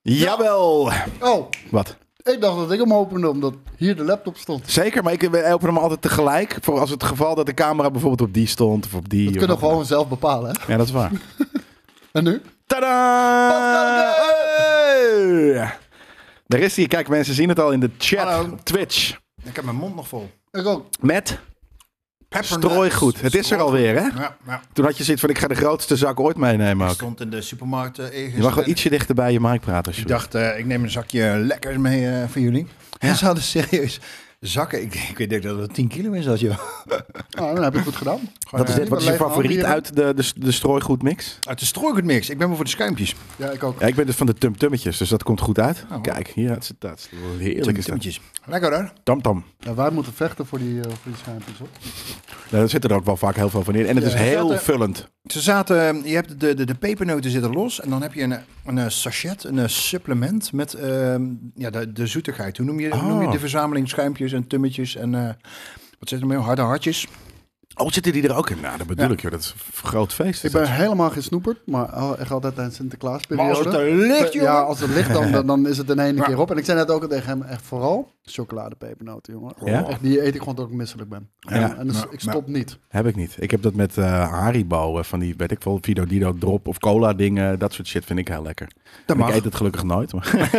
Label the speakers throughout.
Speaker 1: Jawel.
Speaker 2: Oh,
Speaker 1: Wat?
Speaker 2: ik dacht dat ik hem opende omdat hier de laptop stond.
Speaker 1: Zeker, maar ik open hem altijd tegelijk. Voor als het geval dat de camera bijvoorbeeld op die stond of op die.
Speaker 2: Dat
Speaker 1: of
Speaker 2: kunnen we
Speaker 1: wat dan
Speaker 2: gewoon zelf bepalen, hè?
Speaker 1: ook. Ja, dat is waar.
Speaker 2: En nu?
Speaker 1: Tadaa! Hey! Daar is hij. Kijk, mensen zien het al in de chat.
Speaker 3: Hallo.
Speaker 1: Twitch.
Speaker 3: Ik heb mijn mond nog vol.
Speaker 2: Ik ook.
Speaker 1: Met
Speaker 3: Peppernut.
Speaker 1: strooigoed. Het is er alweer, hè?
Speaker 3: Ja, ja.
Speaker 1: Toen had je zoiets van, ik ga de grootste zak ooit meenemen ook.
Speaker 3: Stond in de supermarkt eh, ergens.
Speaker 1: Je mag wel
Speaker 3: En
Speaker 1: ietsje dichter bij je mic praten
Speaker 3: Ik
Speaker 1: alsjeblieft.
Speaker 3: dacht, eh, ik neem een zakje lekkers mee eh, voor jullie. En ze hadden serieus zakken. Ik, denk- ik denk dat het 10 kilo is als je
Speaker 2: Nou, dan heb ik goed gedaan.
Speaker 1: Dat is
Speaker 3: eh,
Speaker 2: Ja,
Speaker 1: het. Wat is je
Speaker 2: die
Speaker 1: favoriet
Speaker 2: hier.
Speaker 1: uit de, de, de strooigoedmix?
Speaker 3: Uit de strooigoed mix. Ik ben wel voor de schuimpjes.
Speaker 2: Ja, ik ook.
Speaker 1: Ja, ik ben dus van de tumtummetjes, dus dat komt goed uit.
Speaker 3: Oh.
Speaker 1: Kijk, hier het zit dat. Heerlijk is dat.
Speaker 3: Tumtjes. Lekker hoor.
Speaker 1: Tamtam.
Speaker 2: Ja, wij moeten vechten voor die, eh, voor die schuimpjes, hoor.
Speaker 1: Ja, Nou, daar zitten er ook wel vaak heel veel van in. En het
Speaker 2: Ja.
Speaker 1: is heel
Speaker 3: Zaten-
Speaker 1: vullend.
Speaker 3: Ze zaten, eh, je hebt de, de, de pepernoten zitten los en dan heb je een, een eh, sachet, een eh, supplement met ehm, ja, de, de zoetigheid. Hoe noem je, hoe noem je
Speaker 1: Ah.
Speaker 3: de verzameling schuimpjes en tummetjes en eh, wat zit er meer? Harde hartjes.
Speaker 1: Oh, zitten die er ook in? Nou, dat bedoel
Speaker 3: Ja.
Speaker 1: ik, joh. Dat is een groot feest.
Speaker 2: Ik ben helemaal geen snoeperd, maar al- echt altijd tijdens Sinterklaasperiode.
Speaker 3: Maar als het er ligt,
Speaker 2: Ja,
Speaker 3: jongen.
Speaker 2: als het ligt, dan, dan, dan is het in één
Speaker 3: Ja.
Speaker 2: keer op. En ik zei net ook tegen hem, echt vooral chocoladepepernoten, jongen.
Speaker 1: Ja?
Speaker 2: Echt, die eet ik gewoon tot ik misselijk ben.
Speaker 1: Ja.
Speaker 2: En dus
Speaker 3: Ja.
Speaker 2: ik stop niet.
Speaker 1: Heb ik niet. Ik heb dat met eh, Haribo, eh, van die, weet ik veel, Vido Dido drop of cola dingen. Dat soort shit vind ik heel lekker. En
Speaker 3: mag.
Speaker 1: Ik eet het gelukkig nooit. Maar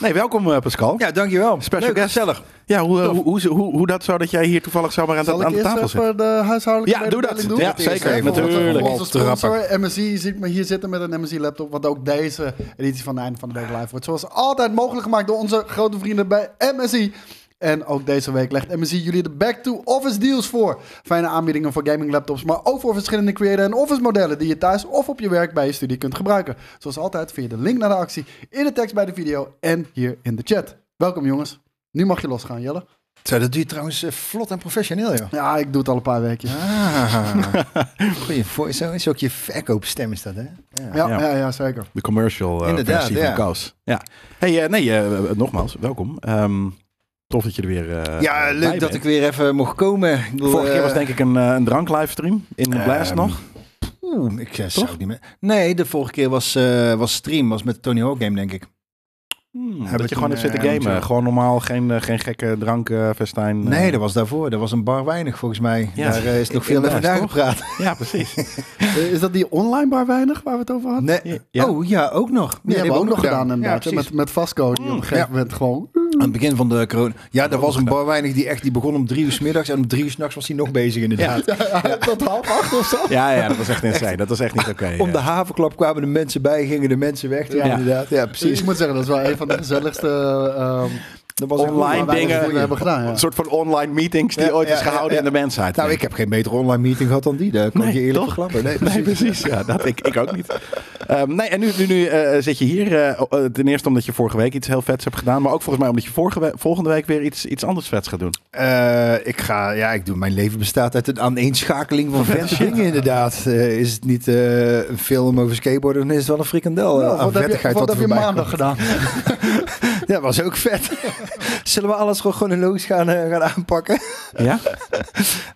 Speaker 1: nee, welkom eh, Pascal.
Speaker 3: Ja, dankjewel.
Speaker 1: Special
Speaker 3: Leuk,
Speaker 1: guest.
Speaker 3: gezellig.
Speaker 1: Ja, hoe, eh, hoe, hoe, hoe, hoe dat zo dat jij hier toevallig zomaar aan,
Speaker 2: Zal
Speaker 1: de-
Speaker 2: ik
Speaker 1: aan de
Speaker 2: eerst
Speaker 1: tafel zit?
Speaker 2: even de huishoudelijke
Speaker 1: Ja, doe dat.
Speaker 2: mededeling doen?
Speaker 1: Ja,
Speaker 2: Eerst
Speaker 1: zeker.
Speaker 2: even, want dat is
Speaker 1: Natuurlijk.
Speaker 2: Onze sponsor, MSI, ziet me hier zitten met een MSI-laptop. Wat ook deze editie van de Einde van de Week live wordt. Zoals altijd mogelijk gemaakt door onze grote vrienden bij MSI. En ook deze week legt MSI jullie de back-to-office deals voor. Fijne aanbiedingen voor gaming laptops, maar ook voor verschillende creator- en office modellen die je thuis of op je werk bij je studie kunt gebruiken. Zoals altijd via de link naar de actie in de tekst bij de video en hier in de chat. Welkom jongens. Nu mag je losgaan, Jelle.
Speaker 3: Zo, dat doe je trouwens eh, vlot en professioneel, joh.
Speaker 2: Ja, ik doe het al een paar weken.
Speaker 3: Ah, goeie voor zo is ook je verkoopstem is dat, hè? Ja.
Speaker 2: Ja,
Speaker 1: Ja.
Speaker 2: ja. ja, zeker.
Speaker 1: De commercial eh,
Speaker 3: Inderdaad,
Speaker 1: versie
Speaker 3: ja.
Speaker 1: van Koos. Ja. Hey, eh, nee, eh, nogmaals, welkom. Ehm, tof dat je er weer eh,
Speaker 3: Ja,
Speaker 1: eh, bij
Speaker 3: leuk dat
Speaker 1: bent.
Speaker 3: ik weer even mocht komen. Ik bedoel,
Speaker 1: Vorige keer
Speaker 3: eh,
Speaker 1: was denk ik een, eh, een drank livestream in de Blast
Speaker 3: Ehm,
Speaker 1: nog.
Speaker 3: Oeh, ik eh, zou het niet meer. Nee, de vorige keer was, eh, was stream, was met Tony Hawk Game, denk ik.
Speaker 1: Hmm,
Speaker 3: hebben
Speaker 1: dat je
Speaker 3: toen,
Speaker 1: gewoon hebt zitten
Speaker 3: eh,
Speaker 1: gamen.
Speaker 3: zo.
Speaker 1: Gewoon normaal, geen, eh, geen gekke drank, eh, festijn. eh.
Speaker 3: Nee, dat was daarvoor. Dat was een bar weinig, volgens mij.
Speaker 1: Ja.
Speaker 3: Daar eh, is nog veel
Speaker 1: Inderdaad,
Speaker 3: over
Speaker 1: toch?
Speaker 3: nagepraat.
Speaker 1: Ja, precies.
Speaker 2: Eh, Is dat die online bar weinig waar we het over hadden?
Speaker 1: Ja,
Speaker 3: Nee.
Speaker 1: ja.
Speaker 3: Oh, ja, ook nog. Ja,
Speaker 2: Die hebben we ook nog gedaan, inderdaad.
Speaker 3: Ja,
Speaker 2: hè,
Speaker 3: precies. Mm,
Speaker 2: met, met Vasco, die op een gegeven
Speaker 3: ja.
Speaker 2: moment gewoon...
Speaker 3: Aan het begin van de corona. Ja, er was een bar weinig die echt die begon om drie uur 's middags en om drie uur 's nachts was hij nog bezig inderdaad.
Speaker 2: Tot half acht of zo.
Speaker 1: ja, ja, dat was echt insane. Dat was echt niet oké.
Speaker 3: Om de
Speaker 1: ja.
Speaker 3: havenklap kwamen de mensen bij, gingen de mensen weg. Ja,
Speaker 1: Ja.
Speaker 3: inderdaad. Ja,
Speaker 2: Precies.
Speaker 3: precies.
Speaker 2: Dus Ik moet zeggen, dat is wel een van de gezelligste... ehm,
Speaker 3: Dat was
Speaker 1: Online
Speaker 2: waar
Speaker 3: een-
Speaker 2: wij
Speaker 1: dingen.
Speaker 2: dat we hebben gedaan, ja.
Speaker 1: Een soort van online meetings die
Speaker 3: Ja,
Speaker 1: ooit
Speaker 3: ja,
Speaker 1: is gehouden
Speaker 3: ja, ja.
Speaker 1: in de mensheid.
Speaker 3: Nou, ik heb geen betere online meeting gehad dan die. Daar kan ik je eerlijk
Speaker 1: toch?
Speaker 3: verklappen. Nee,
Speaker 1: Nee, precies. Ja, dat ik, ik ook niet. Ehm, nee, en nu, nu, nu eh, zit je hier. eh, eh, ten eerste omdat je vorige week iets heel vets hebt gedaan. Maar ook volgens mij omdat je vorige we- volgende week weer iets, iets anders vets gaat doen.
Speaker 3: Eh, ik ga, ja, ik doe, mijn leven bestaat uit een aaneenschakeling van vette dingen inderdaad. Eh, is het niet eh, een film over skateboarden, dan is het wel een frikandel. eh,
Speaker 2: nou,
Speaker 3: aan
Speaker 2: wat heb je,
Speaker 3: vettigheid
Speaker 2: wat
Speaker 3: er
Speaker 2: heb je
Speaker 3: voorbij
Speaker 2: maandag gedaan?
Speaker 3: komt. Ja, was ook vet. Zullen we alles gewoon chronologisch gaan, eh, gaan aanpakken?
Speaker 1: Ja?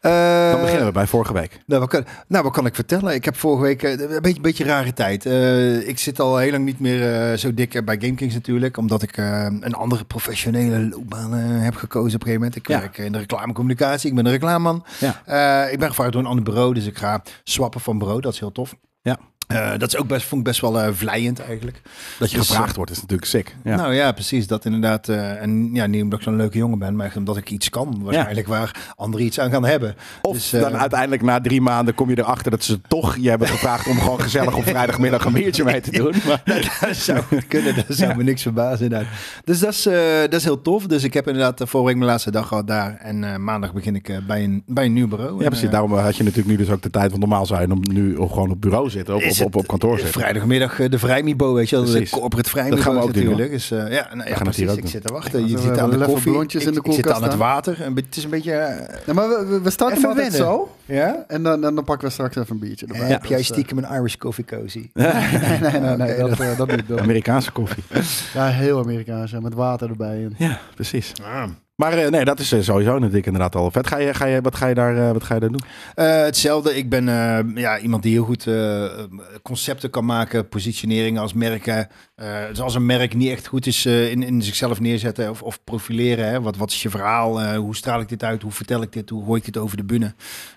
Speaker 3: Eh,
Speaker 1: Dan beginnen we bij vorige week.
Speaker 3: Nou wat, kan, nou, wat kan ik vertellen? Ik heb vorige week eh, een beetje, beetje rare tijd. Eh, ik zit al heel lang niet meer eh, zo dik eh, bij GameKings natuurlijk. Omdat ik eh, een andere professionele loopbaan eh, heb gekozen op een gegeven moment. Ik
Speaker 1: Ja.
Speaker 3: werk in de reclamecommunicatie. Ik ben een reclameman.
Speaker 1: Ja.
Speaker 3: Eh, ik ben gevraagd door een ander bureau. Dus ik ga swappen van bureau. Dat is heel tof.
Speaker 1: Ja.
Speaker 3: Eh, dat is ook best, vond ik best wel eh, vlijend eigenlijk.
Speaker 1: Dat je
Speaker 3: Dus,
Speaker 1: gevraagd wordt is natuurlijk sick. Ja.
Speaker 3: Nou ja, precies. Dat inderdaad. eh, en ja, niet omdat ik zo'n leuke jongen ben. Maar echt omdat ik iets kan waarschijnlijk waar anderen iets aan gaan hebben.
Speaker 1: of
Speaker 3: Dus, eh,
Speaker 1: dan uiteindelijk na drie maanden kom je erachter dat ze toch je hebben gevraagd om gewoon gezellig op vrijdagmiddag een biertje mee te doen. Maar,
Speaker 3: dat zou goed kunnen, dat zou me niks verbazen. Inderdaad. Dus dat is, eh, dat is heel tof. Dus ik heb inderdaad eh, vorige week mijn laatste dag gehad daar. En eh, maandag begin ik eh, bij, een, bij een nieuw bureau.
Speaker 1: ja, precies.
Speaker 3: En, eh,
Speaker 1: Daarom had je natuurlijk nu dus ook de tijd. Want normaal zou je dan nu op- gewoon op bureau zitten. Of
Speaker 3: is
Speaker 1: op, op,
Speaker 3: het,
Speaker 1: op kantoor
Speaker 3: eh,
Speaker 1: zitten.
Speaker 3: Vrijdagmiddag eh, de Vrijmibo, weet je wel. De
Speaker 1: Precies.
Speaker 3: corporate
Speaker 1: Dat gaan we
Speaker 3: Vrijmibo
Speaker 1: ook doen,
Speaker 3: natuurlijk. dus, eh, ja, nou, ja,
Speaker 1: gaan het hier
Speaker 3: precies.
Speaker 1: ook
Speaker 3: Ik
Speaker 1: doen.
Speaker 3: zit te wachten.
Speaker 2: Ja,
Speaker 3: Je
Speaker 2: we
Speaker 3: zit
Speaker 2: hebben
Speaker 3: aan de
Speaker 2: lekker
Speaker 3: koffie. Ik,
Speaker 2: blondjes in de
Speaker 3: ik zit
Speaker 2: koelkast
Speaker 3: aan het
Speaker 2: staan.
Speaker 3: water. Een beetje- Het is een beetje... eh,
Speaker 2: Ja, maar we- we, we starten
Speaker 3: Even
Speaker 2: hem altijd
Speaker 3: wennen.
Speaker 2: zo.
Speaker 3: ja?
Speaker 2: En dan, en dan pakken we straks even een biertje erbij.
Speaker 3: Heb
Speaker 2: Dus,
Speaker 3: jij
Speaker 2: eh,
Speaker 3: stiekem een Irish coffee cozy?
Speaker 2: Nee, nee, nee, nee, dat, eh, dat niet. Dat niet.
Speaker 1: Amerikaanse koffie.
Speaker 2: Ja, heel Amerikaans, hè, met water erbij. En...
Speaker 1: Ja, precies.
Speaker 3: Ja.
Speaker 1: Maar eh, nee, dat is eh, sowieso natuurlijk inderdaad al vet. Ga je, ga je, wat, ga je daar, eh, wat ga je daar doen?
Speaker 3: Eh, hetzelfde. Ik ben eh, ja, iemand die heel goed eh, concepten kan maken, positioneringen als merken. Eh, dus als een merk niet echt goed is eh, in, in zichzelf neerzetten of, of profileren. Hè, wat, wat is je verhaal? Eh, hoe straal ik dit uit? Hoe vertel ik dit? Hoe gooi ik dit over de bühne?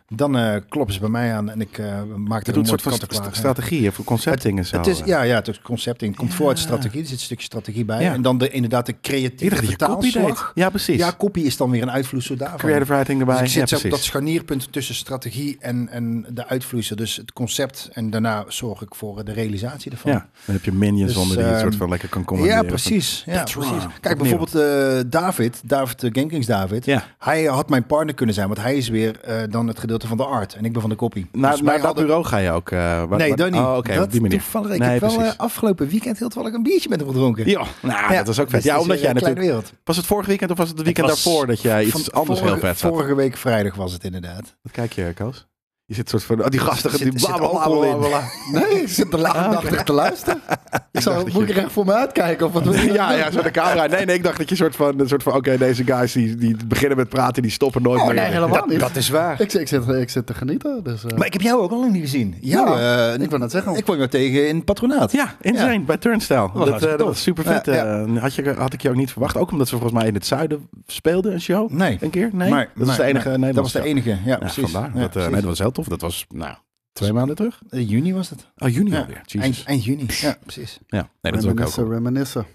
Speaker 3: Dan eh, kloppen ze bij mij aan en ik eh, maak
Speaker 1: Je
Speaker 3: er
Speaker 1: doet
Speaker 3: een
Speaker 1: een soort van st-
Speaker 3: kant-en-klaar, hè.
Speaker 1: strategieën voor concepting en zo.
Speaker 3: Het is,
Speaker 1: eh.
Speaker 3: ja, ja, het is concept in. Het komt voor uit strategie. Er zit een stukje strategie bij.
Speaker 1: Ja.
Speaker 3: En dan de, inderdaad de
Speaker 1: Ik
Speaker 3: creatieve
Speaker 1: dacht dat je copy deed.
Speaker 3: vertaalslag.
Speaker 1: Ja, precies.
Speaker 3: Ja, copy is dan weer een uitvloeisel daarvan.
Speaker 1: Creative writing erbij.
Speaker 3: Dus ik
Speaker 1: ja,
Speaker 3: zit zo
Speaker 1: precies.
Speaker 3: op dat scharnierpunt tussen strategie en, en de uitvloeisel. Dus het concept en daarna zorg ik voor eh, de realisatie ervan.
Speaker 1: Ja, dan heb je minions
Speaker 3: Dus,
Speaker 1: onder die je
Speaker 3: ehm,
Speaker 1: soort van lekker kan
Speaker 3: Ja,
Speaker 1: commanderen. Van-
Speaker 3: precies. Ja,
Speaker 1: That's
Speaker 3: precies.
Speaker 1: wrong.
Speaker 3: Kijk,
Speaker 1: Opnieuw.
Speaker 3: bijvoorbeeld eh, David, David uh, David.
Speaker 1: Ja.
Speaker 3: Hij had mijn partner kunnen zijn, want hij is weer eh, dan het gedeelte van de art en ik ben van de copy.
Speaker 1: Naar,
Speaker 3: Dus wij
Speaker 1: naar Nou, dat
Speaker 3: hadden-
Speaker 1: bureau ga je ook. eh, waar-
Speaker 3: Nee,
Speaker 1: waar-
Speaker 3: dat niet.
Speaker 1: Oh, oké,
Speaker 3: dat
Speaker 1: op die manier.
Speaker 3: toevallig. Ik
Speaker 1: Nee,
Speaker 3: heb wel
Speaker 1: precies.
Speaker 3: eh, afgelopen weekend heel toevallig een biertje met hem gedronken.
Speaker 1: Ja, nou, dat was ook vet.
Speaker 3: dus
Speaker 1: ja, omdat
Speaker 3: het is een
Speaker 1: jij
Speaker 3: kleine
Speaker 1: natuurlijk...
Speaker 3: wereld.
Speaker 1: Was het vorig weekend of was het het weekend
Speaker 3: Het was
Speaker 1: daarvoor dat jij iets
Speaker 3: Van
Speaker 1: anders
Speaker 3: vorige,
Speaker 1: heel vet zat?
Speaker 3: Vorige week vrijdag was het inderdaad.
Speaker 1: Wat kijk je, Koos? Je zit soort van... Oh, die gasten,
Speaker 3: Zit-
Speaker 1: die
Speaker 3: zit
Speaker 1: blabbelen
Speaker 3: alcohol in.
Speaker 1: blabbelen.
Speaker 2: Nee, ik zit de
Speaker 3: Ah,
Speaker 2: laatste dag te luisteren. Ik
Speaker 1: dacht
Speaker 2: zou
Speaker 1: dat
Speaker 2: moet ik
Speaker 1: je-
Speaker 2: er echt voor me uitkijken of wat wil je
Speaker 1: Ja,
Speaker 2: nou
Speaker 1: Ah, ja,
Speaker 2: doen?
Speaker 1: zo de camera. Nee, nee, ik dacht dat je soort van, een soort van oké, deze guys die, die beginnen met praten, die stoppen nooit
Speaker 2: Oh,
Speaker 1: meer.
Speaker 2: nee, helemaal niet.
Speaker 3: Dat is waar.
Speaker 2: Ik, zit- ik, zit, ik zit te genieten. Dus, eh,
Speaker 3: Maar ik heb jou ook al lang niet gezien. Jou,
Speaker 2: Ja,
Speaker 3: eh,
Speaker 2: ik wil net zeggen.
Speaker 3: Ik kwam jou tegen in het patronaat.
Speaker 1: Ja, insane, bij Turnstile. Dat, eh,
Speaker 3: hartstikke
Speaker 1: dat
Speaker 3: tof.
Speaker 1: was super vet. eh,
Speaker 3: Ja, ja.
Speaker 1: had, je, had ik je ook niet verwacht. Ook omdat ze volgens mij in het zuiden speelden, een show.
Speaker 3: Nee.
Speaker 1: Een keer? Nee.
Speaker 3: Maar-
Speaker 1: dat was
Speaker 3: maar-
Speaker 1: de enige
Speaker 3: maar-
Speaker 1: Nederlandse
Speaker 3: Dat was de
Speaker 1: show.
Speaker 3: enige, ja,
Speaker 1: Ja,
Speaker 3: precies.
Speaker 1: vandaar.
Speaker 3: Ja,
Speaker 1: dat, eh, nee,
Speaker 3: precies.
Speaker 1: dat was heel tof. Dat was, nou, twee maanden terug.
Speaker 3: Eh, juni was het.
Speaker 1: Oh, juni
Speaker 3: Ja.
Speaker 1: alweer. Jezus.
Speaker 3: Eind, eind juni. Ja, precies.
Speaker 1: Ja, nee, dat is ook ook.
Speaker 2: Reminiscen, reminiscen.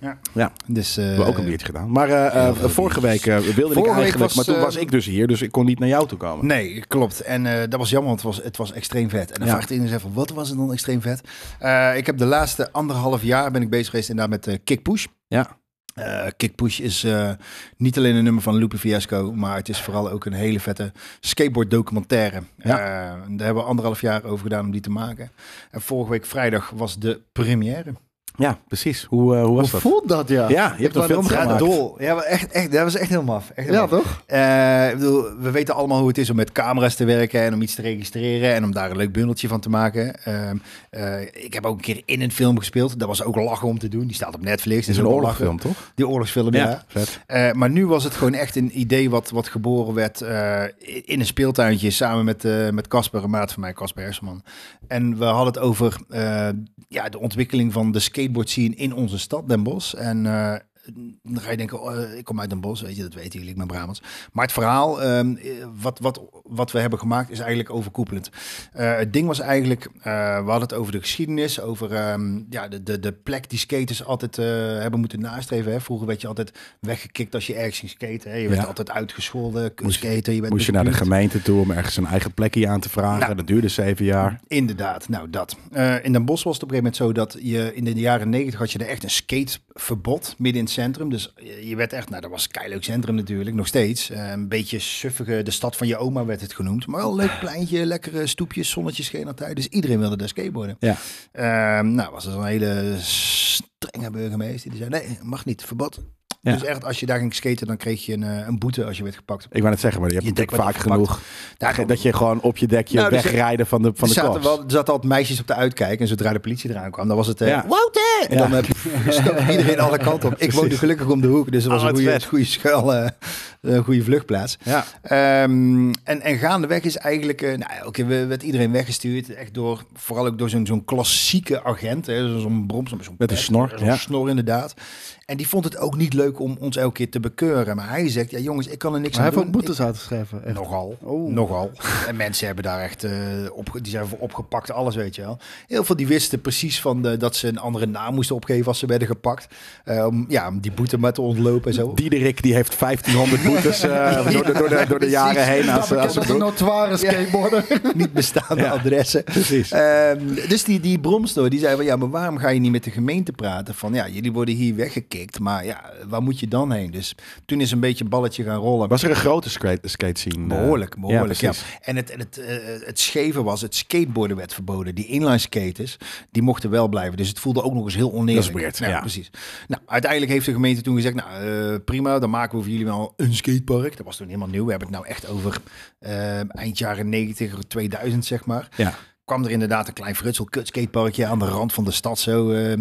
Speaker 3: Dus, eh,
Speaker 1: We hebben ook een biertje gedaan. Maar eh, eh,
Speaker 3: heel veel
Speaker 1: vorige week
Speaker 3: biertjes.
Speaker 1: eh, wilde
Speaker 3: Vorige
Speaker 1: ik
Speaker 3: week
Speaker 1: eigenlijk,
Speaker 3: was,
Speaker 1: maar toen
Speaker 3: eh,
Speaker 1: was ik dus hier, dus ik kon niet naar jou toe komen.
Speaker 3: Nee, klopt. En eh, dat was jammer, want het was, het was extreem vet. En dan
Speaker 1: Ja.
Speaker 3: vraagt iedereen zich van, wat was het dan extreem vet? Eh, ik heb de laatste anderhalf jaar ben ik bezig geweest inderdaad met eh, Kick Push.
Speaker 1: Ja.
Speaker 3: Eh, Kick Push is eh, niet alleen een nummer van Lupe Fiasco, maar het is vooral ook een hele vette skateboard documentaire. Eh,
Speaker 1: Ja.
Speaker 3: daar hebben we anderhalf jaar over gedaan om die te maken. En vorige week vrijdag was de première.
Speaker 1: Ja, precies. Hoe, eh, hoe was
Speaker 2: Hoe
Speaker 1: dat?
Speaker 2: voelt dat, ja?
Speaker 1: Ja, je hebt een
Speaker 2: wou
Speaker 1: film
Speaker 2: net zeggen,
Speaker 1: gemaakt.
Speaker 3: dol. Ja, maar echt, echt, dat was echt heel maf. Echt heel
Speaker 2: Ja,
Speaker 3: maf.
Speaker 2: toch?
Speaker 3: Eh, ik bedoel, we weten allemaal hoe het is om met camera's te werken en om iets te registreren en om daar een leuk bundeltje van te maken. Ehm, eh, ik heb ook een keer in een film gespeeld. Dat was ook lachen om te doen. Die staat op Netflix.
Speaker 1: Het is
Speaker 3: Dat
Speaker 1: een
Speaker 3: ook
Speaker 1: oorlogsfilm,
Speaker 3: lachen.
Speaker 1: toch?
Speaker 3: Die oorlogsfilm, ja.
Speaker 1: vet.
Speaker 3: Eh, maar nu was het gewoon echt een idee wat, wat geboren werd eh, in een speeltuintje samen met eh, met Casper, een maat van mij, Casper Hersenman. En we hadden het over eh, ja, de ontwikkeling van de skateboard scene in onze stad, Den Bosch. En eh, dan ga je denken, oh, eh, ik kom uit Den Bosch, weet je, dat weten jullie, ik ben Brabants. Maar het verhaal, ehm, eh, wat, wat, wat we hebben gemaakt, is eigenlijk overkoepelend. Eh, het ding was eigenlijk, eh, we hadden het over de geschiedenis, over ehm, ja, de, de, de plek die skaters altijd eh, hebben moeten nastreven. Hè. Vroeger werd je altijd weggekikt als je ergens ging skaten. Hè. Je werd
Speaker 1: Ja.
Speaker 3: altijd uitgescholden,
Speaker 1: Moest-
Speaker 3: skaten. Je werd
Speaker 1: Moest je naar de
Speaker 3: bestuurd.
Speaker 1: gemeente toe om ergens een eigen plekje aan te vragen.
Speaker 3: Nou.
Speaker 1: Dat duurde zeven jaar.
Speaker 3: Inderdaad, nou dat. Eh, in Den Bosch was het op een gegeven moment zo dat je in de jaren negentig had je er echt een skateverbod midden in het centrum. Dus eh, je werd echt, nou dat was een keileuk centrum natuurlijk, nog steeds. Eh, een beetje suffige, de stad van je oma werd het genoemd. Maar wel een leuk pleintje, lekkere stoepjes, zonnetjes scheen altijd. Dus iedereen wilde daar skateboarden.
Speaker 1: Ja.
Speaker 3: Ehm, nou was er zo'n hele strenge burgemeester die zei, nee, mag niet, verbod.
Speaker 1: Ja.
Speaker 3: Dus echt, als je daar ging skaten, dan kreeg je een, eh, een boete als je werd gepakt.
Speaker 1: Ik wou net zeggen, maar je hebt
Speaker 3: Je dek
Speaker 1: natuurlijk vaak
Speaker 3: wordt verpakt.
Speaker 1: genoeg
Speaker 3: Daar
Speaker 1: dat je gewoon op je dekje
Speaker 3: Nou, dus-
Speaker 1: wegrijden van de, van de
Speaker 3: er zaten,
Speaker 1: klas.
Speaker 3: wel, er zaten altijd meisjes op de uitkijk. En zodra de politie eraan kwam, dan was het... eh,
Speaker 1: Ja.
Speaker 3: Wouter! En
Speaker 1: Ja.
Speaker 3: dan eh, pff, stoof iedereen alle kanten op. Ik woonde
Speaker 1: Precies.
Speaker 3: gelukkig om de hoek. Dus dat was
Speaker 1: Ah,
Speaker 3: een
Speaker 1: wat
Speaker 3: goede,
Speaker 1: vet.
Speaker 3: goede schuil, eh, een goede vluchtplaats.
Speaker 1: Ja.
Speaker 3: Ehm, en, en gaandeweg is eigenlijk... eh nou, oké, we werd iedereen weggestuurd. Echt door, vooral ook door zo'n zo'n klassieke agent. hè, Zo'n zo'n brom, zo'n zo'n
Speaker 1: Met een
Speaker 3: pet,
Speaker 1: snor,
Speaker 3: Zo'n
Speaker 1: ja.
Speaker 3: snor, inderdaad. En die vond het ook niet leuk om ons elke keer te bekeuren. Maar hij zegt, ja jongens, ik kan er niks
Speaker 2: Maar hij
Speaker 3: aan
Speaker 2: heeft
Speaker 3: doen.
Speaker 2: ook boetes uitgeschreven. Echt.
Speaker 3: Nogal,
Speaker 2: Oh.
Speaker 3: nogal. En mensen hebben daar echt, eh, op, die zijn voor opgepakt, alles weet je wel. Heel veel die wisten precies van de, dat ze een andere naam moesten opgeven als ze werden gepakt. Eh, om, ja, om die boete maar te ontlopen en zo.
Speaker 1: Diederik die heeft 1500 boetes eh, door, de, door, de, door de jaren heen aan zijn aan
Speaker 2: Dat
Speaker 1: zijn
Speaker 2: is een
Speaker 1: broek.
Speaker 2: notoire skateboarder.
Speaker 3: Niet bestaande
Speaker 1: Ja.
Speaker 3: adressen.
Speaker 1: Precies.
Speaker 3: Ehm, dus die, die Bromstoor, die zei van, ja, maar waarom ga je niet met de gemeente praten? Van, ja, jullie worden hier weggekikt, maar ja, waar moet je dan heen? Dus toen is een beetje een balletje gaan rollen.
Speaker 1: Was er een grote skate, skate scene? eh?
Speaker 3: Behoorlijk, behoorlijk.
Speaker 1: Ja,
Speaker 3: Ja,
Speaker 1: precies.
Speaker 3: En het, en het, eh, het scheve was, het skateboarden werd verboden. Die inline skaters, die mochten wel blijven. Dus het voelde ook nog eens heel oneerlijk.
Speaker 1: Dat is weird,
Speaker 3: nou,
Speaker 1: ja.
Speaker 3: precies. Nou, uiteindelijk heeft de gemeente toen gezegd, nou eh, prima, dan maken we voor jullie wel een skatepark. Dat was toen helemaal nieuw. We hebben het nou echt over eh, eind jaren 90, 2000 zeg maar.
Speaker 1: Ja.
Speaker 3: kwam er inderdaad een klein frutsel kutskateparkje aan de rand van de stad zo. eh.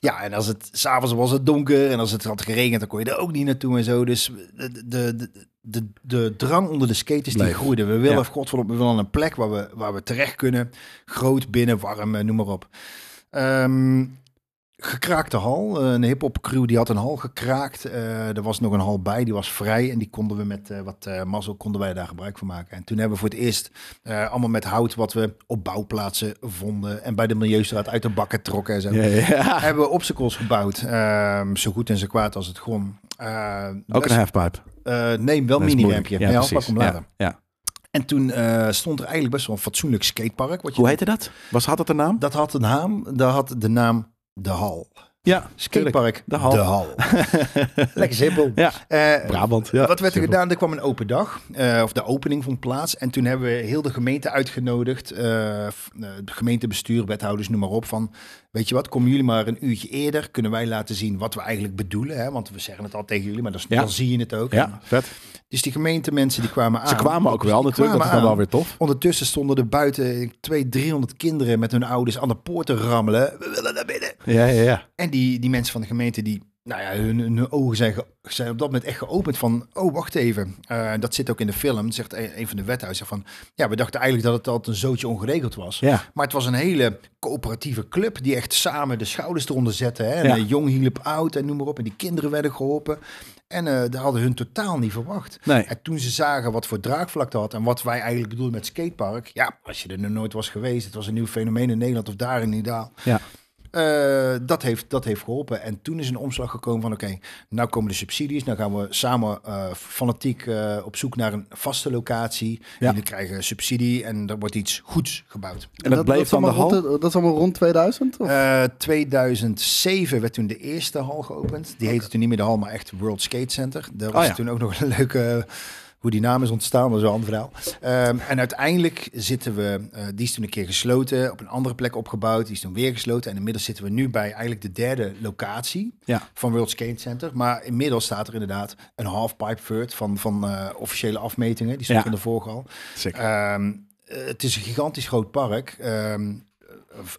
Speaker 3: ja, en als het s'avonds was het donker en als het had geregend, dan kon je er ook niet naartoe en zo. Dus de, de, de, de, de drang onder de skaters die
Speaker 1: Leef.
Speaker 3: groeide. We willen,
Speaker 1: Ja.
Speaker 3: godverdomme, we willen een plek waar we, waar we terecht kunnen. Groot, binnen, warm, eh, noem maar op. Ehm, gekraakte hal. Eh, Een hip-hop crew die had een hal gekraakt. Eh, er was nog een hal bij, die was vrij. En die konden we met eh, wat eh mazzel konden wij daar gebruik van maken. En toen hebben we voor het eerst eh, allemaal met hout wat we op bouwplaatsen vonden. En bij de Milieustraat uit de bakken trokken en zo.
Speaker 1: Ja, ja.
Speaker 3: Hebben we obstacles gebouwd. Ehm, zo goed en zo kwaad als het kon. Eh,
Speaker 1: Ook een
Speaker 3: best-
Speaker 1: halfpipe.
Speaker 3: eh, nee, wel
Speaker 1: Dat is
Speaker 3: een
Speaker 1: moeilijk.
Speaker 3: mini-rampje. Ja,
Speaker 1: precies.
Speaker 3: pak hem later.
Speaker 1: Ja, ja.
Speaker 3: En toen eh, stond er eigenlijk best wel een fatsoenlijk skatepark. Wat je
Speaker 1: Hoe heette dat? Was, had dat een naam?
Speaker 3: Dat had een naam. Dat had de naam De Hal.
Speaker 1: Ja,
Speaker 3: Skatepark
Speaker 1: De Hal.
Speaker 3: Lekker simpel.
Speaker 1: Ja.
Speaker 3: Eh,
Speaker 1: Brabant. Ja,
Speaker 3: wat werd er
Speaker 1: simpel.
Speaker 3: gedaan? Er kwam een open dag, eh, of de opening vond plaats. En toen hebben we heel de gemeente uitgenodigd, eh, f- eh, de gemeentebestuur, wethouders, noem maar op. Van, weet je wat, komen jullie maar een uurtje eerder, kunnen wij laten zien wat we eigenlijk bedoelen. Hè? Want we zeggen het al tegen jullie, maar dat is-
Speaker 1: Ja.
Speaker 3: dan zie je het ook.
Speaker 1: Ja, vet.
Speaker 3: Dus die gemeentemensen die kwamen aan.
Speaker 1: Ze kwamen ook
Speaker 3: Dus
Speaker 1: wel
Speaker 3: die
Speaker 1: natuurlijk, dat is
Speaker 3: kwamen
Speaker 1: dan wel
Speaker 3: aan.
Speaker 1: weer tof.
Speaker 3: Ondertussen stonden er buiten twee, 300 kinderen met hun ouders aan de poort te rammelen. We willen naar binnen.
Speaker 1: Ja, ja, ja.
Speaker 3: En die, die mensen van de gemeente, die, nou ja, hun, hun ogen zijn, ge- zijn op dat moment echt geopend van, oh, wacht even. Eh, dat zit ook in de film, zegt e-, een, een van de wethouders. zegt van, ja, we dachten eigenlijk dat het altijd een zootje ongeregeld was.
Speaker 1: Ja.
Speaker 3: Maar het was een hele coöperatieve club die echt samen de schouders eronder zette. Hè? En
Speaker 1: Ja.
Speaker 3: eh, jong hielp oud en noem maar op. En die kinderen werden geholpen. En eh daar hadden hun totaal niet verwacht.
Speaker 1: Nee.
Speaker 3: En toen ze zagen wat voor draagvlak dat had en wat wij eigenlijk bedoelden met skatepark. Ja, als je er nog nooit was geweest, het was een nieuw fenomeen in Nederland of daar in Idaal.
Speaker 1: Ja.
Speaker 3: Eh, dat, heeft, dat heeft geholpen. En toen is een omslag gekomen van oké, nou komen de subsidies. Nou gaan we samen eh, fanatiek eh, op zoek naar een vaste locatie.
Speaker 1: Ja.
Speaker 3: Jullie krijgen subsidie en er wordt iets goeds gebouwd.
Speaker 1: En dat, bleef
Speaker 2: dan
Speaker 1: dan de hal.
Speaker 2: Dat is allemaal rond 2000? Of?
Speaker 3: Eh, 2007 werd toen de eerste hal geopend. Die heette toen niet meer de hal, maar echt World Skate Center. Daar was
Speaker 1: Oh ja.
Speaker 3: toen ook nog een leuke... Hoe die naam is ontstaan, dat is wel een ander verhaal. Ehm, en uiteindelijk zitten we... eh, die is toen een keer gesloten, op een andere plek opgebouwd. Die is toen weer gesloten. En inmiddels zitten we nu bij eigenlijk de derde locatie
Speaker 1: Ja.
Speaker 3: van World Skate Center. Maar inmiddels staat er inderdaad een halfpipe vert van, van eh, officiële afmetingen. Die stond
Speaker 1: Ja.
Speaker 3: in de vorige al.
Speaker 1: Sick.
Speaker 3: Ehm, eh, het is een gigantisch groot park. Ehm,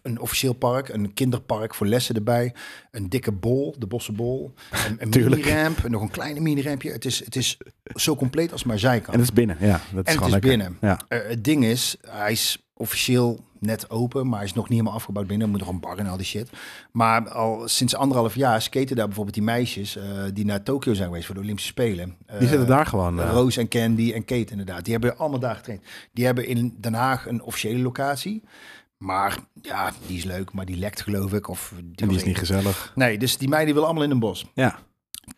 Speaker 3: een officieel park, een kinderpark voor lessen erbij. Een dikke bol, de bossenbol. Een, een
Speaker 1: Tuurlijk.
Speaker 3: mini-ramp, en nog een kleine mini-rampje. Het is, het is zo compleet als maar zij kan.
Speaker 1: En het is binnen. Ja, dat is
Speaker 3: En het
Speaker 1: gewoon
Speaker 3: is
Speaker 1: lekker.
Speaker 3: binnen.
Speaker 1: Ja.
Speaker 3: Eh, het ding is, hij is officieel net open, maar hij is nog niet helemaal afgebouwd binnen. Er moet nog een bar en al die shit. Maar al sinds anderhalf jaar skaten daar bijvoorbeeld die meisjes eh, die naar Tokio zijn geweest voor de Olympische Spelen.
Speaker 1: Die zitten
Speaker 3: Eh,
Speaker 1: daar gewoon. eh,
Speaker 3: Roos en Candy en Kate inderdaad. Die hebben allemaal daar getraind. Die hebben in Den Haag een officiële locatie. Maar ja, die is leuk, maar die lekt geloof ik. Of
Speaker 1: en die is
Speaker 3: was-
Speaker 1: niet gezellig.
Speaker 3: Nee, dus die meiden willen allemaal in een bos.
Speaker 1: Ja.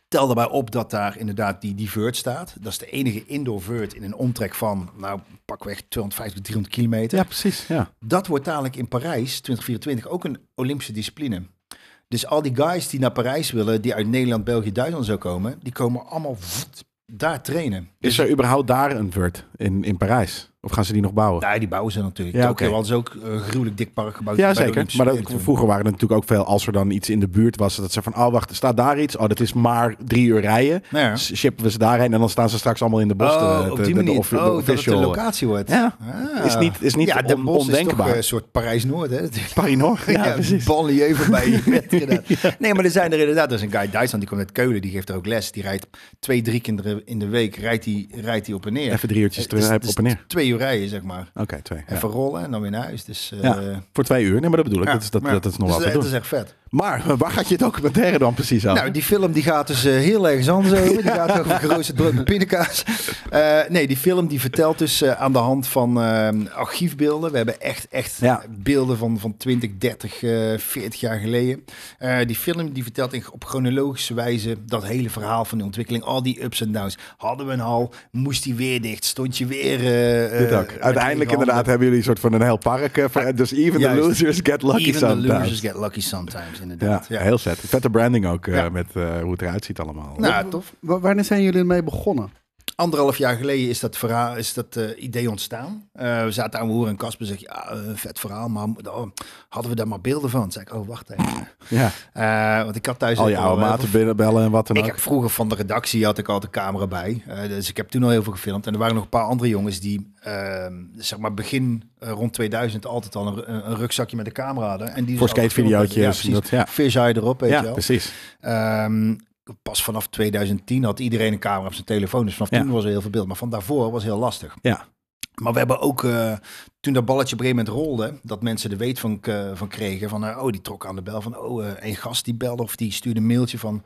Speaker 3: Tel daarbij op dat daar inderdaad die, die vert staat. Dat is de enige indoor vert in een omtrek van, nou, pakweg 250, 300 kilometer.
Speaker 1: Ja, precies. Ja.
Speaker 3: Dat wordt dadelijk in Parijs 2024 ook een Olympische discipline. Dus al die guys die naar Parijs willen, die uit Nederland, België, Duitsland zo komen, die komen allemaal voet daar trainen.
Speaker 1: Is er überhaupt daar een Word in, in Parijs? Of gaan ze die nog bouwen?
Speaker 3: Ja, die bouwen ze natuurlijk.
Speaker 1: Ja,
Speaker 3: Ja,
Speaker 1: oké.
Speaker 3: oké. Want is ook een gruwelijk dik park gebouwd. bij
Speaker 1: Ja,
Speaker 3: de
Speaker 1: zeker.
Speaker 3: Olympische
Speaker 1: Maar dat,
Speaker 3: Spelen toen.
Speaker 1: vroeger waren er natuurlijk ook veel, als er dan iets in de buurt was, dat ze van, oh wacht, er staat daar iets? Oh, dat is maar drie uur rijden.
Speaker 3: Nou ja.
Speaker 1: S- Shippen we ze daarheen en dan staan ze straks allemaal in de bos.
Speaker 3: Oh,
Speaker 1: te-
Speaker 3: op
Speaker 1: te-
Speaker 3: die
Speaker 1: de- de
Speaker 3: manier.
Speaker 1: off- de
Speaker 3: oh, dat het een
Speaker 1: official-
Speaker 3: locatie wordt.
Speaker 1: Ja.
Speaker 3: Ah.
Speaker 1: Is niet- is niet
Speaker 3: ja, Den
Speaker 1: on-
Speaker 3: Bosch
Speaker 1: ondenkbaar.
Speaker 3: is toch eh, een soort Parijs-Noord, hè?
Speaker 1: Paris-Noord. Ja, precies.
Speaker 3: Banlieue voorbij. je bed, inderdaad. Nee, maar er zijn er inderdaad. Er is een guy uit Duitsland, die komt uit Keulen, die geeft er ook les. Die rijdt twee, drie kinderen in de week, rijdt hij rijdt hij op en neer.
Speaker 1: eh, Even drie uurtjes
Speaker 3: Het is-
Speaker 1: terug,
Speaker 3: het is
Speaker 1: op en neer.
Speaker 3: Twee uur rijden, zeg maar.
Speaker 1: Oké, twee. Ja.
Speaker 3: Even rollen en dan weer naar huis. Dus, eh,
Speaker 1: Ja, voor twee uur. Nee, maar dat bedoel ik.
Speaker 3: ja,
Speaker 1: dat, is, dat,
Speaker 3: maar-
Speaker 1: dat is nog
Speaker 3: dus
Speaker 1: wel te
Speaker 3: dat-
Speaker 1: doen.
Speaker 3: Dat is echt vet.
Speaker 1: Maar waar gaat je documentaire dan precies over?
Speaker 3: Nou, die film die gaat dus eh, heel ergens anders over. Die gaat over geroosterd brood met pindakaas. Eh, nee, die film die vertelt dus eh, aan de hand van eh, archiefbeelden. We hebben echt, echt
Speaker 1: Ja.
Speaker 3: beelden van, van 20, 30, eh 40 jaar geleden. Eh, die film die vertelt in, op chronologische wijze dat hele verhaal van de ontwikkeling. Al die ups en downs. Hadden we een hal, moest die weer dicht. Stond je weer... eh,
Speaker 1: Dit
Speaker 3: eh,
Speaker 1: ook.
Speaker 3: met
Speaker 1: Uiteindelijk
Speaker 3: lege
Speaker 1: inderdaad
Speaker 3: handen.
Speaker 1: hebben jullie een soort van een heel park. eh, voor- dus even
Speaker 3: Juist.
Speaker 1: the losers get lucky
Speaker 3: Even
Speaker 1: sometimes.
Speaker 3: the losers get lucky sometimes,
Speaker 1: Ja,
Speaker 3: inderdaad.
Speaker 1: heel vet. Vette branding ook eh,
Speaker 3: Ja.
Speaker 1: met eh, hoe het eruit ziet allemaal.
Speaker 3: Nou, tof.
Speaker 2: Wa- wanneer zijn jullie ermee begonnen?
Speaker 3: anderhalf jaar geleden is dat, verhaal, is dat eh, idee ontstaan. Eh, we zaten aan horen en Casper zegt, ja, eh, vet verhaal, maar mo- oh, hadden we daar maar beelden van? Toen zei ik, oh, wacht even.
Speaker 1: Ja.
Speaker 3: Eh, want ik had thuis...
Speaker 1: Al je
Speaker 3: ook al
Speaker 1: oude
Speaker 3: wel heel
Speaker 1: maten binnen bellen en wat dan
Speaker 3: ik
Speaker 1: ook.
Speaker 3: heb vroeger van de redactie had ik altijd camera bij. Eh, dus ik heb toen al heel veel gefilmd. En er waren nog een paar andere jongens die, ehm, zeg maar begin eh, rond 2000 altijd al een, een rugzakje met een camera hadden. En die
Speaker 1: Voor
Speaker 3: dus al gefilmd hadden.
Speaker 1: skatevideootjes en
Speaker 3: Ja,
Speaker 1: dat, ja.
Speaker 3: precies. Fish eye erop, weet
Speaker 1: ja,
Speaker 3: je wel.
Speaker 1: precies.
Speaker 3: Ehm, pas vanaf 2010 had iedereen een camera op zijn telefoon. Dus vanaf
Speaker 1: Ja.
Speaker 3: toen was er heel veel beeld. Maar van daarvoor was heel lastig.
Speaker 1: Ja.
Speaker 3: Maar we hebben ook, eh, toen dat balletje op een gegeven moment rolde, dat mensen er weet van, k- van kregen. Van, eh, oh, die trok aan de bel. Van, oh, eh, een gast die belde of die stuurde een mailtje van...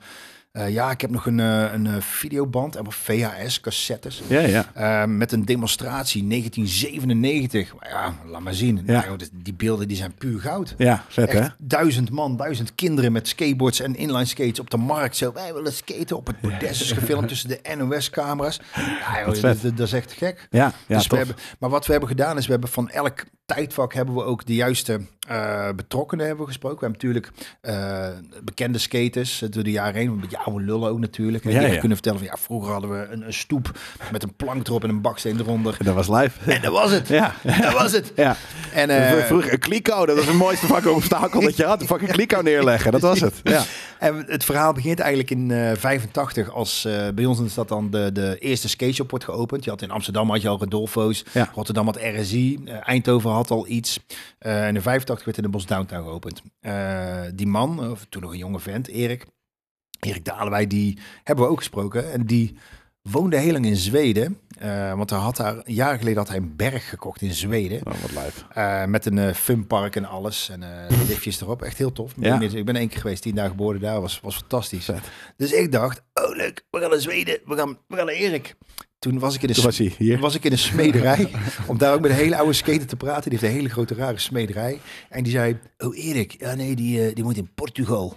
Speaker 3: eh, ja, ik heb nog een, eh, een eh, videoband, en VHS, cassettes.
Speaker 1: Ja, ja.
Speaker 3: eh, met een demonstratie 1997. Maar ja, laat maar zien.
Speaker 1: Ja.
Speaker 3: Nou, joh, dit- die beelden die zijn puur goud.
Speaker 1: Ja, vet hè?
Speaker 3: Echt duizend man, duizend kinderen met skateboards en inline skates op de markt. Zo, wij willen skaten op het bordes. Is gefilmd tussen de NOS-camera's. Ja, joh,
Speaker 1: vet.
Speaker 3: dat, dat is echt gek.
Speaker 1: Ja, ja
Speaker 3: dus we
Speaker 1: tof.
Speaker 3: hebben, maar wat we hebben gedaan is, we hebben van elk tijdvak hebben we ook de juiste eh, betrokkenen hebben we gesproken. We hebben natuurlijk eh, bekende skaters eh, door de jaren heen. Een beetje oude lullen ook natuurlijk. En
Speaker 1: Ja,
Speaker 3: die echt
Speaker 1: ja.
Speaker 3: kunnen vertellen van, ja, vroeger hadden we een, een stoep met een plank erop en een baksteen eronder.
Speaker 1: Dat was live.
Speaker 3: En dat was het.
Speaker 1: Ja.
Speaker 3: Dat was het.
Speaker 1: Ja.
Speaker 3: En, eh,
Speaker 1: Vro- Vroeger een kliko, dat was het mooiste fucking obstakel dat je had. Een fucking kliko neerleggen, dat was het. Ja.
Speaker 3: En het verhaal begint eigenlijk in eh 85, als eh, bij ons in de stad dan de, de eerste skateshop wordt geopend. Je had in Amsterdam had je al Rodolfo's,
Speaker 1: Ja.
Speaker 3: Rotterdam had RSI, eh, Eindhoven had al iets. Eh, en in 85 werd in de Bos Downtown geopend. Eh, die man, of toen nog een jonge vent, Erik, Erik Dalenwij, die hebben we ook gesproken. En die woonde heel lang in Zweden, eh, want hij had daar, jaren geleden had hij een berg gekocht in Zweden.
Speaker 1: Oh, wat live.
Speaker 3: Eh, met een eh, funpark en alles. En eh liftjes erop. Echt heel tof.
Speaker 1: Ja.
Speaker 3: Ik ben één keer geweest, tien dagen geboren daar. Was, was fantastisch. Dus ik dacht, oh leuk, we gaan naar Zweden. We gaan, we gaan naar Erik. Toen was ik in de
Speaker 1: Toen was hij hier.
Speaker 3: was ik in een smederij. om daar ook met een hele oude skater te praten. Die heeft een hele grote rare smederij. En die zei, oh Erik, ja nee, die, eh, die moet in Portugal.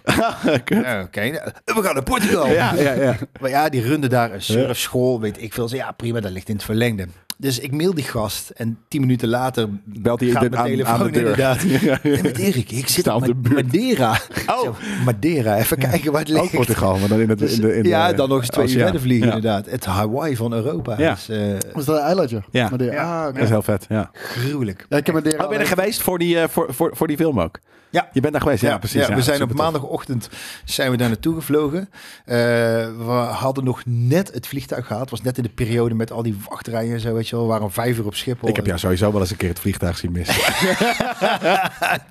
Speaker 1: Kut.
Speaker 3: Ja, Oké, nou, we gaan naar Portugal.
Speaker 1: Ja, ja, ja.
Speaker 3: Maar ja, die runde daar een surfschool, weet ik veel. Ze, Ja, prima, dat ligt in het verlengde. Dus ik mail die gast en tien minuten later
Speaker 1: Belt hij
Speaker 3: gaat
Speaker 1: de-
Speaker 3: mijn
Speaker 1: aan-
Speaker 3: telefoon
Speaker 1: aan de deur.
Speaker 3: inderdaad. En met Erik, ik zit
Speaker 1: sta op
Speaker 3: op
Speaker 1: de buurt.
Speaker 3: Madeira.
Speaker 1: Oh.
Speaker 3: Zo, Madeira, even kijken waar het
Speaker 1: Ook
Speaker 3: ligt.
Speaker 1: Portugal, maar dan in het... In de, in de,
Speaker 3: Dus ja, dan nog eens twee uur
Speaker 1: oceaan.
Speaker 3: verder vliegen
Speaker 1: Ja.
Speaker 3: inderdaad. Het Hawaii van Europa.
Speaker 1: Ja.
Speaker 3: Dus, eh,
Speaker 2: Was dat een eilandje?
Speaker 1: Ja.
Speaker 2: Madeira. Ah, oké.
Speaker 1: Dat is heel vet, ja.
Speaker 3: gruwelijk.
Speaker 2: Ja, ik heb Madeira
Speaker 1: Oh, ben je
Speaker 2: alleen-
Speaker 1: er geweest voor die, eh, voor, voor, voor die film ook?
Speaker 3: Ja.
Speaker 1: Je bent daar geweest, ja, precies.
Speaker 3: we zijn op
Speaker 1: supertof.
Speaker 3: maandagochtend zijn we daar naartoe gevlogen. Eh, we hadden nog net het vliegtuig gehad. Het was net in de periode met al die wachtrijen en zo, weet je wel. We waren om vijf uur op Schiphol.
Speaker 1: Ik heb jou sowieso wel eens een keer het vliegtuig zien missen.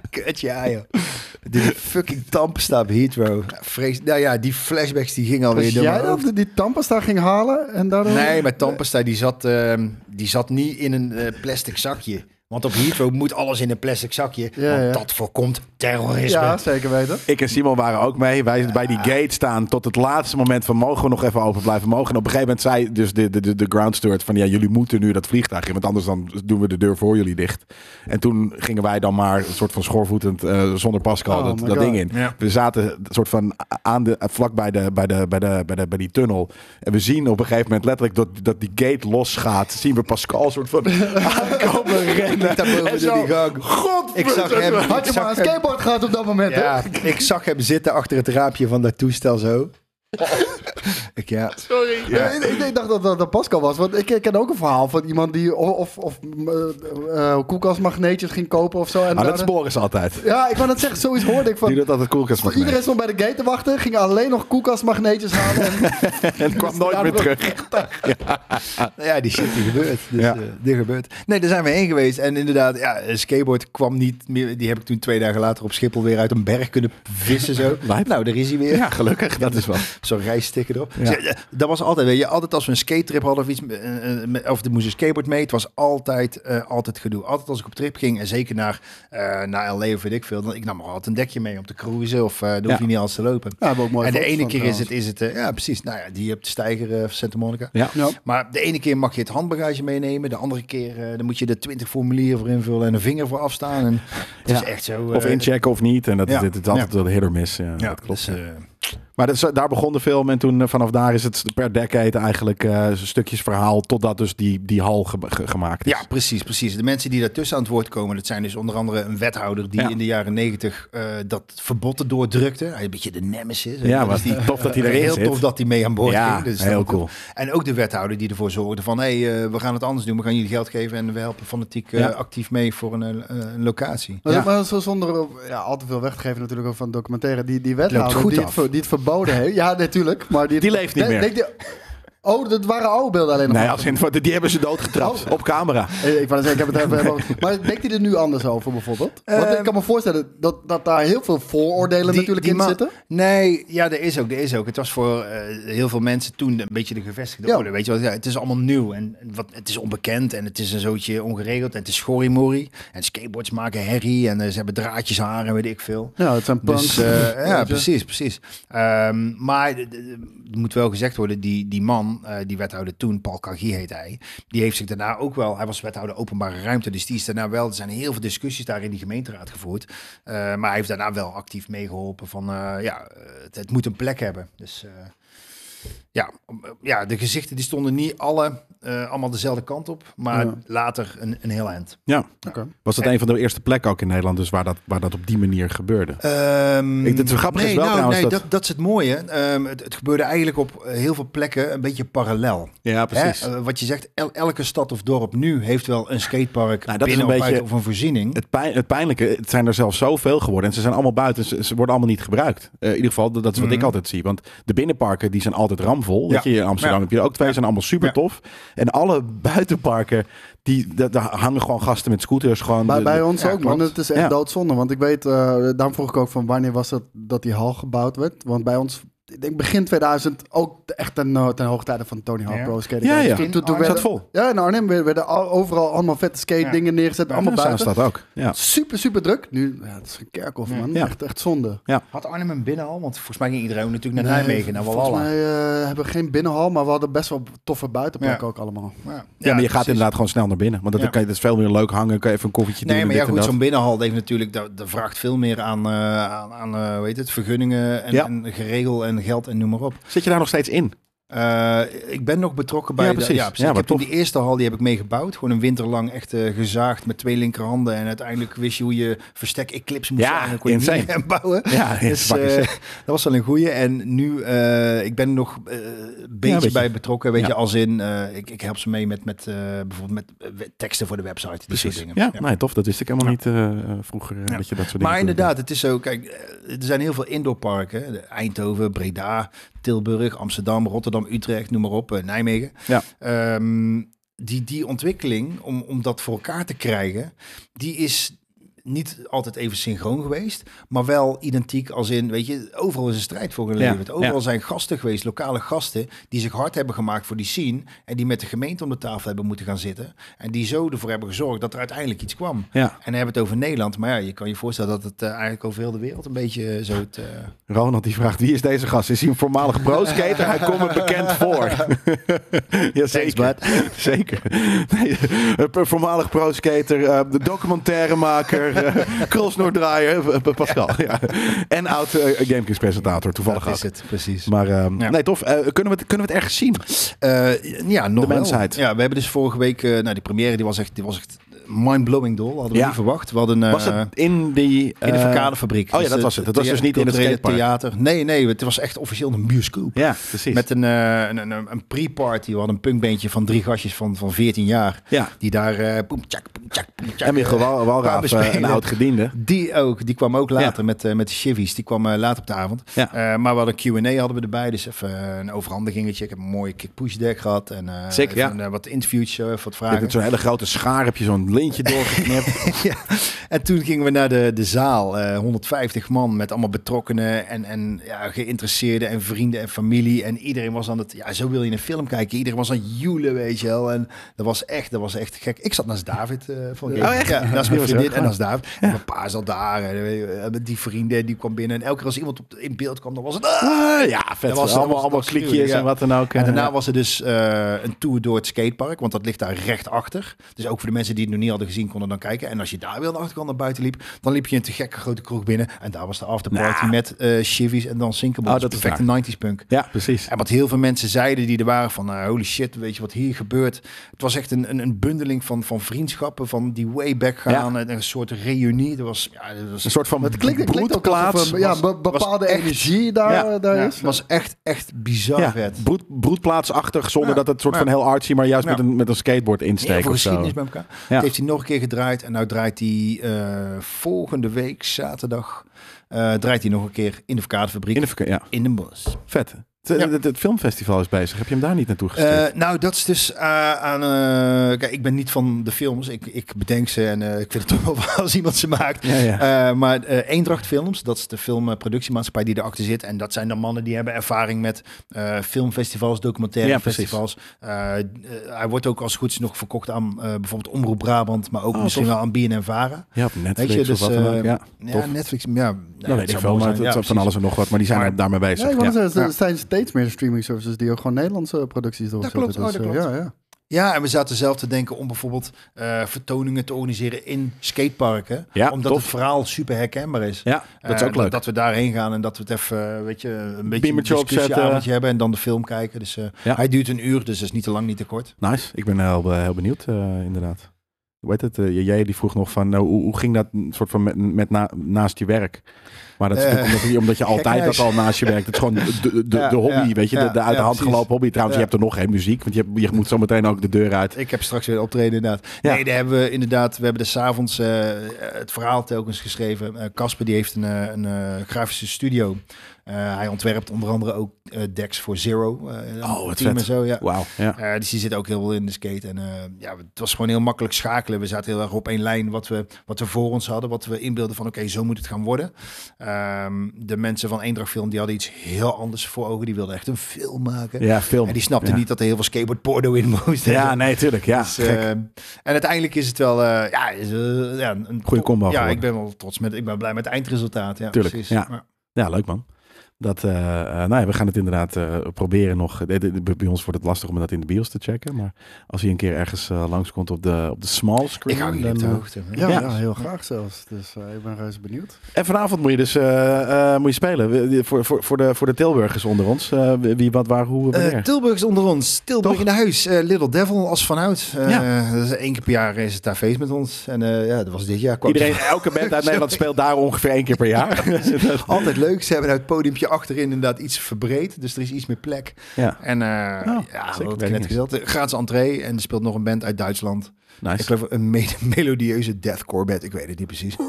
Speaker 3: Kut, ja, joh. Die fucking tampstap Heathrow. Vrees. Nou ja, die flashbacks die gingen alweer
Speaker 2: Was
Speaker 3: door
Speaker 2: jij
Speaker 3: mijn
Speaker 2: dat
Speaker 3: hoofd.
Speaker 2: die- die tampers daar ging halen en daardoor...
Speaker 3: Nee, maar Tampesta die zat, ehm, die zat niet in een eh, plastic zakje. Want op Heathrow moet alles in een plastic zakje.
Speaker 2: Ja,
Speaker 3: want
Speaker 2: ja.
Speaker 3: dat voorkomt terrorisme.
Speaker 2: Ja, zeker weten.
Speaker 1: Ik en Simon waren ook mee. Wij bij die gate staan tot het laatste moment van mogen we nog even open blijven mogen. En op een gegeven moment zei dus de, de, de, de ground steward van ja, jullie moeten nu dat vliegtuig in. Want anders dan doen we de deur voor jullie dicht. En toen gingen wij dan maar een soort van schoorvoetend eh, zonder Pascal
Speaker 2: Oh
Speaker 1: dat,
Speaker 2: my
Speaker 1: dat
Speaker 2: God.
Speaker 1: ding in.
Speaker 3: Ja.
Speaker 1: We zaten een soort van aan de, vlak bij, de, bij, de, bij, de, bij, de, bij die tunnel. En we zien op een gegeven moment letterlijk dat, dat die gate losgaat. Zien we Pascal soort van aankomen rennen.
Speaker 3: daar boven
Speaker 1: En
Speaker 3: door
Speaker 1: zo,
Speaker 3: die gang. Ik zag hem.
Speaker 2: Had je
Speaker 3: Ik zag
Speaker 2: maar een
Speaker 3: hem.
Speaker 2: skateboard gehad op dat moment, hè?
Speaker 3: Ja, ik zag hem zitten achter het raampje van dat toestel zo. Ik, ja.
Speaker 2: Ja, ik, ik- ik dacht dat dat, dat Pascal was. Want ik, ik ken ook een verhaal van iemand die of, of, of eh, eh, koelkastmagneetjes ging kopen of zo. En
Speaker 1: Ah, dat is
Speaker 2: daar-
Speaker 1: Boris altijd.
Speaker 2: ja, ik wou net zeggen, zoiets hoorde ik
Speaker 1: Die
Speaker 2: van.
Speaker 1: doet altijd koelkast mag
Speaker 2: Iedereen stond bij de gate te wachten, ging alleen nog koelkastmagneetjes halen. en-
Speaker 1: En kwam nooit meer terug.
Speaker 3: Nou ja, die shit die gebeurt. Dus,
Speaker 1: Ja.
Speaker 3: eh, die gebeurt. Nee, daar zijn we heen geweest. En inderdaad, ja, een skateboard kwam niet meer. Die heb ik toen twee dagen later op Schiphol weer uit een berg kunnen vissen. Zo.
Speaker 1: Lijp.
Speaker 3: nou, daar is hij weer.
Speaker 1: Ja, gelukkig. Dat is wel.
Speaker 3: Zo'n reisticker erop.
Speaker 1: Ja.
Speaker 3: Dus, eh, dat was altijd, weet je, altijd als we een skatetrip hadden of iets, eh, eh, met- of er moest een skateboard mee, het was altijd, eh, altijd gedoe. Altijd als ik op trip ging en zeker naar, eh, naar LA of weet ik veel, dan ik nam altijd een dekje mee om te cruisen of eh dan hoef je
Speaker 1: Ja.
Speaker 3: niet alles te lopen.
Speaker 2: Ja, hebben we ook mooie
Speaker 3: en de
Speaker 2: foto's
Speaker 3: ene
Speaker 2: van
Speaker 3: keer is het, is het eh, ja precies, nou ja, die hebt de steiger eh, van Santa Monica.
Speaker 1: Ja.
Speaker 2: Ja.
Speaker 3: Maar de ene keer mag je het handbagage meenemen. De andere keer eh, dan moet je er twintig formulieren voor invullen en een vinger voor afstaan. En het
Speaker 1: Ja.
Speaker 3: is echt zo.
Speaker 1: Of
Speaker 3: eh,
Speaker 1: inchecken of niet. En dat
Speaker 3: Ja.
Speaker 1: is, dit is altijd
Speaker 3: Ja.
Speaker 1: wel hit or miss. Ja,
Speaker 3: Ja,
Speaker 1: dat klopt.
Speaker 3: dus, eh,
Speaker 1: Maar dat is- daar begon de film en toen eh, vanaf daar is het per decade eigenlijk eh, stukjes verhaal totdat dus die, die hal ge- ge- gemaakt is.
Speaker 3: Ja, precies, precies. De mensen die daartussen aan het woord komen, dat zijn dus onder andere een wethouder die
Speaker 1: Ja.
Speaker 3: in de jaren negentig eh, dat verbod doordrukte. Hij is een beetje de nemesis.
Speaker 1: Ja,
Speaker 3: Dat
Speaker 1: maar
Speaker 3: is die-
Speaker 1: tof dat hij erin
Speaker 3: heel
Speaker 1: zit.
Speaker 3: tof dat hij mee aan boord
Speaker 1: Ja,
Speaker 3: ging. Dus
Speaker 1: heel
Speaker 3: dat-
Speaker 1: cool.
Speaker 3: En ook de wethouder die ervoor zorgde van... hé, hey, eh, we gaan het anders doen. We gaan jullie geld geven en we helpen fanatiek eh,
Speaker 1: Ja.
Speaker 3: actief mee voor een, eh, een locatie.
Speaker 2: Maar,
Speaker 1: Ja.
Speaker 2: maar zo zonder ja, al te veel weg te geven natuurlijk ook van documentaire. Die, die wethouder
Speaker 3: goed
Speaker 2: die
Speaker 3: af.
Speaker 2: het, ver- die het verboden heeft. Ja, natuurlijk. Maar die,
Speaker 1: Die leeft niet
Speaker 2: de-
Speaker 1: meer.
Speaker 2: denk je- oh, dat waren oude beelden alleen nog
Speaker 1: Nee,
Speaker 2: maar.
Speaker 1: als in, die hebben ze
Speaker 3: Oh.
Speaker 1: doodgetrapt op camera.
Speaker 2: Eh, Ik wou net zeggen, ik heb het even over. Maar denkt hij er nu anders over bijvoorbeeld? Want ik
Speaker 1: Ehm,
Speaker 2: kan me voorstellen dat, dat daar heel veel vooroordelen natuurlijk in
Speaker 3: ma-
Speaker 2: zitten.
Speaker 3: Nee, ja, er is ook, er is ook. Het was voor eh, heel veel mensen toen een beetje de gevestigde
Speaker 2: Ja.
Speaker 3: orde. Weet je wel, ja, het is allemaal nieuw en wat, het is onbekend en het is een zootje ongeregeld en het is schorrimorrie. En skateboards maken herrie en eh, ze hebben draadjes haar en weet ik veel.
Speaker 2: Ja, het zijn punks.
Speaker 3: Dus, eh,
Speaker 2: Weet
Speaker 3: ja,
Speaker 2: je.
Speaker 3: precies, precies. Ehm, maar d- d- d- moet wel gezegd worden, die, die man, eh, die wethouder toen, Paul Cargier heet hij, die heeft zich daarna ook wel, hij was wethouder openbare ruimte, dus die is daarna wel, er zijn heel veel discussies daar in die gemeenteraad gevoerd, Eh, maar hij heeft daarna wel actief meegeholpen van, eh, ja, eh, het, het moet een plek hebben. Dus eh, ja, om- eh, ja, de gezichten die stonden niet alle, eh, allemaal dezelfde kant op, maar
Speaker 2: Ja.
Speaker 3: later een, een heel eind.
Speaker 1: Ja.
Speaker 2: Oké.
Speaker 1: Was dat een van de eerste plekken ook in Nederland dus waar dat, waar dat op die manier gebeurde?
Speaker 3: Ehm,
Speaker 1: Ik- het grappige is
Speaker 3: nee,
Speaker 1: wel
Speaker 3: nou,
Speaker 1: trouwens
Speaker 3: nee,
Speaker 1: dat-
Speaker 3: dat... Dat, is het mooie. Ehm, het, het gebeurde eigenlijk op eh, heel veel plekken een beetje parallel.
Speaker 1: Ja,
Speaker 3: Hè? Eh, wat je zegt, el- elke stad of dorp nu heeft wel een skatepark
Speaker 1: Nou, dat is
Speaker 3: binnen
Speaker 1: een
Speaker 3: of,
Speaker 1: beetje-
Speaker 3: buiten of een voorziening.
Speaker 1: Het, pijn, het pijnlijke, het zijn er zelfs zoveel geworden. En ze zijn allemaal buiten, ze, ze worden allemaal niet gebruikt. Eh, in ieder geval, dat, dat is wat ik altijd zie. Want de binnenparken, die zijn altijd ramvol. Weet
Speaker 3: Mhm. Ja.
Speaker 1: je, in Amsterdam
Speaker 3: Ja.
Speaker 1: heb je er ook twee, zijn allemaal super
Speaker 3: Ja.
Speaker 1: tof. En alle buitenparken, die, daar daar hangen gewoon gasten met scooters. Gewoon
Speaker 2: Bij,
Speaker 1: de-
Speaker 2: bij
Speaker 1: de-
Speaker 2: ons
Speaker 3: ja,
Speaker 2: ook,
Speaker 3: klopt.
Speaker 2: man. Het is echt
Speaker 1: Ja.
Speaker 2: doodzonde. Want ik weet, eh, daarom vroeg ik ook van wanneer was het dat die hal gebouwd werd? Want bij ons, ik denk begin 2000, ook echt ten, eh, ten hoogtijde van Tony Hawk
Speaker 3: Ja.
Speaker 2: Pro Skating.
Speaker 1: Ja, ja.
Speaker 3: Toen- toen
Speaker 1: Arnhem
Speaker 2: werd-
Speaker 1: staat vol.
Speaker 2: Ja, in Arnhem werden werden al- overal allemaal vette skate
Speaker 3: Ja.
Speaker 2: dingen neergezet. allemaal
Speaker 1: Arnhem
Speaker 2: buiten.
Speaker 1: staat ook. Ja.
Speaker 2: Super, super druk. Nu, ja, het is een kerkhof, man.
Speaker 1: Ja.
Speaker 2: Echt, echt zonde.
Speaker 3: Had Arnhem een binnen al? Want volgens mij ging iedereen natuurlijk naar Nijmegen, naar
Speaker 2: Volgens
Speaker 3: Walhalla.
Speaker 2: mij eh, hebben we geen binnenhal, maar we hadden best wel toffe buitenplekken
Speaker 3: Ja.
Speaker 2: ook allemaal.
Speaker 1: Ja,
Speaker 3: Ja,
Speaker 1: maar je gaat
Speaker 3: precies.
Speaker 1: inderdaad gewoon snel naar binnen. Want dat,
Speaker 3: Ja.
Speaker 1: kan je, dat is veel meer leuk hangen. Kan je even een koffietje
Speaker 3: Nee,
Speaker 1: doen.
Speaker 3: maar
Speaker 1: en
Speaker 3: ja,
Speaker 1: dit en
Speaker 3: goed,
Speaker 1: dat.
Speaker 3: zo'n binnenhal heeft natuurlijk, dat, dat vraagt veel meer aan, eh, aan, aan eh, hoe heet het, vergunningen en,
Speaker 1: Ja.
Speaker 3: en geregel en geld en noem maar op.
Speaker 1: Zit je daar nog steeds in?
Speaker 3: Eh, ik ben nog betrokken bij
Speaker 1: Ja,
Speaker 3: de-
Speaker 1: precies. Ja,
Speaker 3: ik
Speaker 1: wat
Speaker 3: heb toen
Speaker 1: tof.
Speaker 3: die eerste hal die heb ik meegebouwd. Gewoon een winter lang echt eh, gezaagd met twee linkerhanden. En uiteindelijk wist je hoe je verstek eclipse moest
Speaker 1: Ja,
Speaker 3: zijn. En kon je
Speaker 1: insane.
Speaker 3: niet hem bouwen.
Speaker 1: Ja,
Speaker 3: Dus,
Speaker 1: fuck is
Speaker 3: eh,
Speaker 1: it.
Speaker 3: dat was wel een goeie. En nu, eh, ik ben er nog eh, een beetje
Speaker 1: beetje.
Speaker 3: bij betrokken. Weet
Speaker 1: Ja.
Speaker 3: je, als in, eh, ik, ik help ze mee met, met eh, bijvoorbeeld met eh, teksten voor de website. Die soort dingen.
Speaker 1: Ja,
Speaker 3: Ja.
Speaker 1: nee, tof. Dat wist ik helemaal niet eh, eh, vroeger. eh,
Speaker 3: Ja.
Speaker 1: Dat je dat soort dingen
Speaker 3: Maar
Speaker 1: kon doen.
Speaker 3: inderdaad, het is zo. Kijk, eh, er zijn heel veel indoorparken. hè. De Eindhoven, Breda, Tilburg, Amsterdam, Rotterdam, Utrecht, noem maar op, eh, Nijmegen.
Speaker 1: Ja.
Speaker 3: Ehm, die, die ontwikkeling, om, om dat voor elkaar te krijgen, die is niet altijd even synchroon geweest, maar wel identiek als in, weet je, overal is een strijd voor geleverd.
Speaker 1: Ja,
Speaker 3: overal
Speaker 1: ja.
Speaker 3: zijn gasten geweest, lokale gasten, die zich hard hebben gemaakt voor die scene en die met de gemeente om de tafel hebben moeten gaan zitten en die zo ervoor hebben gezorgd dat er uiteindelijk iets kwam.
Speaker 1: Ja,
Speaker 3: En dan hebben we het over Nederland. Maar ja, je kan je voorstellen dat het eh, eigenlijk over heel de wereld een beetje eh, zo... Het, eh,
Speaker 1: Ronald die vraagt, wie is deze gast? Is hij een voormalig pro-skater? Hij komt me bekend voor. ja, zeker. zeker. Nee, een voormalig pro-skater, eh, de documentairemaker, eh, crossnoordraaier, eh, eh, Pascal. Ja. En oud eh, GameKings-presentator, toevallig
Speaker 3: dat is
Speaker 1: ook.
Speaker 3: het, precies.
Speaker 1: Maar ehm,
Speaker 3: Ja.
Speaker 1: nee, tof. Eh, kunnen, we het, kunnen we het ergens zien?
Speaker 3: Eh, ja, nog
Speaker 1: De
Speaker 3: wel.
Speaker 1: mensheid.
Speaker 3: Ja, we hebben dus vorige week... eh, nou, die première die was echt, die was echt mind-blowing dol. Hadden we
Speaker 1: Ja.
Speaker 3: niet verwacht. We hadden... eh,
Speaker 1: Was het in die...
Speaker 3: in de
Speaker 1: eh,
Speaker 3: verkadefabriek.
Speaker 1: oh ja, dat
Speaker 3: de-
Speaker 1: was het. Het was dus niet in het
Speaker 3: culturele
Speaker 1: skatepark.
Speaker 3: theater. Nee, nee, het was echt officieel een bioscoop.
Speaker 1: Ja, precies.
Speaker 3: Met een, eh, een, een, een pre-party. We hadden een punkbeentje van drie gastjes van, van 14 jaar.
Speaker 1: ja.
Speaker 3: Die daar... eh boem, tjak, boem, tjak, boem, tjak,
Speaker 1: En Michel Wal- Walraaf,
Speaker 3: kwamen
Speaker 1: eh, een
Speaker 3: spelen.
Speaker 1: oud-gediende.
Speaker 3: Die ook, die kwam ook later met, eh, met de Chivvies. Die kwam eh, later op de avond.
Speaker 1: Ja.
Speaker 3: Eh, maar we hadden een Q&A hadden we erbij. Dus even eh, een overhandigingetje. Ik heb een mooie kick-push deck gehad. En, eh,
Speaker 1: Zeker, ja.
Speaker 3: even, eh, wat interviews, eh, wat
Speaker 1: Je
Speaker 3: vragen.
Speaker 1: hebt zo'n hele grote schaar, heb je zo'n lintje doorgeknipt.
Speaker 3: ja. En toen gingen we naar de, de zaal. eh, 150 man met allemaal betrokkenen en, en ja, geïnteresseerden en vrienden en familie. En iedereen was aan het... Ja, zo wil je een film kijken. Iedereen was aan het joelen, weet je wel. En dat was echt, dat was echt gek. Ik zat naast David. eh van
Speaker 1: Oh, echt?
Speaker 3: Ja, naast
Speaker 1: Die
Speaker 3: mijn
Speaker 1: was
Speaker 3: vriendin
Speaker 1: ook
Speaker 3: en naast David. En mijn pa zat daar. En eh, die vrienden, die kwam binnen. En elke keer als iemand op, de- in beeld kwam, dan was het... "Ah!"
Speaker 1: Ah, ja, vet.
Speaker 3: Dat was- dat
Speaker 1: allemaal
Speaker 3: was-
Speaker 1: allemaal
Speaker 3: dat was
Speaker 1: klikjes
Speaker 3: gruwelijk,
Speaker 1: en
Speaker 3: ja.
Speaker 1: wat dan ook.
Speaker 3: En
Speaker 1: eh.
Speaker 3: daarna was er dus eh, een tour door het skatepark, want dat ligt daar recht achter. Dus ook voor de mensen die het nog niet hadden gezien, konden dan kijken. En als je daar weer aan de achterkant naar buiten liep, dan liep je een te gekke grote kroeg binnen. En daar was de afterparty
Speaker 1: Nou.
Speaker 3: met eh chivies en dan sinkables.
Speaker 1: Oh, dat is
Speaker 3: perfecte 90s punk.
Speaker 1: Ja, precies.
Speaker 3: En wat heel veel mensen zeiden die er waren van eh, holy shit, weet je wat hier gebeurt. Het was echt een, een, een bundeling van, van vriendschappen, van die way back gaan. en Een soort reunie. Er was, ja, er was
Speaker 1: Een soort van
Speaker 2: Het klinkt, het klinkt ook
Speaker 1: broedplaats.
Speaker 2: alsof er, ja, be- bepaalde
Speaker 3: echt-
Speaker 2: energie daar, eh,
Speaker 1: Ja,
Speaker 2: daar
Speaker 3: ja,
Speaker 2: is.
Speaker 3: was echt, echt bizar
Speaker 1: ja,
Speaker 3: vet.
Speaker 1: broed, broedplaatsachtig, zonder
Speaker 3: Ja,
Speaker 1: dat het soort
Speaker 3: ja.
Speaker 1: van heel artsy, maar juist
Speaker 3: Ja.
Speaker 1: met, een, met een skateboard
Speaker 3: Heel
Speaker 1: insteek
Speaker 3: veel
Speaker 1: of zo.
Speaker 3: geschiedenis bij elkaar.
Speaker 1: Ja.
Speaker 3: Dat heeft hij nog een keer gedraaid. En nou draait hij eh, volgende week, zaterdag, eh, draait hij nog een keer in de verkadefabriek
Speaker 1: In
Speaker 3: in,
Speaker 1: de, verke- ja,
Speaker 3: Den Bosch.
Speaker 1: vet. Het,
Speaker 3: Ja.
Speaker 1: het- het filmfestival is bezig. Heb je hem daar niet naartoe gestuurd?
Speaker 3: Eh, nou, dat is dus eh, aan... eh, kijk, ik ben niet van de films. Ik, ik bedenk ze en eh, ik vind het toch wel als iemand ze maakt.
Speaker 1: ja, ja.
Speaker 3: Eh, maar eh, Eendracht Films, dat is de filmproductiemaatschappij die erachter zit. En dat zijn dan mannen die hebben ervaring met eh, filmfestivals, documentaire
Speaker 1: Ja, precies.
Speaker 3: festivals. Eh, eh, hij wordt ook als goed is nog verkocht aan eh, bijvoorbeeld Omroep Brabant, maar ook
Speaker 1: Oh,
Speaker 3: misschien
Speaker 1: tof.
Speaker 3: wel aan BNN Vara.
Speaker 1: ja, op Netflix
Speaker 3: Weet je, dus
Speaker 1: of wat dan ook.
Speaker 3: eh,
Speaker 1: Ja,
Speaker 3: ja,
Speaker 1: tof.
Speaker 3: Netflix, ja, ja,
Speaker 1: dat weet ik veel, maar het, het is van alles en nog wat. Maar die zijn
Speaker 3: Maar-
Speaker 1: er daarmee
Speaker 2: Ja,
Speaker 1: bezig.
Speaker 2: ik wou
Speaker 1: Ja.
Speaker 2: net zeggen, er
Speaker 3: Ja.
Speaker 2: zijn steeds meer streaming services die ook gewoon Nederlandse producties doorzetten.
Speaker 3: klopt. Oh, dat
Speaker 2: eh,
Speaker 3: klopt.
Speaker 2: Ja, ja.
Speaker 3: Ja, en we zaten zelf te denken om bijvoorbeeld eh, vertoningen te organiseren in skateparken,
Speaker 1: Ja,
Speaker 3: omdat
Speaker 1: tof.
Speaker 3: het verhaal super herkenbaar is.
Speaker 1: Ja, dat is
Speaker 3: Eh,
Speaker 1: ook leuk.
Speaker 3: Dat we daarheen gaan en dat we het even, eh, weet je, een beetje een
Speaker 1: Bimmertje
Speaker 3: discussieavondje
Speaker 1: opzetten.
Speaker 3: hebben en dan de film kijken. Dus eh,
Speaker 1: Ja.
Speaker 3: hij duurt een uur, dus dat is niet te lang, niet te kort.
Speaker 1: Nice. Ik ben heel, eh, heel benieuwd, eh, inderdaad. Weet het, eh, jij die vroeg nog van eh, hoe, hoe ging dat mm, soort van met, met na- naast je werk? Maar dat is
Speaker 3: Eh,
Speaker 1: natuurlijk omdat, je- omdat je altijd dat
Speaker 3: gekhuis.
Speaker 1: al naast je werkt. Het is gewoon de, de,
Speaker 3: Ja,
Speaker 1: de hobby,
Speaker 3: ja,
Speaker 1: weet je, de, de
Speaker 3: ja,
Speaker 1: uit de
Speaker 3: ja,
Speaker 1: hand gelopen
Speaker 3: precies.
Speaker 1: hobby. Trouwens, je
Speaker 3: Ja.
Speaker 1: hebt er nog geen muziek, want je, je moet zo meteen ook de deur uit.
Speaker 3: Ik heb straks weer een optreden inderdaad.
Speaker 1: Ja.
Speaker 3: Nee, daar hebben we inderdaad, we hebben dus avonds eh, het verhaal telkens geschreven. Eh, Casper die heeft een, eh, een eh, grafische studio. Eh, hij ontwerpt onder andere ook eh, decks voor Zero. eh,
Speaker 1: Oh, wat
Speaker 3: team
Speaker 1: vet.
Speaker 3: En zo, ja.
Speaker 1: Wauw. Ja.
Speaker 3: Eh, dus die zit ook heel veel in de skate. En eh, ja, het was gewoon heel makkelijk schakelen. We zaten heel erg op één lijn wat we, wat we voor ons hadden. Wat we inbeelden van oké, zo moet het gaan worden. Ehm, de mensen van Eendracht Film die hadden iets heel anders voor ogen. Die wilden echt een film maken.
Speaker 1: ja, film.
Speaker 3: En die snapten
Speaker 1: Ja.
Speaker 3: niet dat er heel veel skateboard porno in moest.
Speaker 1: Ja, nee, tuurlijk. Ja,
Speaker 3: Dus,
Speaker 1: gek.
Speaker 3: eh, en uiteindelijk is het wel eh, ja, is, eh, ja, een
Speaker 1: Goeie combo
Speaker 3: Ja,
Speaker 1: geworden.
Speaker 3: ik ben wel trots met. Ik ben blij met het eindresultaat. Ja,
Speaker 1: Tuurlijk,
Speaker 3: precies.
Speaker 1: ja.
Speaker 3: Maar-
Speaker 1: Ja, leuk man. Dat, eh, eh, nou ja, we gaan het inderdaad eh, proberen nog. Eh, de- de- bij ons wordt het lastig om dat in de bios te checken. Maar als hij een keer ergens langs langskomt op de, op de small
Speaker 3: ik
Speaker 1: screen.
Speaker 3: hou jullie op
Speaker 1: dan,
Speaker 3: de
Speaker 1: eh,
Speaker 3: hoogte. hè.
Speaker 2: Ja,
Speaker 1: Ja.
Speaker 2: ja, heel graag zelfs. Dus eh, ik ben reuze benieuwd.
Speaker 1: En vanavond moet je dus eh, eh, moet je spelen. We- de- Voor, voor, voor, de, voor de Tilburgers onder ons. Eh, wie, wat, waar, hoe,
Speaker 3: Eh,
Speaker 1: wanneer.
Speaker 3: Tilburg is onder ons. Tilburg
Speaker 1: Toch?
Speaker 3: in de huis. Eh, Little Devil als vanuit. Eh
Speaker 1: Ja.
Speaker 3: dat is één keer per jaar is het daar feest met ons. En eh, ja, dat was dit jaar. Kwam
Speaker 1: Iedereen, elke band uit Nederland speelt daar ongeveer één keer per jaar. Dus
Speaker 3: Altijd leuk. Ze hebben nou het podiumpje achterin inderdaad iets verbreed. Dus er is iets meer plek.
Speaker 1: ja,
Speaker 3: En eh
Speaker 1: Oh,
Speaker 3: ja,
Speaker 1: zeker
Speaker 3: wat
Speaker 1: weet
Speaker 3: ik
Speaker 1: ik
Speaker 3: net
Speaker 1: niet.
Speaker 3: gezegd. eh, Gratis entree. En er speelt nog een band uit Duitsland. Ik
Speaker 1: nice.
Speaker 3: geloof een me- melodieuze deathcore band. Ik weet het niet precies.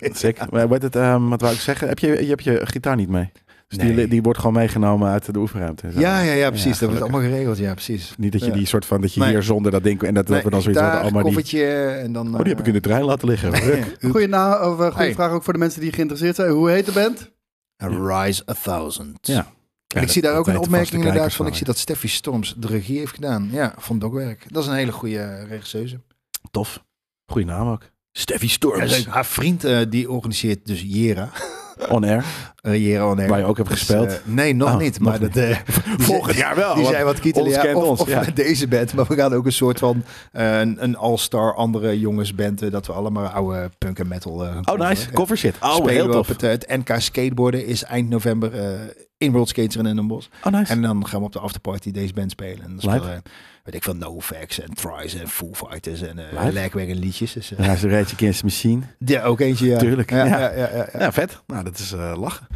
Speaker 1: Sick. Maar Wat, het, ehm, wat wou ik zeggen? Heb je, je hebt je gitaar niet mee. Dus die,
Speaker 3: Nee.
Speaker 1: die wordt gewoon meegenomen uit de oefenruimte. en zo.
Speaker 3: Ja, ja, ja, precies. dat wordt
Speaker 1: gelukkig.
Speaker 3: allemaal geregeld. Ja, precies.
Speaker 1: Niet dat je
Speaker 3: Ja.
Speaker 1: die soort van, dat je
Speaker 3: Nee.
Speaker 1: hier zonder dat ding... En dat, dat we dan
Speaker 3: Nee,
Speaker 1: zoiets
Speaker 3: gitaar,
Speaker 1: hadden, allemaal die...
Speaker 3: koffertje en dan... eh,
Speaker 1: Oh, die heb ik in de trein laten liggen.
Speaker 2: Goeie, na, of, eh, goeie
Speaker 3: Hey.
Speaker 2: vraag ook voor de mensen die geïnteresseerd zijn. Hoe heet de band?
Speaker 3: Rise a Thousand.
Speaker 1: Ja.
Speaker 3: En ik zie daar ook een opmerking inderdaad van. Ik zie
Speaker 1: zit
Speaker 3: dat Steffi Storms de regie heeft gedaan. Ja, van Dogwerk. Dat is een hele goede eh, regisseuse.
Speaker 1: Tof. Goeie naam ook. Steffi
Speaker 3: Ja,
Speaker 1: Storms.
Speaker 3: leuk. Haar vriend eh, die organiseert dus Jera.
Speaker 1: On air.
Speaker 3: Eh, Jera on Air.
Speaker 1: Waar je ook hebt
Speaker 3: Dus,
Speaker 1: gespeeld.
Speaker 3: eh, nee, nog
Speaker 1: Oh,
Speaker 3: niet.
Speaker 1: nog
Speaker 3: Maar dat, eh, die
Speaker 1: Volgend
Speaker 3: zei-
Speaker 1: jaar wel.
Speaker 3: Die
Speaker 1: want
Speaker 3: zijn wat kietelen,
Speaker 1: ons
Speaker 3: ja,
Speaker 1: kent
Speaker 3: of,
Speaker 1: ons,
Speaker 3: of
Speaker 1: ja.
Speaker 3: met deze band. Maar we gaan ook een soort van eh, een, een all-star andere jongensband. eh, dat we allemaal oude punk en metal eh, gaan
Speaker 1: Oh,
Speaker 3: coveren.
Speaker 1: nice.
Speaker 3: Ja.
Speaker 1: Cover shit. Oh,
Speaker 3: spelen
Speaker 1: heel
Speaker 3: we op
Speaker 1: tof.
Speaker 3: het, eh, het NK skateboarden is eind november eh, in World Skates in Den Bosch.
Speaker 1: Oh, nice.
Speaker 3: En dan gaan we op de afterparty deze band spelen. En dan
Speaker 1: Lijp.
Speaker 3: spelen, we, weet ik veel, NoFX en Tries en Foo Fighters en uh,
Speaker 1: Lijp.
Speaker 3: Legwerk en liedjes. Dus, eh,
Speaker 1: Hij is een rijtje Against the Machine.
Speaker 3: ja, ook eentje, ja.
Speaker 1: Tuurlijk,
Speaker 3: Ja,
Speaker 1: ja.
Speaker 3: ja. Ja, ja, ja.
Speaker 1: Ja, vet. Nou, dat is eh, lachen.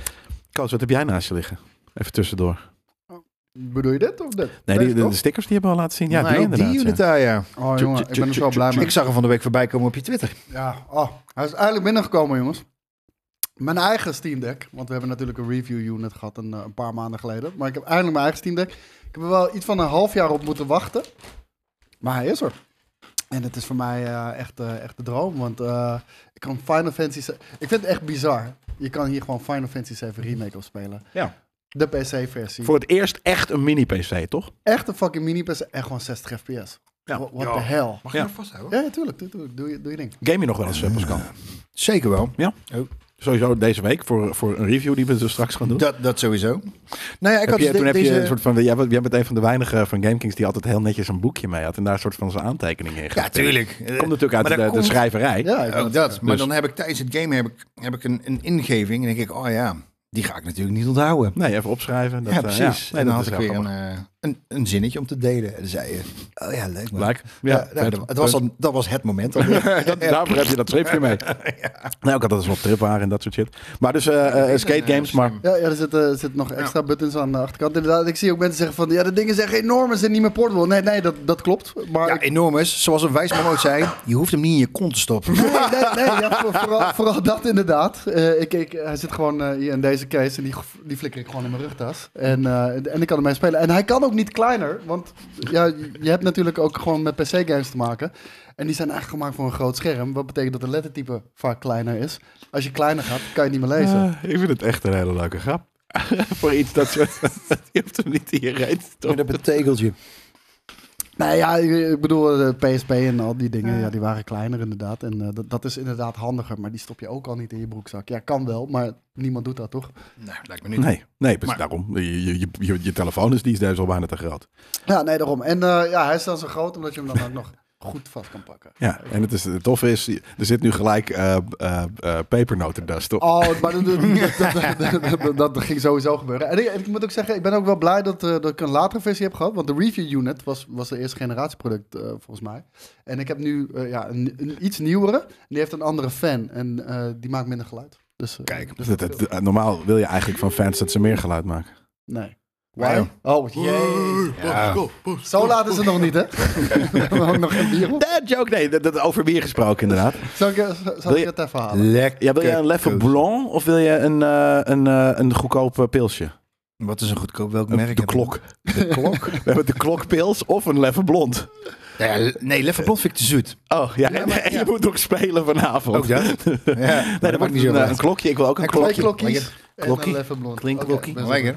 Speaker 1: Koos, wat heb jij naast je liggen? Even tussendoor.
Speaker 2: Bedoel je dit of dit?
Speaker 1: Nee,
Speaker 2: Deze
Speaker 1: die, de,
Speaker 2: toch?
Speaker 1: de stickers die hebben we al laten zien. Ja,
Speaker 2: Nou,
Speaker 3: Nee,
Speaker 1: die inderdaad. ja.
Speaker 3: unit daar, ja.
Speaker 2: Oh jongen,
Speaker 1: Tju-
Speaker 2: ik
Speaker 1: tju-
Speaker 2: ben er
Speaker 1: tju-
Speaker 2: zo blij
Speaker 1: tju-
Speaker 2: mee.
Speaker 3: Ik zag hem van de week voorbij komen op je Twitter.
Speaker 2: Ja, oh, hij is eindelijk binnengekomen jongens. Mijn eigen Steam Deck, want we hebben natuurlijk een review unit gehad een, eh, een paar maanden geleden. Maar ik heb eindelijk mijn eigen Steam Deck. Ik heb er wel iets van een half jaar op moeten wachten. Maar hij is er. En het is voor mij eh, echt, eh, echt de droom, want eh, ik kan Final Fantasy... se- Ik vind het echt bizar. Je kan hier gewoon Final Fantasy 7 Remake op spelen.
Speaker 1: Ja.
Speaker 2: De PC-versie.
Speaker 1: Voor het eerst echt een mini-PC, toch?
Speaker 2: Echt een fucking mini-PC en gewoon 60 fps.
Speaker 1: Ja.
Speaker 2: What, what the hell?
Speaker 3: Mag
Speaker 1: je Ja.
Speaker 3: vasthouden?
Speaker 2: Ja, ja, tuurlijk. tuurlijk, tuurlijk. Doe, je, doe je ding.
Speaker 1: Game je nog wel eens, eh, Pascal?
Speaker 3: Zeker wel.
Speaker 1: Ja.
Speaker 3: Oh.
Speaker 1: Sowieso deze week voor, voor een review die we zo straks gaan doen.
Speaker 3: Dat, dat sowieso. Nou ja, ik
Speaker 1: Heb
Speaker 3: had
Speaker 1: je,
Speaker 3: dus
Speaker 1: toen
Speaker 3: de-
Speaker 1: heb
Speaker 3: deze...
Speaker 1: je een soort van. Jij bent, jij bent een van de weinigen eh, van GameKings die altijd heel netjes een boekje mee had. En daar een soort van zijn aantekeningen in
Speaker 3: Ja,
Speaker 1: gegeven.
Speaker 3: tuurlijk. Eh,
Speaker 1: Komt natuurlijk uit de,
Speaker 3: maar dat
Speaker 1: de
Speaker 3: komt-
Speaker 1: schrijverij.
Speaker 2: Ja, ik
Speaker 3: Ook Oh, dat.
Speaker 1: dus-
Speaker 3: Maar dan heb ik tijdens het game heb ik, heb ik een, een ingeving. En denk ik, oh ja, die ga ik natuurlijk niet onthouden.
Speaker 1: Nee, even opschrijven. Dat,
Speaker 3: ja,
Speaker 1: eh,
Speaker 3: precies.
Speaker 1: Nee,
Speaker 3: en dan
Speaker 1: dat
Speaker 3: had
Speaker 1: is
Speaker 3: ik
Speaker 1: wel
Speaker 3: weer een,
Speaker 1: grappig.
Speaker 3: eh, een, een zinnetje om te delen. En dan zei je, oh ja, leuk man.
Speaker 1: Like.
Speaker 3: Ja,
Speaker 1: Ja,
Speaker 3: nou,
Speaker 1: vet.
Speaker 3: het was dan, dat was het moment. alweer.
Speaker 1: Dat- Daarvoor heb je dat schriftje mee. Nou, ik had dat eens op trip waren en dat soort shit. Maar dus eh, eh, skate games, maar
Speaker 2: Ja, ja, er zitten er zitten nog extra buttons aan de achterkant. Inderdaad, ik zie ook mensen zeggen van... Ja, de dingen zijn enorm en zijn niet meer portable. Nee, nee, dat, dat klopt. Maar
Speaker 3: ja,
Speaker 2: ik-
Speaker 3: enorm is. Zoals een wijs man ooit zei, je hoeft hem niet in je kont te stoppen.
Speaker 2: nee, nee, nee ja, voor- vooral, vooral dat inderdaad. Eh, ik, ik, hij zit gewoon eh, hier in deze case en die, die flikker ik gewoon in mijn rugtas. En, eh, en ik kan ermee spelen. En hij kan ook niet kleiner, want ja, je hebt natuurlijk ook gewoon met PC-games te maken. En die zijn eigenlijk gemaakt voor een groot scherm. Wat betekent dat de lettertype vaak kleiner is. Als je kleiner gaat, kan je het niet meer lezen.
Speaker 1: eh, ik vind het echt een hele leuke grap. Voor iets dat soort. je hoeft hem niet in je reet te stoppen.
Speaker 3: Met een tegeltje.
Speaker 2: Nee, ja, ik ik bedoel, eh, de PSP en al die dingen, ja, die waren kleiner inderdaad. En eh, dat, dat is inderdaad handiger, maar die stop je ook al niet in je broekzak. Ja, kan wel, maar niemand doet dat toch?
Speaker 3: Nou, lijkt me niet.
Speaker 1: Nee, nee, dus
Speaker 3: Maar-
Speaker 1: daarom. Je, je, je, je, je telefoon is die is daar al bijna te groot.
Speaker 2: Ja, nee, daarom. En eh, ja, hij is dan zo groot, omdat je hem dan ook nog goed vast kan pakken.
Speaker 1: Ja, en het, is, het toffe is, er zit nu gelijk eh eh eh, pepernotendust op.
Speaker 2: Oh, maar dat, dat, dat, dat, dat, dat ging sowieso gebeuren. En ik, en ik moet ook zeggen, ik ben ook wel blij dat, eh, dat ik een latere versie heb gehad. Want de review unit was, was de eerste generatie product, eh, volgens mij. En ik heb nu eh, ja, een, een iets nieuwere. En die heeft een andere fan. En eh, die maakt minder geluid. Dus, eh,
Speaker 3: Kijk,
Speaker 1: Dat- dat- dat- normaal wil je eigenlijk van fans dat ze meer geluid maken.
Speaker 2: Nee.
Speaker 3: Why?
Speaker 2: Oh, jee. Zo laat is het nog niet, hè? We hebben ook nog geen bier op.
Speaker 1: That joke, nee, dat, dat over bier gesproken inderdaad.
Speaker 2: Zal ik, eh, zal
Speaker 1: Wil
Speaker 2: ik
Speaker 1: je-
Speaker 2: het even halen?
Speaker 3: Lekker.
Speaker 1: Ja, wil je een Leffe Blanc of wil je een, eh, een, eh, een goedkoop eh, pilsje?
Speaker 3: Wat is een goedkoop welk
Speaker 1: Een-
Speaker 3: merk?
Speaker 1: de
Speaker 3: heb-
Speaker 1: klok.
Speaker 3: De klok?
Speaker 1: We hebben de klokpils of een Leffe Blond.
Speaker 3: Nou ja, nee, Leffe Blond vind ik te zoet.
Speaker 1: Oh ja, en, en je moet nog spelen vanavond.
Speaker 3: Ook dat? Oh, Ja, nee,
Speaker 1: Oh, Nee, dat maakt niet zo een, een klokje. Ik wil ook een
Speaker 3: Een
Speaker 1: klokje.
Speaker 2: Twee klokjes.
Speaker 1: Klokkie.
Speaker 2: En een blond.
Speaker 1: Klinkklokkie.
Speaker 3: Lekker.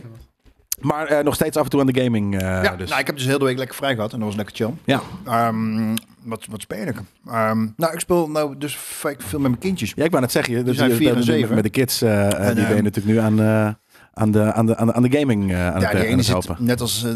Speaker 1: Maar eh, nog steeds af en toe aan de gaming. eh,
Speaker 3: Ja,
Speaker 1: dus.
Speaker 3: nou, ik heb dus heel de week lekker vrij gehad en dat was lekker chill.
Speaker 1: ja.
Speaker 3: Ehm, wat, wat speel ik? Ehm, nou, ik speel nou dus vaak veel met mijn kindjes.
Speaker 1: ja, ik wou net zeggen. je- Dat
Speaker 3: zijn
Speaker 1: je-
Speaker 3: vier en
Speaker 1: met-
Speaker 3: zeven.
Speaker 1: Met de kids. eh, eh, die ben je
Speaker 3: ehm,
Speaker 1: natuurlijk nu aan, eh, aan, de, aan, de, aan, de, aan de gaming eh, aan
Speaker 3: Ja,
Speaker 1: het, eh,
Speaker 3: die
Speaker 1: aan
Speaker 3: ene
Speaker 1: het
Speaker 3: zit
Speaker 1: helpen.
Speaker 3: net als eh,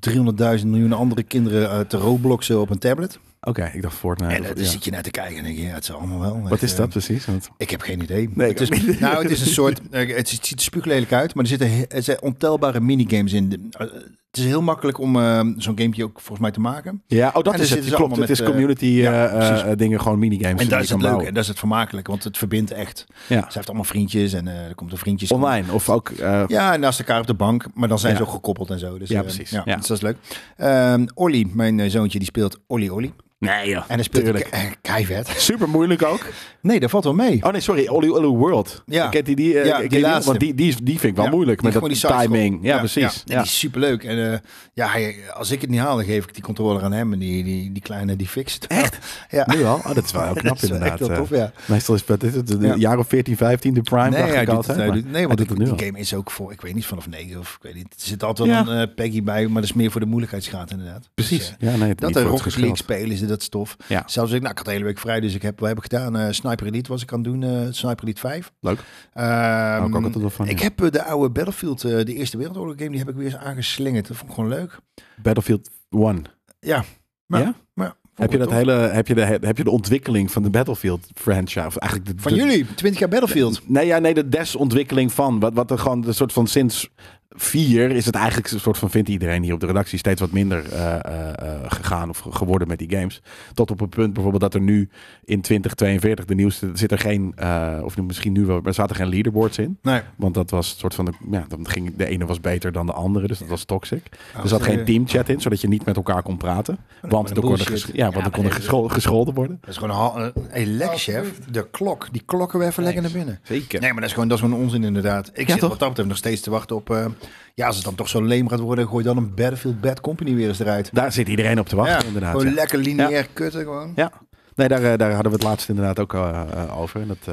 Speaker 3: 300.000 miljoen andere kinderen eh, te Robloxen op een tablet.
Speaker 1: Oké, ik dacht Fortnite.
Speaker 3: En eh,
Speaker 1: of-
Speaker 3: dan
Speaker 1: ja.
Speaker 3: zit je naar te kijken en denk je, ja, het is allemaal wel.
Speaker 1: Wat is
Speaker 3: Eh,
Speaker 1: dat precies? Want-
Speaker 3: Ik heb geen idee.
Speaker 1: Nee, ik
Speaker 3: het
Speaker 1: ook
Speaker 3: is,
Speaker 1: niet.
Speaker 3: nou, het is een soort. eh, Het ziet er spuuglelijk uit, maar er zitten, he- er zijn ontelbare minigames in. De- eh, Het is heel makkelijk om eh, zo'n gamepje ook volgens mij te maken.
Speaker 1: Ja, oh,
Speaker 3: dan
Speaker 1: dat is
Speaker 3: zitten
Speaker 1: het.
Speaker 3: ze
Speaker 1: Klopt,
Speaker 3: allemaal
Speaker 1: het is
Speaker 3: met, eh,
Speaker 1: community
Speaker 3: ja,
Speaker 1: eh, eh,
Speaker 3: precies.
Speaker 1: dingen, gewoon minigames.
Speaker 3: En
Speaker 1: die
Speaker 3: dat
Speaker 1: je
Speaker 3: is
Speaker 1: kan
Speaker 3: het leuke, en
Speaker 1: bouwen.
Speaker 3: dat is het vermakelijk, want het verbindt echt.
Speaker 1: Ja.
Speaker 3: Ze heeft allemaal vriendjes en eh er komt een vriendjes.
Speaker 1: Online of ook... eh,
Speaker 3: Ja, en naast elkaar op de bank, maar dan zijn
Speaker 1: Ja.
Speaker 3: ze ook gekoppeld en zo. Dus,
Speaker 1: Ja,
Speaker 3: eh,
Speaker 1: precies.
Speaker 3: Ja,
Speaker 1: Ja.
Speaker 3: Dus dat is leuk. Ehm Olly, mijn eh, zoontje, die speelt Olly Olly.
Speaker 1: Nee joh,
Speaker 3: En hij speelt
Speaker 1: tuurlijk.
Speaker 3: ke- eh, keivet.
Speaker 1: Super moeilijk ook.
Speaker 3: Nee, dat valt wel mee.
Speaker 1: Oh nee, sorry, Olly Olly World.
Speaker 3: Ja.
Speaker 1: Kent die die? eh,
Speaker 3: Ja,
Speaker 1: kent
Speaker 3: die
Speaker 1: die,
Speaker 3: laatste.
Speaker 1: Want die, die, is- die vind ik wel
Speaker 3: Ja,
Speaker 1: moeilijk
Speaker 3: die
Speaker 1: met dat
Speaker 3: gewoon die sidescroll.
Speaker 1: timing. Ja, precies.
Speaker 3: En
Speaker 1: Ja.
Speaker 3: die is superleuk. En eh, ja, hij, als ik het niet haal, dan geef ik die controller aan hem. En die, die, die kleine, die fixt het.
Speaker 1: Echt?
Speaker 3: Ja.
Speaker 1: Nu al? Oh, dat is wel heel knap
Speaker 3: Dat is wel
Speaker 1: inderdaad.
Speaker 3: echt heel
Speaker 1: eh.
Speaker 3: tof, ja.
Speaker 1: Meestal is het, dit is het een
Speaker 3: Ja.
Speaker 1: jaar of 14, 15, de prime
Speaker 3: Nee,
Speaker 1: dacht
Speaker 3: hij
Speaker 1: ik
Speaker 3: doet
Speaker 1: altijd.
Speaker 3: het, hij
Speaker 1: maar
Speaker 3: doet- nee,
Speaker 1: hij
Speaker 3: want
Speaker 1: doet het nu al.
Speaker 3: die game is ook voor, ik weet niet, vanaf 9 of ik weet niet. Er zit altijd wel
Speaker 1: Ja.
Speaker 3: een eh, Peggy bij, maar dat is meer voor de moeilijkheidsgraad inderdaad. Dus,
Speaker 1: Precies.
Speaker 3: eh,
Speaker 1: Ja, nee, het
Speaker 3: dat
Speaker 1: niet
Speaker 3: de
Speaker 1: voor het
Speaker 3: Rocket League
Speaker 1: gescheld.
Speaker 3: spelen, is, dat is tof.
Speaker 1: Ja.
Speaker 3: Zelfs ik, nou, ik had de hele week vrij, dus ik heb, we hebben gedaan eh, Sniper Elite was ik aan het doen, eh, Sniper Elite 5.
Speaker 1: Leuk.
Speaker 3: Ehm,
Speaker 1: Hou ik ook altijd wel van,
Speaker 3: ik
Speaker 1: ja.
Speaker 3: heb eh, de oude Battlefield, eh, de Eerste Wereldoorlog game, die heb ik weer eens aangeslingerd. Dat vond ik gewoon leuk.
Speaker 1: Battlefield 1.
Speaker 3: Ja. Maar-
Speaker 1: ja?
Speaker 3: Maar, ja, vond
Speaker 1: Heb
Speaker 3: ik
Speaker 1: je, dat
Speaker 3: wel tof.
Speaker 1: hele, heb, je de, heb je de ontwikkeling van de Battlefield franchise? Of eigenlijk de,
Speaker 3: Van
Speaker 1: de-
Speaker 3: jullie, 20 jaar Battlefield.
Speaker 1: Nee, ja, nee, de desontwikkeling van. Wat, wat er gewoon een soort van sinds vier is het eigenlijk een soort van, vindt iedereen hier op de redactie, steeds wat minder eh, eh, eh, gegaan of ge- geworden met die games. Tot op een punt bijvoorbeeld dat er nu in 2042 de nieuwste, zit er geen, eh, of nu misschien nu wel, maar zaten er geen leaderboards in.
Speaker 3: Nee.
Speaker 1: Want dat was een soort van, de, ja, dan ging de ene was beter dan de andere, dus dat was toxic. er zat
Speaker 3: sorry.
Speaker 1: geen teamchat in, zodat je niet met elkaar kon praten. Want
Speaker 3: een
Speaker 1: er konden,
Speaker 3: bullshit.
Speaker 1: ges- ja, want
Speaker 3: Ja, dus-
Speaker 1: er konden
Speaker 3: maar-
Speaker 1: geschol- gescholden worden.
Speaker 3: Dat is gewoon een hal- een hey, lekker, chef. De klok, die klokken we even lekker naar binnen.
Speaker 1: Zeker.
Speaker 3: Nee, maar dat is gewoon, dat is gewoon onzin inderdaad. Ik zit
Speaker 1: toch?
Speaker 3: wat dat betreft nog steeds te wachten op... eh, ja, als het dan toch zo leem gaat worden, gooi dan een Battlefield Bad Company weer eens eruit.
Speaker 1: Daar zit iedereen op te wachten,
Speaker 3: ja,
Speaker 1: inderdaad.
Speaker 3: Gewoon
Speaker 1: ja.
Speaker 3: lekker lineair kutten gewoon.
Speaker 1: Ja, nee, daar, eh, daar hadden we het laatst inderdaad ook eh, eh, over. En dat, eh,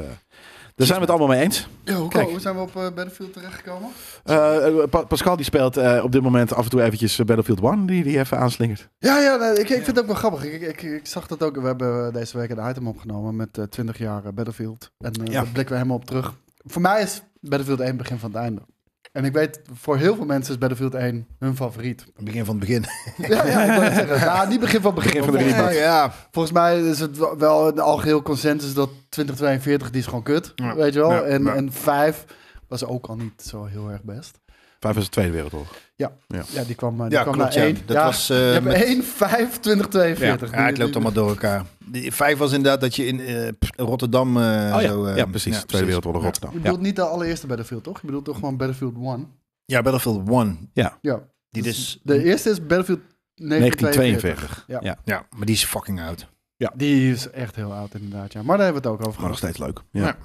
Speaker 1: daar zijn we het allemaal mee eens.
Speaker 2: hoe,
Speaker 1: Kijk.
Speaker 2: hoe zijn we op eh, Battlefield terechtgekomen?
Speaker 1: Eh, eh, Pa- Pascal die speelt eh, op dit moment af en toe eventjes eh, Battlefield 1, die, die even aanslingert.
Speaker 2: Ja, ja nee, ik, ik vind het ook wel grappig. Ik, ik, ik zag dat ook. We hebben eh, deze week een item opgenomen met eh, 20 jaar eh, Battlefield. En eh,
Speaker 1: Ja.
Speaker 2: daar blikken we helemaal op terug. Voor mij is Battlefield 1 het begin van het einde. En ik weet, voor heel veel mensen is Battlefield 1 hun favoriet.
Speaker 3: Begin van het begin.
Speaker 2: Ja, ja ik wou net zeggen. Nou, niet begin van het begin.
Speaker 1: Begin van de
Speaker 2: volgens,
Speaker 1: reboot.
Speaker 2: mij,
Speaker 3: ja.
Speaker 2: volgens mij is het wel- wel een algeheel consensus dat 2042 die is gewoon kut.
Speaker 1: Ja.
Speaker 2: Weet je wel?
Speaker 1: Ja,
Speaker 2: en,
Speaker 1: ja.
Speaker 2: en 5 was ook al niet zo heel erg best.
Speaker 1: Vijf was de Tweede
Speaker 3: Oh
Speaker 1: Wereldoorlog.
Speaker 2: Ja, die kwam, eh, die
Speaker 3: Ja,
Speaker 2: kwam
Speaker 3: klopt.
Speaker 2: naar
Speaker 3: Ja.
Speaker 2: 1.
Speaker 3: Dat was, eh,
Speaker 2: je hebt
Speaker 3: met-
Speaker 2: 1, 5, 2042.
Speaker 3: Ja, het loopt allemaal door elkaar. Die vijf was inderdaad dat je in eh, pff, Rotterdam eh,
Speaker 1: Oh ja,
Speaker 3: zo... eh,
Speaker 1: ja precies. Tweede Wereldoorlog
Speaker 3: Ja.
Speaker 1: Rotterdam.
Speaker 2: Je
Speaker 1: Ja.
Speaker 2: bedoelt niet de allereerste Battlefield, toch? Je bedoelt toch gewoon Battlefield 1?
Speaker 3: Ja, Battlefield 1.
Speaker 2: Ja.
Speaker 3: Die
Speaker 2: Dus
Speaker 3: dus,
Speaker 2: De eerste is Battlefield 1942.
Speaker 1: 1942.
Speaker 3: ja, maar die is fucking oud.
Speaker 2: Die is echt heel oud inderdaad, ja. Maar daar hebben we het ook over
Speaker 1: Gewoon nog
Speaker 2: gehad.
Speaker 1: steeds leuk. Ja.
Speaker 3: Ja.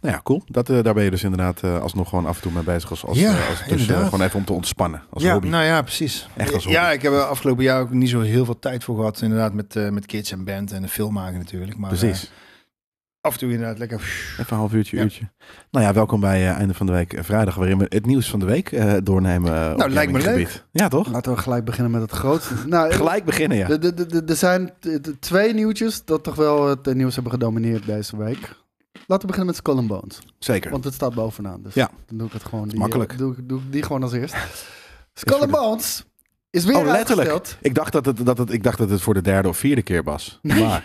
Speaker 1: Nou ja, cool. Dat, eh, daar ben je dus inderdaad eh, alsnog gewoon af en toe mee bezig. Als, als,
Speaker 3: Ja,
Speaker 1: eh, als tussen,
Speaker 3: inderdaad.
Speaker 1: gewoon even om te ontspannen. Als
Speaker 3: ja,
Speaker 1: hobby.
Speaker 3: nou ja, precies.
Speaker 1: Echt als hobby.
Speaker 3: ja, ik heb er afgelopen jaar ook niet zo heel veel tijd voor gehad. Inderdaad, met, eh, met kids en band en een film maken natuurlijk. Maar eh,
Speaker 1: Precies.
Speaker 3: af en toe inderdaad lekker... pff,
Speaker 1: Even een half uurtje,
Speaker 3: Ja.
Speaker 1: uurtje. Nou ja, welkom bij eh, Einde van de Week eh, Vrijdag, waarin we het nieuws van de week eh, doornemen. eh, op
Speaker 3: Nou, lijkt me
Speaker 1: gaminggebied. Ja, toch?
Speaker 2: Laten we gelijk beginnen met het grootste. Nou,
Speaker 1: Gelijk beginnen, ja.
Speaker 2: Er de, de, de, er zijn t- t- twee nieuwtjes dat toch wel het eh, nieuws hebben gedomineerd deze week. Laten we beginnen met Skull and Bones.
Speaker 1: Zeker.
Speaker 2: Want het staat bovenaan. Dus
Speaker 1: Ja.
Speaker 2: dan doe ik het gewoon. Die,
Speaker 1: Makkelijk.
Speaker 2: eh, Doe, ik- doe ik die gewoon als eerst.
Speaker 1: voor
Speaker 2: Skull and
Speaker 1: de-
Speaker 2: Bones is weer
Speaker 1: Oh, letterlijk.
Speaker 2: uitgesteld.
Speaker 1: Ik dacht dat het, dat het, ik dacht dat het voor de derde of vierde keer was. Maar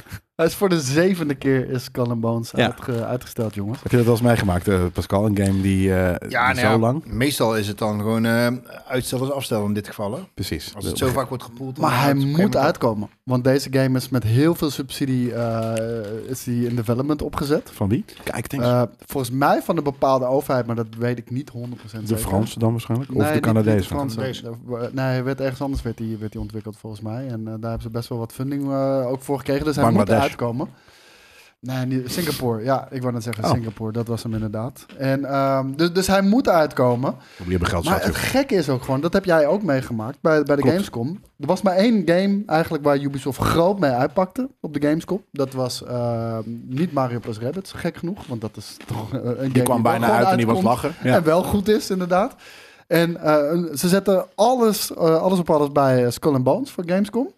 Speaker 2: Hij is voor de zevende keer is Skull and Bones
Speaker 1: Ja.
Speaker 2: uitge- uitgesteld, jongens.
Speaker 1: heb je dat wel eens meegemaakt, eh, Pascal? Een game die, eh,
Speaker 3: Ja,
Speaker 1: die
Speaker 3: nou
Speaker 1: zo
Speaker 3: ja,
Speaker 1: lang...
Speaker 3: Meestal is het dan gewoon eh, uitstel als afstel in dit geval. hè.
Speaker 1: Precies.
Speaker 3: Als het zo vaak wordt gepoeld. dan
Speaker 2: Maar hij
Speaker 3: houdt het op een
Speaker 2: moet
Speaker 3: gegeven moment
Speaker 2: uitkomen. Want deze game is met heel veel subsidie eh, is die in development opgezet.
Speaker 1: Van wie? Kijk, denk
Speaker 2: Eh, volgens mij van een bepaalde overheid, maar dat weet ik niet 100% zeker.
Speaker 1: de Fransen dan waarschijnlijk? Of
Speaker 2: Nee,
Speaker 1: de
Speaker 2: niet- niet
Speaker 1: Canadees?
Speaker 2: de Fransen. Eh, Nee, hij werd ergens anders werd die, werd die ontwikkeld volgens mij. En eh, daar hebben ze best wel wat funding eh, ook voor gekregen. Dus hij moet
Speaker 1: Bangladesh.
Speaker 2: eruit komen. Nee, niet- Singapore. Ja, ik wou net zeggen
Speaker 1: Oh.
Speaker 2: Singapore. Dat was hem inderdaad. En, ehm, dus, dus hij moet uitkomen.
Speaker 1: Die hebben geld
Speaker 2: Maar
Speaker 1: zat,
Speaker 2: het
Speaker 1: joh.
Speaker 2: gekke is ook gewoon, dat heb jij ook meegemaakt bij, bij de
Speaker 1: Klopt.
Speaker 2: Gamescom. Er was maar één game eigenlijk waar Ubisoft groot mee uitpakte op de Gamescom. Dat was ehm, niet Mario plus Rabbids, gek genoeg. Want dat is toch eh, een game
Speaker 1: Die kwam
Speaker 2: wel
Speaker 1: bijna
Speaker 2: gewoon
Speaker 1: uit en die was
Speaker 2: uitkomt.
Speaker 1: lachen. Ja.
Speaker 2: En wel goed is, inderdaad. En eh, ze zetten alles, eh, alles op alles bij eh, Skull and Bones voor Gamescom.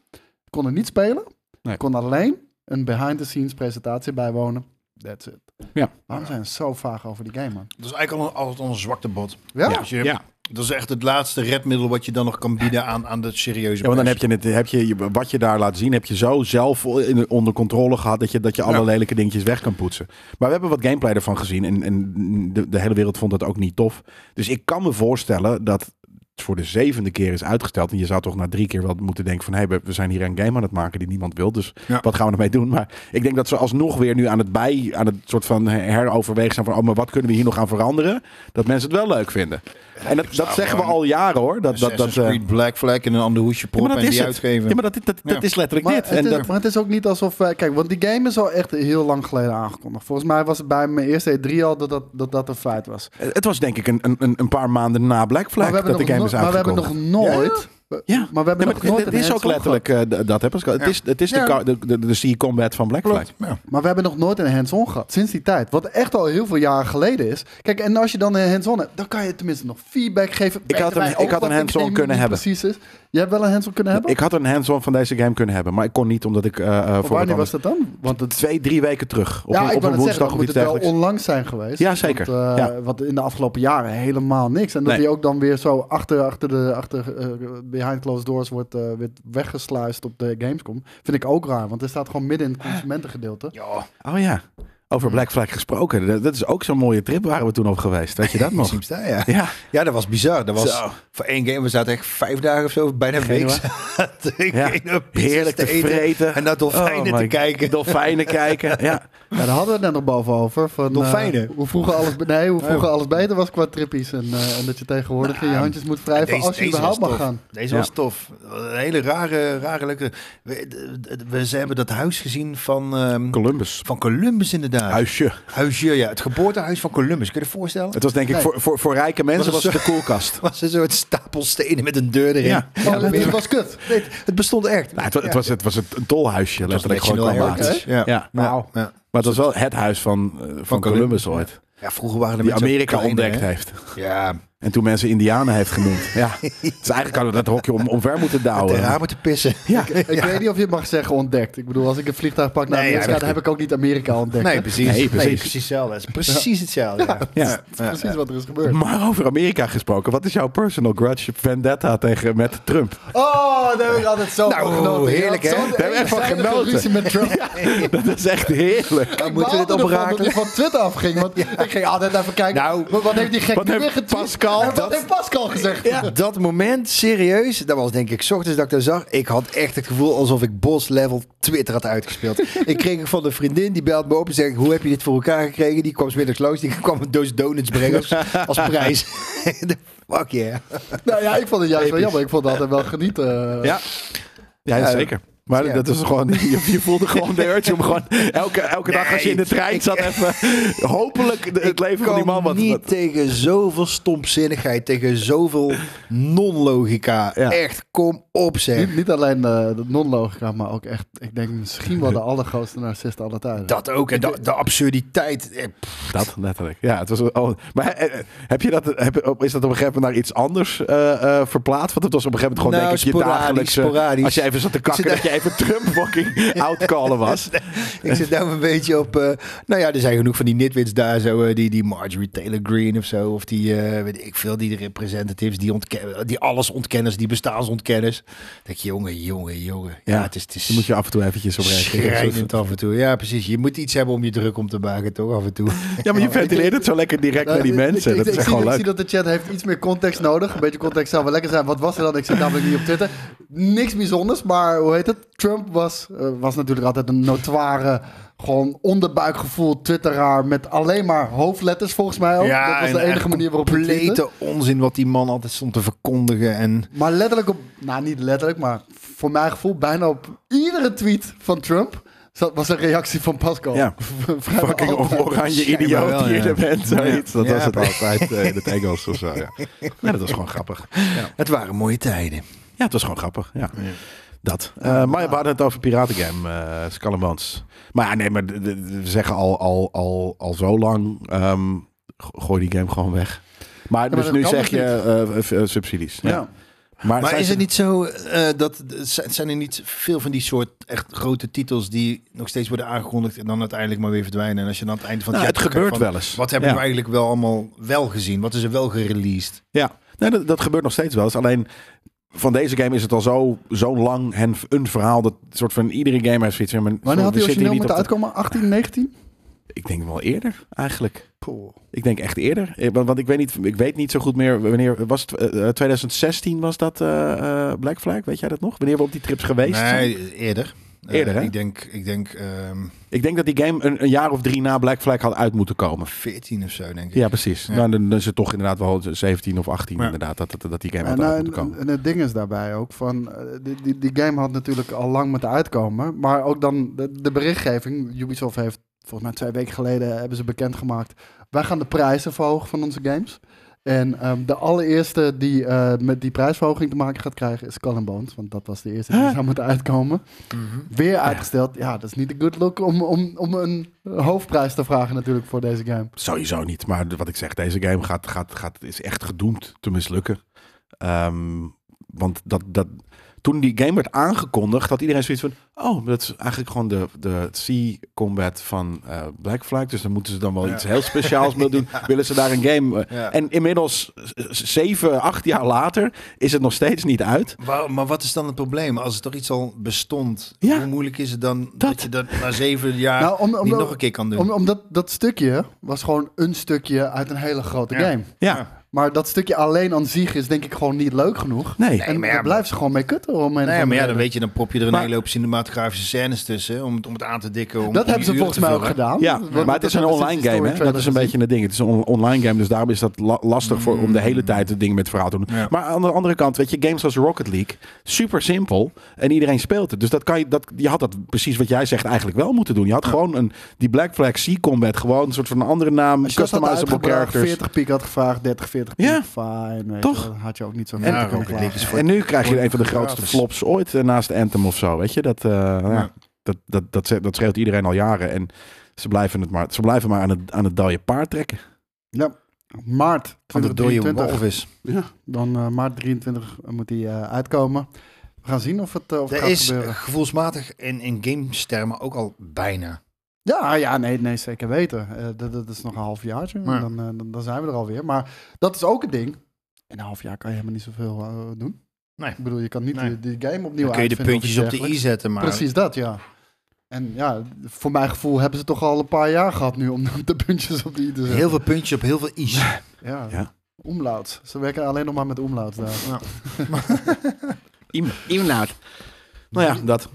Speaker 2: Konden niet spelen.
Speaker 1: Nee.
Speaker 2: Konden alleen een behind-the-scenes presentatie bijwonen. That's it.
Speaker 1: Ja.
Speaker 2: Waarom zijn ze zo vaag over die game, man?
Speaker 3: Dat is eigenlijk al een- altijd al een zwakte bot.
Speaker 2: Ja.
Speaker 3: Dus je-
Speaker 1: Ja.
Speaker 3: Dat is echt het laatste redmiddel wat je dan nog kan bieden aan, aan de serieuze
Speaker 1: Ja, want dan
Speaker 3: pers.
Speaker 1: heb je, het, heb je je- wat je daar laat zien, heb je zo zelf in- onder controle gehad dat je, dat je alle
Speaker 3: Ja.
Speaker 1: lelijke dingetjes weg kan poetsen. Maar we hebben wat gameplay ervan gezien en, en de, de hele wereld vond dat ook niet tof. Dus ik kan me voorstellen dat het voor de zevende keer is uitgesteld. En je zou toch na drie keer wel moeten denken van... hé, hey, we- we zijn hier een game aan het maken die niemand wil. Dus
Speaker 3: Ja.
Speaker 1: wat gaan we ermee doen? Maar ik denk dat ze alsnog weer nu aan het bij... aan het soort van heroverwegen zijn van... oh, maar wat kunnen we hier nog aan veranderen? Dat mensen het wel leuk vinden. En dat, dat
Speaker 3: zou
Speaker 1: zeggen we
Speaker 3: gewoon
Speaker 1: al jaren hoor. Dat, dat, dat,
Speaker 3: Assassin's
Speaker 1: eh,
Speaker 3: Creed Black Flag en een ander hoesje
Speaker 1: ja,
Speaker 3: prop
Speaker 1: maar dat
Speaker 3: en
Speaker 1: is
Speaker 3: die
Speaker 1: het.
Speaker 3: uitgeven.
Speaker 1: Ja, maar dat, dat, dat,
Speaker 3: Ja.
Speaker 1: is letterlijk
Speaker 2: Maar,
Speaker 1: dit.
Speaker 2: het
Speaker 1: En
Speaker 2: is,
Speaker 1: dat,
Speaker 2: maar het is ook niet alsof... eh, kijk, want die game is al echt heel lang geleden aangekondigd. Volgens mij was het bij mijn eerste E3 al dat dat, dat, dat een feit was.
Speaker 1: het was denk ik een, een, een- een paar maanden na Black Flag
Speaker 2: maar, we
Speaker 1: dat de
Speaker 2: hebben
Speaker 1: game
Speaker 2: nog
Speaker 1: is
Speaker 2: no- maar we hebben
Speaker 1: uitgekomen.
Speaker 2: nog nooit...
Speaker 1: Ja.
Speaker 2: Maar we hebben nog nooit
Speaker 1: het
Speaker 2: een
Speaker 1: is ook
Speaker 2: hands-on gehad.
Speaker 1: letterlijk eh, d- dat, hè, Pascal? Het is, het is de,
Speaker 3: Ja.
Speaker 1: ka- de, de, de Sea Combat van Black Flag.
Speaker 3: Klopt, ja.
Speaker 2: Maar we hebben nog nooit een hands-on gehad sinds die tijd. Wat echt al heel veel jaren geleden is. Kijk, en als je dan een hands-on hebt, dan kan je tenminste nog feedback geven. Weten
Speaker 1: had een-
Speaker 2: wij
Speaker 1: ik
Speaker 2: ook
Speaker 1: had
Speaker 2: wat
Speaker 1: een hands-on
Speaker 2: game
Speaker 1: kunnen
Speaker 2: nu
Speaker 1: hebben.
Speaker 2: Precies is. Jij hebt wel een hands-on kunnen hebben?
Speaker 1: Ik had een hands-on van deze game kunnen hebben, maar ik kon niet omdat ik eh, eh, voor wat
Speaker 2: Wanneer was
Speaker 1: anders...
Speaker 2: dat dan? Want het,
Speaker 1: Twee, drie weken terug. Op
Speaker 2: ja,
Speaker 1: een,
Speaker 2: ik
Speaker 1: op
Speaker 2: wou
Speaker 1: een
Speaker 2: net zeggen,
Speaker 1: woensdag
Speaker 2: dan
Speaker 1: of
Speaker 2: moet
Speaker 1: iets
Speaker 2: het wel
Speaker 1: dergelijks.
Speaker 2: onlangs zijn geweest.
Speaker 1: Ja, zeker.
Speaker 2: Want, eh,
Speaker 1: Ja.
Speaker 2: want in de afgelopen jaren helemaal niks. En dat
Speaker 1: Nee.
Speaker 2: hij ook dan weer zo achter, achter de achter, eh, behind closed doors wordt eh, weer weggesluist op de Gamescom. Vind ik ook raar, want hij staat gewoon midden in
Speaker 1: Ah.
Speaker 2: het consumentengedeelte.
Speaker 3: Ja,
Speaker 1: Oh ja, over Black Flag gesproken. Dat, dat is ook zo'n mooie trip waren we toen op geweest. Weet je dat nog?
Speaker 3: misschien sta je.
Speaker 1: Ja,
Speaker 3: Ja, dat was bizar. Dat was
Speaker 1: Zo.
Speaker 3: voor één game. We zaten echt vijf dagen of zo, bijna een week. zaten in
Speaker 1: Ja.
Speaker 3: één pizza's
Speaker 1: heerlijk te
Speaker 3: eten
Speaker 1: vreten.
Speaker 3: En naar dolfijnen
Speaker 1: Oh
Speaker 3: te
Speaker 1: my-
Speaker 3: kijken.
Speaker 1: Dolfijnen kijken, ja.
Speaker 2: Ja, daar hadden we het net nog boven over. Van, eh,
Speaker 3: Dolfijnen.
Speaker 2: hoe vroeger alles, be- nee, hoe vroeger alles beter was qua trippies. En, eh, en dat je tegenwoordig in je handjes moet wrijven als je überhaupt
Speaker 3: was
Speaker 2: mag
Speaker 3: tof.
Speaker 2: gaan.
Speaker 3: Deze
Speaker 1: Ja.
Speaker 3: was tof. Een hele rare, rare leuke... We, d- d- we- ze hebben dat huis gezien van, ehm,
Speaker 1: Columbus.
Speaker 3: van Columbus inderdaad.
Speaker 1: Huisje.
Speaker 3: Huisje, ja. Het geboortehuis van Columbus. Kun je je voorstellen?
Speaker 1: Het was denk ik
Speaker 2: Nee.
Speaker 1: voor, voor, voor rijke mensen was
Speaker 3: Was
Speaker 1: het
Speaker 3: het
Speaker 1: de koelkast.
Speaker 3: was een soort stapel stenen met een deur erin.
Speaker 1: Ja.
Speaker 2: Oh, dat was kut.
Speaker 3: Nee, het bestond echt.
Speaker 1: Nou, het, wa- het was, het was het- een dolhuisje, letterlijk
Speaker 3: een
Speaker 1: gewoon qua
Speaker 3: national
Speaker 1: basis.
Speaker 3: heritage, ja.
Speaker 1: Ja. Maar
Speaker 2: Wauw.
Speaker 3: Ja.
Speaker 1: het was wel het huis van, eh, van, Columbus ooit.
Speaker 3: Ja, vroeger waren er
Speaker 1: Die
Speaker 3: mensen ook
Speaker 1: Amerika
Speaker 3: kleiner,
Speaker 1: ontdekt
Speaker 3: hè?
Speaker 1: heeft.
Speaker 3: Ja,
Speaker 1: En toen mensen Indianen heeft genoemd. Ja. Dus eigenlijk hadden we dat hokje om, omver moeten
Speaker 3: Ter
Speaker 1: douwen.
Speaker 3: ramen te pissen.
Speaker 1: Ja.
Speaker 2: Ik weet niet of je het mag zeggen ontdekt. Ik bedoel, als ik een vliegtuig pak naar
Speaker 3: Nee,
Speaker 2: Amerika,
Speaker 3: ja, dat
Speaker 2: dan heb ik ook niet Amerika ontdekt.
Speaker 3: Nee,
Speaker 2: hè?
Speaker 3: precies.
Speaker 1: Nee, precies.
Speaker 3: Nee, hetzelfde. Het is precies hetzelfde. Ja.
Speaker 1: Ja.
Speaker 2: Dat is precies wat er is gebeurd.
Speaker 1: Maar over Amerika gesproken, wat is jouw personal grudge vendetta tegen met Trump?
Speaker 2: Oh, daar heb ik altijd zo
Speaker 3: Nou,
Speaker 2: van genoten.
Speaker 3: heerlijk, hè?
Speaker 2: Daar
Speaker 1: Daar heb ik echt van genoten.
Speaker 2: ruzie met Trump.
Speaker 1: Dat is echt heerlijk.
Speaker 2: Ik
Speaker 3: moeten we dit
Speaker 2: baalde ervan
Speaker 3: oprakelen?
Speaker 2: dat ik van Twitter afging. Want ik ging altijd even kijken.
Speaker 3: Nou,
Speaker 2: wat, wat heeft die gek
Speaker 1: wat
Speaker 2: nu
Speaker 1: heeft
Speaker 2: weer getweet?
Speaker 1: Pascal
Speaker 2: En wat
Speaker 1: dat-
Speaker 2: heeft Pascal gezegd?
Speaker 3: Dat moment, serieus, dat was denk ik 's ochtends dat ik dat zag. Ik had echt het gevoel alsof ik boss level Twitter had uitgespeeld. ik kreeg het van een vriendin, die belt me op en zegt, hoe heb je dit voor elkaar gekregen? Die kwam 's middags langs, die kwam een doos donuts brengen als, als prijs. Fuck yeah.
Speaker 2: Nou ja, ik vond het juist wel
Speaker 3: Episch.
Speaker 2: jammer. Ik vond het altijd wel genieten. eh.
Speaker 1: Ja, ja zeker. Maar
Speaker 3: Ja.
Speaker 1: dat is gewoon, je, je voelde gewoon de urge om gewoon elke, elke dag als je in de trein zat even hopelijk de- het
Speaker 3: Ik
Speaker 1: leven van die
Speaker 3: kan
Speaker 1: man wat...
Speaker 3: niet
Speaker 1: wat-
Speaker 3: tegen zoveel stomzinnigheid, tegen zoveel non-logica.
Speaker 1: Ja. Hm.
Speaker 3: Echt, kom op zeg.
Speaker 2: Niet, niet alleen eh, de non-logica, maar ook echt, ik denk misschien wel de allergrootste narcist aller tijden.
Speaker 3: Dat ook, en de, de absurditeit. eh, pff.
Speaker 1: Dat letterlijk. Ja, het was oh, maar eh, eh, heb je dat, heb, op- is dat op een gegeven moment naar iets anders eh, eh, verplaatst? Want het was op een gegeven moment gewoon
Speaker 3: Nou,
Speaker 1: denk ik je
Speaker 3: sporadisch,
Speaker 1: dagelijkse...
Speaker 3: sporadisch.
Speaker 1: Als je even zat te kakken,
Speaker 3: zit
Speaker 1: dat je even Trump fucking outcallen was.
Speaker 3: Ik zit nou een beetje op. eh, nou ja, er zijn genoeg van die nitwits daar. Zo, eh, die, die Marjorie Taylor Greene of zo. Of die, eh, weet ik veel, die representatives. Die, ontken, die alles ontkennis, die bestaansontkenners. Dan denk je, jongen, jongen, jongen. Ja,
Speaker 1: Ja,
Speaker 3: het is, het is
Speaker 1: Dan moet je af en toe eventjes op reageren.
Speaker 3: schrijnend af en toe. Ja, precies. Je moet iets hebben om je druk om te maken, toch? Af en toe.
Speaker 1: Ja, maar je ventileert het zo lekker direct
Speaker 3: Nou,
Speaker 1: naar die
Speaker 2: Ik-
Speaker 1: mensen.
Speaker 2: ik-
Speaker 1: Dat is
Speaker 2: ik- ik
Speaker 1: echt
Speaker 2: zie-
Speaker 1: gewoon
Speaker 2: Ik
Speaker 1: leuk.
Speaker 2: zie dat de chat heeft iets meer context nodig. Een beetje context zou wel lekker zijn. Wat was er dan? Ik zit namelijk niet op Twitter. Niks bijzonders, maar hoe heet het? Trump was, eh, was natuurlijk altijd een notoire, gewoon onderbuikgevoel twitteraar met alleen maar hoofdletters volgens mij ook. dat was
Speaker 3: en
Speaker 2: de enige
Speaker 3: echt
Speaker 2: manier waarop hij tweette.
Speaker 3: complete onzin wat die man altijd stond te verkondigen. En
Speaker 2: Maar letterlijk op, nou niet letterlijk, maar voor mijn gevoel bijna op iedere tweet van Trump zat- was een reactie van Pascal.
Speaker 1: Ja.
Speaker 2: Vrijwel
Speaker 1: Fucking
Speaker 2: altijd.
Speaker 1: oranje idioot
Speaker 3: wel,
Speaker 1: die je
Speaker 3: ja.
Speaker 1: er bent. Zoiets. Dat
Speaker 3: Ja,
Speaker 1: was het
Speaker 3: maar-
Speaker 1: altijd eh, in het Engels of zo. Ja. Ja, dat was gewoon grappig. Ja,
Speaker 3: het waren mooie tijden.
Speaker 1: ja het was gewoon grappig. Ja. Dat. Eh, maar we hadden het over piratengame, eh Skull and Bones. Maar ja, nee, maar d- d- we zeggen al, al, al, al zo lang, ehm, go- gooi die game gewoon weg. Maar,
Speaker 2: maar
Speaker 1: dus
Speaker 2: dat
Speaker 1: nu
Speaker 2: kan
Speaker 1: zeg
Speaker 2: dus
Speaker 1: je eh, eh, eh, subsidies. Ja.
Speaker 2: Ja.
Speaker 3: Maar
Speaker 1: zijn
Speaker 3: is
Speaker 1: ze-
Speaker 3: het niet zo eh, dat z- zijn er niet veel van die soort echt grote titels die nog steeds worden aangekondigd en dan uiteindelijk maar weer verdwijnen? En als je dan aan het einde van
Speaker 1: Nou,
Speaker 3: jaar
Speaker 1: het
Speaker 3: terugkijkt
Speaker 1: gebeurt
Speaker 3: van,
Speaker 1: wel eens.
Speaker 3: Wat hebben
Speaker 1: Ja.
Speaker 3: we eigenlijk wel allemaal wel gezien? Wat is er wel gereleased?
Speaker 1: Ja, nee, dat, dat gebeurt nog steeds wel eens. Alleen van deze game is het al zo, zo lang en een verhaal dat soort van iedere game heeft zoiets. ja, Maar,
Speaker 2: Wanneer had
Speaker 1: we
Speaker 2: hij
Speaker 1: zitten
Speaker 2: origineel
Speaker 1: hier
Speaker 2: moeten
Speaker 1: niet op
Speaker 2: uitkomen? 18, 19?
Speaker 1: de- Ik denk wel eerder eigenlijk. Ik denk echt eerder. Eh, Want, want ik, weet niet, ik weet niet zo goed meer wanneer. Was het, eh, eh, 2016 was dat eh, eh, Black Flag? Weet jij dat nog? Wanneer we op die trips geweest zijn?
Speaker 3: Nee, eerder. Eh,
Speaker 1: Eerder, hè?
Speaker 3: Ik denk, ik denk ehm,
Speaker 1: Ik denk dat die game een, een jaar of drie na Black Flag had uit moeten komen.
Speaker 3: 14 of zo, denk ik.
Speaker 1: Ja, precies.
Speaker 3: Ja.
Speaker 1: Nou, dan dan is het toch inderdaad wel 17 of 18
Speaker 3: Ja.
Speaker 1: inderdaad dat, dat, dat die game
Speaker 2: En,
Speaker 1: had uit
Speaker 2: eh,
Speaker 1: moeten komen.
Speaker 2: en het ding is daarbij ook van, eh, die, die, die game had natuurlijk al lang moeten uitkomen, maar ook dan de, de berichtgeving. Ubisoft heeft volgens mij twee weken geleden hebben ze bekendgemaakt, wij gaan de prijzen verhogen van onze games. En ehm, de allereerste die eh, met die prijsverhoging te maken gaat krijgen is Skull and Bones, want dat was de eerste die
Speaker 1: Huh?
Speaker 2: zou moeten uitkomen.
Speaker 3: Mhm.
Speaker 2: Weer uitgesteld. Ja, dat is niet de good look om, om, om een hoofdprijs te vragen natuurlijk voor deze game.
Speaker 1: Sowieso niet. Maar wat ik zeg, deze game gaat, gaat, gaat, is echt gedoemd te mislukken. Ehm, want dat, dat, toen die game werd aangekondigd, had iedereen zoiets van... Oh, dat is eigenlijk gewoon de, de Sea Combat van eh, Black Flag. Dus dan moeten ze dan wel
Speaker 3: Ja.
Speaker 1: iets heel speciaals mee doen. Willen ze daar een game... eh,
Speaker 3: Ja.
Speaker 1: En inmiddels, z- z- zeven, acht jaar later, is het nog steeds niet uit.
Speaker 3: Waar- maar wat is dan het probleem? Als er toch iets al bestond,
Speaker 1: Ja.
Speaker 3: hoe moeilijk is het dan dat,
Speaker 1: Dat.
Speaker 3: je dat na zeven jaar
Speaker 2: Nou, om- om-
Speaker 3: niet nog een keer kan doen?
Speaker 2: Om, omdat dat stukje was gewoon een stukje uit een hele grote
Speaker 3: Ja.
Speaker 2: game.
Speaker 1: Ja,
Speaker 2: Maar dat stukje alleen aan zich is denk ik gewoon niet leuk genoeg.
Speaker 1: nee.
Speaker 3: Nee.
Speaker 2: en
Speaker 3: maar
Speaker 2: daar
Speaker 3: ja,
Speaker 2: blijven ze gewoon mee kutten. Om een of
Speaker 3: Nee,
Speaker 2: andere
Speaker 3: maar Nou ja, dan
Speaker 2: reden.
Speaker 3: weet je, dan prop je er een
Speaker 1: Maar-
Speaker 3: hele hoop cinematografische scènes tussen om het, om het aan te dikken. Om om
Speaker 2: Dat
Speaker 3: die
Speaker 2: hebben ze
Speaker 3: uren
Speaker 2: volgens
Speaker 3: te
Speaker 2: mij ook
Speaker 3: vullen.
Speaker 2: gedaan.
Speaker 1: Ja,
Speaker 2: Want
Speaker 1: maar het
Speaker 2: dat
Speaker 1: is een
Speaker 2: hebben we
Speaker 1: online
Speaker 2: sinds de
Speaker 1: game. Hè?
Speaker 2: story
Speaker 1: Dat is een
Speaker 2: trailer
Speaker 1: beetje het ding. Het is een on- online game, dus daarom is dat la- lastig voor, om de
Speaker 2: Hmm.
Speaker 1: hele tijd het ding met verhaal te doen.
Speaker 3: Ja.
Speaker 1: Maar aan de andere kant, weet je, games als Rocket League, super simpel en iedereen speelt het. Dus dat kan je, dat, je had dat precies wat jij zegt eigenlijk wel moeten doen. Je had gewoon een, die Black Flag Sea Combat, gewoon een soort van een andere naam,
Speaker 2: Als je Dus dat had
Speaker 1: customizable
Speaker 2: uitgebracht,
Speaker 1: characters.
Speaker 2: 40 piek had gevraagd, 30, 40 piek,
Speaker 1: Ja.
Speaker 2: fine. weet
Speaker 1: Toch?
Speaker 2: je wel, had je ook niet zo
Speaker 3: Ja,
Speaker 2: kunnen
Speaker 3: Rocket League is
Speaker 2: klagen.
Speaker 3: voor
Speaker 1: En nu krijg je een van de
Speaker 3: Gratis.
Speaker 1: grootste flops ooit eh, naast Anthem of zo. Weet je, dat, eh, ja, dat, dat, dat, ze- dat schreeuwt iedereen al jaren. En ze blijven, het maar, ze blijven maar aan het, aan het dode paard trekken.
Speaker 2: Ja. maart
Speaker 3: Van de dode
Speaker 2: 2023.
Speaker 3: wolf is.
Speaker 2: Ja, dan eh, maart 23 moet die eh, uitkomen. We gaan zien of het, eh, of het
Speaker 3: Er
Speaker 2: gaat
Speaker 3: is
Speaker 2: gebeuren.
Speaker 3: gevoelsmatig in, in gamestermen ook al bijna.
Speaker 2: Ja, ja, nee, nee, zeker weten. Eh, dat, dat is nog een half jaartje.
Speaker 3: Ja.
Speaker 2: Dan, eh, dan, dan zijn we er alweer. Maar dat is ook een ding. In een half jaar kan je helemaal niet zoveel eh, doen.
Speaker 3: Nee.
Speaker 2: Ik bedoel, je kan niet
Speaker 3: Nee.
Speaker 2: die, die game opnieuw
Speaker 3: Dan kun je de
Speaker 2: uitvinden of
Speaker 3: puntjes
Speaker 2: iets
Speaker 3: op de i
Speaker 2: dergelijks.
Speaker 3: zetten, maar
Speaker 2: Precies dat, ja. En ja, voor mijn gevoel hebben ze toch al een paar jaar gehad nu om de puntjes op de i te zetten.
Speaker 3: heel veel puntjes op heel veel i's.
Speaker 2: Ja.
Speaker 1: Ja.
Speaker 2: Omlauts. Ze werken alleen nog maar met omlauts daar.
Speaker 3: Eh,
Speaker 1: Inlaat. Nou ja, dat.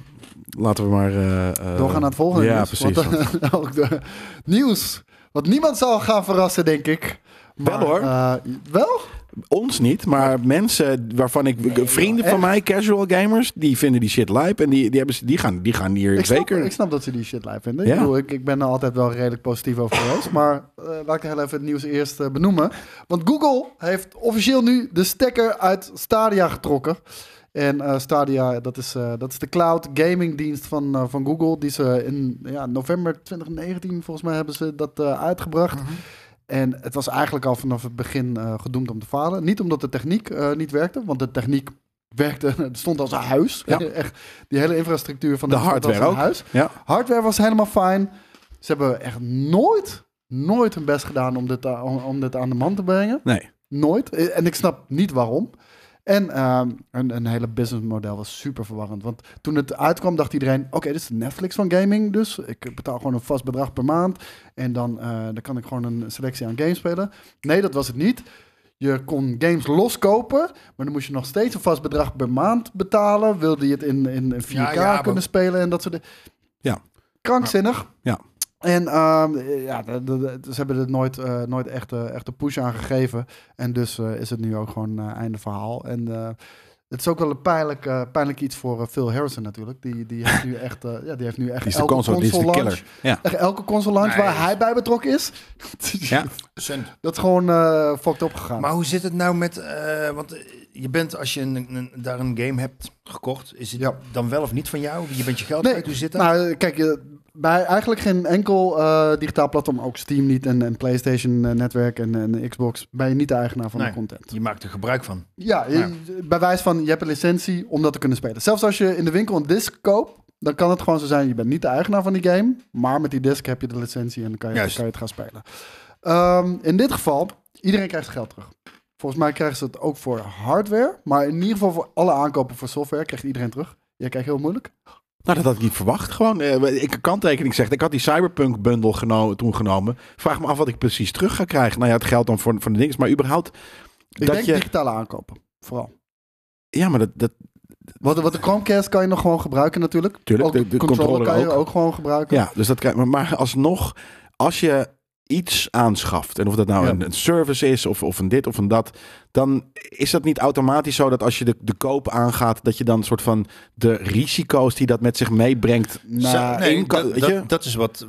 Speaker 1: Laten we maar... eh, eh,
Speaker 2: Doorgaan naar het volgende
Speaker 1: Ja,
Speaker 2: nieuws.
Speaker 1: precies.
Speaker 2: Want, eh, ook de nieuws. Wat niemand zal gaan verrassen, denk ik. Maar,
Speaker 1: Wel, hoor.
Speaker 2: eh, wel?
Speaker 1: Ons niet, maar mensen waarvan ik... vrienden van
Speaker 2: echt?
Speaker 1: mij, casual gamers, die vinden die shit lijp. En die, die, hebben, ze- die, gaan, die gaan hier
Speaker 2: Ik snap,
Speaker 1: zeker...
Speaker 2: ik snap dat ze die shit live vinden.
Speaker 1: Ja.
Speaker 2: Ik, bedoel, ik, ik ben er altijd wel redelijk positief over geweest. Maar eh, laat ik heel even het nieuws eerst eh, benoemen. Want Google heeft officieel nu de stekker uit Stadia getrokken. En eh, Stadia, dat is, eh, dat is de cloud gaming dienst van, eh, van Google. Die ze in ja, november 2019, volgens mij, hebben ze dat eh, uitgebracht.
Speaker 1: Mhm.
Speaker 2: En het was eigenlijk al vanaf het begin eh, gedoemd om te falen. Niet omdat de techniek eh, niet werkte, want de techniek werkte, het stond als een huis.
Speaker 1: Ja.
Speaker 2: Echt, die hele infrastructuur van
Speaker 1: De
Speaker 2: het stond als
Speaker 1: hardware
Speaker 2: een
Speaker 1: ook.
Speaker 2: Huis.
Speaker 1: Ja.
Speaker 2: Hardware was helemaal fijn. Ze hebben echt nooit, nooit hun best gedaan om dit, a- om, om dit aan de man te brengen.
Speaker 1: Nee.
Speaker 2: Nooit. Eh, En ik snap niet waarom. En ehm, een, een hele businessmodel was super verwarrend. Want toen het uitkwam, dacht iedereen: oké, dit is de Netflix van gaming. Dus ik betaal gewoon een vast bedrag per maand. En dan, eh, dan kan ik gewoon een selectie aan games spelen. Nee, dat was het niet. Je kon games loskopen, maar dan moest je nog steeds een vast bedrag per maand betalen. Wilde je het in, in 4K
Speaker 3: Ja, ja, maar-
Speaker 2: kunnen spelen en dat soort dingen.
Speaker 1: Ja.
Speaker 2: Krankzinnig.
Speaker 1: Ja.
Speaker 2: En ehm, ja, de- de- de- ze hebben er nooit, eh, nooit echt, eh, echt een push aan gegeven. En dus eh, is het nu ook gewoon eh, einde verhaal. En eh, het is ook wel een pijnlijk, eh, pijnlijk iets voor eh, Phil Harrison natuurlijk. Die, die heeft nu echt, eh, ja, die heeft nu echt
Speaker 1: Die is de
Speaker 2: elke
Speaker 1: console, die is de
Speaker 2: launch-
Speaker 1: killer. Ja.
Speaker 2: echt elke console launch
Speaker 3: Nee,
Speaker 2: waar
Speaker 3: dat is-
Speaker 2: hij bij betrokken is.
Speaker 1: Ja.
Speaker 3: Zijn-
Speaker 2: Dat is gewoon eh fucked op gegaan.
Speaker 3: Maar hoe zit het nou met... eh, want eh, je bent, als je een, een- daar een game hebt gekocht, is het
Speaker 2: Ja.
Speaker 3: dan wel of niet van jou? Je bent je geld
Speaker 2: Nee,
Speaker 3: kwijt, hoe zit dat?
Speaker 2: Nou, kijk, je- bij eigenlijk geen enkel eh, digitaal platform, ook Steam niet en, en PlayStation-netwerk en, en Xbox, ben je niet de eigenaar van de
Speaker 3: Nee.
Speaker 2: content.
Speaker 3: je maakt er gebruik van.
Speaker 2: Ja, je-
Speaker 3: Ja.
Speaker 2: bij wijze van, je hebt een licentie om dat te kunnen spelen. Zelfs als je in de winkel een disc koopt, dan kan het gewoon zo zijn, je bent niet de eigenaar van die game, maar met die disc heb je de licentie en dan kan je,
Speaker 3: Juist.
Speaker 2: kan je het gaan spelen. Ehm, in dit geval, iedereen krijgt zijn geld terug. Volgens mij krijgen ze het ook voor hardware, maar in ieder geval voor alle aankopen voor software krijgt iedereen terug. Jij kijkt heel moeilijk.
Speaker 1: Nou, dat had ik niet verwacht. Gewoon, eh, ik kanttekening zegt. Ik had die Cyberpunk bundel geno- toen genomen. Vraag me af wat ik precies terug ga krijgen. Nou ja, het geldt dan voor, voor de dingen. Maar überhaupt.
Speaker 2: Ik
Speaker 1: dat
Speaker 2: denk
Speaker 1: je,
Speaker 2: digitale aankopen, vooral.
Speaker 1: ja, maar dat, dat,
Speaker 2: Wat, wat de Chromecast kan je nog gewoon gebruiken natuurlijk.
Speaker 1: Tuurlijk,
Speaker 2: ook
Speaker 1: de- de controller
Speaker 2: kan je
Speaker 1: ook.
Speaker 2: ook gewoon gebruiken.
Speaker 1: ja, dus dat krijg maar, maar alsnog, als je iets aanschaft. En of dat nou
Speaker 2: Ja.
Speaker 1: een, een service is, of, of een dit of een dat. Dan is dat niet automatisch zo dat als je de, de koop aangaat. dat je dan een soort van de risico's die dat met zich meebrengt.
Speaker 2: Nou,
Speaker 1: één kan-
Speaker 3: dat,
Speaker 1: weet
Speaker 3: dat-
Speaker 1: je?
Speaker 3: dat is wat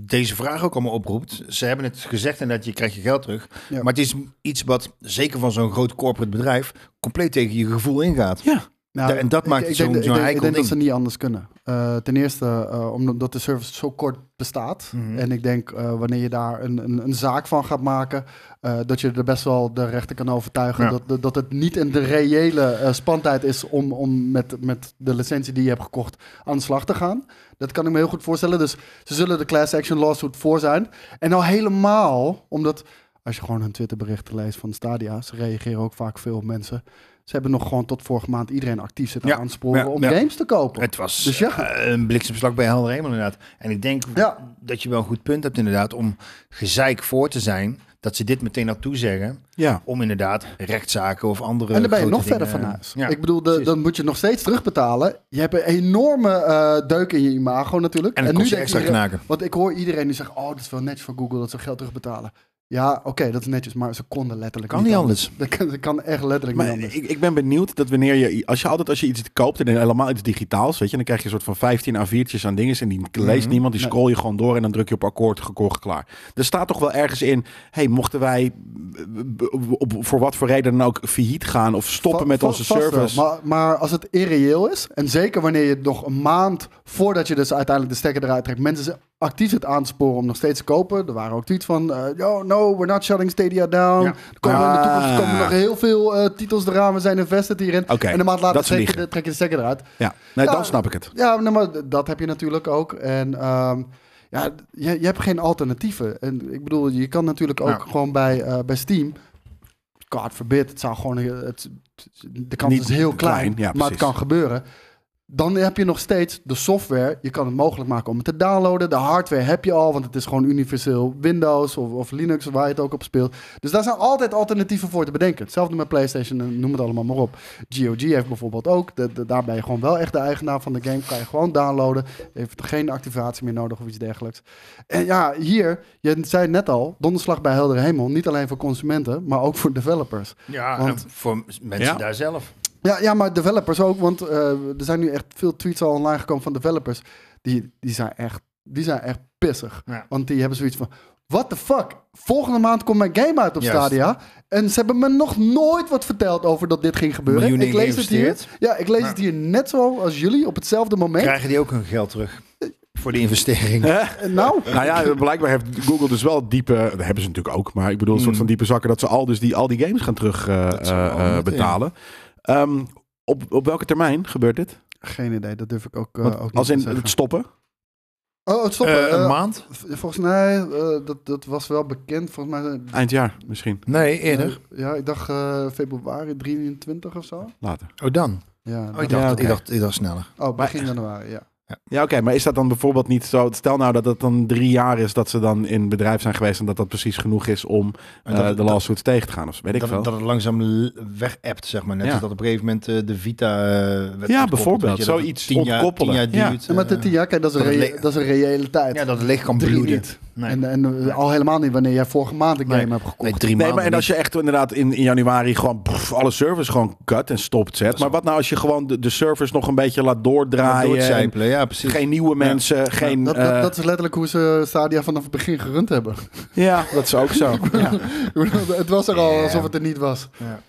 Speaker 3: deze vraag ook allemaal oproept. Ze hebben het gezegd en dat je krijgt je geld terug.
Speaker 2: Ja.
Speaker 3: Maar het is iets wat, zeker van zo'n groot corporate bedrijf, compleet tegen je gevoel ingaat.
Speaker 1: Ja,
Speaker 2: Nou,
Speaker 3: en dat maakt
Speaker 2: ik,
Speaker 3: het
Speaker 2: ik
Speaker 3: zo'n-
Speaker 2: denk, dat-
Speaker 3: zo'n
Speaker 2: ik denk-
Speaker 3: heikel
Speaker 2: Ik denk dat
Speaker 3: ding.
Speaker 2: ze niet anders kunnen. Eh, ten eerste eh, omdat de service zo kort bestaat.
Speaker 3: Mhm.
Speaker 2: En ik denk eh, wanneer je daar een, een, een zaak van gaat maken, eh, dat je er best wel de rechter kan overtuigen
Speaker 3: Ja.
Speaker 2: dat, dat, dat het niet in de reële eh, spantijd is om, om met, met de licentie die je hebt gekocht aan de slag te gaan. Dat kan ik me heel goed voorstellen. Dus ze zullen de class action lawsuit voor zijn. En al helemaal omdat als je gewoon hun Twitterberichten leest van Stadia, ze reageren ook vaak veel op mensen. Ze hebben nog gewoon tot vorige maand iedereen actief zitten
Speaker 3: Ja,
Speaker 2: aansporen
Speaker 3: ja,
Speaker 2: om
Speaker 3: ja.
Speaker 2: games te kopen.
Speaker 3: Het was
Speaker 2: Dus ja.
Speaker 3: eh, een bliksemslag bij helder hemel inderdaad. En ik denk
Speaker 2: Ja.
Speaker 3: dat je wel een goed punt hebt inderdaad om gezeik voor te zijn. Dat ze dit meteen naartoe zeggen.
Speaker 1: ja.
Speaker 3: Om inderdaad rechtszaken of andere
Speaker 2: En dan ben je
Speaker 3: grote
Speaker 2: nog verder van
Speaker 3: dingen-
Speaker 2: huis.
Speaker 3: Ja.
Speaker 2: ik bedoel, de-
Speaker 3: precies.
Speaker 2: dan moet je nog steeds terugbetalen. Je hebt een enorme eh, deuk in je imago natuurlijk.
Speaker 3: en dan kost je
Speaker 2: denkt
Speaker 3: extra
Speaker 2: iedereen-
Speaker 3: knaken.
Speaker 2: Want ik hoor iedereen nu zeggen, oh, dat is wel netjes van Google dat ze geld terugbetalen. Ja, oké, dat is netjes, maar ze konden letterlijk
Speaker 3: Kan niet anders.
Speaker 2: Dat kan, dat kan echt letterlijk
Speaker 1: Maar
Speaker 2: niet anders.
Speaker 1: ik, ik ben benieuwd dat wanneer je, als je altijd als je iets koopt en helemaal iets digitaals, weet je, dan krijg je een soort van 15 A4'tjes aan dingen en die leest
Speaker 3: Mhm.
Speaker 1: niemand, die
Speaker 2: Nee.
Speaker 1: scroll je gewoon door en dan druk je op akkoord, gekocht, klaar. Er staat toch wel ergens in, hey, mochten wij eh, op, op- voor wat voor reden dan ook failliet gaan of stoppen
Speaker 2: Va-
Speaker 1: met
Speaker 2: va-
Speaker 1: onze
Speaker 2: vast wel.
Speaker 1: service?
Speaker 2: Maar, maar als het irreëel is, en zeker wanneer je nog een maand voordat je dus uiteindelijk de stekker eruit trekt, mensen zeggen: actief het aansporen om nog steeds te kopen. Er waren ook tweets van, eh, yo, no, we're not shutting Stadia down.
Speaker 3: Ja.
Speaker 2: Er komen in de toekomst
Speaker 1: Ah.
Speaker 2: komen nog heel veel eh, titels eraan, we zijn invested hierin.
Speaker 1: Oké,
Speaker 2: en een maand later
Speaker 1: dat is
Speaker 2: trek je,
Speaker 1: liegen.
Speaker 2: de, trek je de stekker eruit.
Speaker 1: Ja, nee,
Speaker 2: Ja.
Speaker 1: dan snap ik het.
Speaker 2: Ja, nee, maar d- dat heb je natuurlijk ook. En ehm, ja, je, je hebt geen alternatieven. En ik bedoel, je kan natuurlijk ook
Speaker 3: Ja.
Speaker 2: gewoon bij, eh, bij Steam. God forbid, het zou gewoon. eh, Het, de kans
Speaker 1: Niet
Speaker 2: is heel klein,
Speaker 1: klein, ja,
Speaker 2: maar het
Speaker 1: precies.
Speaker 2: kan gebeuren. Dan heb je nog steeds de software. Je kan het mogelijk maken om het te downloaden. De hardware heb je al, want het is gewoon universeel Windows of, of Linux, waar je het ook op speelt. Dus daar zijn altijd alternatieven voor te bedenken. Hetzelfde met PlayStation, en noem het allemaal maar op. GOG heeft bijvoorbeeld ook. De, de- daar ben je gewoon wel echt de eigenaar van de game. Kan je gewoon downloaden. Heeft er geen activatie meer nodig of iets dergelijks. En ja, hier, je zei het net al, donderslag bij heldere hemel. Niet alleen voor consumenten, maar ook voor developers.
Speaker 3: Ja,
Speaker 2: Want-
Speaker 3: en voor mensen
Speaker 1: Ja.
Speaker 3: daar zelf.
Speaker 2: Ja, ja maar developers ook, want eh, er zijn nu echt veel tweets al online gekomen van developers. Die, die, zijn, echt, die zijn echt pissig.
Speaker 3: Ja.
Speaker 2: Want die hebben zoiets van, what the fuck? Volgende maand komt mijn game uit op
Speaker 3: Juist.
Speaker 2: Stadia. En ze hebben me nog nooit wat verteld over dat dit ging gebeuren.
Speaker 3: Miljoenen
Speaker 2: ik lees het hier.
Speaker 3: geïnvesteerd.
Speaker 2: Ja, ik lees
Speaker 3: Ja.
Speaker 2: het hier net zo als jullie op hetzelfde moment.
Speaker 3: Krijgen die ook hun geld terug voor de investering?
Speaker 2: Eh, Nou,
Speaker 1: Nou ja, blijkbaar heeft Google dus wel diepe. Dat hebben ze natuurlijk ook, maar ik bedoel
Speaker 2: Mm.
Speaker 1: een soort van diepe zakken dat ze al, dus die, al die games gaan terug eh,
Speaker 3: zou wel
Speaker 1: eh, eh,
Speaker 3: moeten,
Speaker 1: betalen. Ehm, op, op welke termijn gebeurt dit?
Speaker 2: geen idee, dat durf ik ook, eh,
Speaker 1: Want
Speaker 2: ook niet
Speaker 1: als in
Speaker 2: te zeggen.
Speaker 1: het stoppen?
Speaker 2: Oh, het stoppen.
Speaker 3: Eh, een
Speaker 2: eh,
Speaker 3: maand?
Speaker 2: v- volgens mij, eh, dat, dat was wel bekend. Volgens mij... eh,
Speaker 1: Eind jaar misschien,
Speaker 3: Nee, eerder.
Speaker 2: ja, ik dacht eh, februari 23 of zo.
Speaker 1: later.
Speaker 3: Oh, dan.
Speaker 2: Ja,
Speaker 3: Oh, ik
Speaker 2: dat-
Speaker 3: dacht,
Speaker 1: oké.
Speaker 3: ik dacht, ik dacht sneller.
Speaker 2: Oh, begin januari, ja.
Speaker 1: Ja, oké, maar is dat dan bijvoorbeeld niet zo? Stel nou dat het dan drie jaar is dat ze dan in bedrijf zijn geweest en dat dat precies genoeg is om
Speaker 3: En dat-
Speaker 1: eh, de
Speaker 3: dat-
Speaker 1: lawsuits tegen te gaan, of weet ik
Speaker 3: Dat,
Speaker 1: veel.
Speaker 3: het- dat het langzaam l- weg-appt, zeg maar. Net
Speaker 1: Ja.
Speaker 3: als dat op een gegeven moment eh, de Vita... eh, werd ontkoppeld,
Speaker 1: bijvoorbeeld.
Speaker 3: weet je, dat het
Speaker 1: Zoiets
Speaker 3: tien jaar, tien
Speaker 1: ontkoppelen.
Speaker 3: jaar
Speaker 1: Ja.
Speaker 3: duurt.
Speaker 2: Ja, maar dit,
Speaker 3: eh,
Speaker 2: ja, kijk, dat is, een
Speaker 3: dat
Speaker 2: re-
Speaker 3: le-
Speaker 2: dat is een reële tijd.
Speaker 3: ja, dat het licht kan
Speaker 2: Drie
Speaker 3: bloeden.
Speaker 2: niet.
Speaker 3: Nee.
Speaker 2: En, en eh, al helemaal niet wanneer jij vorige maand een game
Speaker 3: Nee.
Speaker 2: hebt gekocht.
Speaker 3: Nee, drie
Speaker 1: Nee,
Speaker 3: maanden
Speaker 1: maar en als
Speaker 3: niet.
Speaker 1: je echt inderdaad in, in januari gewoon pff, alle servers gewoon cut en stopt zet. Maar wat nou als je gewoon de, de servers nog een beetje laat
Speaker 3: Maar
Speaker 1: doordraaien? en
Speaker 3: doorcijpelen, ja, precies.
Speaker 1: geen nieuwe mensen, geen...
Speaker 2: Dat, dat,
Speaker 1: eh,
Speaker 2: dat is letterlijk hoe ze Stadia vanaf het begin gerund hebben.
Speaker 1: Ja, dat is ook zo. Ja.
Speaker 2: het was er al alsof het er niet was.
Speaker 3: Ja.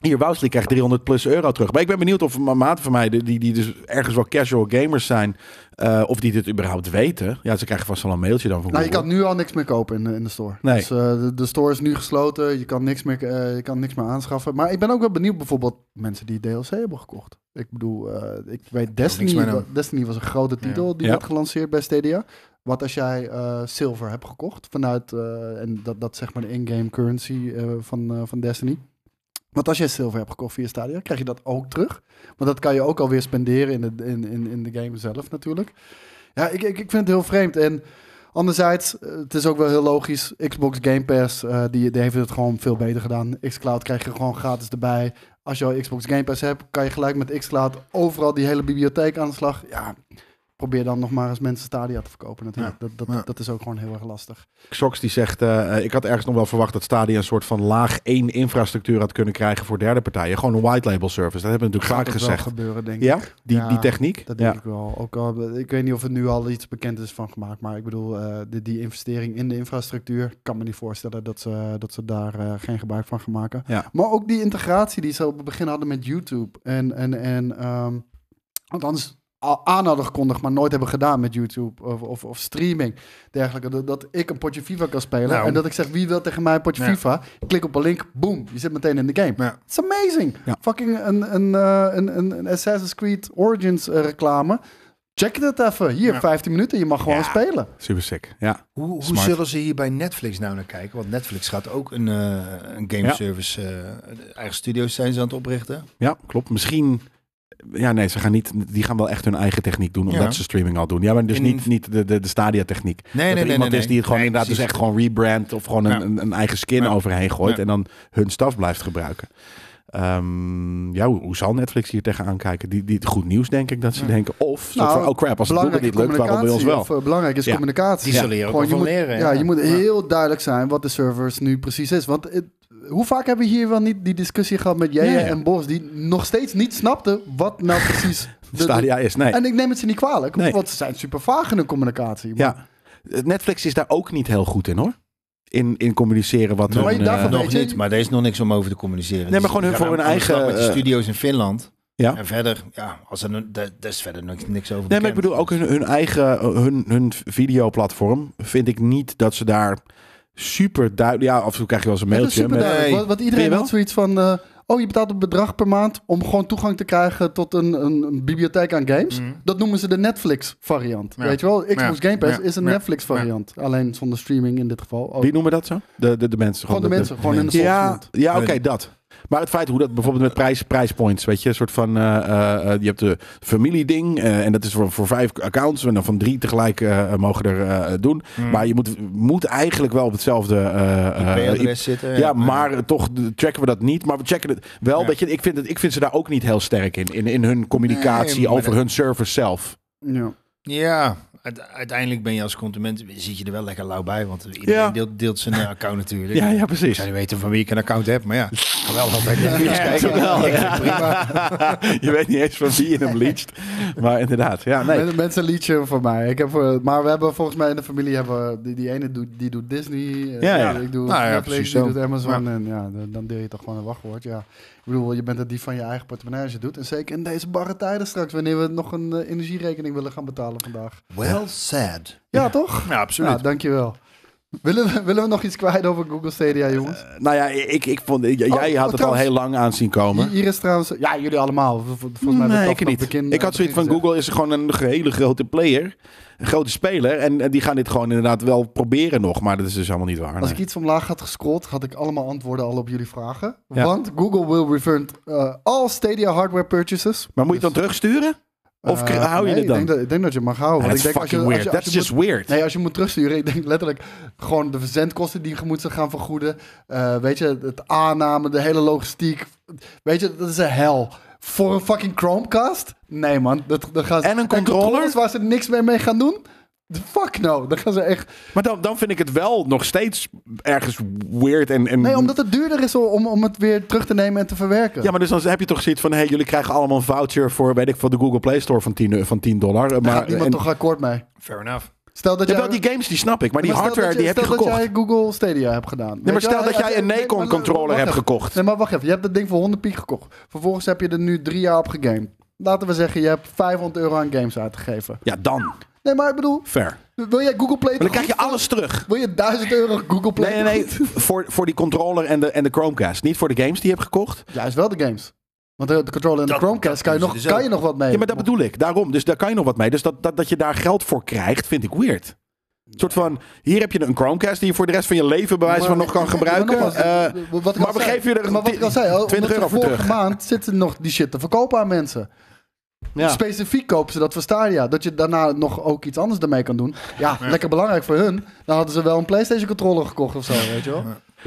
Speaker 1: Hier, Wousley krijgt 300 plus euro terug. Maar ik ben benieuwd of ma- maten van mij, die, die- die dus ergens wel casual gamers zijn, eh, of die dit überhaupt weten. Ja, ze krijgen vast wel een mailtje dan van
Speaker 2: Nou, je
Speaker 1: Google.
Speaker 2: kan nu al niks meer kopen in, de- in de store.
Speaker 1: Nee.
Speaker 2: Dus eh, de, de store is nu gesloten. Je kan, niks meer, eh, je kan niks meer aanschaffen. Maar ik ben ook wel benieuwd bijvoorbeeld mensen die DLC hebben gekocht. Ik bedoel, eh, ik weet Destiny,
Speaker 3: niks meer
Speaker 2: wa-
Speaker 3: doen.
Speaker 2: Destiny was een grote titel die
Speaker 1: Ja.
Speaker 2: werd gelanceerd bij Stadia. Wat als jij eh, Silver hebt gekocht vanuit, eh, en dat, dat is zeg maar de in-game currency eh, van, eh, van Destiny. Want als jij zilver hebt gekocht via Stadia, krijg je dat ook terug. Want dat kan je ook alweer spenderen in de, in, in, in de game zelf natuurlijk. Ja, ik, ik, ik vind het heel vreemd. En anderzijds, eh, het is ook wel heel logisch. Xbox Game Pass, eh, die, die heeft het gewoon veel beter gedaan. Xcloud krijg je gewoon gratis erbij. Als je al Xbox Game Pass hebt, kan je gelijk met Xcloud overal die hele bibliotheek aan de slag. Ja, probeer dan nog maar eens mensen Stadia te verkopen natuurlijk. Dat, dat,
Speaker 3: Ja.
Speaker 2: dat is ook gewoon heel erg lastig.
Speaker 1: Xox die zegt, eh, eh, ik had ergens nog wel verwacht dat Stadia een soort van laag één infrastructuur had kunnen krijgen voor derde partijen. Gewoon een white label service. Dat hebben we natuurlijk vaak
Speaker 2: Gaat ook wel
Speaker 1: gezegd.
Speaker 2: gebeuren, denk ik.
Speaker 1: Ja, die,
Speaker 2: Ja,
Speaker 1: die techniek.
Speaker 2: Dat denk
Speaker 1: Ja.
Speaker 2: ik wel. Ook al, ik weet niet of er nu al iets bekend is van gemaakt. Maar ik bedoel, eh, die, die investering in de infrastructuur. Ik kan me niet voorstellen dat ze, dat ze daar eh, geen gebruik van gaan maken.
Speaker 1: Ja.
Speaker 2: Maar ook die integratie die ze op het begin hadden met YouTube. En, en, en ehm, althans al aan hadden gekondigd, maar nooit hebben gedaan met YouTube of, of, of streaming. Dergelijke. Dat, dat ik een potje FIFA kan spelen.
Speaker 3: Nou.
Speaker 2: En dat ik zeg, wie wil tegen mij een potje
Speaker 3: Ja.
Speaker 2: FIFA? Klik op een link, boom, je zit meteen in de game.
Speaker 3: Ja.
Speaker 2: It's amazing.
Speaker 1: Ja.
Speaker 2: Fucking een, een, eh, een, een, een Assassin's Creed Origins eh, reclame. Check dat even. Hier,
Speaker 3: Ja.
Speaker 2: 15 minuten. Je mag gewoon
Speaker 1: Ja.
Speaker 2: spelen.
Speaker 1: Super sick. Ja.
Speaker 3: Hoe, hoe
Speaker 1: Smart.
Speaker 3: zullen ze hier bij Netflix nou naar kijken? Want Netflix gaat ook een, eh, een game
Speaker 1: Ja.
Speaker 3: service, eh, eigen studio's zijn ze aan het oprichten.
Speaker 1: ja, klopt. Misschien. Ja, nee, ze gaan niet. Die gaan wel echt hun eigen techniek doen, omdat
Speaker 3: Ja.
Speaker 1: ze streaming al doen. Ja, maar dus
Speaker 3: In-
Speaker 1: niet, niet de, de, de stadia-techniek.
Speaker 3: Nee,
Speaker 1: dat er
Speaker 3: nee, nee,
Speaker 1: iemand
Speaker 3: nee,
Speaker 1: is die het gewoon
Speaker 3: nee.
Speaker 1: inderdaad
Speaker 3: Nee,
Speaker 1: dus echt gewoon rebrandt of gewoon een,
Speaker 3: Ja.
Speaker 1: een, een eigen skin
Speaker 3: Ja.
Speaker 1: overheen gooit
Speaker 3: Ja.
Speaker 1: en dan hun staf blijft gebruiken. Ehm, ja, hoe, hoe zal Netflix hier tegenaan kijken? Die, die het goed nieuws, denk ik, dat ze denken. Of, zo
Speaker 2: Nou,
Speaker 1: van, oh crap, als het doel
Speaker 2: Belangrijke
Speaker 1: niet lukt, waarom bij ons
Speaker 2: communicatie,
Speaker 1: wel?
Speaker 2: of, eh, belangrijk is
Speaker 1: Ja.
Speaker 2: communicatie.
Speaker 3: Die zullen hier ook
Speaker 2: Gewoon,
Speaker 3: wel
Speaker 2: je
Speaker 3: van
Speaker 2: moet,
Speaker 3: leren.
Speaker 2: Ja, je moet heel duidelijk zijn wat de servers nu precies is. Want het- hoe vaak hebben we hier wel niet die discussie gehad met jij
Speaker 1: Ja, ja.
Speaker 2: en Bos... die nog steeds niet snapten wat nou precies... de-
Speaker 1: Stadia is, nee.
Speaker 2: En ik neem het ze niet kwalijk,
Speaker 1: Nee.
Speaker 2: want ze zijn super vaag in hun communicatie. Maar-
Speaker 1: Ja. Netflix is daar ook niet heel goed in, hoor. In, in communiceren wat
Speaker 2: maar
Speaker 1: hun,
Speaker 2: daarvan
Speaker 1: eh,
Speaker 2: weet
Speaker 3: nog
Speaker 2: je-
Speaker 3: niet, maar er is nog niks om over te communiceren. Dus
Speaker 1: Nee, maar gewoon
Speaker 3: Die
Speaker 1: hun voor
Speaker 3: gaan
Speaker 1: hun
Speaker 3: aan de slag
Speaker 1: eigen,
Speaker 3: Met die
Speaker 1: eh,
Speaker 3: studio's in Finland.
Speaker 1: Ja.
Speaker 3: En verder, ja, als er, een- daar daar is verder niks, niks over
Speaker 1: Nee, maar ik
Speaker 3: bekend.
Speaker 1: bedoel ook hun, hun eigen hun, hun videoplatform vind ik niet dat ze daar super duidelijk. Ja, af en toe krijg je wel eens een
Speaker 2: Ja, dat is
Speaker 1: mailtje.
Speaker 2: super
Speaker 1: met-
Speaker 2: duidelijk.
Speaker 3: Nee.
Speaker 2: Wat, wat
Speaker 1: Vind je
Speaker 2: iedereen
Speaker 1: wel?
Speaker 2: had zoiets van... eh, oh, je betaalt een bedrag per maand om gewoon toegang te krijgen tot een, een, een bibliotheek aan games.
Speaker 3: Mhm.
Speaker 2: Dat noemen ze de Netflix-variant.
Speaker 3: Ja.
Speaker 2: Weet je wel? Xbox
Speaker 3: Ja.
Speaker 2: Game Pass
Speaker 3: Ja.
Speaker 2: is een
Speaker 3: Ja.
Speaker 2: Netflix-variant. Alleen zonder streaming in dit geval. Ook.
Speaker 1: Wie noemen dat zo? De, de, de mensen.
Speaker 2: Oh. Gewoon de mensen, gewoon in de
Speaker 1: ja,
Speaker 2: volksmond.
Speaker 1: ja oké,
Speaker 3: Nee.
Speaker 1: dat. Maar het feit hoe dat bijvoorbeeld met prijs, prijspoints, weet je, een soort van, eh, eh, eh, je hebt de familieding eh, en dat is voor, voor vijf accounts en dan van drie tegelijk eh, mogen er eh, doen.
Speaker 2: Hmm.
Speaker 1: Maar je moet, moet eigenlijk wel op hetzelfde eh, eh,
Speaker 3: IP-adres zitten.
Speaker 1: ja, maar toch checken we dat niet. Maar we checken het wel.
Speaker 3: Ja.
Speaker 1: Weet je, ik vind, het, ik vind ze daar ook niet heel sterk in. In, in hun communicatie
Speaker 3: Nee, maar
Speaker 1: over
Speaker 3: dat-
Speaker 1: hun servers zelf.
Speaker 2: Ja.
Speaker 3: Ja, uite- uiteindelijk ben je als consument, zit je er wel lekker lauw bij, want iedereen
Speaker 1: Ja.
Speaker 3: deelt, deelt zijn eh, account natuurlijk.
Speaker 1: Ja, ja, precies.
Speaker 3: Ik zou niet weten van wie ik een account heb, maar ja, ik kan wel altijd Netflix kijken.
Speaker 1: Jawel,
Speaker 3: Ik vind
Speaker 1: ja.
Speaker 3: het prima.
Speaker 1: je weet niet eens van wie je hem leest. Maar inderdaad, ja, nee.
Speaker 2: Mensen- Mensen een liedje voor mij. Ik heb, eh, maar we hebben volgens mij in de familie hebben we- die, die ene doet, die doet Disney. eh,
Speaker 1: Ja, ja.
Speaker 2: Ik doe
Speaker 3: Nou ja,
Speaker 2: Netflix,
Speaker 3: precies
Speaker 2: die
Speaker 3: zo.
Speaker 2: doet Amazon. En ja, dan, dan deel je toch gewoon een wachtwoord. Ja. Ik bedoel, je bent het die van je eigen portemonnee als je het doet. En zeker in deze barre tijden straks, wanneer we nog een eh, energierekening willen gaan betalen vandaag.
Speaker 3: Well said.
Speaker 2: Ja, toch?
Speaker 3: Ja,
Speaker 2: Ja,
Speaker 3: absoluut.
Speaker 2: dankjewel. Willen we, willen we nog iets kwijt over Google Stadia, jongens?
Speaker 1: Nou ja, ik, ik vond, j- jij
Speaker 2: Oh,
Speaker 1: had
Speaker 2: oh,
Speaker 1: het al
Speaker 2: trouwens.
Speaker 1: heel lang aan zien komen.
Speaker 2: Hier is trouwens... Ja, jullie allemaal. Vol- Volgens mij
Speaker 1: Nee, ik niet. ik
Speaker 2: eh,
Speaker 1: had zoiets van Google is gewoon een hele grote player. Een grote speler. En, en die gaan dit gewoon inderdaad wel proberen nog. Maar dat is dus helemaal niet waar.
Speaker 2: Als
Speaker 1: nee.
Speaker 2: ik iets omlaag had gescrollt, had ik allemaal antwoorden al op jullie vragen.
Speaker 1: Ja.
Speaker 2: Want Google will refund eh, all Stadia hardware purchases.
Speaker 1: Maar moet je het dan terugsturen? Of
Speaker 2: Eh,
Speaker 1: k- hou je
Speaker 2: nee,
Speaker 1: het dan?
Speaker 2: Ik denk, dat, ik denk dat je het mag houden.
Speaker 1: Dat
Speaker 2: want
Speaker 1: is
Speaker 2: ik denk
Speaker 1: fucking weird. That's
Speaker 2: moet-
Speaker 1: just weird.
Speaker 2: Nee, als je moet terugsturen, ik denk letterlijk gewoon de verzendkosten die je moet gaan vergoeden. Eh, weet je, het aanname, de hele logistiek. Weet je, dat is een hel. Voor een fucking Chromecast? Nee, man. Dat, dat gaan ze-
Speaker 1: En een controller?
Speaker 2: controllers waar ze niks meer mee gaan doen? Fuck no. Dan gaan ze echt...
Speaker 1: Maar dan, dan vind ik het wel nog steeds ergens weird. En, en...
Speaker 2: Nee, omdat het duurder is om, om het weer terug te nemen en te verwerken.
Speaker 1: Mhm. Ja, maar dus dan heb je toch zoiets van... hey, jullie krijgen allemaal een voucher voor, weet ik, van de Google Play Store van 10, eu- van 10 dollar. Maar,
Speaker 2: Daar gaat niemand
Speaker 1: en-
Speaker 2: toch akkoord mee.
Speaker 3: Fair enough.
Speaker 2: Stel dat
Speaker 1: Jawel,
Speaker 2: jij...
Speaker 1: die games die snap ik, maar die
Speaker 2: maar stel
Speaker 1: hardware
Speaker 2: dat
Speaker 1: die heb je
Speaker 2: stel
Speaker 1: gekocht.
Speaker 2: dat jij Google Stadia hebt gedaan.
Speaker 1: Nee, maar
Speaker 2: Weet je
Speaker 1: stel
Speaker 2: wel,
Speaker 1: dat jij
Speaker 2: eh,
Speaker 1: een
Speaker 2: nee,
Speaker 1: Nikon
Speaker 2: maar-
Speaker 1: controller
Speaker 2: wacht
Speaker 1: hebt
Speaker 2: even.
Speaker 1: gekocht.
Speaker 2: Nee, maar wacht even. Je hebt dat ding voor 100 piek gekocht. Vervolgens heb je er nu drie jaar op gegamed. Laten we zeggen, je hebt 500 euro aan games uitgegeven.
Speaker 1: Ja, dan.
Speaker 2: Nee, maar ik bedoel,
Speaker 1: Fair. Maar
Speaker 2: wil jij Google Play
Speaker 1: dan
Speaker 2: te
Speaker 1: krijg je
Speaker 2: goed voor-
Speaker 1: alles terug.
Speaker 2: Wil je 1000 euro Google Play
Speaker 1: Nee, nee, nee.
Speaker 2: te goed?
Speaker 1: Voor, voor die controller en de, en de Chromecast. Niet voor de games die je hebt gekocht.
Speaker 2: Juist wel de games. Want de de controller en de
Speaker 3: Dat-
Speaker 2: Chromecast
Speaker 3: dat
Speaker 2: kan, je
Speaker 3: doen
Speaker 2: nog,
Speaker 3: ze dus ook.
Speaker 2: kan je nog wat mee.
Speaker 1: Ja, maar dat bedoel ik. Daarom. Dus daar kan je nog wat mee. Dus dat, dat, dat je daar geld voor krijgt, vind ik weird. Een soort van, hier heb je een Chromecast die je voor de rest van je leven bij wijze van nog kan gebruiken.
Speaker 2: Maar,
Speaker 1: Eh,
Speaker 2: nogmaals, wat ik
Speaker 1: maar
Speaker 2: al
Speaker 1: we
Speaker 2: zei-
Speaker 1: geven je er
Speaker 2: maar wat ik al zei, al,
Speaker 1: 20 euro voor
Speaker 2: vorige
Speaker 1: terug.
Speaker 2: maand zitten nog die shit te verkopen aan mensen.
Speaker 1: ja.
Speaker 2: Specifiek kopen ze dat voor Stadia. Dat je daarna nog ook iets anders ermee kan doen. Ja, lekker belangrijk voor hun. Dan hadden ze wel een PlayStation controller gekocht of zo, weet je wel.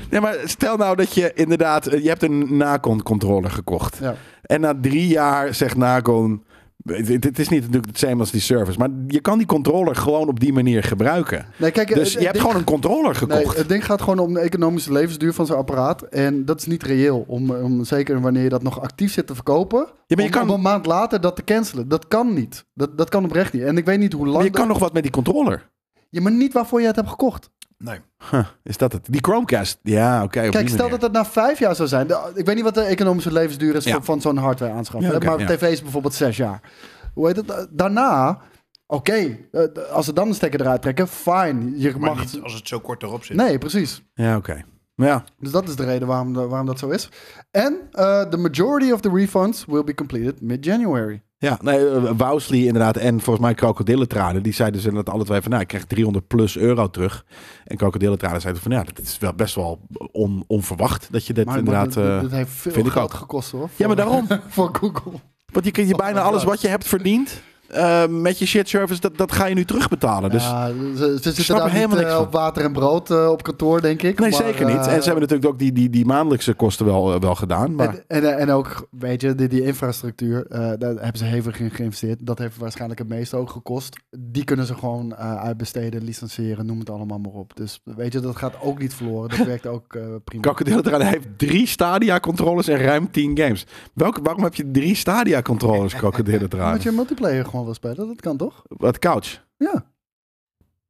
Speaker 1: Nee, maar stel nou dat je inderdaad, eh, je hebt een Nacon controller gekocht.
Speaker 2: Ja.
Speaker 1: En na drie jaar zegt Nacon, het het is niet natuurlijk hetzelfde als die service, maar je kan die controller gewoon op die manier gebruiken.
Speaker 2: Nee, kijk,
Speaker 1: Dus
Speaker 2: het-
Speaker 1: je hebt
Speaker 2: het-
Speaker 1: gewoon een controller
Speaker 2: eh, Nee,
Speaker 1: gekocht.
Speaker 2: het ding gaat gewoon om de economische levensduur van zo'n apparaat. En dat is niet reëel. Om, om, zeker wanneer je dat nog actief zit te verkopen.
Speaker 1: maar je
Speaker 2: om,
Speaker 1: kan-
Speaker 2: om een maand later dat te cancelen. Dat kan niet. Dat, dat kan oprecht niet. En ik weet niet hoe lang.
Speaker 1: maar je
Speaker 2: dat-
Speaker 1: kan nog wat met die controller.
Speaker 2: Ja, maar niet waarvoor je het hebt gekocht.
Speaker 3: Nee.
Speaker 1: Huh, is dat het? Die Chromecast. Ja, oké. op
Speaker 2: Kijk,
Speaker 1: die
Speaker 2: stel
Speaker 1: manier.
Speaker 2: dat het na vijf jaar zou zijn. De- ik weet niet wat de economische levensduur is
Speaker 1: Ja.
Speaker 2: van, van zo'n hardware aanschaf.
Speaker 1: Ja,
Speaker 2: hè,
Speaker 1: oké,
Speaker 2: maar
Speaker 1: ja.
Speaker 2: tv is bijvoorbeeld zes jaar. Hoe heet het? Da- Daarna, oké, eh, d- als ze dan de stekker eruit trekken, fijn. Je
Speaker 3: Maar
Speaker 2: mag...
Speaker 3: niet als het zo kort erop zit.
Speaker 2: Nee, precies.
Speaker 1: Ja, oké. Ja.
Speaker 2: Dus dat is de reden waarom, de- waarom dat zo is. En eh the majority of the refunds will be completed mid-January.
Speaker 1: Ja, nee, eh, Wousley inderdaad en volgens mij krokodillentranen. Die zeiden ze dat alle twee van, nou, ik krijg 300 plus euro terug. En krokodillentranen zeiden van, ja, dat is wel best wel on- onverwacht dat je dit
Speaker 2: Maar
Speaker 1: inderdaad...
Speaker 2: dit,
Speaker 1: eh,
Speaker 2: dit heeft veel
Speaker 1: vind ik
Speaker 2: geld
Speaker 1: ook.
Speaker 2: gekost hoor.
Speaker 1: ja, maar daarom.
Speaker 2: Voor Google.
Speaker 1: Want je kunt je
Speaker 2: Oh
Speaker 1: bijna
Speaker 2: my
Speaker 1: alles
Speaker 2: God.
Speaker 1: wat je hebt verdiend eh, met je shit service, dat, dat ga je nu terugbetalen. Dus
Speaker 2: ja, ze, ze zitten
Speaker 1: snap er
Speaker 2: daar
Speaker 1: helemaal
Speaker 2: niet
Speaker 1: niks
Speaker 2: eh,
Speaker 1: van.
Speaker 2: op water en brood eh, op kantoor, denk ik.
Speaker 1: nee,
Speaker 2: Maar,
Speaker 1: zeker niet. En ze
Speaker 2: eh,
Speaker 1: hebben natuurlijk ook die, die, die maandelijkse kosten wel, eh, wel gedaan. Maar
Speaker 2: En, en, en ook, weet je, die, die infrastructuur, eh, daar hebben ze hevig in geïnvesteerd. Dat heeft waarschijnlijk het meeste ook gekost. Die kunnen ze gewoon eh, uitbesteden, licentiëren, noem het allemaal maar op. Dus weet je, dat gaat ook niet verloren. Dat werkt ook eh, prima.
Speaker 1: krokodillentranen heeft drie Stadia-controllers en ruim 10 games. Welke, waarom heb je drie Stadia-controllers,
Speaker 2: Moet
Speaker 1: krokodillentranen?
Speaker 2: je multiplayer gewoon wil spelen, dat kan toch?
Speaker 1: Wat couch.
Speaker 2: Ja.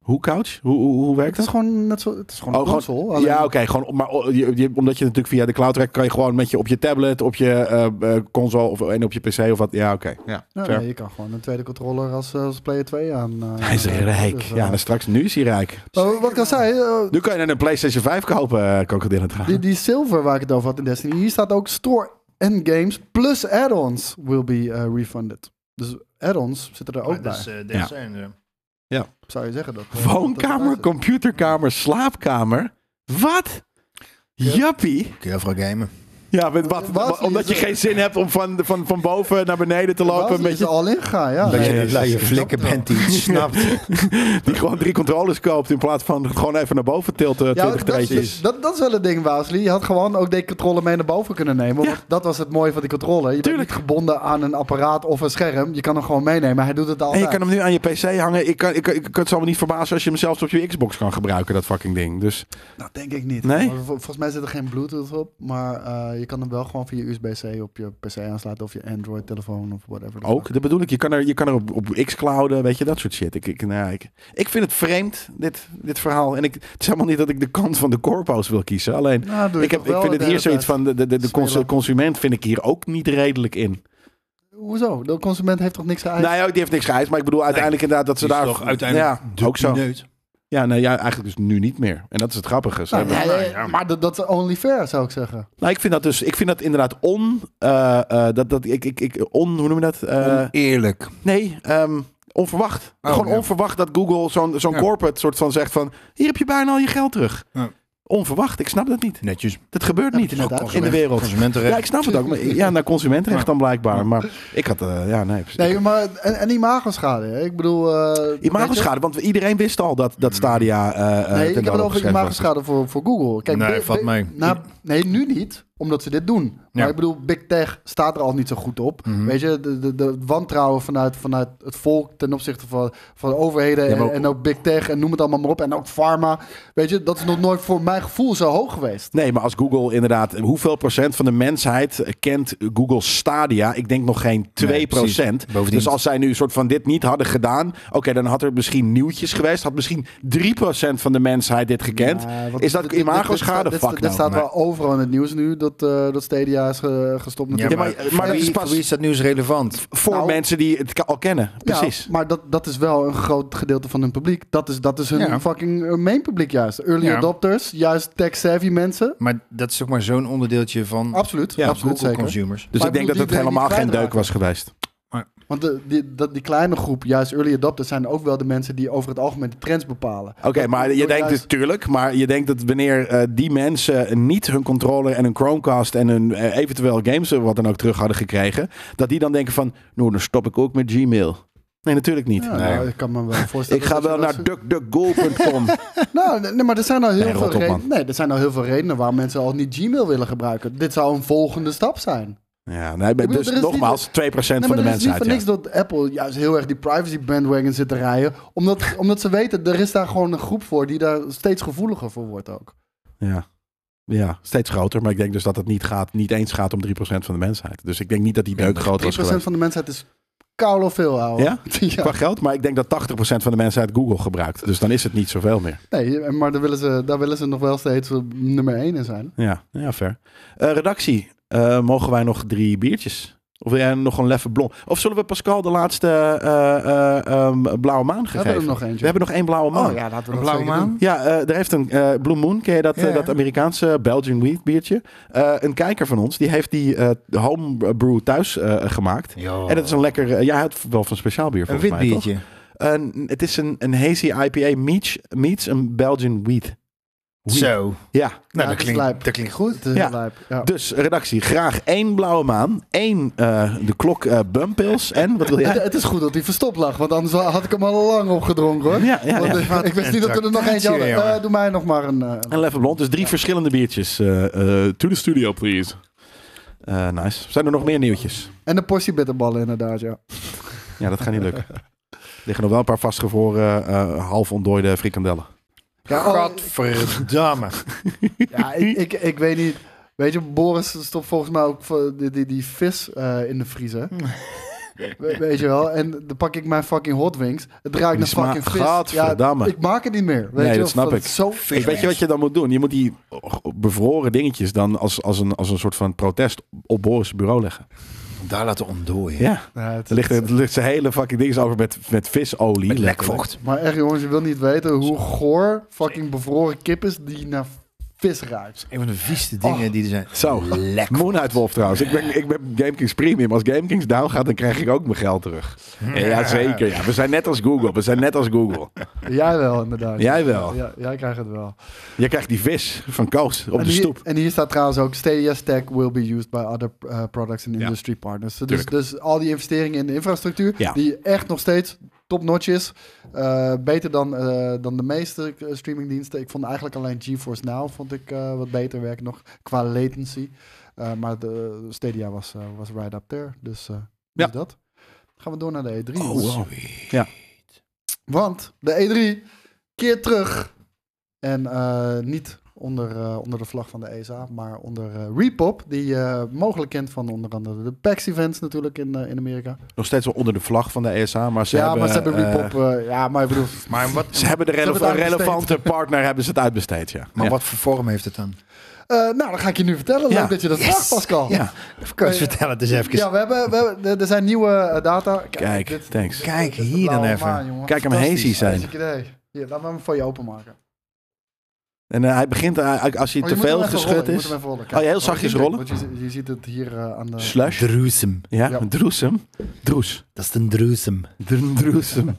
Speaker 1: Hoe couch? Hoe, hoe, hoe werkt
Speaker 2: Het is
Speaker 1: dat?
Speaker 2: gewoon net zo. Het is gewoon een console. alleen-
Speaker 1: Oh, ja, oké. gewoon, om- maar o- je, je- omdat je natuurlijk via de cloud trekt, kan je gewoon met je op je tablet, op je eh, eh, console of en op je pc of wat. Ja, oké. Ja.
Speaker 2: Ja,
Speaker 1: fair.
Speaker 2: Nou, nee, je kan gewoon een tweede controller als, eh, als player 2 aan. eh,
Speaker 1: Hij is rijk.
Speaker 2: dus, eh,
Speaker 1: Ja, dan straks nu is hij rijk.
Speaker 2: maar wat ik al zei, eh,
Speaker 1: Nu kan je dan een PlayStation 5 kopen, eh, krokodillen trouwens.
Speaker 2: die, die silver waar ik het over had in Destiny, hier staat ook store en games plus add-ons will be eh, refunded. Dus add-ons zitten er ook bij.
Speaker 3: dat is, eh, dat
Speaker 1: Ja.
Speaker 3: zijn ze.
Speaker 2: Zou je zeggen dat? eh, dat erbij
Speaker 1: Woonkamer,
Speaker 2: zit.
Speaker 1: computerkamer, slaapkamer. Wat? Jappie.
Speaker 3: Kun je vooral gamen.
Speaker 1: Ja, met wat?
Speaker 2: Wat?
Speaker 1: Omdat je geen zin hebt om van, van, van boven naar beneden te lopen. Een
Speaker 2: Basis is er
Speaker 1: beetje
Speaker 2: al in gegaan, ja.
Speaker 3: Dat
Speaker 1: Nee,
Speaker 3: je,
Speaker 1: dat
Speaker 3: dat
Speaker 1: is-
Speaker 3: je
Speaker 1: ik
Speaker 3: flikker
Speaker 2: snap
Speaker 3: bent die het snapt.
Speaker 1: die gewoon drie controllers koopt in plaats van gewoon even naar boven tilten.
Speaker 2: Ja,
Speaker 1: 20
Speaker 2: dat, is-
Speaker 1: treetjes.
Speaker 2: dat, dat is wel het ding, Waasley. Je had gewoon ook die controle mee naar boven kunnen nemen.
Speaker 1: Ja.
Speaker 2: Want dat was het mooie van die controle. Je
Speaker 1: Tuurlijk.
Speaker 2: bent niet gebonden aan een apparaat of een scherm. Je kan hem gewoon meenemen. Hij doet het
Speaker 1: En
Speaker 2: altijd.
Speaker 1: je kan hem nu aan je PC hangen. Ik kan, ik, ik, ik kan het zo me niet verbazen als je hem zelfs op je Xbox kan gebruiken, dat fucking ding. Dus
Speaker 2: Dat Nou, denk ik niet.
Speaker 1: Nee?
Speaker 2: Maar vol- volgens mij zit er geen Bluetooth op. Maar eh, je kan hem wel gewoon via USB-C op je PC aansluiten. Of je Android-telefoon of whatever.
Speaker 1: ook, dat bedoel ik. Je kan er, je kan er op, op X-clouden, weet je, dat soort shit. Ik, ik, nou, ja, ik, ik vind het vreemd, dit, dit verhaal. En ik, het is helemaal niet dat ik de kant van de corpo's wil kiezen. Alleen,
Speaker 2: Nou, doe je
Speaker 1: ik, heb,
Speaker 2: toch
Speaker 1: ik
Speaker 2: wel
Speaker 1: vind het
Speaker 2: de
Speaker 1: hier
Speaker 2: hele
Speaker 1: zoiets
Speaker 2: tijd.
Speaker 1: van, de, de, de, de cons-
Speaker 2: Spelen.
Speaker 1: consument vind ik hier ook niet redelijk in.
Speaker 2: Hoezo? De consument heeft toch niks geëist?
Speaker 1: Nou ja, die heeft niks geëist, maar ik bedoel uiteindelijk inderdaad dat ze
Speaker 3: Die is
Speaker 1: daar...
Speaker 3: toch uiteindelijk
Speaker 1: ja,
Speaker 3: de
Speaker 1: ook zo.
Speaker 3: pineut.
Speaker 1: Ja, nou ja, eigenlijk dus nu niet meer. En dat is het grappige. Ze
Speaker 2: Nou,
Speaker 1: hebben-
Speaker 2: ja, ja, ja, maar dat, dat is only fair, zou ik zeggen.
Speaker 1: Nou, ik vind dat dus, ik vind dat inderdaad on, eh, eh, dat, dat, ik, ik, ik, on, hoe noem je dat? Eh,
Speaker 3: Eerlijk.
Speaker 1: nee, ehm, onverwacht.
Speaker 3: Oh,
Speaker 1: Gewoon
Speaker 3: ja.
Speaker 1: onverwacht dat Google zo'n zo'n
Speaker 3: Ja.
Speaker 1: corporate soort van zegt van, hier heb je bijna al je geld terug.
Speaker 3: Ja.
Speaker 1: Onverwacht, ik snap dat niet.
Speaker 3: Netjes.
Speaker 1: Dat gebeurt
Speaker 2: Ja,
Speaker 1: niet
Speaker 2: inderdaad.
Speaker 1: in de wereld.
Speaker 3: Consumentenrecht.
Speaker 1: Ja, ik snap het ook. Maar, ja, naar consumentenrecht dan blijkbaar. Maar ik had, eh, ja, nee. precies.
Speaker 2: Nee, maar en, en imago-schade. hè? Ik bedoel... eh, weet je?
Speaker 1: Imago-schade, want iedereen wist al dat, dat Stadia. eh
Speaker 2: Nee, ik heb het over imago-schade voor, voor Google. Kijk,
Speaker 3: Nee,
Speaker 2: Big-
Speaker 3: valt
Speaker 2: Big-
Speaker 3: mee.
Speaker 2: nou, nee, nu niet, omdat ze dit doen. Maar ik bedoel, Big Tech staat er al niet zo goed op.
Speaker 3: Mhm.
Speaker 2: Weet je, de, de, de wantrouwen vanuit, vanuit het volk ten opzichte van, van overheden
Speaker 1: Ja, maar
Speaker 2: en,
Speaker 1: ook-
Speaker 2: en ook Big Tech en noem het allemaal maar op. En ook pharma. Weet je, dat is nog nooit voor mijn gevoel zo hoog geweest.
Speaker 1: Nee, maar als Google inderdaad. Hoeveel procent van de mensheid eh, kent Google Stadia? Ik denk nog geen 2 procent.
Speaker 3: precies. Bovendien-
Speaker 1: dus als zij nu een soort van dit niet hadden gedaan. Oké, dan had er misschien nieuwtjes geweest. Had misschien 3 procent van de mensheid dit gekend.
Speaker 2: Ja, want
Speaker 1: is dat
Speaker 2: dit- dit- dit-
Speaker 1: imago-schade?
Speaker 2: dit-
Speaker 1: Fuck
Speaker 2: Dit, dit
Speaker 1: nou.
Speaker 2: staat
Speaker 3: Nee.
Speaker 2: wel overal in het nieuws nu, dat, eh, dat Stadia is eh, gestopt
Speaker 3: Ja,
Speaker 2: natuurlijk.
Speaker 1: maar-
Speaker 3: maar,
Speaker 1: maar
Speaker 3: voor
Speaker 1: dat is
Speaker 3: wie,
Speaker 1: pas-
Speaker 3: voor wie is dat nieuws relevant?
Speaker 1: Voor
Speaker 2: Nou-
Speaker 1: mensen die het ka- al kennen.
Speaker 2: Ja,
Speaker 1: Precies.
Speaker 2: maar dat, dat is wel een groot gedeelte van hun publiek. Dat is, dat is hun
Speaker 3: Ja.
Speaker 2: fucking eh, main publiek juist. Early
Speaker 3: Ja.
Speaker 2: adopters, juist tech-savvy mensen.
Speaker 3: Maar dat is ook maar zo'n onderdeeltje van
Speaker 2: Absoluut,
Speaker 1: Ja,
Speaker 2: Oh, absoluut
Speaker 3: Google
Speaker 2: zeker.
Speaker 3: consumers.
Speaker 1: dus
Speaker 2: maar
Speaker 1: ik denk
Speaker 2: ik
Speaker 1: dat
Speaker 2: bedoel,
Speaker 1: het
Speaker 2: die- die
Speaker 1: helemaal geen deuk
Speaker 2: kwijtraken.
Speaker 1: was geweest.
Speaker 2: Want de, die, dat, die kleine groep, juist early adopters, zijn ook wel de mensen die over het algemeen de trends bepalen.
Speaker 1: Oké, maar je denkt dus, tuurlijk, maar je denkt dat wanneer eh, die mensen niet hun controller en hun Chromecast en hun eh, eventueel games of wat dan ook terug hadden gekregen, dat die dan denken van, nou dan stop ik ook met Gmail. Nee, natuurlijk niet.
Speaker 2: Ja,
Speaker 1: Nee.
Speaker 2: nou, ik kan me wel voorstellen.
Speaker 1: Ik ga
Speaker 2: dat je
Speaker 1: wel
Speaker 2: dat
Speaker 1: naar
Speaker 2: soort-
Speaker 1: duckduckgo.com.
Speaker 2: Nou, nee, maar er zijn al heel
Speaker 1: Nee,
Speaker 2: veel
Speaker 1: rot op,
Speaker 2: redenen.
Speaker 1: man.
Speaker 2: Nee, er zijn al heel veel redenen waarom mensen al niet Gmail willen gebruiken. Dit zou een volgende stap zijn.
Speaker 1: ja, nee,
Speaker 2: bedoel, er
Speaker 1: dus
Speaker 2: is
Speaker 1: nogmaals, 2%
Speaker 2: Nee,
Speaker 1: van de
Speaker 2: maar het is niet
Speaker 1: mensheid.
Speaker 2: voor
Speaker 1: ja.
Speaker 2: niks dat Apple juist heel erg die privacy bandwagon zit te rijden. Omdat, omdat ze weten, er is daar gewoon een groep voor die daar steeds gevoeliger voor wordt ook.
Speaker 1: Ja. ja, steeds groter, maar ik denk dus dat het niet, gaat, niet eens gaat om 3% van de mensheid. Dus ik denk niet dat die deuk groot
Speaker 2: 3%
Speaker 1: was geweest.
Speaker 2: van de mensheid is koude veel, ouwe.
Speaker 1: Ja? Qua
Speaker 2: ja.
Speaker 1: geld, maar ik denk dat 80% van de mensheid Google gebruikt. Dus dan is het niet zoveel meer.
Speaker 2: Nee, maar daar willen, ze, daar willen ze nog wel steeds eh, nummer 1 in zijn.
Speaker 1: Ja, ja fair. Eh, redactie, eh, mogen wij nog drie biertjes? Of wil jij nog een leffe blond? Of zullen we Pascal de laatste eh, eh, ehm, blauwe maan
Speaker 2: We
Speaker 1: gegeven?
Speaker 2: hebben er nog eentje.
Speaker 1: We hebben nog één blauwe maan.
Speaker 2: Oh ja, laten we dat
Speaker 3: Een blauwe
Speaker 2: zeker
Speaker 3: maan?
Speaker 2: doen.
Speaker 1: Ja, eh, er heeft een eh Blue Moon, ken je dat, eh,
Speaker 3: Ja, ja.
Speaker 1: dat Amerikaanse Belgian Wheat biertje? Eh, een kijker van ons, die heeft die eh, homebrew thuis eh, gemaakt. En het is een lekker, eh, jij houdt wel van speciaal bier
Speaker 3: een
Speaker 1: volgens
Speaker 3: wit
Speaker 1: mij, toch?
Speaker 3: biertje.
Speaker 1: Een- het is een, een hazy IPA meets, meets een Belgian Wheat.
Speaker 3: Zo. Nou,
Speaker 1: Ja,
Speaker 2: het
Speaker 3: dat,
Speaker 2: is
Speaker 3: klinkt,
Speaker 2: lijp.
Speaker 3: dat klinkt goed.
Speaker 2: Het is
Speaker 1: Ja.
Speaker 2: heel lijp, ja.
Speaker 1: Dus redactie, graag één blauwe maan, één eh, de klok eh bumpils en wat wil
Speaker 2: Het,
Speaker 1: jij?
Speaker 2: het is goed dat hij verstopt lag, want anders had ik hem al lang opgedronken hoor.
Speaker 1: Ja, ja,
Speaker 2: Want,
Speaker 1: ja.
Speaker 2: eh, Ik wist niet dat we er nog eentje
Speaker 3: tractatie,
Speaker 2: hadden.
Speaker 3: jongen.
Speaker 2: Eh, doe mij nog maar een... eh,
Speaker 1: En Level Blond, dus drie verschillende biertjes. eh, eh, to the studio, please. Eh, nice. Zijn er nog meer nieuwtjes?
Speaker 2: en een portie bitterballen inderdaad, ja.
Speaker 1: Ja, dat gaat niet lukken. Er liggen nog wel een paar vastgevroren, eh, half ontdooide frikandellen.
Speaker 2: Ja, oh,
Speaker 3: Godverdamme.
Speaker 2: Ja, ik, ik, ik weet niet. Weet je, Boris stopt volgens mij ook voor die, die, die vis eh, in de vriezer. We- Weet je wel? En dan pak ik mijn fucking hot wings. Het ruikt
Speaker 1: Die
Speaker 2: naar fucking
Speaker 1: smaak-
Speaker 2: vis.
Speaker 1: Gadverdamme.
Speaker 2: ik maak het niet meer. Weet
Speaker 1: Nee, dat
Speaker 2: je wel?
Speaker 1: snap
Speaker 2: Van
Speaker 1: ik.
Speaker 2: Zo
Speaker 1: Ik Dus weet je wat je dan moet doen? Je moet die bevroren dingetjes dan als, als, een, als een soort van protest op Boris' bureau leggen.
Speaker 3: Daar laten ontdooien.
Speaker 1: Ja.
Speaker 2: Ja, het
Speaker 1: Er ligt, er ligt zijn hele fucking ding is over met, met visolie.
Speaker 3: Met
Speaker 1: letterlijk.
Speaker 3: lekvocht.
Speaker 2: Maar echt jongens, je wil niet weten hoe goor fucking bevroren kip is die naar vis ruikt.
Speaker 3: Een van de vieste dingen die er zijn.
Speaker 1: Zo.
Speaker 3: Lekker.
Speaker 1: Moonlight Wolf trouwens. Ik ben, ik ben GameKings Premium. Als GameKings down gaat, dan krijg ik ook mijn geld terug. Ja, zeker. Ja. We zijn net als Google. We zijn net als Google.
Speaker 2: Jij wel, inderdaad.
Speaker 1: Jij wel.
Speaker 2: Ja, jij krijgt het wel.
Speaker 1: Je krijgt die vis van Koos op
Speaker 2: en,
Speaker 1: de
Speaker 2: hier,
Speaker 1: stoep.
Speaker 2: en hier staat trouwens ook: Stadia Stack will be used by other uh, products and industry partners. Dus- Dus, dus al die investeringen in de infrastructuur,
Speaker 1: Ja.
Speaker 2: die echt nog steeds top-notch is. eh, beter dan, eh, dan de meeste eh, streamingdiensten. Ik vond eigenlijk alleen GeForce Now vond ik, eh, wat beter werken nog qua latency. Eh, maar de Stadia was, eh, was right up there. Dus eh
Speaker 1: Ja.
Speaker 2: dus dat. Gaan we door naar de E E3.
Speaker 3: Oh,
Speaker 2: jongens.
Speaker 3: wow.
Speaker 2: Want de E3 keert terug. En eh, niet onder, eh, onder de vlag van de ESA, maar onder eh, Repop. Die je mogelijk kent van onder andere de PAX-events natuurlijk in, eh, in Amerika.
Speaker 1: Nog steeds wel onder de vlag van de ESA. Maar ze
Speaker 2: ja,
Speaker 1: hebben,
Speaker 2: maar ze hebben
Speaker 1: eh,
Speaker 2: Repop. eh, ja, maar ik bedoel...
Speaker 3: Maar, wat,
Speaker 1: ze hebben de rele-
Speaker 2: Ze hebben het
Speaker 1: relevante partner hebben ze het uitbesteed, ja.
Speaker 3: maar
Speaker 1: Ja.
Speaker 3: wat voor vorm heeft het dan?
Speaker 2: eh, nou, dan ga ik je nu vertellen.
Speaker 1: Ja.
Speaker 2: Leuk dat je dat vraagt, Pascal.
Speaker 3: Ja, Koos, vertel het eens even.
Speaker 2: Ja, we hebben, we hebben, er- er zijn nieuwe eh, data. Kijk,
Speaker 1: Kijk,
Speaker 2: dit-
Speaker 1: thanks.
Speaker 3: Kijk
Speaker 2: dit is de
Speaker 3: hier dan
Speaker 2: blauwe
Speaker 3: even.
Speaker 2: maan, jongen.
Speaker 1: Kijk hem hazy zijn.
Speaker 2: Hartstikke idee. Hier, laat me hem voor je openmaken.
Speaker 1: En eh, hij begint, eh, als hij
Speaker 2: Oh, je
Speaker 1: te
Speaker 2: moet hem
Speaker 1: veel
Speaker 2: even rollen,
Speaker 1: geschud
Speaker 2: je moet
Speaker 1: is...
Speaker 2: hem even rollen.
Speaker 1: Oh, ja, heel
Speaker 2: Kijk.
Speaker 1: zachtjes
Speaker 2: Want je-
Speaker 1: rollen.
Speaker 2: want Je, je ziet het hier eh, aan de...
Speaker 1: Slush.
Speaker 3: Droesem.
Speaker 1: Ja,
Speaker 2: Ja.
Speaker 1: een droesem. Droes.
Speaker 3: Dat is een droesem.
Speaker 1: Dr- Droesem.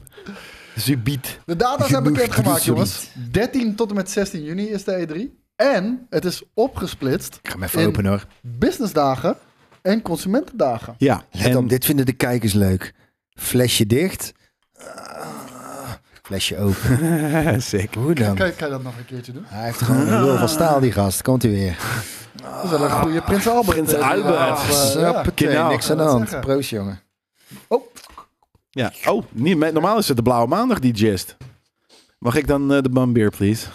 Speaker 1: Zubiet.
Speaker 2: De data zijn
Speaker 3: Genoeg
Speaker 2: bekendgemaakt,
Speaker 3: gedoe,
Speaker 2: jongens. 13 tot en met 16 juni is de E3. En het is opgesplitst
Speaker 3: Ik ga hem even
Speaker 2: In-
Speaker 3: openen hoor.
Speaker 2: businessdagen en consumentendagen.
Speaker 1: Ja.
Speaker 3: Let
Speaker 1: en-
Speaker 3: op, dit vinden de kijkers leuk. Flesje dicht. Ah, flesje open.
Speaker 1: Sick.
Speaker 3: Hoe dan?
Speaker 2: Kan, kan je dat nog een keertje doen?
Speaker 3: Hij heeft gewoon een lul van staal, die gast. Komt hij weer.
Speaker 2: Dat is wel een goede Prins Albert.
Speaker 1: Prins
Speaker 2: eh, die
Speaker 1: Albert.
Speaker 2: we
Speaker 1: Ah,
Speaker 2: af, eh, ja. oh.
Speaker 3: Hoppatee,
Speaker 1: Genau.
Speaker 3: niks aan de
Speaker 2: Ik wou het
Speaker 3: hand.
Speaker 2: zeggen.
Speaker 3: Proost, jongen.
Speaker 1: Ja. Oh, niet met, normaal is het de Blauwe Maandag die gist. Mag ik dan eh, de bambeer, please?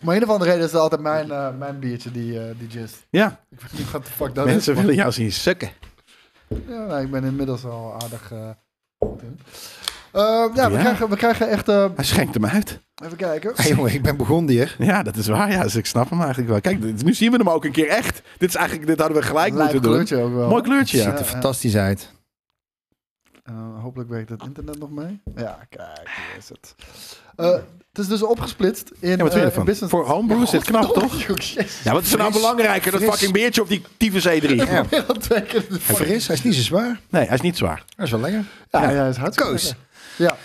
Speaker 2: Maar in ieder geval de reden is dat altijd mijn, eh, mijn biertje die, eh die gist.
Speaker 1: Ja,
Speaker 2: Ik weet niet wat de fuck dat
Speaker 1: mensen
Speaker 2: is. maar-
Speaker 1: willen jou zien sukken.
Speaker 2: Ja, nou, ik ben inmiddels al aardig eh, goed in. Eh, ja, we,
Speaker 1: Ja.
Speaker 2: Krijgen, we krijgen echt... eh,
Speaker 1: Hij schenkt hem uit.
Speaker 2: even kijken.
Speaker 3: Hey, jongen, ik ben begonnen hier.
Speaker 1: Ja, dat is waar. Ja, dus ik snap hem eigenlijk wel. Kijk, dit- nu zien we hem ook een keer echt. Dit, is eigenlijk, dit hadden we gelijk
Speaker 2: Lijp
Speaker 1: moeten doen.
Speaker 2: kleurtje ook wel.
Speaker 1: Mooi kleurtje, ja.
Speaker 3: Ziet er
Speaker 2: ja.
Speaker 3: fantastisch uit.
Speaker 2: Eh, hopelijk werkt
Speaker 3: Ah.
Speaker 2: het internet nog mee. Ja, kijk, hier is het. Eh, het is dus opgesplitst in,
Speaker 1: Ja, wat vind je
Speaker 2: eh,
Speaker 1: ervan?
Speaker 2: business.
Speaker 1: Voor homebrew is dit knap, toch?
Speaker 2: Oh, jongens, jezus.
Speaker 1: Ja, wat is er nou
Speaker 3: Fris,
Speaker 1: belangrijker? Dat
Speaker 3: fris.
Speaker 1: fucking beertje op die tyfus E3.
Speaker 3: Ja.
Speaker 2: Meer dan twee keer de
Speaker 3: Hij
Speaker 2: fucking-
Speaker 3: fris, hij is niet zo zwaar.
Speaker 1: Nee, hij is niet zwaar.
Speaker 3: Hij is wel lekker.
Speaker 2: Ja, ja, hij is hartstikke
Speaker 3: Koos.
Speaker 2: lekker. Ja.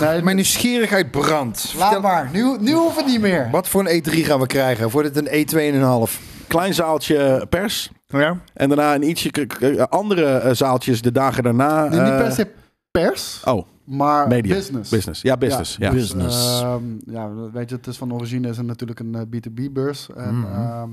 Speaker 2: Nee,
Speaker 3: Mijn nieuwsgierigheid brandt.
Speaker 2: laat
Speaker 3: Vertel-
Speaker 2: maar. Nu, nu hoeft het niet meer.
Speaker 3: Wat voor een E3 gaan we krijgen? Wordt het een E2,5?
Speaker 1: Klein zaaltje pers.
Speaker 3: Ja.
Speaker 1: En daarna een ietsje k- k- andere eh, zaaltjes de dagen daarna.
Speaker 2: Nee, niet
Speaker 1: eh,
Speaker 2: per se pers,
Speaker 1: Oh,
Speaker 2: maar
Speaker 1: media.
Speaker 2: business.
Speaker 1: Business. Ja, business. Ja,
Speaker 3: Business.
Speaker 2: Ehm, ja, weet je, het is van origine is het natuurlijk een eh, B2B-beurs. En
Speaker 3: Mhm.
Speaker 2: ehm,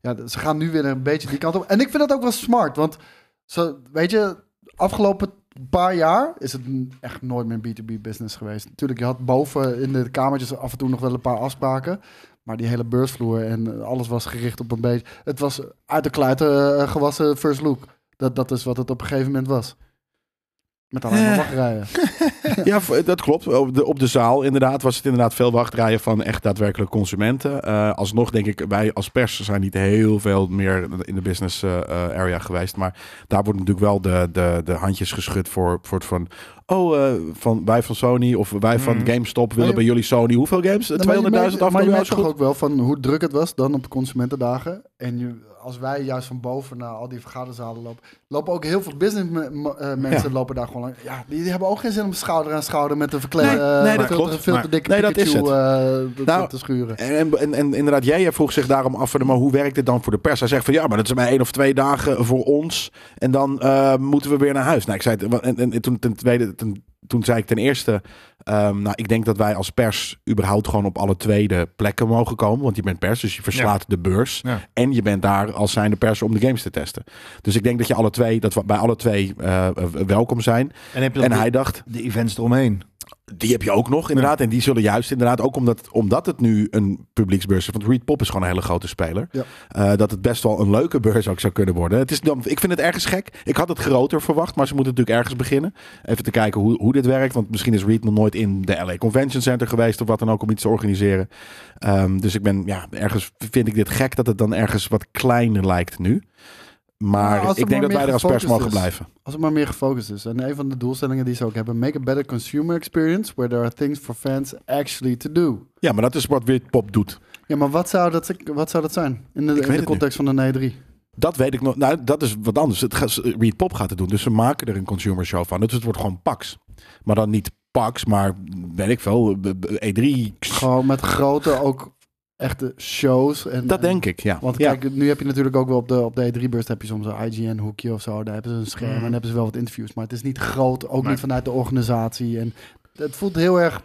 Speaker 2: ja, d- ze gaan nu weer een beetje die kant op. En ik vind dat ook wel smart, want zo, weet je, afgelopen paar jaar is het n- echt nooit meer B2B-business geweest. Natuurlijk, je had boven in de kamertjes af en toe nog wel een paar afspraken. Maar die hele beursvloer en eh, alles was gericht op een beetje... Het was uit de kluiten eh, gewassen first look. Dat, dat is wat het op een gegeven moment was. Met alleen maar
Speaker 1: Eh.
Speaker 2: wachtrijen.
Speaker 1: Ja, v- dat klopt. Op de, op de zaal inderdaad was het inderdaad veel wachtrijen van echt daadwerkelijk consumenten. Eh, alsnog denk ik, wij als pers zijn niet heel veel meer in de business eh, eh, area geweest. Maar daar wordt natuurlijk wel de, de, de handjes geschud voor, voor het van... Oh, eh, van, wij van Sony of wij van
Speaker 3: Mm.
Speaker 1: GameStop willen
Speaker 2: Maar je-
Speaker 1: bij jullie Sony. Hoeveel games? 200.000
Speaker 2: Nou, maar je merkt-
Speaker 1: af
Speaker 2: Maar je
Speaker 1: miljoen
Speaker 2: merkt
Speaker 1: is
Speaker 2: toch
Speaker 1: goed.
Speaker 2: ook wel van hoe druk het was dan op de consumentendagen. En je, als wij juist van boven naar al die vergaderzalen lopen, lopen ook heel veel business me- me- eh, mensen lopen daar gewoon lang. Ja, die, die hebben ook geen zin om schouder aan schouder met een verkleden,
Speaker 1: Nee, nee, dat
Speaker 2: veel,
Speaker 1: klopt.
Speaker 2: te- veel
Speaker 1: Maar-
Speaker 2: te dikke
Speaker 1: nee, dat
Speaker 2: Pikachu
Speaker 1: is het.
Speaker 2: eh, te-
Speaker 1: Nou,
Speaker 2: te schuren.
Speaker 1: En, en, en, en inderdaad, jij vroeg zich daarom af, van, maar hoe werkt dit dan voor de pers? Hij zegt van ja, maar dat is maar één of twee dagen voor ons. En dan eh, moeten we weer naar huis. Nou, ik zei het, en, en, en toen, ten tweede, ten- toen zei ik ten eerste, ehm, nou, ik denk dat wij als pers überhaupt gewoon op alle tweede plekken mogen komen. Want je bent pers, dus je verslaat de beurs.
Speaker 3: Ja.
Speaker 1: En je bent daar als zijnde pers om de games te testen. Dus ik denk dat je alle twee, dat we bij alle twee eh, welkom zijn.
Speaker 3: En heb je
Speaker 1: En
Speaker 3: dan
Speaker 1: hij
Speaker 3: de,
Speaker 1: dacht,
Speaker 3: de events eromheen?
Speaker 1: Die heb je ook nog, inderdaad. En die zullen juist inderdaad, ook omdat, omdat het nu een publieksbeurs is. Want Reed Pop is gewoon een hele grote speler.
Speaker 2: Ja.
Speaker 1: eh, dat het best wel een leuke beurs ook zou kunnen worden. Het is dan, ik vind het ergens gek. Ik had het groter verwacht, maar ze moeten natuurlijk ergens beginnen. Even te kijken hoe, hoe dit werkt. Want misschien is Reed nog nooit in de LA Convention Center geweest of wat dan ook om iets te organiseren. Ehm, dus ik ben, ja, ergens vind ik dit gek dat het dan ergens wat kleiner lijkt nu. Maar
Speaker 2: Nou, als er
Speaker 1: ik denk
Speaker 2: maar
Speaker 1: dat wij
Speaker 2: meer
Speaker 1: er als pers
Speaker 2: gefocust
Speaker 1: mogen
Speaker 2: is.
Speaker 1: blijven.
Speaker 2: Als het maar meer gefocust is. En een van de doelstellingen die ze ook hebben: make a better consumer experience where there are things for fans actually to do.
Speaker 1: Ja, maar dat is wat Reed Pop doet.
Speaker 2: Ja, maar wat zou dat, wat zou dat zijn in de, in
Speaker 1: weet
Speaker 2: de
Speaker 1: het
Speaker 2: context van de E E3?
Speaker 1: Dat weet ik nog. Nou, dat is wat anders. Het gaat, Reed Pop gaat het doen. Dus ze maken er een consumer show van. Dus het wordt gewoon Pax. Maar dan niet Pax, maar weet ik veel. b- b- E E3.
Speaker 2: Gewoon met grote, ook echte shows. En,
Speaker 1: Dat
Speaker 2: en-
Speaker 1: denk ik, ja.
Speaker 2: Want
Speaker 1: ja.
Speaker 2: kijk, nu heb je natuurlijk ook wel op de, op de E3-beurs heb je soms een IGN-hoekje of zo. Daar hebben ze een scherm en hebben ze wel wat interviews. Maar het is niet groot, ook
Speaker 3: Nee.
Speaker 2: niet vanuit de organisatie. En het voelt heel erg,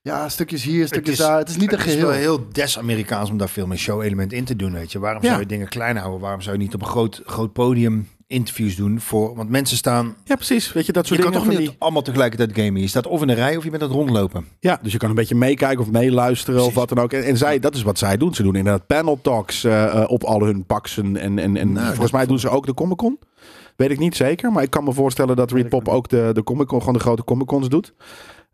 Speaker 2: ja, stukjes hier, stukjes
Speaker 3: is-
Speaker 2: daar. Het is niet een
Speaker 3: Het is
Speaker 2: geheel.
Speaker 3: wel heel des-Amerikaans om daar veel meer show-element in te doen, weet je. Waarom
Speaker 1: Ja.
Speaker 3: zou je dingen klein houden? Waarom zou je niet op een groot, groot podium interviews doen voor... Want mensen staan...
Speaker 1: ja, precies. Weet je, dat
Speaker 3: Je
Speaker 1: soort
Speaker 3: kan
Speaker 1: dingen.
Speaker 3: toch
Speaker 1: Van
Speaker 3: niet
Speaker 1: die,
Speaker 3: allemaal tegelijkertijd gamen. Je staat of in een rij of je bent aan het rondlopen.
Speaker 1: ja, dus je kan een beetje meekijken of meeluisteren of
Speaker 3: Precies.
Speaker 1: wat dan ook. En, en zij, dat is wat zij doen. Ze doen inderdaad panel talks eh, eh, op al hun Paxen. En, en, en
Speaker 3: Nou,
Speaker 1: volgens
Speaker 3: dat-
Speaker 1: mij doen ze ook de Comic Con. Weet ik niet zeker, maar ik kan me voorstellen dat Reed
Speaker 2: Weet ik
Speaker 1: Pop ook de, de Comic Con, gewoon de grote Comic Cons doet.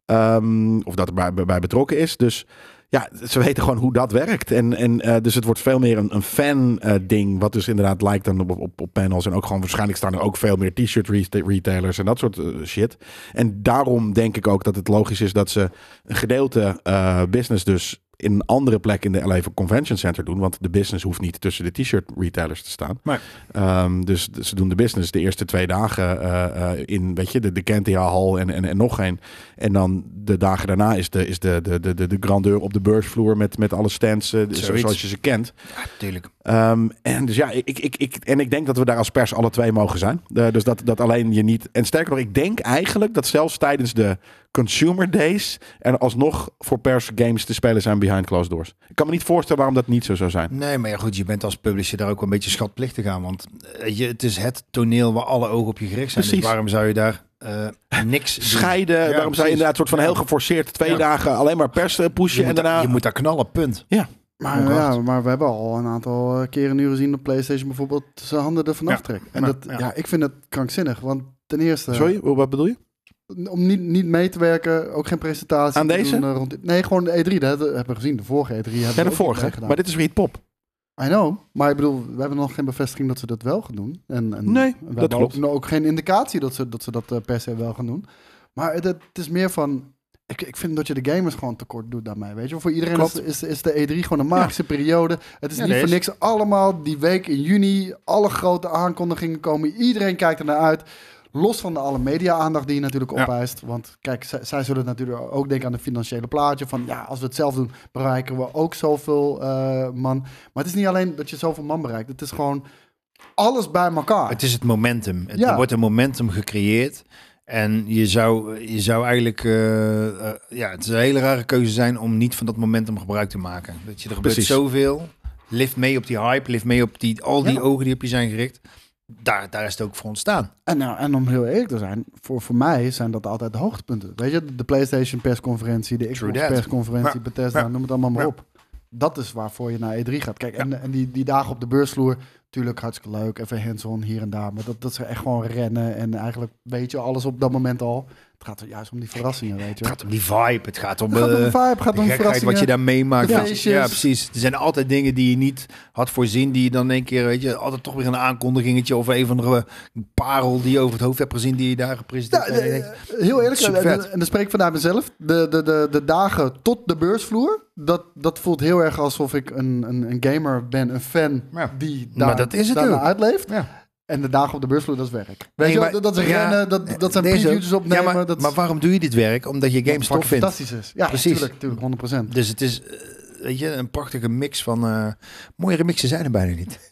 Speaker 1: Ehm, of dat erbij bij betrokken is. Dus ja, ze weten gewoon hoe dat werkt. En, en eh, dus het wordt veel meer een, een fan-ding. wat dus inderdaad lijkt dan op, op, op panels. En ook gewoon waarschijnlijk staan er ook veel meer t-shirt re- retailers en dat soort eh, shit. En daarom denk ik ook dat het logisch is dat ze een gedeelte eh, business dus in een andere plek in de LA Convention Center doen. Want de business hoeft niet tussen de t-shirt retailers te staan.
Speaker 3: Maar
Speaker 1: Ehm, dus d- ze doen de business de eerste twee dagen eh, eh, in, weet je, de, de Kentia Hall en, en, en nog geen. En dan de dagen daarna is de, is de, de, de, de, de grandeur op de beursvloer met, met alle stands eh, zo-
Speaker 3: Zoiets.
Speaker 1: zoals je ze kent.
Speaker 3: natuurlijk.
Speaker 1: Ehm, en dus ja, ik, ik, ik, en ik denk dat we daar als pers alle twee mogen zijn. Eh, dus dat, dat alleen je niet. En sterker nog, ik denk eigenlijk dat zelfs tijdens de Consumer Days er alsnog voor pers games te spelen zijn behind closed doors. Ik kan me niet voorstellen waarom dat niet zo zou zijn.
Speaker 3: Nee, maar ja, goed, je bent als publisher daar ook wel een beetje schatplichtig aan. Want eh, je, het is het toneel waar alle ogen op je gericht zijn.
Speaker 1: Precies.
Speaker 3: Dus waarom zou je daar eh, niks doen?
Speaker 1: Dus- scheiden.
Speaker 3: Ja,
Speaker 1: waarom zou
Speaker 3: precies.
Speaker 1: je inderdaad soort van heel geforceerd twee
Speaker 3: Ja.
Speaker 1: dagen alleen maar pers eh, pushen
Speaker 3: Je moet,
Speaker 1: en
Speaker 3: daar-
Speaker 1: daarna...
Speaker 3: je moet daar knallen, punt.
Speaker 1: Ja,
Speaker 2: Maar,
Speaker 3: Oh,
Speaker 2: ja,
Speaker 3: God.
Speaker 2: maar we hebben al een aantal eh, keren nu gezien dat PlayStation bijvoorbeeld zijn handen ervan
Speaker 3: Ja,
Speaker 2: aftrekt. En
Speaker 3: maar-
Speaker 2: dat, ja.
Speaker 3: ja.
Speaker 2: ik vind het krankzinnig. Want ten eerste,
Speaker 3: eh,
Speaker 1: sorry, wat bedoel je?
Speaker 2: om niet, niet mee te werken, ook geen presentatie.
Speaker 1: Aan
Speaker 2: te
Speaker 1: deze?
Speaker 2: doen, eh, rond, nee, gewoon de E3. Dat hebben we gezien. De vorige E3 hebben we
Speaker 1: Ja,
Speaker 2: ook
Speaker 1: de
Speaker 2: niet
Speaker 1: vorige.
Speaker 2: meegedaan.
Speaker 1: Maar dit is Reed Pop.
Speaker 2: I know, maar ik bedoel, we hebben nog geen bevestiging dat ze dat wel gaan doen. En, en
Speaker 1: Nee,
Speaker 2: we
Speaker 1: dat
Speaker 2: hebben
Speaker 1: klopt.
Speaker 2: Ook, ook geen indicatie dat ze dat, ze dat eh, per se wel gaan doen. Maar het, het is meer van, ik, ik vind dat je de gamers gewoon tekort doet daarmee, weet je. Voor iedereen is,
Speaker 1: Klopt.
Speaker 2: is, is de E3 gewoon een magische periode. Het is
Speaker 3: Ja,
Speaker 2: niet
Speaker 3: dat
Speaker 2: voor
Speaker 3: is-
Speaker 2: niks allemaal die week in juni, alle grote aankondigingen komen, iedereen kijkt er naar uit. Los van de alle media-aandacht die je natuurlijk
Speaker 3: Ja.
Speaker 2: opeist. Want kijk, zij, zij zullen natuurlijk ook denken aan de financiële plaatje. Van ja, als we het zelf doen, bereiken we ook zoveel eh, man. Maar het is niet alleen dat je zoveel man bereikt. Het is gewoon alles bij elkaar.
Speaker 3: Het is het momentum. Het,
Speaker 2: Ja.
Speaker 3: Er wordt een momentum gecreëerd. En je zou, je zou eigenlijk... eh, eh, ja, het zou een hele rare keuze zijn om niet van dat momentum gebruik te maken. Dat je, er gebeurt
Speaker 1: Precies.
Speaker 3: zoveel. Lift mee op die hype. Lift mee op die, al die
Speaker 2: Ja.
Speaker 3: ogen die op je zijn gericht. Daar, daar is het ook voor ontstaan.
Speaker 2: En, nou, en om heel eerlijk te zijn, voor, voor mij zijn dat altijd de hoogtepunten. Weet je, de PlayStation persconferentie, de Xbox
Speaker 3: True that.
Speaker 2: persconferentie,
Speaker 3: Ja.
Speaker 2: Bethesda,
Speaker 3: Ja.
Speaker 2: noem het allemaal maar
Speaker 3: Ja.
Speaker 2: op. Dat is waarvoor je naar E3 gaat. Kijk, en, en die, die dagen op de beursvloer, tuurlijk hartstikke leuk. Even hands-on hier en daar. Maar dat, dat ze echt gewoon rennen. En eigenlijk weet je alles op dat moment al. Het gaat er juist om die verrassingen, weet je.
Speaker 3: Het
Speaker 2: wel.
Speaker 3: gaat om die vibe. Het gaat om...
Speaker 2: Het gaat om
Speaker 3: eh,
Speaker 2: de vibe, het gaat
Speaker 3: De
Speaker 2: om
Speaker 3: gekheid
Speaker 2: verrassingen.
Speaker 3: wat je daar meemaakt.
Speaker 2: de
Speaker 3: Ja.
Speaker 2: feestjes.
Speaker 3: Ja, precies. Er zijn altijd dingen die je niet had voorzien, die je dan een keer, weet je, altijd toch weer een aankondigingetje of een van de parel die je over het hoofd hebt gezien, die je daar gepresenteerd
Speaker 2: Ja,
Speaker 3: hebt. En je
Speaker 2: eh,
Speaker 3: denkt,
Speaker 2: heel eerlijk, en,
Speaker 3: Supervet.
Speaker 2: en- en dan spreek ik vanuit mezelf. De, de, de, de dagen tot de beursvloer, dat, dat voelt heel erg alsof ik een, een, een gamer ben, een fan
Speaker 3: Ja.
Speaker 2: die daar,
Speaker 3: Maar dat is het
Speaker 2: daarna
Speaker 3: ook.
Speaker 2: uitleeft.
Speaker 3: Ja.
Speaker 2: En de dagen op de beursvloer, dat is werk. Weet
Speaker 3: Nee,
Speaker 2: je, wel,
Speaker 3: maar-
Speaker 2: dat, dat is
Speaker 3: ja,
Speaker 2: rennen, dat, dat zijn
Speaker 3: nee, zo.
Speaker 2: previews opnemen.
Speaker 3: Ja, maar,
Speaker 2: dat is-
Speaker 3: maar waarom doe je dit werk? Omdat je games
Speaker 2: wat
Speaker 3: tof vindt.
Speaker 2: fantastisch is. Ja,
Speaker 3: Precies.
Speaker 2: natuurlijk, 100%.
Speaker 3: Dus het is eh, weet je, een prachtige mix van... eh, mooiere mixen zijn er bijna niet.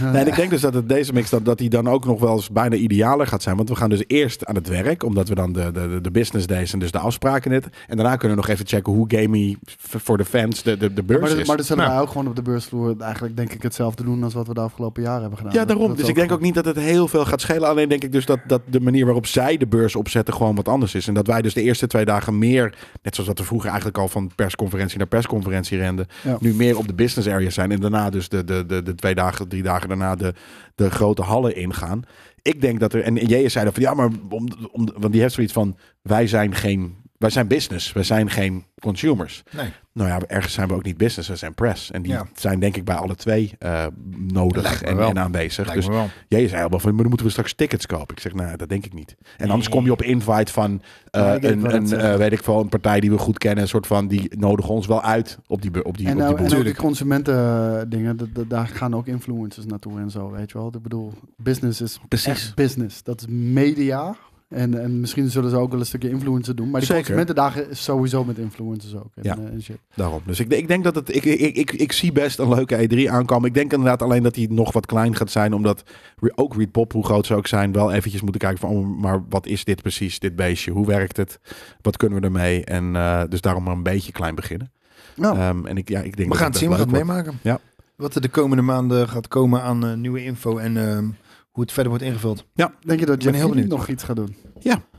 Speaker 1: Nee, en ik denk dus dat het deze mix dat, dat die dan ook nog wel eens bijna idealer gaat zijn. Want we gaan dus eerst aan het werk, omdat we dan de, de, de business days en dus de afspraken net. En daarna kunnen we nog even checken hoe gamey v- voor de fans de, de, de beurs
Speaker 2: Maar, dat-
Speaker 1: is.
Speaker 2: maar dat zullen
Speaker 3: Nou.
Speaker 2: wij ook gewoon op de beursvloer eigenlijk denk ik hetzelfde doen als wat we de afgelopen jaren hebben gedaan.
Speaker 1: ja,
Speaker 2: Dat-
Speaker 1: daarom.
Speaker 2: dat
Speaker 1: Dus ik denk ook
Speaker 2: gewoon-
Speaker 1: niet dat het heel veel gaat schelen. Alleen denk ik dus dat, dat de manier waarop zij de beurs opzetten gewoon wat anders is. En dat wij dus de eerste twee dagen meer, net zoals dat we vroeger eigenlijk al van persconferentie naar persconferentie renden,
Speaker 2: Ja.
Speaker 1: nu meer op de business area zijn. En daarna dus de, de, de, de twee dagen, drie dagen daarna de, de grote hallen ingaan. Ik denk dat er, en Jezus zei dan van ja, maar om, om, want die heeft zoiets van wij zijn geen, wij zijn business, wij zijn geen consumers.
Speaker 3: Nee.
Speaker 1: Nou ja, ergens zijn we ook niet business, we zijn press. En die
Speaker 3: Ja.
Speaker 1: zijn denk ik bij alle twee eh, nodig
Speaker 3: Lijkt me
Speaker 1: en,
Speaker 3: wel.
Speaker 1: en aanwezig.
Speaker 3: Lijkt
Speaker 1: dus
Speaker 3: me wel.
Speaker 1: jij zei al wel van, maar dan moeten we straks tickets kopen. Ik zeg, nou, dat denk ik niet. En anders kom je op invite van eh,
Speaker 2: Ja, Nou, ik denk wel
Speaker 1: een,
Speaker 2: dat
Speaker 1: een
Speaker 2: ze-
Speaker 1: eh, weet ik veel, een partij die we goed kennen, een soort van die nodigen ons wel uit op die bu- op die,
Speaker 2: En,
Speaker 1: op die
Speaker 2: nou, en
Speaker 1: boel.
Speaker 2: ook die consumenten eh, dingen, dat- dat- daar gaan ook influencers naartoe en zo, weet je wel. Ik bedoel, business is
Speaker 1: Precies.
Speaker 2: echt business. Dat is media. En, en misschien zullen ze ook wel een stukje influencer doen. Maar die
Speaker 1: Zeker.
Speaker 2: consumentendagen is sowieso met influencers ook. En,
Speaker 1: Ja.
Speaker 2: eh, en shit.
Speaker 1: Daarom. Dus ik, ik denk dat het. Ik, ik, ik, ik zie best een leuke E3 aankomen. Ik denk inderdaad alleen dat die nog wat klein gaat zijn. Omdat re- ook Reed Pop, hoe groot ze ook zijn, wel eventjes moeten kijken van. Oh, maar wat is dit precies, dit beestje? Hoe werkt het? Wat kunnen we ermee? En eh, dus daarom maar een beetje klein beginnen.
Speaker 2: Nou,
Speaker 1: Ehm, en ik, ja, ik denk
Speaker 3: We
Speaker 1: dat
Speaker 3: gaan het zien, we
Speaker 1: best
Speaker 3: gaan het
Speaker 1: leuk wordt.
Speaker 3: meemaken.
Speaker 1: Ja.
Speaker 3: Wat er de komende maanden gaat komen aan eh, nieuwe info en ehm, hoe het verder wordt ingevuld.
Speaker 2: denk je dat
Speaker 3: ben
Speaker 2: Jeff
Speaker 3: heel
Speaker 2: Keighley
Speaker 3: benieuwd.
Speaker 2: nog iets gaat doen?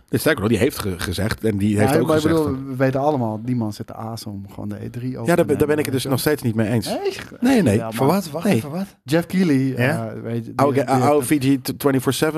Speaker 1: Dus Sterker nog, die heeft ge- gezegd. En die heeft
Speaker 2: Ja,
Speaker 1: ook
Speaker 2: maar ik
Speaker 1: gezegd.
Speaker 2: bedoel, we weten allemaal, die man zit de aas om gewoon de E3 over
Speaker 1: ja, daar, ben- daar
Speaker 2: te
Speaker 1: ben ik
Speaker 2: nemen.
Speaker 1: het dus nog steeds niet mee eens.
Speaker 2: Echt?
Speaker 1: Nee, nee.
Speaker 2: Ja,
Speaker 3: Voor
Speaker 2: maar-
Speaker 3: wat? Wacht
Speaker 1: Nee.
Speaker 3: even, wat?
Speaker 2: Jeff Keighley,
Speaker 3: Ja?
Speaker 2: eh, weet je, die-
Speaker 1: Oude,
Speaker 2: die- die-
Speaker 1: oude VG 24-7 eh,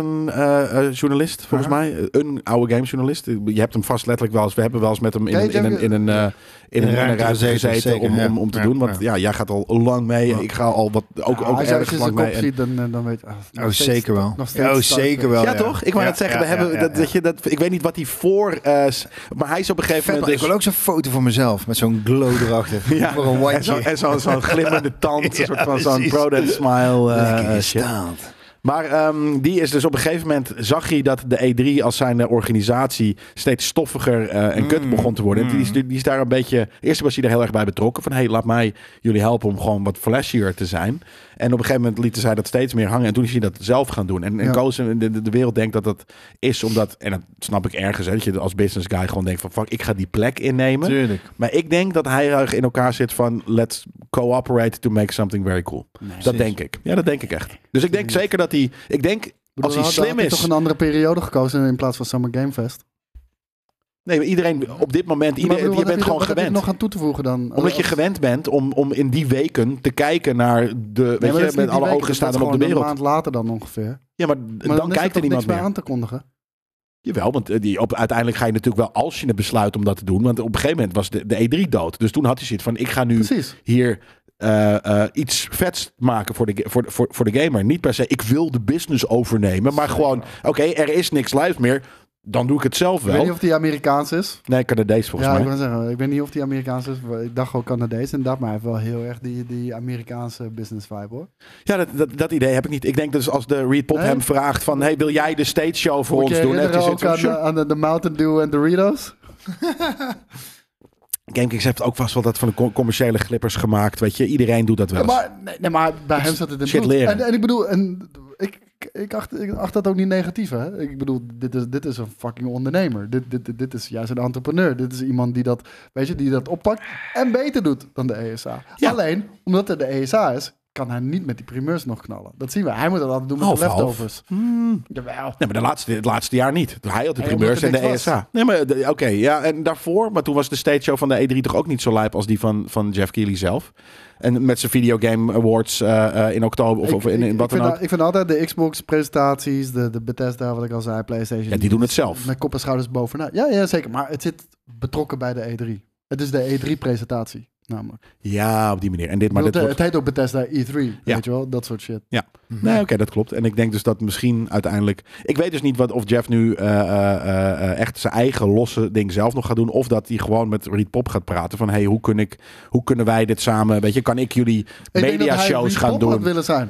Speaker 1: eh, journalist, volgens
Speaker 3: Aha.
Speaker 1: mij. Een oude gamejournalist. Je hebt hem vast letterlijk wel eens... We hebben wel eens met hem in,
Speaker 2: Ken je
Speaker 1: een- in, een, in, een, eh, in, een, in een ruimte gezeten, om,
Speaker 3: zeker,
Speaker 1: om,
Speaker 3: ja.
Speaker 1: om te
Speaker 3: Ja,
Speaker 1: doen. Want
Speaker 3: ja.
Speaker 1: ja. jij gaat al lang mee.
Speaker 3: Ja.
Speaker 1: Ik ga al wat, ook,
Speaker 2: Ja,
Speaker 1: ook
Speaker 2: als je
Speaker 1: erg
Speaker 2: als je zijn
Speaker 1: lang mee.
Speaker 2: kop
Speaker 1: En-
Speaker 2: ziet, dan, dan, dan weet je... ah, nog
Speaker 3: Oh,
Speaker 2: steeds-
Speaker 3: zeker wel.
Speaker 2: nog steeds
Speaker 3: oh,
Speaker 2: starten.
Speaker 3: zeker wel.
Speaker 1: ja, toch? Ik wou net zeggen, we hebben, dat, Dat je, dat, ik weet niet wat hij voor... eh, s- maar hij is op een gegeven
Speaker 3: Vet,
Speaker 1: moment...
Speaker 3: man. ik
Speaker 1: dus-
Speaker 3: wil ook zo'n foto van mezelf met zo'n glow erachter.
Speaker 1: Ja.
Speaker 3: Voor een
Speaker 1: en zo-
Speaker 3: whiteje.
Speaker 1: en zo'n zo'n glimmende tand, een soort van zo'n
Speaker 3: precies.
Speaker 1: product smile eh,
Speaker 3: Lekker in
Speaker 1: eh, shit.
Speaker 3: staat.
Speaker 1: Maar ehm, die is dus op een gegeven moment zag hij dat de E3 als zijn eh, organisatie steeds stoffiger eh, en kut begon te worden. En die, is, die is daar een beetje. Eerst was hij er heel erg bij betrokken. Van hé, hey, laat mij jullie helpen om gewoon wat flashier te zijn. En op een gegeven moment lieten zij dat steeds meer hangen. En toen is hij dat zelf gaan doen. En, en
Speaker 2: Ja.
Speaker 1: Koos en de, de- de wereld denkt dat dat is omdat. En dat snap ik ergens. Hè, dat je als business guy gewoon denkt van fuck, ik ga die plek innemen.
Speaker 3: Tuurlijk.
Speaker 1: Maar ik denk dat hij erg in elkaar zit van let's cooperate to make something very cool. dat
Speaker 3: precies.
Speaker 1: denk ik. Ja, dat denk ik echt. Dus ik denk zeker dat hij. Ik denk
Speaker 2: Ik
Speaker 1: als hij
Speaker 2: bedoel, dan had- dan
Speaker 1: slim
Speaker 2: had
Speaker 1: is.
Speaker 2: toch een andere periode gekozen in plaats van Summer Game Fest.
Speaker 1: Nee, maar iedereen op dit moment.
Speaker 2: Maar
Speaker 1: Iedereen, je
Speaker 2: ik bedoel, wat heb
Speaker 1: bent gewoon
Speaker 2: wat heb
Speaker 1: gewend.
Speaker 2: nog aan toe te voegen dan?
Speaker 1: omdat je gewend bent om, om in die weken te kijken naar de.
Speaker 2: Nee,
Speaker 1: weet
Speaker 2: maar dat
Speaker 1: je,
Speaker 2: is niet
Speaker 1: met
Speaker 2: die
Speaker 1: alle
Speaker 2: week,
Speaker 1: ogen
Speaker 2: dat
Speaker 1: staan
Speaker 2: is
Speaker 1: dan op de
Speaker 2: gewoon
Speaker 1: wereld.
Speaker 2: Een maand later dan ongeveer.
Speaker 1: Ja, maar,
Speaker 2: Maar
Speaker 1: dan,
Speaker 2: is
Speaker 1: kijkt er
Speaker 2: toch
Speaker 1: niemand
Speaker 2: niks
Speaker 1: meer.
Speaker 2: meer aan te kondigen.
Speaker 1: Jawel, want eh, die, op, uiteindelijk ga je natuurlijk wel als je het besluit om dat te doen. Want op een gegeven moment was de, de E3 dood. Dus toen had hij zoiets van: ik ga nu
Speaker 2: Precies.
Speaker 1: hier eh, eh, iets vets maken voor de, ga- voor, de- voor, voor de gamer. Niet per se, ik wil de business overnemen. Maar gewoon, oké, er is niks live meer. Dan doe ik het zelf
Speaker 2: Ik weet niet
Speaker 1: wel.
Speaker 2: of die Amerikaans is.
Speaker 1: Nee, Canadees volgens
Speaker 2: ja, ik
Speaker 1: mij.
Speaker 2: wil zeggen, ik weet niet of die Amerikaans is. Ik dacht gewoon Canadees en dat, maar hij heeft wel heel erg die, die Amerikaanse business vibe hoor.
Speaker 1: Ja, dat, dat, dat idee heb ik niet. Ik denk dus als de Reed Pop
Speaker 2: Nee?
Speaker 1: hem vraagt van... Hey, wil jij de stage show voor
Speaker 2: Moet
Speaker 1: ons
Speaker 2: je
Speaker 1: doen?
Speaker 2: herinneren
Speaker 1: Heeft hij zoiets
Speaker 2: ook
Speaker 1: van, sure.
Speaker 2: aan, de- aan de, de Mountain Dew en Doritos?
Speaker 1: Gamekings heeft ook vast wel dat van de com- commerciële glippers gemaakt. Weet je, iedereen doet dat wel
Speaker 2: Ja,
Speaker 1: eens.
Speaker 2: maar, nee, nee, maar bij hem zat het in
Speaker 1: Shit
Speaker 2: bloed.
Speaker 1: leren.
Speaker 2: En, en ik bedoel, en ik, ik, acht, ik acht dat ook niet negatief. Hè? Ik bedoel, dit is, dit is een fucking ondernemer. Dit, dit, dit, dit is juist een entrepreneur. Dit is iemand die dat, weet je, die dat oppakt en beter doet dan de ESA.
Speaker 1: Ja.
Speaker 2: Alleen, omdat het de ESA is, kan hij niet met die primeurs nog knallen. Dat zien we. Hij moet dat altijd doen met
Speaker 1: Half,
Speaker 2: de
Speaker 1: half.
Speaker 2: leftovers.
Speaker 1: Hmm.
Speaker 2: Jawel.
Speaker 1: Nee, maar de laatste, het laatste jaar niet. Hij had de
Speaker 2: Nee,
Speaker 1: primeurs en
Speaker 2: omdat er
Speaker 1: de
Speaker 2: niks
Speaker 1: ESA.
Speaker 2: was.
Speaker 1: Nee, maar de- oké, ja, en daarvoor. Maar toen was de stage show van de E3 toch ook niet zo lijp als die van, van Jeff Keighley zelf. En met zijn Videogame Awards eh, eh, in oktober of,
Speaker 2: Ik-
Speaker 1: of in,
Speaker 2: ik-
Speaker 1: in wat
Speaker 2: ik
Speaker 1: dan
Speaker 2: vind,
Speaker 1: ook.
Speaker 2: al- Ik vind altijd de Xbox-presentaties, de, de Bethesda, wat ik al zei, PlayStation.
Speaker 1: Ja, die doen het zelf.
Speaker 2: Met kop en schouders bovenaan. Ja, ja, zeker. Maar het zit betrokken bij de E3. Het is de E3-presentatie, namelijk.
Speaker 1: Ja, op die manier. En dit, maar
Speaker 2: Maar
Speaker 1: dit wordt-
Speaker 2: Het heet ook Bethesda E3,
Speaker 1: Ja.
Speaker 2: weet je wel? Dat soort shit.
Speaker 1: Nee, oké, dat klopt. En ik denk dus dat misschien uiteindelijk. Ik weet dus niet wat, of Jeff nu eh, eh, eh, eh, echt zijn eigen losse ding zelf nog gaat doen. Of dat hij gewoon met Reed Pop gaat praten. Van hey, hoe, kun ik, hoe kunnen wij dit samen? Weet je, kan ik jullie
Speaker 2: Ik denk dat
Speaker 1: media
Speaker 2: hij
Speaker 1: shows
Speaker 2: Reed
Speaker 1: gaan
Speaker 2: Pop had
Speaker 1: doen?
Speaker 2: willen zijn.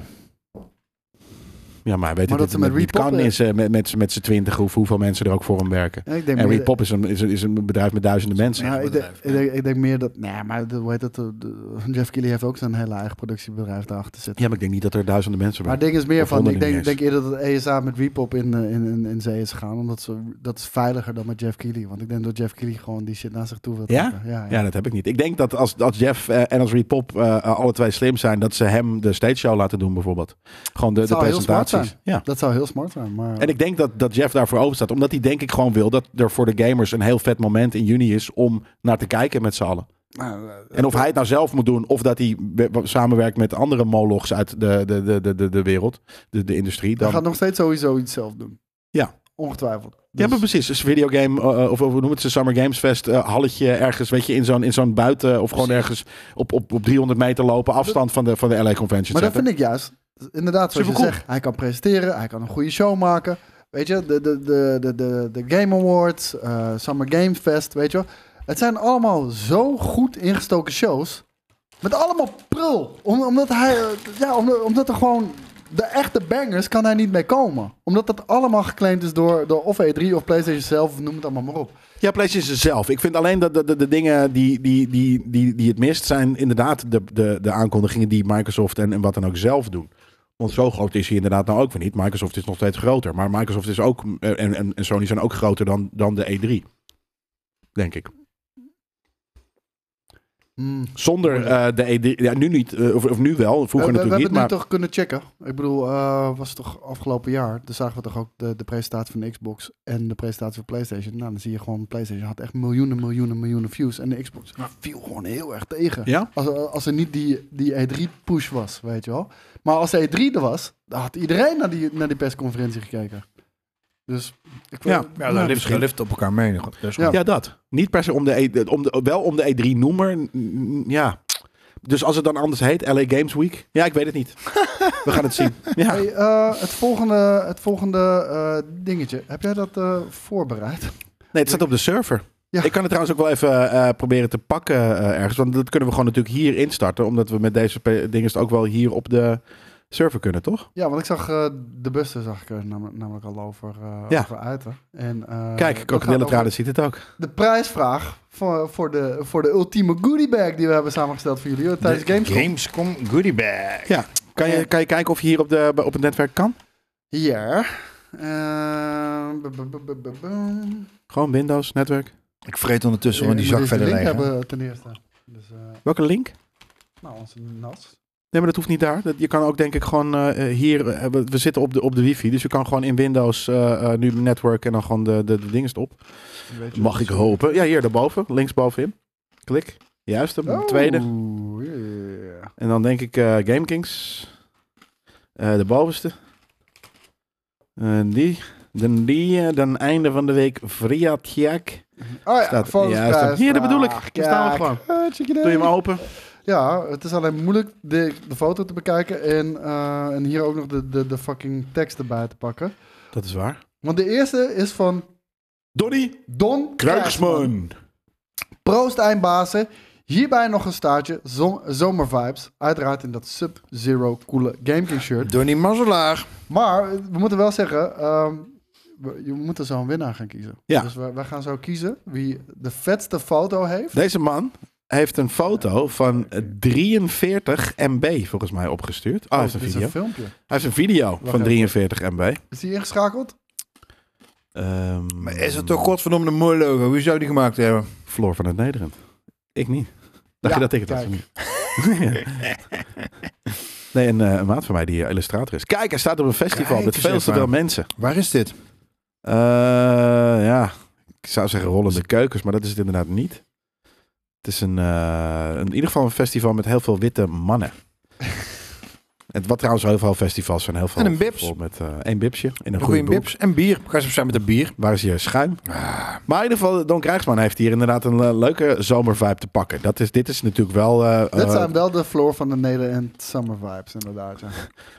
Speaker 1: Ja, maar hij weet
Speaker 2: Maar
Speaker 1: dat
Speaker 2: dat
Speaker 1: het met
Speaker 2: ze met
Speaker 1: niet
Speaker 2: Repop,
Speaker 1: kan
Speaker 2: eh,
Speaker 1: in zijn- met, met, met z'n twintig of hoeveel mensen er ook voor hem werken.
Speaker 2: Ja, ik denk
Speaker 1: en
Speaker 2: meer-
Speaker 1: Repop is een, is, een- is een bedrijf met duizenden mensen.
Speaker 2: Nou, ik, denk,
Speaker 3: bedrijf,
Speaker 2: ik, denk, ik denk meer dat... Nee, maar de- hoe heet dat? de- de- Jeff Keighley heeft ook zijn hele eigen productiebedrijf daarachter zitten.
Speaker 1: Ja, maar ik denk niet dat er duizenden mensen
Speaker 2: Maar
Speaker 1: werken.
Speaker 2: het ding is meer
Speaker 1: Of
Speaker 2: van, ik
Speaker 1: honderden
Speaker 2: denk,
Speaker 1: niet
Speaker 2: denk eerder dat ESA met Repop in, eh, in, in, in zee is gegaan. Omdat ze, dat is veiliger dan met Jeff Keighley. Want ik denk dat Jeff Keighley gewoon die shit naar zich toe wil
Speaker 1: Ja?
Speaker 2: trekken. Ja,
Speaker 1: Ja, dat heb ik niet. Ik denk dat als, als Jeff eh, en als Repop eh, alle twee slim zijn, dat ze hem de stage show laten doen bijvoorbeeld. Gewoon de, de
Speaker 2: zou heel smart
Speaker 1: presentaties. Ja.
Speaker 2: Dat zou heel smart zijn. Maar
Speaker 1: En ik denk dat, dat Jeff daarvoor open staat. Omdat hij denk ik gewoon wil dat er voor de gamers een heel vet moment in juni is om naar te kijken met z'n allen.
Speaker 2: Nou, eh,
Speaker 1: En of hij het nou zelf moet doen, of dat hij we- we- samenwerkt met andere molochs uit de, de, de, de, de, de wereld, de, de industrie.
Speaker 2: hij
Speaker 1: Dan...
Speaker 2: gaat nog steeds sowieso iets zelf doen.
Speaker 1: Ja.
Speaker 2: Ongetwijfeld.
Speaker 1: Ja,
Speaker 2: Dus-
Speaker 1: maar precies. Dus videogame, eh, eh, of hoe noemen het ze, Summer Games Fest, eh, halletje ergens, weet je, in zo'n, in zo'n buiten, of gewoon ergens op, op, op 300 meter lopen, afstand van de, van de LA Convention
Speaker 2: Maar dat
Speaker 1: Center.
Speaker 2: vind ik juist, inderdaad, zoals je
Speaker 1: Supercool.
Speaker 2: zegt, hij kan presenteren, hij kan een goede show maken. Weet je, de, de, de, de, de, de Game Awards, eh, Summer Game Fest, weet je wel. Het zijn allemaal zo goed ingestoken shows. Met allemaal prul. Om, omdat hij, eh, ja, omdat, omdat er gewoon de echte bangers kan hij niet mee komen. Omdat dat allemaal geclaimd is door, door of E3 of PlayStation zelf, of noem het allemaal maar op.
Speaker 1: Ja, PlayStation zelf. Ik vind alleen dat de, de, de dingen die, die, die, die, die het mist, zijn inderdaad de, de, de aankondigingen die Microsoft en, en wat dan ook zelf doen. Want zo groot is hij inderdaad nou ook weer niet. Microsoft is nog steeds groter. Maar Microsoft is ook, eh, en, en, en Sony zijn ook groter dan, dan de E3. Denk ik.
Speaker 2: Hmm.
Speaker 1: Zonder eh, de E3. Ja, nu niet. eh, of, of nu wel. Vroeger
Speaker 2: we, we- we
Speaker 1: natuurlijk
Speaker 2: hebben
Speaker 1: niet. Maar
Speaker 2: het nu toch kunnen checken. Ik bedoel, eh, was het toch afgelopen jaar? Toen zagen we toch ook de, de presentatie van de Xbox en de presentatie van PlayStation. Nou, dan zie je gewoon, PlayStation had echt miljoenen, miljoenen, miljoenen views. En de Xbox viel gewoon heel erg tegen.
Speaker 1: ja?
Speaker 2: Als, als er niet die, die E3-push was, weet je wel. Maar als de E3 er was, dan had iedereen naar die, naar die persconferentie gekeken. Dus ik
Speaker 1: Ja.
Speaker 2: weet-
Speaker 3: Ja, daar lift, lift op elkaar mee. goed. Dus
Speaker 2: Ja.
Speaker 1: Ja, dat. Niet per se om de, E- om de wel om de E3-noemer. Ja. Dus als het dan anders heet, LA Games Week. Ja, ik weet het niet. We gaan het zien. Ja.
Speaker 2: Hey, eh, het volgende, het volgende eh, dingetje. Heb jij dat eh, voorbereid?
Speaker 1: Nee, het staat op de server.
Speaker 2: Ja.
Speaker 1: Ik kan het trouwens ook wel even eh, proberen te pakken eh, ergens. Want dat kunnen we gewoon natuurlijk hier instarten. Omdat we met deze pe- dingen het ook wel hier op de server kunnen, toch?
Speaker 2: Ja, want ik zag eh, de bussen zag ik er nam- namelijk al over, eh
Speaker 1: Ja.
Speaker 2: over uiten. En, eh,
Speaker 1: Kijk,
Speaker 2: dat gaat
Speaker 1: Krokodillentraden
Speaker 2: over
Speaker 1: ziet het ook.
Speaker 2: De prijsvraag voor, voor, de, voor de ultieme goodie bag die we hebben samengesteld voor jullie hoor, tijdens Gamescom.
Speaker 3: Gamescom Goodie Bag.
Speaker 1: Ja. Kan je, kan je kijken of je hier op, de, op het netwerk kan?
Speaker 2: Ja. Ehm, bu- bu- bu- bu- bu- bu.
Speaker 1: Gewoon Windows, netwerk.
Speaker 3: Ik vreet
Speaker 1: Dus
Speaker 3: ondertussen
Speaker 2: Ja,
Speaker 3: gewoon die
Speaker 2: ik moet
Speaker 3: zak
Speaker 2: eerst de
Speaker 3: verder
Speaker 2: link hebben
Speaker 3: leggen.
Speaker 2: ten eerste. Dus, eh,
Speaker 1: Welke link?
Speaker 2: nou, onze nas.
Speaker 1: Nee, maar dat hoeft niet daar. Dat, je kan ook denk ik gewoon eh, hier... eh, we, we zitten op de, op de wifi, dus je kan gewoon in Windows eh, eh, nu netwerk en dan gewoon de, de, de dingen op.
Speaker 2: Weet je dus.
Speaker 1: Mag ik hopen. Ja, hier daarboven. Linksbovenin. Klik. Juist, de
Speaker 2: Oh,
Speaker 1: tweede.
Speaker 2: yeah.
Speaker 1: En dan denk ik eh GameKings. Eh, de bovenste. Eh, die. Dan die. eh, dan einde van de week Vriatjak.
Speaker 2: Oh ja,
Speaker 1: Staat-
Speaker 2: volgens
Speaker 1: ja, staat-
Speaker 2: prijsvraag.
Speaker 1: Hier, dat bedoel ik. Hier staan we
Speaker 2: Kijk. Ah, check it
Speaker 1: Doe je hem
Speaker 2: out.
Speaker 1: open?
Speaker 2: Ja, het is alleen moeilijk de, de foto te bekijken en, eh, en hier ook nog de, de, de fucking tekst erbij te pakken.
Speaker 1: Dat is waar.
Speaker 2: Want de eerste is van
Speaker 1: Donnie
Speaker 2: Don Kruijsman.
Speaker 1: Kruiksman.
Speaker 2: Proost eindbazen. Hierbij nog een staartje zom, zomervibes. Uiteraard in dat Sub-Zero coole GameKing shirt.
Speaker 3: Donnie Mazzelaar.
Speaker 2: Maar eh, we moeten wel zeggen, ehm, we, je moet er zo een winnaar gaan kiezen.
Speaker 1: Ja.
Speaker 2: Dus wij, wij gaan zo kiezen wie de vetste foto heeft.
Speaker 1: Deze man heeft een foto van 43 MB volgens mij opgestuurd. Oh, hij heeft een
Speaker 2: dit is
Speaker 1: video.
Speaker 2: een filmpje.
Speaker 1: Hij heeft een video van
Speaker 2: even.
Speaker 1: 43 MB.
Speaker 2: Is hij ingeschakeld?
Speaker 1: Ehm,
Speaker 3: Maar is het toch godverdomme een mooi logo? Wie zou die gemaakt hebben?
Speaker 1: Floor van het Nederland. Ik niet. Dacht
Speaker 2: Ja,
Speaker 1: je dat ik het
Speaker 2: kijk.
Speaker 1: had? nee, een, eh, een maat van mij die eh, illustrator is. Kijk, hij staat op een festival
Speaker 3: Kijk
Speaker 1: met
Speaker 3: eens
Speaker 1: veel te
Speaker 3: even.
Speaker 1: veel mensen.
Speaker 3: Waar is dit?
Speaker 1: Eh, ja, ik zou zeggen rollende keukens, maar dat is het inderdaad niet. Het is een, eh, in ieder geval een festival met heel veel witte mannen. En wat trouwens heel veel festivals zijn. Heel veel
Speaker 3: En een bips.
Speaker 1: vol Met eh één bipsje in een
Speaker 3: Een goede
Speaker 1: goede broek.
Speaker 3: bips Ah. en bier. Ga eens zijn met een bier.
Speaker 1: Waar is je schuim? Maar in ieder geval, Don Krijgsman heeft hier inderdaad een eh, leuke zomervibe te pakken. Dat is, dit is natuurlijk wel... eh,
Speaker 2: Dit
Speaker 1: eh,
Speaker 2: zijn wel de floor van de Nederland Summer Vibes, inderdaad. Ja.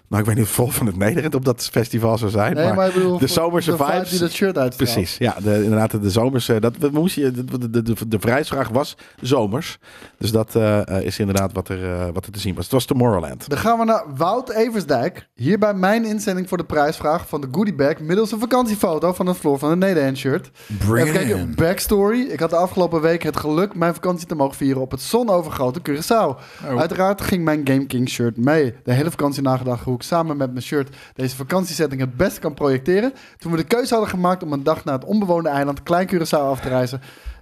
Speaker 1: Nou, ik weet niet of vol van het Nederland op dat festival zou zijn.
Speaker 2: Nee,
Speaker 1: maar,
Speaker 2: maar ik bedoel,
Speaker 1: de
Speaker 2: voor-
Speaker 1: zomerse
Speaker 2: de vibe
Speaker 1: vibes-
Speaker 2: die dat shirt uitstraalt.
Speaker 1: Precies, ja. De, inderdaad, de zomerse... Dat, we moesten, je- de, de, de, de prijsvraag was zomers. Dus dat eh, eh, is inderdaad wat er, eh, wat er te zien was. Het was Tomorrowland.
Speaker 2: Dan gaan we naar Wout Eversdijk hierbij mijn inzending voor de prijsvraag van de goodie bag middels een vakantiefoto van het Floor van de Nederland shirt.
Speaker 3: Bring
Speaker 2: Even
Speaker 3: it
Speaker 2: kijken,
Speaker 3: in.
Speaker 2: backstory. Ik had de afgelopen week het geluk mijn vakantie te mogen vieren op het zonovergrote Curaçao.
Speaker 1: Oh.
Speaker 3: Oh.
Speaker 2: Uiteraard ging mijn Game King shirt mee. De hele vakantie nagedacht hoe ik samen met mijn shirt deze vakantiesetting het beste kan projecteren. Toen we de keuze hadden gemaakt om een dag naar het onbewoonde eiland Klein Curaçao af te reizen.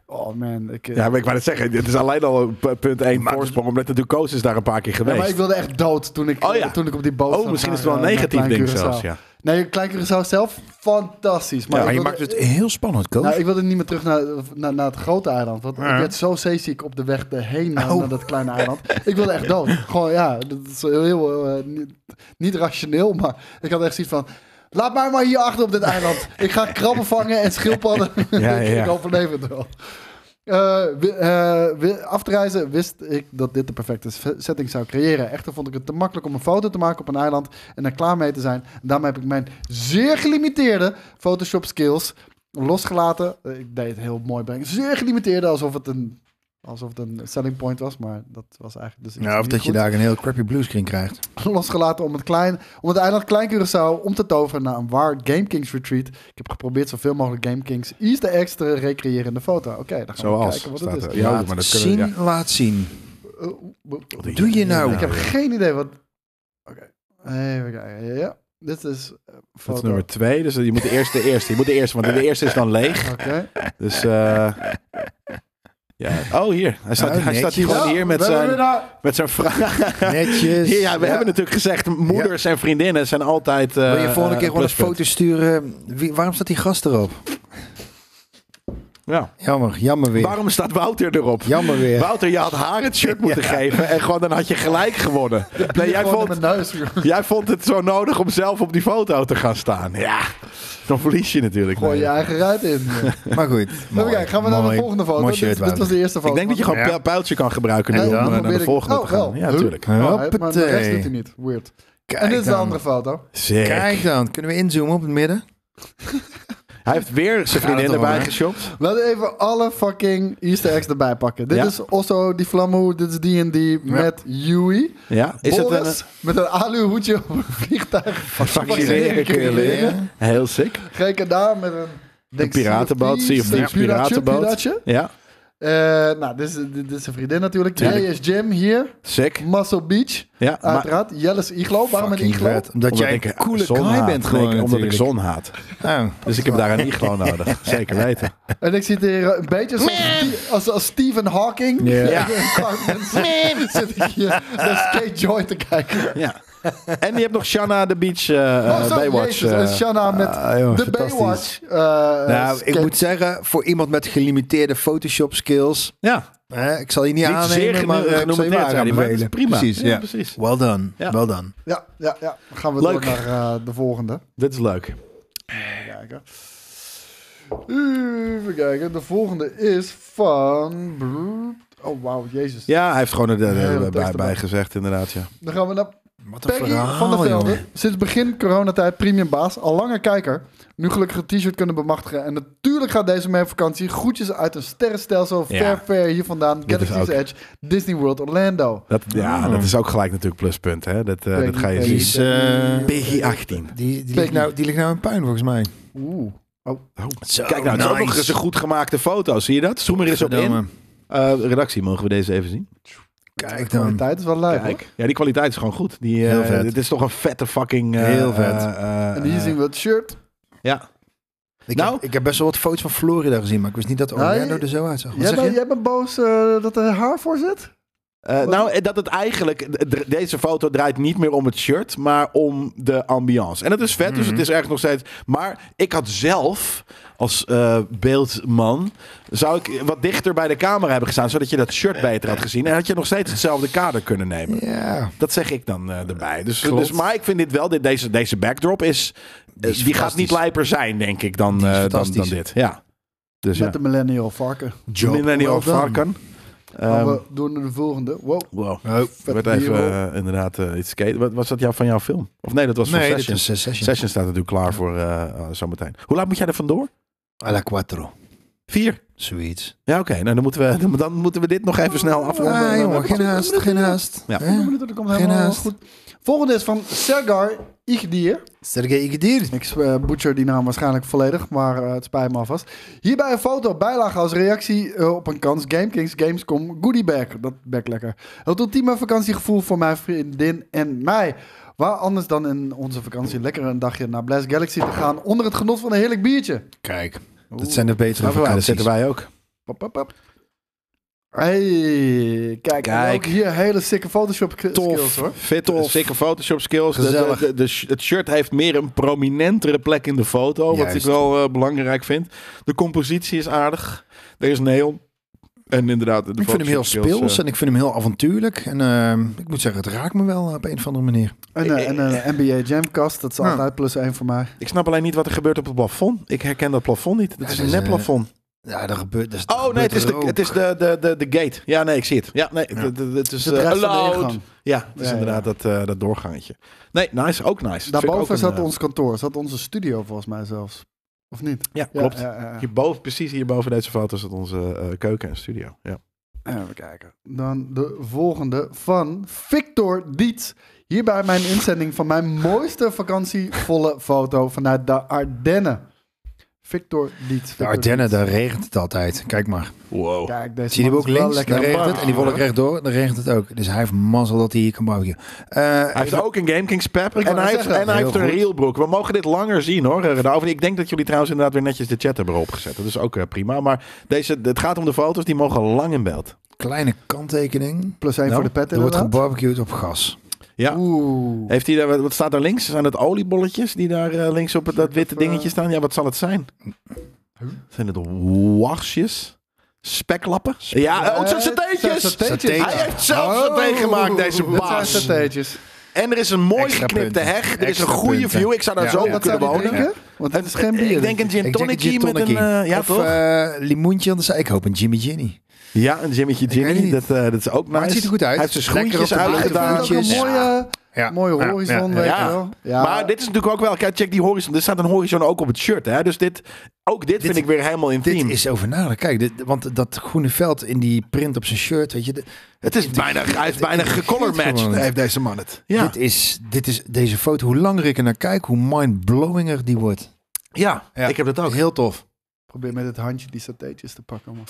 Speaker 2: Oh man, ik, eh,
Speaker 1: Ja, maar ik wou het zeggen, dit is alleen al p- punt 1
Speaker 3: Maar-
Speaker 1: voorsprong, omdat de Ducoos is daar een paar keer
Speaker 2: Ja,
Speaker 1: geweest.
Speaker 2: maar ik wilde echt dood toen ik,
Speaker 1: Oh ja.
Speaker 2: toen ik op die boot
Speaker 1: Oh,
Speaker 2: zat
Speaker 1: misschien is het
Speaker 2: naar,
Speaker 1: wel een
Speaker 2: eh, naar
Speaker 1: negatief
Speaker 2: Klein
Speaker 1: ding
Speaker 2: Curaçao.
Speaker 1: zelfs, ja.
Speaker 2: Nee, Klein Curaçao zelf, fantastisch. Maar,
Speaker 1: Ja, dus
Speaker 2: ik
Speaker 1: maar
Speaker 3: je
Speaker 2: wilde-
Speaker 3: maakt het heel spannend, coach.
Speaker 2: Nou, ik wilde niet meer terug naar, naar, naar het grote eiland. Want
Speaker 1: Ja.
Speaker 2: ik werd zo zeeziek op de weg erheen naar,
Speaker 3: Oh.
Speaker 2: naar dat kleine eiland. ik wilde echt dood. Gewoon, ja, dat is heel, eh, niet, niet rationeel, maar ik had echt zoiets van... Laat mij maar hier achter op dit eiland. Ik ga krabben vangen en schildpadden.
Speaker 1: ja, ja.
Speaker 2: ik overleef het wel. Eh, wi- eh, wi- af te reizen wist ik dat dit de perfecte s- setting zou creëren. Echter vond ik het te makkelijk om een foto te maken op een eiland en er klaar mee te zijn. En daarmee heb ik mijn zeer gelimiteerde Photoshop skills losgelaten. Eh, Ik deed het heel mooi brengen. Zeer gelimiteerde, alsof het een, alsof het een selling point was. Maar dat was eigenlijk dus iets
Speaker 3: Ja, of
Speaker 2: niet
Speaker 3: dat je
Speaker 2: goed.
Speaker 3: daar een heel crappy bluescreen krijt.
Speaker 2: losgelaten om het, klein, om het eiland Klein Curaçao om te toveren naar een waar Game Kings retreat. Ik heb geprobeerd zoveel mogelijk Game Kings easter eggs te recreëren in de foto. Oké, dan gaan we
Speaker 1: Zoals.
Speaker 2: kijken wat
Speaker 1: staat
Speaker 2: het is.
Speaker 1: er. Ja,
Speaker 3: laat
Speaker 1: maar dat kunnen we-
Speaker 3: zien,
Speaker 1: ja.
Speaker 3: laat zien.
Speaker 2: Eh, oeh,
Speaker 1: Wat
Speaker 3: doe je
Speaker 1: Oh,
Speaker 3: nou?
Speaker 2: Ik heb geen idee wat... Oké, even kijken. Ja, dit is eh,
Speaker 1: Dat is
Speaker 2: foto.
Speaker 1: nummer 2, dus je moet de eerste, de eerste. Je moet de eerste, want de eerste is dan leeg.
Speaker 2: Oké.
Speaker 1: Dus, eh, ja. Oh, hier. Hij staat,
Speaker 3: Nou,
Speaker 1: hij staat
Speaker 3: netjes.
Speaker 1: gewoon
Speaker 2: Ja,
Speaker 1: hier met
Speaker 2: we hebben
Speaker 1: zijn,
Speaker 2: daar-
Speaker 1: met zijn vraag.
Speaker 3: Netjes.
Speaker 1: Hier, ja, we hebben natuurlijk gezegd, moeders en vriendinnen zijn altijd. eh
Speaker 3: Wil je
Speaker 1: eh,
Speaker 3: volgende keer gewoon een
Speaker 1: pluspunt.
Speaker 3: foto sturen? Wie, waarom staat die gast erop?
Speaker 1: Ja.
Speaker 3: Jammer, jammer weer.
Speaker 1: Waarom staat Wouter erop?
Speaker 3: Jammer weer.
Speaker 1: Wouter, je had haar het shirt moeten geven en gewoon dan had je gelijk gewonnen. Nee, jij,
Speaker 2: gewoon
Speaker 1: vond,
Speaker 2: in mijn neus. Gooi
Speaker 1: jij vond het zo nodig om zelf op die foto te gaan staan. Ja, dan verlies je natuurlijk.
Speaker 2: je
Speaker 1: Nee.
Speaker 2: eigen ruit in.
Speaker 3: Maar goed.
Speaker 2: Even
Speaker 3: Mooi,
Speaker 2: kijken, gaan we naar de
Speaker 3: mooi,
Speaker 2: volgende foto.
Speaker 3: Mooi
Speaker 2: Dit-
Speaker 3: shirt,
Speaker 2: dit, was de eerste foto.
Speaker 1: Ik denk dat je gewoon
Speaker 3: Ja.
Speaker 1: pu- pijltje kan gebruiken nu
Speaker 2: Nee, dan
Speaker 1: om eh, naar
Speaker 2: probeer
Speaker 1: de
Speaker 2: ik-
Speaker 1: volgende
Speaker 2: Oh,
Speaker 1: te gaan.
Speaker 2: wel.
Speaker 1: Ja,
Speaker 2: Huh?
Speaker 1: natuurlijk.
Speaker 2: Oh,
Speaker 3: Wouter.
Speaker 2: hij- maar de rest
Speaker 3: Hoppatee.
Speaker 2: doet hij niet. Weird.
Speaker 3: Kijk
Speaker 2: En dit is de
Speaker 3: dan.
Speaker 2: andere foto.
Speaker 1: Zeker.
Speaker 3: Kijk dan, kunnen we inzoomen op het midden?
Speaker 1: Hij heeft weer zijn
Speaker 3: Gaat het
Speaker 1: vriendin
Speaker 3: erom,
Speaker 1: erbij
Speaker 3: hè?
Speaker 1: geshopt.
Speaker 2: Laten we even alle fucking easter eggs erbij pakken. Dit
Speaker 1: Ja.
Speaker 2: is Osso, die Flammo, dit is D&D met Yui.
Speaker 1: Ja,
Speaker 2: Is
Speaker 1: is
Speaker 2: Boris
Speaker 1: het
Speaker 2: met een aluhoedje op een vliegtuig.
Speaker 1: een
Speaker 2: vaccineren
Speaker 1: vaccineren kun je leren? Heel sick.
Speaker 2: Gekkendaar daar met een...
Speaker 1: Een piratenboot, zie je op die
Speaker 2: Een piraatje,
Speaker 1: piratenboot.
Speaker 2: piraatje.
Speaker 1: Ja,
Speaker 2: Eh, nou, dit is, dit is zijn vriendin natuurlijk.
Speaker 1: Tuurlijk.
Speaker 2: Twee is Jim hier.
Speaker 1: sick.
Speaker 2: Muscle Beach.
Speaker 1: Ja, maar-
Speaker 2: Uiteraard. Jelle's Iglo. Waarom een
Speaker 3: Fucking
Speaker 2: Iglo?
Speaker 3: vet. Omdat, jij
Speaker 1: ik eh,
Speaker 3: een coole
Speaker 1: zon
Speaker 3: guy
Speaker 1: haat.
Speaker 3: bent
Speaker 1: Nee,
Speaker 3: gewoon
Speaker 1: Omdat ik
Speaker 3: natuurlijk.
Speaker 1: zon haat.
Speaker 3: Oh.
Speaker 1: Dus ik heb daar een iglo nodig. Zeker weten.
Speaker 2: En ik zit hier eh, een beetje zoals, Stie- als, als Stephen Hawking.
Speaker 3: Ja.
Speaker 1: Ja.
Speaker 2: Zit ik hier naar Skate Joy te kijken.
Speaker 1: Ja. En je hebt nog Shanna de Beach eh
Speaker 2: Oh,
Speaker 1: eh,
Speaker 2: zo,
Speaker 1: Baywatch.
Speaker 2: Jezus,
Speaker 1: eh,
Speaker 2: en Shanna met
Speaker 3: ah, joh,
Speaker 2: de
Speaker 3: fantastisch.
Speaker 2: Baywatch. eh,
Speaker 3: Nou, ik
Speaker 2: skate-
Speaker 3: moet zeggen, voor iemand met gelimiteerde Photoshop skills,
Speaker 1: ja,
Speaker 3: hè, ik zal je niet,
Speaker 1: niet zeer
Speaker 3: aannemen,
Speaker 1: geno-
Speaker 3: maar eh, ik zal je
Speaker 1: genomineerd
Speaker 3: waar
Speaker 1: zijn, maar dat is
Speaker 3: aanbevelen.
Speaker 1: prima.
Speaker 3: Precies,
Speaker 1: Ja,
Speaker 3: ja.
Speaker 1: precies.
Speaker 3: Well done,
Speaker 1: Ja.
Speaker 3: well done.
Speaker 2: Ja, ja, ja. Dan gaan we
Speaker 1: Leuk.
Speaker 2: door naar eh, de volgende.
Speaker 1: dit is leuk.
Speaker 2: Even kijken. Even kijken. De volgende is van... Oh, wauw. Jezus.
Speaker 1: Ja, hij heeft gewoon er de- de-
Speaker 2: Hele
Speaker 1: de-
Speaker 2: tekst
Speaker 1: bij,
Speaker 2: erbij.
Speaker 1: bij gezegd inderdaad. Ja.
Speaker 2: Dan gaan we naar
Speaker 3: Wat een
Speaker 2: Peggy
Speaker 3: verhaal,
Speaker 2: van der Velde.
Speaker 3: jongen.
Speaker 2: Sinds begin coronatijd premium baas. Al lange kijker. Nu gelukkig een t-shirt kunnen bemachtigen. En natuurlijk gaat deze mee op vakantie. Groetjes uit een sterrenstelsel.
Speaker 1: Ja.
Speaker 2: Ver, ver hier vandaan.
Speaker 1: Dit is
Speaker 2: Galaxy's
Speaker 1: ook-
Speaker 2: Edge. Disney World Orlando.
Speaker 1: Dat, ja,
Speaker 3: Mm.
Speaker 1: dat is ook gelijk natuurlijk pluspunt. Hè? Dat, eh,
Speaker 2: Peggy,
Speaker 1: dat ga je
Speaker 2: Peggy,
Speaker 3: Die
Speaker 1: zien.
Speaker 3: is, eh,
Speaker 2: Peggy.
Speaker 1: PG 18.
Speaker 3: Die, die,
Speaker 2: Peggy.
Speaker 3: ligt nou, die ligt nou in puin volgens mij.
Speaker 2: Oeh.
Speaker 1: Kijk nou, het
Speaker 3: Oh,
Speaker 1: is ook nog eens een goed gemaakte foto. Zie je dat? Zoom er eens op in. Eh, redactie, mogen we deze even zien?
Speaker 3: Kijk
Speaker 2: De
Speaker 3: dan.
Speaker 2: kwaliteit is wel leuk. hoor.
Speaker 1: Kijk. Ja, die kwaliteit is gewoon goed. Die, eh,
Speaker 3: Ah, Heel vet.
Speaker 1: Dit is toch een vette fucking... eh,
Speaker 3: Heel vet.
Speaker 1: eh, eh,
Speaker 2: En hier
Speaker 1: eh,
Speaker 2: zien we het shirt.
Speaker 1: Ja.
Speaker 3: Ik,
Speaker 1: Nou?
Speaker 3: heb, ik heb best wel wat foto's van Florida gezien, maar ik wist niet dat Orlando
Speaker 2: Nee.
Speaker 3: er zo uitzag. Wat
Speaker 2: Jij
Speaker 3: zeg
Speaker 2: bent,
Speaker 3: je?
Speaker 2: jij bent boos eh, dat er haar voor zit?
Speaker 1: Eh, nou, eh, dat het eigenlijk... d- d- Deze foto draait niet meer om het shirt, maar om de ambiance. En dat is vet,
Speaker 3: Mhm.
Speaker 1: dus het is ergens nog steeds... Maar ik had zelf, als eh, beeldman... zou ik wat dichter bij de camera hebben gestaan... zodat je dat shirt beter had gezien. En had je nog steeds hetzelfde kader kunnen nemen.
Speaker 3: Ja.
Speaker 1: Dat zeg ik dan eh, erbij. Dus,
Speaker 3: Klopt.
Speaker 1: dus, maar ik vind dit wel, dit, deze, deze backdrop is... eh, die
Speaker 3: is
Speaker 1: gaat niet
Speaker 3: fantastisch.
Speaker 1: lijper zijn, denk ik, dan,
Speaker 3: Die is
Speaker 1: eh, dan, dan
Speaker 3: fantastisch.
Speaker 1: dit. Ja. Dus
Speaker 2: Met
Speaker 1: ja.
Speaker 2: de millennial varken.
Speaker 1: Job. Millennial
Speaker 3: Well done.
Speaker 1: varken.
Speaker 2: Gaan
Speaker 1: Ehm,
Speaker 2: we door naar de volgende. Wow.
Speaker 1: wow.
Speaker 3: Oh.
Speaker 1: Er
Speaker 2: Vet
Speaker 1: werd even
Speaker 2: bier op.
Speaker 1: eh, inderdaad eh, iets skaten. Wat was dat jou, van jouw film? Of nee, dat was van
Speaker 3: Nee, dit
Speaker 1: Sessions.
Speaker 3: is een session.
Speaker 1: oh, Sessions staat natuurlijk klaar voor eh eh, zometeen. Hoe laat moet jij er vandoor?
Speaker 3: A la quattro.
Speaker 1: Vier.
Speaker 3: Zoiets.
Speaker 1: Ja, oké. nou, dan, moeten we, dan, dan moeten we dit nog even snel afronden.
Speaker 3: Ah, jongen, geen haast, geen haast.
Speaker 1: Ja.
Speaker 2: Vier minuten, dat komt
Speaker 3: Geen
Speaker 2: helemaal
Speaker 3: haast.
Speaker 2: goed. Volgende is van Sergar Igdir.
Speaker 3: Sergej Igdir.
Speaker 2: Ik eh, butcher die naam waarschijnlijk volledig, maar eh, het spijt me alvast. Hierbij een foto, bijlage als reactie eh, op een kans. GameKings Gamescom Goodie Bag. Dat bek lekker. Het ultieme vakantiegevoel voor mijn vriendin en mij. Waar anders dan in onze vakantie lekker een dagje naar Blast Galaxy te gaan... onder het genot van een heerlijk biertje.
Speaker 3: Kijk, dat zijn de betere
Speaker 1: Nou, dat
Speaker 3: vakanties.
Speaker 1: zitten wij ook.
Speaker 2: Pop, pop, pop. Hey, kijk.
Speaker 1: Kijk.
Speaker 2: en Ook hier hele sikke Photoshop k- skills hoor.
Speaker 1: Fit tof. Dikke Photoshop skills. De- de-
Speaker 3: Gezellig.
Speaker 1: de- de sh- het shirt heeft meer een prominentere plek in de foto. Wat ik
Speaker 3: Juist.
Speaker 1: wel eh, belangrijk vind. De compositie is aardig. Er is neon. En inderdaad, de
Speaker 3: Ik vind hem heel
Speaker 1: Photoshop skills,
Speaker 3: speels
Speaker 1: eh,
Speaker 3: en ik vind hem heel avontuurlijk. En ehm, ik moet zeggen, het raakt me wel op een of andere manier.
Speaker 2: En, eh, en eh, NBA Jamcast, dat is
Speaker 3: Ja.
Speaker 2: altijd plus één voor mij.
Speaker 1: ik snap alleen niet wat er gebeurt op het plafond. Ik herken dat plafond niet. Dat
Speaker 3: Ja,
Speaker 1: is
Speaker 3: dat
Speaker 1: een
Speaker 3: is,
Speaker 1: net
Speaker 3: eh,
Speaker 1: plafond.
Speaker 3: Ja, dat gebeurt. Dat
Speaker 1: Oh nee, het is, de, het is de, de, de, de gate. Ja, nee, ik zie het. Ja, nee, de- de- de- het is
Speaker 2: Dus het
Speaker 1: eh,
Speaker 2: rest van de
Speaker 1: allowed.
Speaker 2: ingang.
Speaker 1: Ja, het is
Speaker 2: Ja,
Speaker 1: inderdaad Dat, eh, dat doorgangetje. Nee, nice. Ook nice. Dat vind ik ook
Speaker 2: Daarboven
Speaker 1: een,
Speaker 2: zat
Speaker 1: eh,
Speaker 2: ons kantoor, zat onze studio volgens mij zelfs. Of niet?
Speaker 1: Ja,
Speaker 2: Ja,
Speaker 1: klopt.
Speaker 2: Ja, ja, ja.
Speaker 1: Hierboven, precies hierboven deze foto zit onze eh, keuken en studio. Ja.
Speaker 2: Even kijken. Dan de volgende van Victor Dietz. Hierbij mijn inzending van mijn mooiste vakantievolle foto vanuit de Ardennen. Victor Dietz.
Speaker 3: De
Speaker 2: Victor
Speaker 3: Ardennen,
Speaker 2: Dietz.
Speaker 3: daar regent het altijd. Kijk maar.
Speaker 1: Wow.
Speaker 2: Kijk, deze
Speaker 3: Zie je hem
Speaker 2: man
Speaker 3: ook
Speaker 2: is wel
Speaker 3: links?
Speaker 2: lekker
Speaker 3: Daar regent
Speaker 2: warm.
Speaker 3: het. En die wolk rechtdoor, dan regent het ook. Dus hij heeft mazzel dat hij hier kan barbecue. Eh,
Speaker 1: Hij heeft ook een GameKings pep
Speaker 2: wou
Speaker 1: en
Speaker 2: net
Speaker 1: hij heeft,
Speaker 2: zeggen.
Speaker 1: en hij
Speaker 3: Heel
Speaker 1: heeft een
Speaker 3: goed.
Speaker 1: reelbroek. We mogen dit langer zien hoor, eh, daarover. Ik denk dat jullie trouwens inderdaad weer netjes de chat hebben opgezet. Dat is ook eh, prima. Maar deze, het gaat om de foto's, die mogen lang in beeld.
Speaker 3: Kleine kanttekening.
Speaker 2: Plus één
Speaker 1: Nou,
Speaker 2: voor de pet
Speaker 3: Er wordt
Speaker 2: inderdaad.
Speaker 3: gebarbecued op gas.
Speaker 1: Ja.
Speaker 2: Oeh.
Speaker 1: Heeft hij daar, wat- wat staat daar links? Zijn het oliebolletjes die daar eh, links op het- dat witte
Speaker 2: Even, eh,
Speaker 1: dingetje staan? Ja, wat zal het zijn? Zijn het wasjes? Speklappen? Ja, eh, ook zijn satéetjes!
Speaker 2: Zijn satéetjes.
Speaker 1: Hij heeft zelf saté gemaakt, deze
Speaker 2: Oeh, Dat Oh. zijn
Speaker 1: baas.
Speaker 2: satéetjes.
Speaker 1: En er is een mooi
Speaker 3: Extra
Speaker 1: geknipte
Speaker 3: punten.
Speaker 1: heg. Er is een
Speaker 3: Extra
Speaker 1: goede
Speaker 3: punten.
Speaker 1: view. Ik zou daar
Speaker 3: Ja,
Speaker 1: zo
Speaker 3: ja,
Speaker 1: in
Speaker 2: Wat
Speaker 1: kunnen
Speaker 2: zou die
Speaker 1: wonen.
Speaker 2: drinken? Want het is geen bier.
Speaker 1: Ik
Speaker 2: denk
Speaker 1: denk
Speaker 2: ik.
Speaker 1: een gin
Speaker 3: Ik denk een
Speaker 1: tonicje
Speaker 3: gin
Speaker 1: met een...
Speaker 3: tonicje.
Speaker 1: eh, ja,
Speaker 3: of
Speaker 1: toch?
Speaker 3: eh, limoentje. anders. Ik hoop een Jimmy Ginny.
Speaker 1: ja, een Jimmy'tje
Speaker 3: weet het
Speaker 1: Jimmy.
Speaker 3: niet.
Speaker 1: Dat, eh, dat is ook nice.
Speaker 3: Maar het ziet er goed uit.
Speaker 1: Hij heeft zijn
Speaker 3: Lekker
Speaker 1: schoentjes
Speaker 3: op de blote
Speaker 1: uitgedaan.
Speaker 2: ook een
Speaker 3: voetjes.
Speaker 2: mooie,
Speaker 3: Ja.
Speaker 2: mooie
Speaker 3: Ja,
Speaker 2: horizon,
Speaker 3: ja,
Speaker 2: weet
Speaker 1: ja.
Speaker 2: je wel.
Speaker 1: Maar dit is natuurlijk ook wel... Kijk, check die horizon. Er staat een horizon ook op het shirt. Hè? Dus dit, ook dit, vind ik weer helemaal
Speaker 3: Dit
Speaker 1: intiem.
Speaker 3: is over nadenken. Kijk, dit, want dat groene veld in die print op zijn shirt, weet je, de-
Speaker 1: het is bijna, hij is bijna gecolormatched.
Speaker 3: gewoon.
Speaker 1: Heeft deze man het. Ja,
Speaker 3: dit, is, dit is deze foto. Hoe langer ik er naar kijk, hoe mindblowinger die wordt.
Speaker 1: ja,
Speaker 3: Ja.
Speaker 1: ik heb dat ook.
Speaker 3: Heel tof.
Speaker 2: Probeer met het handje die satéetjes te pakken. Man.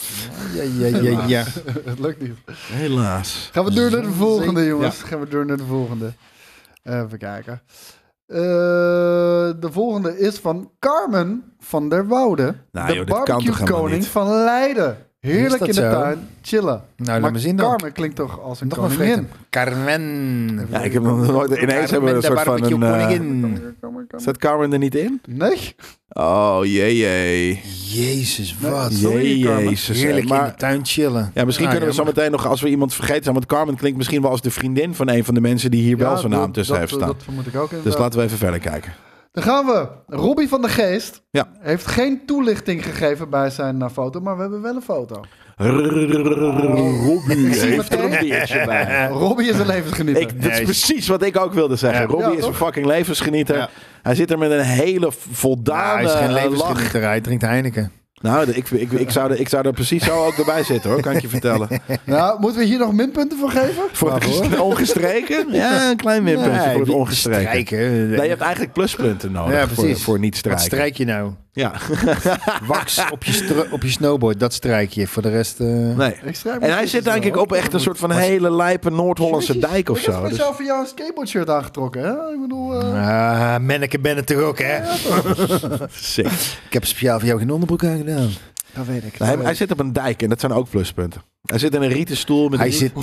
Speaker 3: Ja, ja, ja, ja. Nou,
Speaker 2: het lukt niet.
Speaker 1: Helaas.
Speaker 2: Gaan we door naar de volgende,
Speaker 3: Ja.
Speaker 2: jongens. Gaan we door naar de volgende. Even kijken. Eh, de volgende is van Carmen van der Woude.
Speaker 1: Nou,
Speaker 2: de
Speaker 1: joh, dit kan toch
Speaker 2: barbecue
Speaker 1: helemaal
Speaker 2: koning
Speaker 1: niet?
Speaker 2: van Leiden. Heerlijk
Speaker 3: dat
Speaker 2: in de
Speaker 3: zo?
Speaker 2: tuin, chillen.
Speaker 3: Nou, laat
Speaker 2: maar
Speaker 3: me zien dan.
Speaker 2: Carmen klinkt toch als een
Speaker 3: Nog maar
Speaker 2: koningin.
Speaker 3: vreten. Carmen.
Speaker 1: Ja, ik heb nog nooit... Ineens hebben we een soort van een... eh, Zet Carmen er niet in?
Speaker 2: Nee?
Speaker 1: Oh, jee, jee.
Speaker 3: Jezus, wat.
Speaker 2: Nee, Sorry,
Speaker 1: Jee,
Speaker 2: Carmen.
Speaker 1: Jezus. eh,
Speaker 3: Heerlijk in
Speaker 1: Maar-
Speaker 3: de tuin chillen.
Speaker 1: Ja, misschien
Speaker 3: Ah,
Speaker 1: kunnen we zo
Speaker 3: jammer.
Speaker 1: meteen nog, als we iemand vergeten zijn, want Carmen klinkt misschien wel als de vriendin van een van de mensen die hier wel zijn naam tussen
Speaker 2: dat,
Speaker 1: heeft staan.
Speaker 2: Dat vermoed ik ook inderdaad.
Speaker 1: dus laten we even verder kijken.
Speaker 2: Dan gaan we. Robbie van de Geest
Speaker 1: Ja.
Speaker 2: heeft geen toelichting gegeven bij zijn eh, foto, maar we hebben wel een foto.
Speaker 1: Robbie heeft er een
Speaker 2: meteen.
Speaker 1: biertje bij.
Speaker 2: Robbie is een levensgenieter.
Speaker 1: Eh. Ik, dat is precies wat ik ook wilde zeggen.
Speaker 3: Ja.
Speaker 1: Robbie
Speaker 2: Ja,
Speaker 1: is een
Speaker 2: toch?
Speaker 1: fucking levensgenieter.
Speaker 3: Ja.
Speaker 1: Hij zit er met een hele
Speaker 3: Ja,
Speaker 1: voldane
Speaker 3: hij is geen
Speaker 1: eh,
Speaker 3: levensgenieter,
Speaker 1: lach.
Speaker 3: hij drinkt Heineken.
Speaker 1: Nou, ik, ik, ik, zou er, ik zou er precies zo ook erbij zitten hoor, kan ik je vertellen.
Speaker 2: Nou, moeten we hier nog minpunten voor geven?
Speaker 1: Voor het gest- ongestreken? Ja, een klein minpuntje voor het
Speaker 3: die-
Speaker 1: ongestreken.
Speaker 3: Strijken.
Speaker 1: Nee, je hebt eigenlijk pluspunten nodig
Speaker 3: Ja,
Speaker 1: voor,
Speaker 3: precies.
Speaker 1: voor niet
Speaker 3: Wat
Speaker 1: strijken.
Speaker 3: strijk je nou?
Speaker 1: Ja,
Speaker 3: Wax op je, stro- op je snowboard, dat strijk je. Voor de rest... eh,
Speaker 1: nee.
Speaker 2: Ik schrijf
Speaker 1: En hij zit denk ik op echt een soort van hele lijpe Noord-Hollandse dijk of
Speaker 2: Ik heb
Speaker 1: zo. Dus
Speaker 2: speciaal voor jou een skateboardshirt aangetrokken, hè? Ik bedoel... eh,
Speaker 3: Ah, manneke ben het toch ook, hè?
Speaker 1: sick.
Speaker 3: Ik heb speciaal voor jou geen onderbroek aangedaan.
Speaker 2: Dat weet ik.
Speaker 1: Nou, hij, hij zit op een dijk en dat zijn ook pluspunten. Hij zit in een rieten stoel met
Speaker 3: Hij
Speaker 1: een
Speaker 3: zit eh,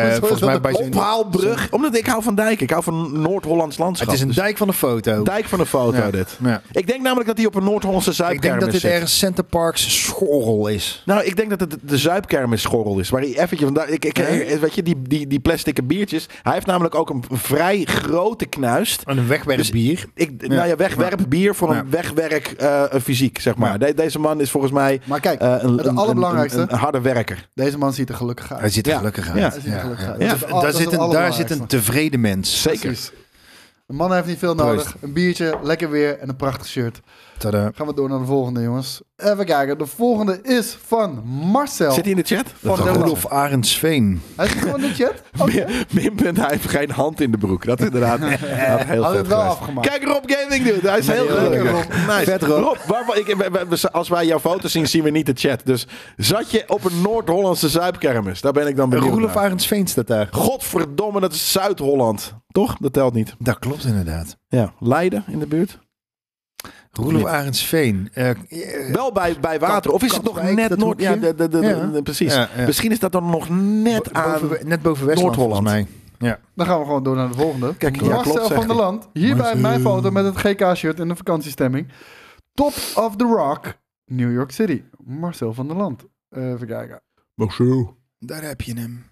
Speaker 2: Sorry,
Speaker 3: volgens mij
Speaker 2: dat
Speaker 3: bij zijn...
Speaker 1: ophaalbrug. Omdat ik hou van dijken. Ik hou van Noord-Hollands landschap.
Speaker 3: Het is een
Speaker 1: Dus
Speaker 3: dijk van een foto.
Speaker 1: dijk van een foto
Speaker 3: Ja.
Speaker 1: dit.
Speaker 3: Ja.
Speaker 1: Ik denk namelijk dat hij op een Noord-Hollandse
Speaker 3: Ik denk
Speaker 1: zuipkermis
Speaker 3: dat dit
Speaker 1: zit.
Speaker 3: ergens Center Parks schorrel is.
Speaker 1: Nou, ik denk dat het de zuipkermisschorrel is. Waar hij eventjes vandaag. Ik, ik, Weet je, die, die, die plastic biertjes. Hij heeft namelijk ook een vrij grote knuist.
Speaker 3: Een wegwerpbier.
Speaker 1: Ik, Nou ja, wegwerp bier voor een
Speaker 3: Ja.
Speaker 1: wegwerk eh, fysiek, zeg maar.
Speaker 3: Ja.
Speaker 1: De- deze man is volgens mij
Speaker 2: Maar kijk,
Speaker 1: eh, een,
Speaker 2: het
Speaker 1: een-
Speaker 2: allerbelangrijkste-
Speaker 1: een- een harde werker.
Speaker 2: Deze man ziet er gelukkig uit.
Speaker 3: Hij ziet er
Speaker 1: Ja.
Speaker 3: gelukkig
Speaker 1: Ja.
Speaker 3: uit.
Speaker 2: Hij ziet er gelukkig uit.
Speaker 1: Ja.
Speaker 2: Dat is het al-
Speaker 3: Daar,
Speaker 2: dat is
Speaker 3: zit
Speaker 2: het
Speaker 3: een, daar zit een
Speaker 2: allerbelangrijkste.
Speaker 3: tevreden mens.
Speaker 1: Zeker.
Speaker 2: Precies. Een man heeft niet veel
Speaker 3: Proost.
Speaker 2: nodig. Een biertje, lekker weer en een prachtig shirt.
Speaker 3: Tada.
Speaker 2: Gaan we door naar de volgende, jongens. Even kijken. De volgende is van Marcel.
Speaker 1: Zit hij in de chat?
Speaker 2: Van
Speaker 3: Van
Speaker 2: de-
Speaker 3: Rudolf Arendsveen.
Speaker 2: Hij zit gewoon in de chat. Oké.
Speaker 1: Mim en hij heeft geen hand in de broek. Dat is inderdaad inderdaad heel
Speaker 2: Had
Speaker 1: vet
Speaker 2: het wel
Speaker 1: geweest.
Speaker 2: afgemaakt.
Speaker 1: Kijk Rob Gaming, dude. Hij is heel
Speaker 3: die
Speaker 1: leuk.
Speaker 3: lekker,
Speaker 1: Rob. Nice.
Speaker 3: Vet, Rob.
Speaker 1: Rob, waarvan- ik, we- we- we- als wij jouw foto's zien, zien we niet de chat. Dus zat je op een Noord-Hollandse zuipkermis? Daar ben ik dan benieuwd
Speaker 3: Rudolf
Speaker 1: naar.
Speaker 3: Arendsveen staat daar.
Speaker 1: Godverdomme, dat is Zuid-Holland. Toch? Dat telt niet.
Speaker 3: Dat klopt inderdaad.
Speaker 1: Ja. Leiden in de buurt?
Speaker 3: Roelof
Speaker 1: Niet.
Speaker 3: Arendsveen. Eh, eh,
Speaker 1: Wel bij, bij water. Of is het nog
Speaker 3: Katwijk,
Speaker 1: net
Speaker 3: dat
Speaker 1: Noord? Ja,
Speaker 3: hoekje?
Speaker 1: de, de, de-
Speaker 3: Ja.
Speaker 1: de- precies.
Speaker 3: Ja, ja.
Speaker 1: Misschien is dat dan nog net aan...
Speaker 3: boven- net boven Westland volgens
Speaker 1: Noord-Holland.
Speaker 3: mij. Ja.
Speaker 2: Dan gaan we gewoon door naar de volgende.
Speaker 1: Kijk, ja,
Speaker 2: Marcel
Speaker 1: klopt, zegt
Speaker 2: van der
Speaker 1: hij.
Speaker 2: Land. Hierbij
Speaker 3: Marcel.
Speaker 2: mijn foto met het GK-shirt in de vakantiestemming. Top of the Rock, New York City. Marcel van der Land. Even kijken.
Speaker 3: Daar heb je hem.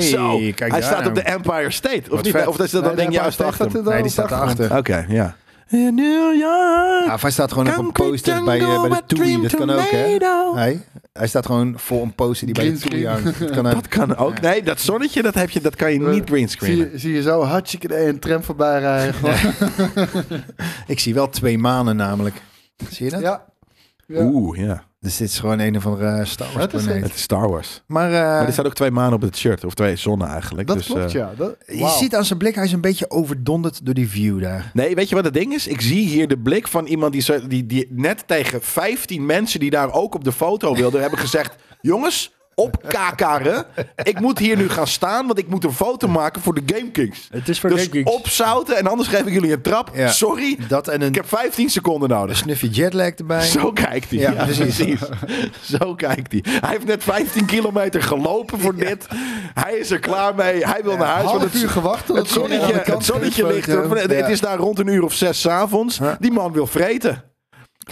Speaker 1: Zo,
Speaker 3: kijk
Speaker 1: hij
Speaker 3: daar
Speaker 1: staat
Speaker 3: nou.
Speaker 1: op de Empire State. Of,
Speaker 3: Wat
Speaker 1: niet?
Speaker 3: vet.
Speaker 1: of is dat dat
Speaker 2: Nee,
Speaker 1: ding
Speaker 2: nee,
Speaker 1: juist
Speaker 2: maar
Speaker 1: achter? hem?
Speaker 2: staat er
Speaker 3: Nee, die
Speaker 2: op
Speaker 3: staat daarachter.
Speaker 1: Oké, ja. In New
Speaker 3: Ja,
Speaker 1: York.
Speaker 3: of hij staat gewoon op een
Speaker 1: concrete
Speaker 3: poster bij, eh, bij
Speaker 1: jungle
Speaker 3: de Toei.
Speaker 1: with
Speaker 3: Dat kan ook, hè?
Speaker 1: tomato.
Speaker 3: Hij, hij staat gewoon voor een poster die bij
Speaker 2: Green
Speaker 3: de Toei
Speaker 2: screen.
Speaker 3: hangt. Dat kan ook.
Speaker 1: Dat kan ook. Nee, dat zonnetje, dat, heb je, dat kan je
Speaker 2: Eh,
Speaker 1: niet
Speaker 2: Zie
Speaker 1: greenscreenen.
Speaker 2: je, zie je zo hartstikke de een tram voorbij rijden. Gewoon.
Speaker 3: Ik zie wel twee manen namelijk. Zie je dat?
Speaker 2: Ja. Ja.
Speaker 1: Oeh, ja.
Speaker 3: Dus dit is gewoon een of andere eh, Star Wars
Speaker 2: Het is
Speaker 3: planeet.
Speaker 1: Het is Star Wars.
Speaker 3: Maar, eh,
Speaker 1: Maar er staan ook twee manen op het shirt. Of twee zonnen eigenlijk.
Speaker 2: Dat
Speaker 1: dus,
Speaker 2: klopt,
Speaker 1: eh,
Speaker 2: ja. Dat,
Speaker 3: je
Speaker 2: wauw.
Speaker 3: ziet aan zijn blik, hij is een beetje overdonderd door die view daar.
Speaker 1: Nee, weet je wat het ding is? Ik zie hier de blik van iemand die, zo- die, die net tegen 15 mensen die daar ook op de foto wilden, hebben gezegd: Jongens, op kakaren. Ik moet hier nu gaan staan, want ik moet een foto maken voor de Game Kings.
Speaker 3: Het is voor
Speaker 1: Dus opzouten en anders geef ik jullie een trap.
Speaker 3: Ja.
Speaker 1: Sorry,
Speaker 3: Dat en
Speaker 1: ik
Speaker 3: een
Speaker 1: heb 15 seconden nodig.
Speaker 3: snuffy jetlag erbij.
Speaker 1: Zo kijkt hij. Ja,
Speaker 3: Ja,
Speaker 1: precies.
Speaker 3: precies.
Speaker 1: Zo kijkt hij. Hij heeft net 15 kilometer gelopen voor dit. Hij is er klaar mee. Hij wil naar huis. want
Speaker 2: half
Speaker 1: het-
Speaker 2: uur gewacht. tot
Speaker 1: het
Speaker 2: het weer aan
Speaker 1: zonnetje,
Speaker 2: de kant
Speaker 1: het zonnetje
Speaker 2: is.
Speaker 1: ligt. er-
Speaker 3: eh, Ja.
Speaker 1: Het is daar rond een uur of zes 's avonds.
Speaker 3: Ja.
Speaker 1: Die man wil vreten.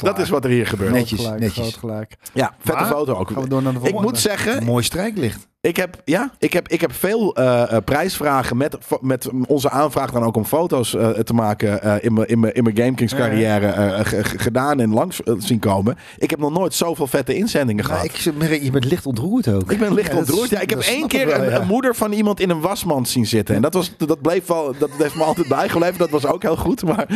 Speaker 1: Dat is wat er hier gebeurt.
Speaker 3: Nee.
Speaker 2: Groot
Speaker 3: Netjes,
Speaker 2: gelijk,
Speaker 3: netjes.
Speaker 2: groot gelijk.
Speaker 1: Ja, vette
Speaker 3: Maar-
Speaker 1: foto ook.
Speaker 2: Gaan we door naar de
Speaker 1: Ik
Speaker 2: volgende.
Speaker 1: moet zeggen,
Speaker 3: Mooi strijklicht.
Speaker 1: ik heb, ja, ik heb, ik heb veel eh, eh, prijsvragen met, met onze aanvraag dan ook om foto's eh, te maken eh, in mijn- in mijn in mijn GameKings carrière eh, g- g- gedaan en langs eh, zien komen. Ik heb nog nooit zoveel vette inzendingen
Speaker 3: Maar
Speaker 1: gehad.
Speaker 3: ik, merk- je bent licht ontroerd ook.
Speaker 1: Ik ben licht
Speaker 3: Ja, dat
Speaker 1: ontroerd.
Speaker 3: is-
Speaker 1: Ja, ik heb
Speaker 3: dat
Speaker 1: één
Speaker 3: snap ik
Speaker 1: keer
Speaker 3: wel,
Speaker 1: een,
Speaker 3: ja.
Speaker 1: een moeder van iemand in een wasmand zien zitten. En dat, was, dat, bleef wel, dat heeft me altijd bijgebleven. Dat was ook heel goed. Maar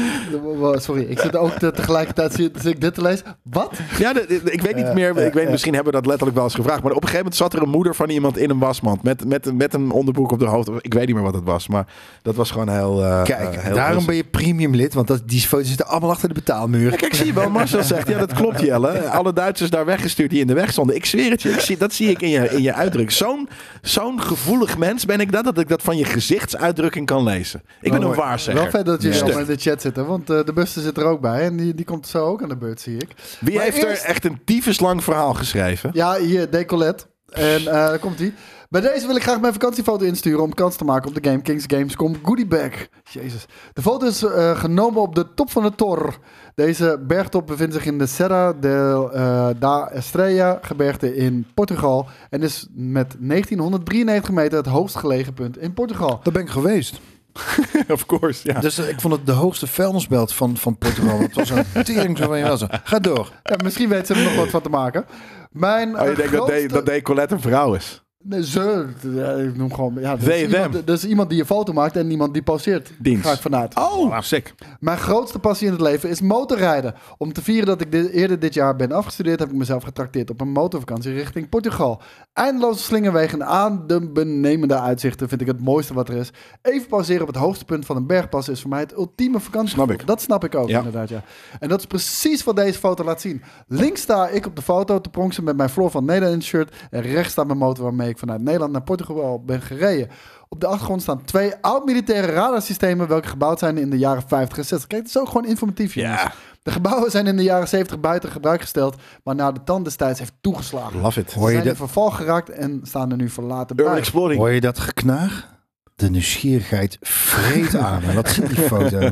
Speaker 2: Sorry, ik zit ook te- tegelijkertijd zit, zit ik dit te lezen. Wat?
Speaker 1: ja, de- de- ik weet niet meer. Ik weet, misschien hebben we dat letterlijk wel eens gevraagd. Maar op een gegeven moment zat er een moeder van iemand in een wasmand. Met, met, met een onderbroek op de hoofd. Ik weet niet meer wat het was. Maar dat was gewoon heel. eh,
Speaker 3: Kijk,
Speaker 1: eh, heel
Speaker 3: daarom ben je premium lid, want dat, die foto's zitten allemaal achter de betaalmuur.
Speaker 1: Ja, Kijk, zie je wel, Marcel zegt, ja dat klopt Jelle. Alle Duitsers daar weggestuurd die in de weg stonden. Ik zweer het je, ik zie, dat zie ik in je, in je uitdruk. Zo'n zo'n gevoelig mens ben ik dat, dat ik dat van je gezichtsuitdrukking kan lezen. Ik ben
Speaker 2: Oh,
Speaker 1: een
Speaker 2: mooi. Wel
Speaker 1: waarzegger.
Speaker 2: vet dat jullie
Speaker 1: Ja.
Speaker 2: allemaal in de chat zitten, want eh, de buster zit er ook bij. En die, die komt zo ook aan de beurt, zie ik.
Speaker 1: Wie
Speaker 2: Maar
Speaker 1: heeft er
Speaker 2: eerst-
Speaker 1: echt een tyfuslang verhaal geschreven?
Speaker 2: Ja, hier, decollette. En eh, daar komt ie. Bij deze wil ik graag mijn vakantiefoto insturen om kans te maken op de Game Kings Gamescom Goodie Bag. Jezus. De foto is eh, genomen op de top van de Tor. Deze bergtop bevindt zich in de Serra de, da Estrella gebergte in Portugal. En is met 1993 meter het hoogst gelegen punt in Portugal.
Speaker 3: Daar ben ik geweest.
Speaker 1: of course, ja.
Speaker 3: Dus eh, ik vond het de hoogste vuilnisbelt van, van Portugal. Het was een tering zo van je wassen. Ga door.
Speaker 2: Ja, misschien weet ze er nog wat van te maken. Mijn
Speaker 1: Oh, je
Speaker 2: eh,
Speaker 1: denkt dat
Speaker 2: grootste-
Speaker 1: de- dat de Colette een vrouw is.
Speaker 2: Nee, ze. Ja, ik noem gewoon. Ja, dat,
Speaker 1: They,
Speaker 2: is iemand,
Speaker 1: them.
Speaker 2: dat is iemand die een foto maakt en iemand die poseert.
Speaker 1: Dienst.
Speaker 2: Ga ik vanuit.
Speaker 1: Oh, sick.
Speaker 2: Mijn grootste passie in het leven is motorrijden. Om te vieren dat ik di- eerder dit jaar ben afgestudeerd, heb ik mezelf getrakteerd op een motorvakantie richting Portugal. Eindeloze slingerwegen en adembenemende uitzichten vind ik het mooiste wat er is. Even pauzeren op het hoogste punt van een bergpas is voor mij het ultieme vakantie.
Speaker 1: Snap ik.
Speaker 2: Dat snap ik ook,
Speaker 1: Ja.
Speaker 2: inderdaad. Ja. En dat is precies wat deze foto laat zien. Links sta ik op de foto te pronksen met mijn Floor van Nederland shirt. En rechts staat mijn motor waarmee ik vanuit Nederland naar Portugal ben gereden. Op de achtergrond staan twee oud-militaire radarsystemen... welke gebouwd zijn in de jaren 50 en 60. Kijk, het is ook gewoon informatief, jongens.
Speaker 1: Ja.
Speaker 2: De gebouwen zijn in de jaren 70 buiten gebruik gesteld... maar na de tand destijds heeft toegeslagen. Ze
Speaker 1: Love it.
Speaker 3: Hoor je
Speaker 2: zijn in
Speaker 3: dat,
Speaker 2: verval geraakt en staan er nu verlaten
Speaker 1: Urban
Speaker 2: bij.
Speaker 1: Exploring.
Speaker 3: hoor je dat geknaag? De nieuwsgierigheid vreet aan. En dat zit die foto.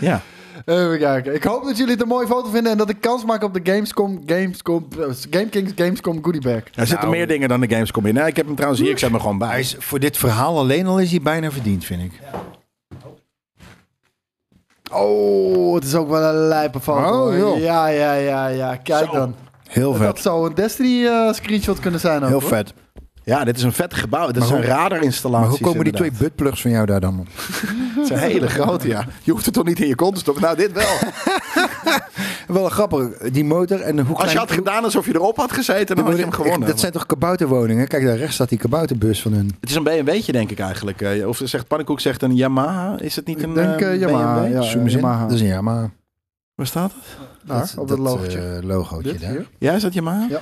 Speaker 1: Ja.
Speaker 2: Even kijken. Ik hoop dat jullie het een mooie foto vinden... en dat ik kans maak op de Gamescom, Gamescom, eh, Game Kings Gamescom goodie bag.
Speaker 1: Er zitten
Speaker 3: Nou.
Speaker 1: meer dingen dan de Gamescom in. Nou, ik heb hem trouwens hier, ik zet hem er gewoon
Speaker 3: Hij
Speaker 1: bij.
Speaker 3: is, voor dit verhaal alleen al is hij bijna verdiend, vind ik.
Speaker 2: Oh, het is ook wel een lijpe foto.
Speaker 3: Oh,
Speaker 2: hoor.
Speaker 3: joh.
Speaker 2: ja, ja, ja, ja. Kijk
Speaker 1: Zo.
Speaker 2: dan.
Speaker 3: Heel
Speaker 2: Dat
Speaker 3: vet.
Speaker 2: zou een Destiny eh, screenshot kunnen zijn ook,
Speaker 3: Heel
Speaker 2: hoor.
Speaker 3: vet.
Speaker 1: Ja, dit is een vet gebouw. Dit is
Speaker 3: Maar
Speaker 1: een
Speaker 3: hoe-
Speaker 1: radarinstallatie.
Speaker 3: Maar hoe komen die twee buttplugs van jou daar dan op?
Speaker 1: Het is een hele grote, ja. Je hoeft het toch niet in je kont te stoppen? Nou, dit wel.
Speaker 3: Wel grappig, die motor en hoe
Speaker 1: Als
Speaker 3: klein-
Speaker 1: je had
Speaker 3: hoe-
Speaker 1: gedaan alsof je erop had gezeten, dan had je hem
Speaker 3: Ik-
Speaker 1: gewonnen.
Speaker 3: dat zijn toch kabouterwoningen? Kijk, daar rechts staat die kabouterbus van hun.
Speaker 1: Het is een BMW'tje, denk ik eigenlijk. Eh, Of zegt Pannenkoek zegt een Yamaha. Is het niet een
Speaker 2: Ik denk
Speaker 1: eh,
Speaker 2: eh, Yamaha.
Speaker 1: BMW?
Speaker 2: Ja,
Speaker 3: Zoom eens in.
Speaker 2: Yamaha.
Speaker 3: Eh, Dat is een Yamaha.
Speaker 1: Waar staat het?
Speaker 2: Daar, op dat, logotje.
Speaker 3: eh, logootje
Speaker 2: Dit
Speaker 3: daar.
Speaker 2: hier.
Speaker 1: Ja, is dat Yamaha?
Speaker 2: Ja.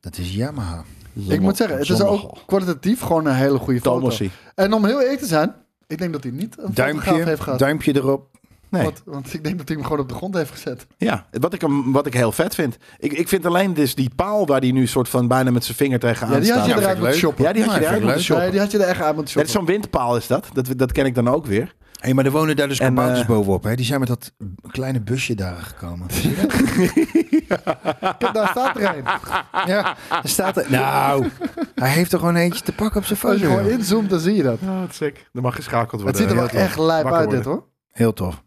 Speaker 3: Dat is Yamaha.
Speaker 2: Ik moet zeggen, het is ook kwalitatief gewoon een hele goede foto.
Speaker 1: Tomossi.
Speaker 2: En om heel eerlijk te zijn, ik denk dat hij niet een fotograaf heeft
Speaker 3: Duimpje,
Speaker 2: gehad.
Speaker 3: duimpje erop.
Speaker 1: Nee.
Speaker 2: Want, want ik denk dat hij hem gewoon op de grond heeft gezet.
Speaker 1: Ja, wat ik, hem, wat ik heel vet vind. Ik, ik vind alleen dus die paal waar die nu soort van bijna met zijn vinger tegenaan
Speaker 2: Ja, die had
Speaker 1: staat.
Speaker 2: je
Speaker 3: Nou, vind
Speaker 2: eruit
Speaker 3: ik
Speaker 2: moeten
Speaker 3: leuk.
Speaker 2: shoppen.
Speaker 1: Ja, die had je
Speaker 3: Ja,
Speaker 1: eruit
Speaker 3: vind ik
Speaker 1: moeten
Speaker 3: leuk.
Speaker 1: shoppen.
Speaker 2: Nee, Dus die had je er echt uit moeten
Speaker 1: Dat is
Speaker 2: shoppen.
Speaker 1: zo'n windpaal is dat. dat. Dat ken ik dan ook weer.
Speaker 3: Hé, maar er wonen daar dus
Speaker 1: En,
Speaker 3: kabouters
Speaker 1: eh,
Speaker 3: bovenop. Hè? Die zijn met dat kleine busje daar gekomen.
Speaker 2: Kijk, daar staat er een.
Speaker 3: ja, er staat er... Nou, hij heeft er gewoon eentje te pakken op zijn
Speaker 2: Als je
Speaker 3: foto.
Speaker 2: gewoon inzoomt, dan zie je dat.
Speaker 1: Oh, dat is sick. Er mag geschakeld
Speaker 2: Het ziet er wel
Speaker 1: Heel tof.
Speaker 2: echt lijp
Speaker 1: Wakker
Speaker 2: uit, dit
Speaker 1: worden.
Speaker 2: hoor.
Speaker 3: Heel tof.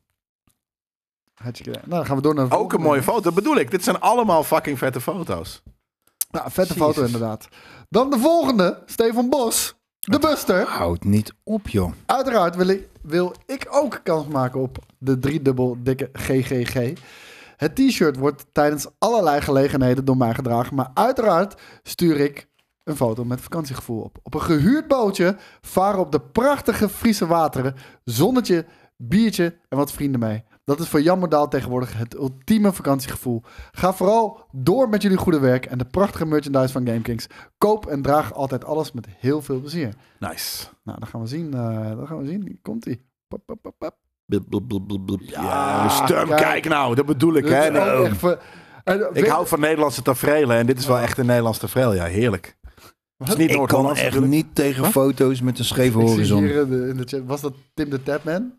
Speaker 2: Hartstikke idee. Nou, dan gaan we door naar de
Speaker 1: Ook een
Speaker 2: volgende.
Speaker 1: mooie foto, bedoel ik. Dit zijn allemaal fucking vette foto's.
Speaker 2: Ja, Nou, vette
Speaker 3: Jezus.
Speaker 2: foto inderdaad. Dan de volgende, Stefan Bos. De Buster.
Speaker 3: Houd niet op, joh.
Speaker 2: Uiteraard wil ik, wil ik ook kans maken op de driedubbel dikke GGG. Het t-shirt wordt tijdens allerlei gelegenheden door mij gedragen. Maar uiteraard stuur ik een foto met vakantiegevoel op. Op een gehuurd bootje varen op de prachtige Friese wateren. Zonnetje, biertje en wat vrienden mee. Dat is voor Jan Modaal tegenwoordig het ultieme vakantiegevoel. Ga vooral door met jullie goede werk en de prachtige merchandise van GameKings. Koop en draag altijd alles met heel veel plezier.
Speaker 1: Nice.
Speaker 2: Nou, dan gaan we zien. eh dan gaan we zien. Komt ie. Pap, pap, pap, pap.
Speaker 1: Blub, blub, blub, blub, blub. Ja,
Speaker 2: Ja,
Speaker 1: Sturm,
Speaker 2: kijk.
Speaker 1: kijk. nou. Dat bedoel ik,
Speaker 2: Dit is
Speaker 1: hè.
Speaker 2: ook
Speaker 1: Nou.
Speaker 2: echt ver- en, eh,
Speaker 1: Ik
Speaker 2: weet-
Speaker 1: hou van Nederlandse tafereelen en dit is wel echt een Nederlands tafereel. Ja, heerlijk. Het is niet
Speaker 3: Ik kan
Speaker 1: Noord-Hollands
Speaker 3: echt
Speaker 1: natuurlijk.
Speaker 3: niet tegen foto's met een scheve
Speaker 2: ik zie
Speaker 3: horizon.
Speaker 2: hier in de, in de chat. Was dat Tim de Tapman?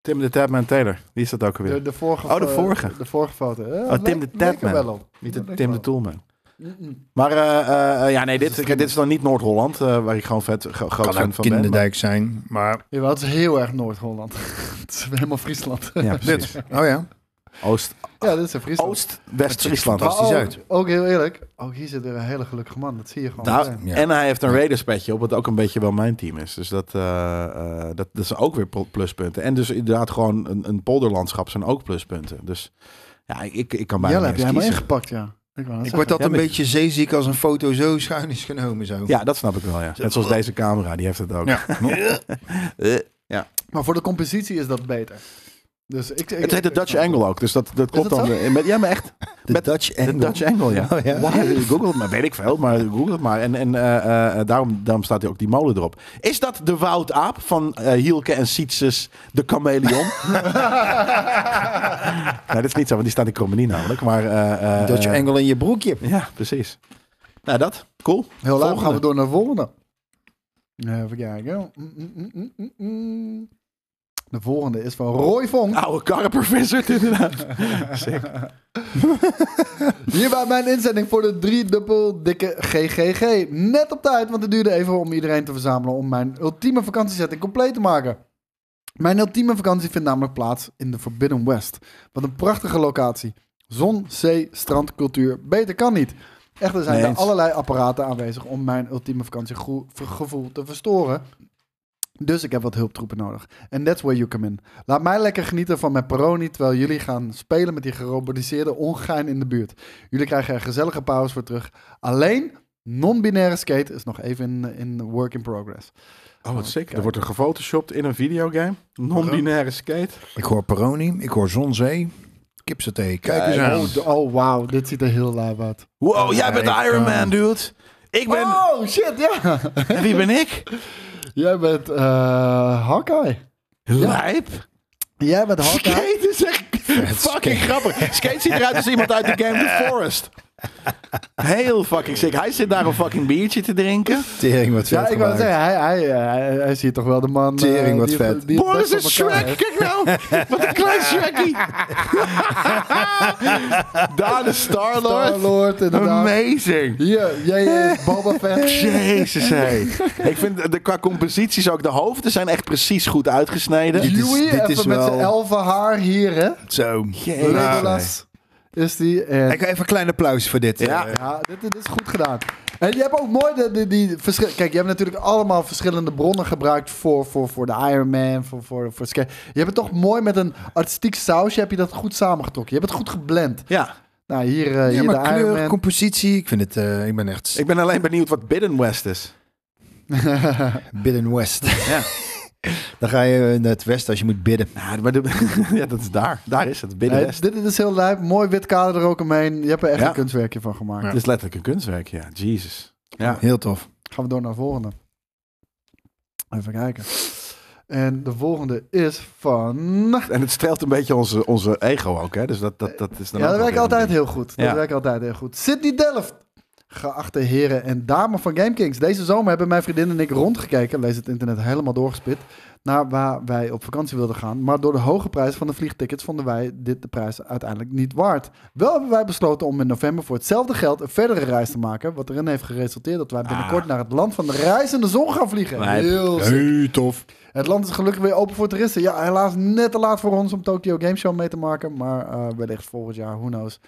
Speaker 1: Tim de Tapman Taylor. Wie is dat ook alweer?
Speaker 2: De, de vorige
Speaker 1: Oh, de
Speaker 2: fo-
Speaker 1: vorige.
Speaker 2: De vorige foto. Eh,
Speaker 1: Oh, Tim de
Speaker 2: leek- leek er
Speaker 1: Tapman.
Speaker 2: wel op.
Speaker 1: Niet
Speaker 2: Ja,
Speaker 1: de,
Speaker 2: leek
Speaker 1: Tim
Speaker 2: wel
Speaker 1: de
Speaker 2: op.
Speaker 1: Toolman.
Speaker 2: Mm-mm.
Speaker 1: Maar eh, eh, eh, ja, nee, dit,
Speaker 2: Dat is
Speaker 1: dit is dan niet Noord-Holland, eh, waar ik gewoon vet gro- groot
Speaker 3: Kan
Speaker 1: fan
Speaker 3: ook
Speaker 1: van ben. maar-
Speaker 3: Kinderdijk zijn, maar...
Speaker 2: Jawel, het is heel erg Noord-Holland. het is helemaal Friesland.
Speaker 1: Ja,
Speaker 3: Dit.
Speaker 1: precies.
Speaker 3: Oh ja.
Speaker 1: Oost,
Speaker 2: ja, dit is in Friesland.
Speaker 1: Oost
Speaker 3: Het ziet
Speaker 1: West-Friesland.
Speaker 3: er fantastisch
Speaker 2: ook,
Speaker 3: uit.
Speaker 2: ook heel eerlijk. Ook hier zit weer een hele gelukkige man. Dat zie je gewoon.
Speaker 1: Nou,
Speaker 2: meteen.
Speaker 3: Ja.
Speaker 1: En hij heeft een Raiders petje op, wat ook een beetje wel mijn team is. Dus dat, eh, eh, dat, dat zijn ook weer pl- pluspunten. En dus inderdaad gewoon een, een polderlandschap zijn ook pluspunten. Dus ja, ik, ik kan bijna
Speaker 2: Jelle,
Speaker 1: niet
Speaker 2: heb
Speaker 1: eens
Speaker 2: jij
Speaker 1: kiezen.
Speaker 2: hem ingepakt, ja. Ik, wou net
Speaker 3: Ik
Speaker 2: zeggen.
Speaker 3: word altijd
Speaker 1: Ja,
Speaker 3: een
Speaker 1: maar-
Speaker 3: beetje zeeziek als een foto zo schuin is genomen zo.
Speaker 1: Ja, dat snap ik wel, ja. Net
Speaker 2: oh.
Speaker 1: zoals deze camera, die heeft het ook.
Speaker 3: Ja.
Speaker 1: Eh,
Speaker 2: Maar voor de competitie is dat beter. Dus ik, ik,
Speaker 1: Het heet de
Speaker 2: ik-
Speaker 1: Dutch Angle ook, dus dat, dat klopt
Speaker 2: dat
Speaker 1: dan. eh, Met, ja, maar echt.
Speaker 3: De
Speaker 1: Met
Speaker 3: Dutch
Speaker 1: De Dutch Angle, ja.
Speaker 3: Oh, ja.
Speaker 1: Why? Google het maar, weet ik veel, maar google het maar. En, en eh, eh, eh, daarom, daarom staat hij ook die molen erop. Is dat de Wout Aap van eh, Hielke en Sietses, de chameleon? nee, dat is niet zo, want die staat in Cromenie namelijk. Maar, eh, eh,
Speaker 3: Dutch
Speaker 1: eh,
Speaker 3: Angle in je broekje.
Speaker 1: Ja, precies. Nou, dat. Cool.
Speaker 2: Heel laat gaan we
Speaker 1: Volgende.
Speaker 2: door naar de volgende. Even kijken. Mm, mm, mm, mm, mm, mm. De volgende is van Roy Vonk.
Speaker 1: Oude karrenprofessor, inderdaad. Sick.
Speaker 2: Hier bij mijn inzending voor de drie dubbel dikke GGG. Net op tijd, want het duurde even om iedereen te verzamelen om mijn ultieme vakantiezetting compleet te maken. Mijn ultieme vakantie vindt namelijk plaats in de Forbidden West. Wat een prachtige locatie. Zon, zee, strand, cultuur. Beter kan niet. Echter zijn
Speaker 1: Nee
Speaker 2: er
Speaker 1: eens.
Speaker 2: allerlei apparaten aanwezig om mijn ultieme vakantiegevoel te verstoren. Dus ik heb wat hulptroepen nodig. En that's where you come in. Laat mij lekker genieten van mijn peroni terwijl jullie gaan spelen met die gerobotiseerde ongein in de buurt. Jullie krijgen er gezellige pauze voor terug. Alleen non-binaire skate is nog even in, in work in progress.
Speaker 1: Oh, wat sick. Er wordt er gefotoshopt in een videogame. Non-binaire skate.
Speaker 3: Ik hoor Peroni, ik hoor Zonzee, kipsaté. Kijk eens aan.
Speaker 2: Oh, d- oh wow, dit ziet er heel live uit.
Speaker 1: Wow, jij bent de
Speaker 3: Kijk
Speaker 1: Iron
Speaker 3: aan.
Speaker 1: Man, dude. Ik ben...
Speaker 2: Oh shit, ja.
Speaker 1: En wie ben ik?
Speaker 2: Jij bent eh Hawkeye.
Speaker 1: Lijp.
Speaker 2: Jij bent Hawkeye.
Speaker 1: Skate is echt fucking grappig. Skate ziet eruit als iemand uit de game The Forest. Heel fucking sick. Hij zit daar een fucking biertje te drinken.
Speaker 3: Tering wat
Speaker 2: Ja,
Speaker 3: vet
Speaker 2: ik wou
Speaker 3: gemaakt.
Speaker 2: zeggen, hij, hij, hij, hij ziet toch wel de man... eh,
Speaker 3: Tering, wat
Speaker 2: die-
Speaker 3: vet.
Speaker 2: die het
Speaker 1: Boris
Speaker 2: best
Speaker 1: is
Speaker 2: op elkaar
Speaker 1: Shrek.
Speaker 2: heeft.
Speaker 1: Kijk nou. Wat een klein Shrekkie. Daar de Star-Lord.
Speaker 2: Star-Lord, inderdaad.
Speaker 1: Amazing.
Speaker 2: Hier, jij is Boba Fett.
Speaker 1: Jezus, hé. Ik vind de, qua composities ook de hoofden zijn echt precies goed uitgesneden.
Speaker 3: Dit is-
Speaker 2: Huey,
Speaker 3: dit
Speaker 2: even
Speaker 3: is
Speaker 2: met
Speaker 3: wel-
Speaker 2: zijn elfen haar hier, hè?
Speaker 3: Zo.
Speaker 1: Jezus.
Speaker 3: Nou,
Speaker 2: Legolas is die. En...
Speaker 3: Ik even een klein applaus voor dit.
Speaker 1: Ja.
Speaker 3: Eh,
Speaker 2: Ja, dit, dit is goed gedaan. En je hebt ook mooi de, de- die verschil. Kijk, je hebt natuurlijk allemaal verschillende bronnen gebruikt voor, voor, voor de Iron Man, voor, voor, voor Sky. Je hebt het toch mooi met een artistiek sausje, heb je dat goed samengetrokken. Je hebt het goed geblend.
Speaker 1: Ja,
Speaker 2: Nou, hier, eh,
Speaker 3: Ja,
Speaker 2: hier de
Speaker 3: maar
Speaker 2: Iron
Speaker 3: kleur,
Speaker 2: Man.
Speaker 3: compositie, ik vind het, eh, ik ben echt
Speaker 1: ik ben alleen benieuwd wat Bidden West is.
Speaker 3: bidden west.
Speaker 1: Ja.
Speaker 3: Dan ga je naar het westen als je moet bidden.
Speaker 1: Nou, maar de- ja, dat is daar. Daar is het, Bidden
Speaker 2: Nee,
Speaker 1: West.
Speaker 2: dit, dit is heel lijp. Mooi wit kader er ook omheen. Je hebt er echt
Speaker 1: Ja.
Speaker 2: een kunstwerkje van gemaakt.
Speaker 1: Het is letterlijk een kunstwerk, ja. Jezus. Ja.
Speaker 3: Heel tof.
Speaker 2: Gaan we door naar de volgende. Even kijken. En de volgende is van...
Speaker 1: En het streelt een beetje onze, onze ego ook, hè? Dus dat, dat, dat is dan
Speaker 2: Ja,
Speaker 1: ook
Speaker 2: dat
Speaker 1: wel
Speaker 2: werkt
Speaker 1: weer een
Speaker 2: altijd
Speaker 1: ding.
Speaker 2: heel goed. Dat
Speaker 1: Ja.
Speaker 2: werkt altijd heel goed. Sydney Delft. Geachte heren en dames van GameKings. Deze zomer hebben mijn vriendin en ik rondgekeken. Lees het internet helemaal doorgespit. Naar waar wij op vakantie wilden gaan. Maar door de hoge prijs van de vliegtickets vonden wij dit de prijs uiteindelijk niet waard. Wel hebben wij besloten om in november voor hetzelfde geld een verdere reis te maken. Wat erin heeft geresulteerd dat wij binnenkort
Speaker 1: Ah.
Speaker 2: naar het land van de reizende zon gaan vliegen.
Speaker 1: Lijp.
Speaker 2: Heel sick.
Speaker 3: Heel tof.
Speaker 2: Het land is gelukkig weer open voor toeristen. Ja, helaas net te laat voor ons om Tokyo Game Show mee te maken. Maar eh, wellicht volgend jaar, who knows.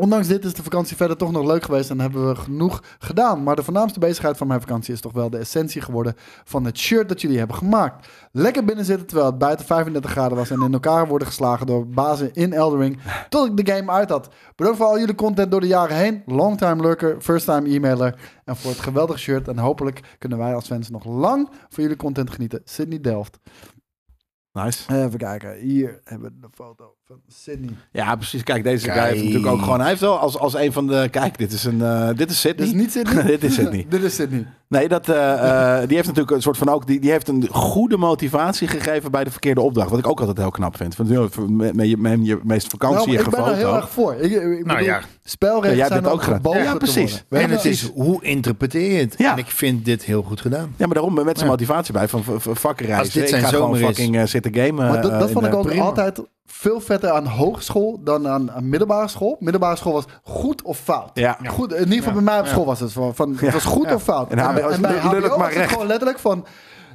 Speaker 2: Ondanks dit is de vakantie verder toch nog leuk geweest en hebben we genoeg gedaan. Maar de voornaamste bezigheid van mijn vakantie is toch wel de essentie geworden van het shirt dat jullie hebben gemaakt. Lekker binnen zitten terwijl het buiten 35 graden was en in elkaar worden geslagen door bazen in Eldering tot ik de game uit had. Bedankt voor al jullie content door de jaren heen. Longtime lurker, first time emailer en voor het geweldige shirt. En hopelijk kunnen wij als fans nog lang van jullie content genieten. Sydney Delft.
Speaker 1: Nice.
Speaker 2: Even kijken, hier hebben we de foto van Sydney.
Speaker 1: Ja, precies. Kijk, deze guy
Speaker 3: Kijk.
Speaker 1: heeft natuurlijk ook gewoon... Hij heeft wel als, als een van de... Kijk, dit is een... eh, dit is Sydney.
Speaker 2: Dit is niet Sydney?
Speaker 1: Dit is Sydney.
Speaker 2: Dit is Sydney.
Speaker 1: Nee, dat, eh, eh, die heeft natuurlijk een soort van ook. Die, die heeft een goede motivatie gegeven bij de verkeerde opdracht. Wat ik ook altijd heel knap vind. Van, joh, me- me- je, me- je meest vakantie
Speaker 2: Nou,
Speaker 1: je
Speaker 2: ik ben daar heel
Speaker 1: gefoto.
Speaker 2: erg voor. Ik, ik bedoel,
Speaker 3: ja.
Speaker 2: spelregels
Speaker 1: Ja, jij hebt
Speaker 2: zijn
Speaker 1: dat ook
Speaker 2: ook
Speaker 1: gedaan.
Speaker 2: geboden
Speaker 1: Ja,
Speaker 2: te
Speaker 1: precies.
Speaker 2: worden. We
Speaker 3: En
Speaker 2: hebben-
Speaker 3: het is, hoe interpreteer je het?
Speaker 1: Ja.
Speaker 3: En ik vind dit heel goed gedaan.
Speaker 1: Ja, maar daarom met zijn
Speaker 3: Ja.
Speaker 1: motivatie bij. Van v- v- fuck reizen.
Speaker 3: Als dit
Speaker 1: ik
Speaker 3: zijn
Speaker 1: ga gewoon
Speaker 3: zomer is.
Speaker 1: fucking eh, zitten gamen.
Speaker 2: Maar dat,
Speaker 1: eh,
Speaker 2: dat
Speaker 1: in
Speaker 2: vond ik
Speaker 1: de-
Speaker 2: ook
Speaker 1: Prima.
Speaker 2: altijd veel vetter aan hogeschool dan aan, aan middelbare school. Middelbare school was goed of fout.
Speaker 1: Ja.
Speaker 2: Goed, in ieder geval bij mij op school was het van, van het was goed
Speaker 1: Ja.
Speaker 2: of fout.
Speaker 1: En HBO is
Speaker 2: bij
Speaker 1: lul- lul het maar
Speaker 2: HBO was het
Speaker 1: recht.
Speaker 2: gewoon letterlijk van,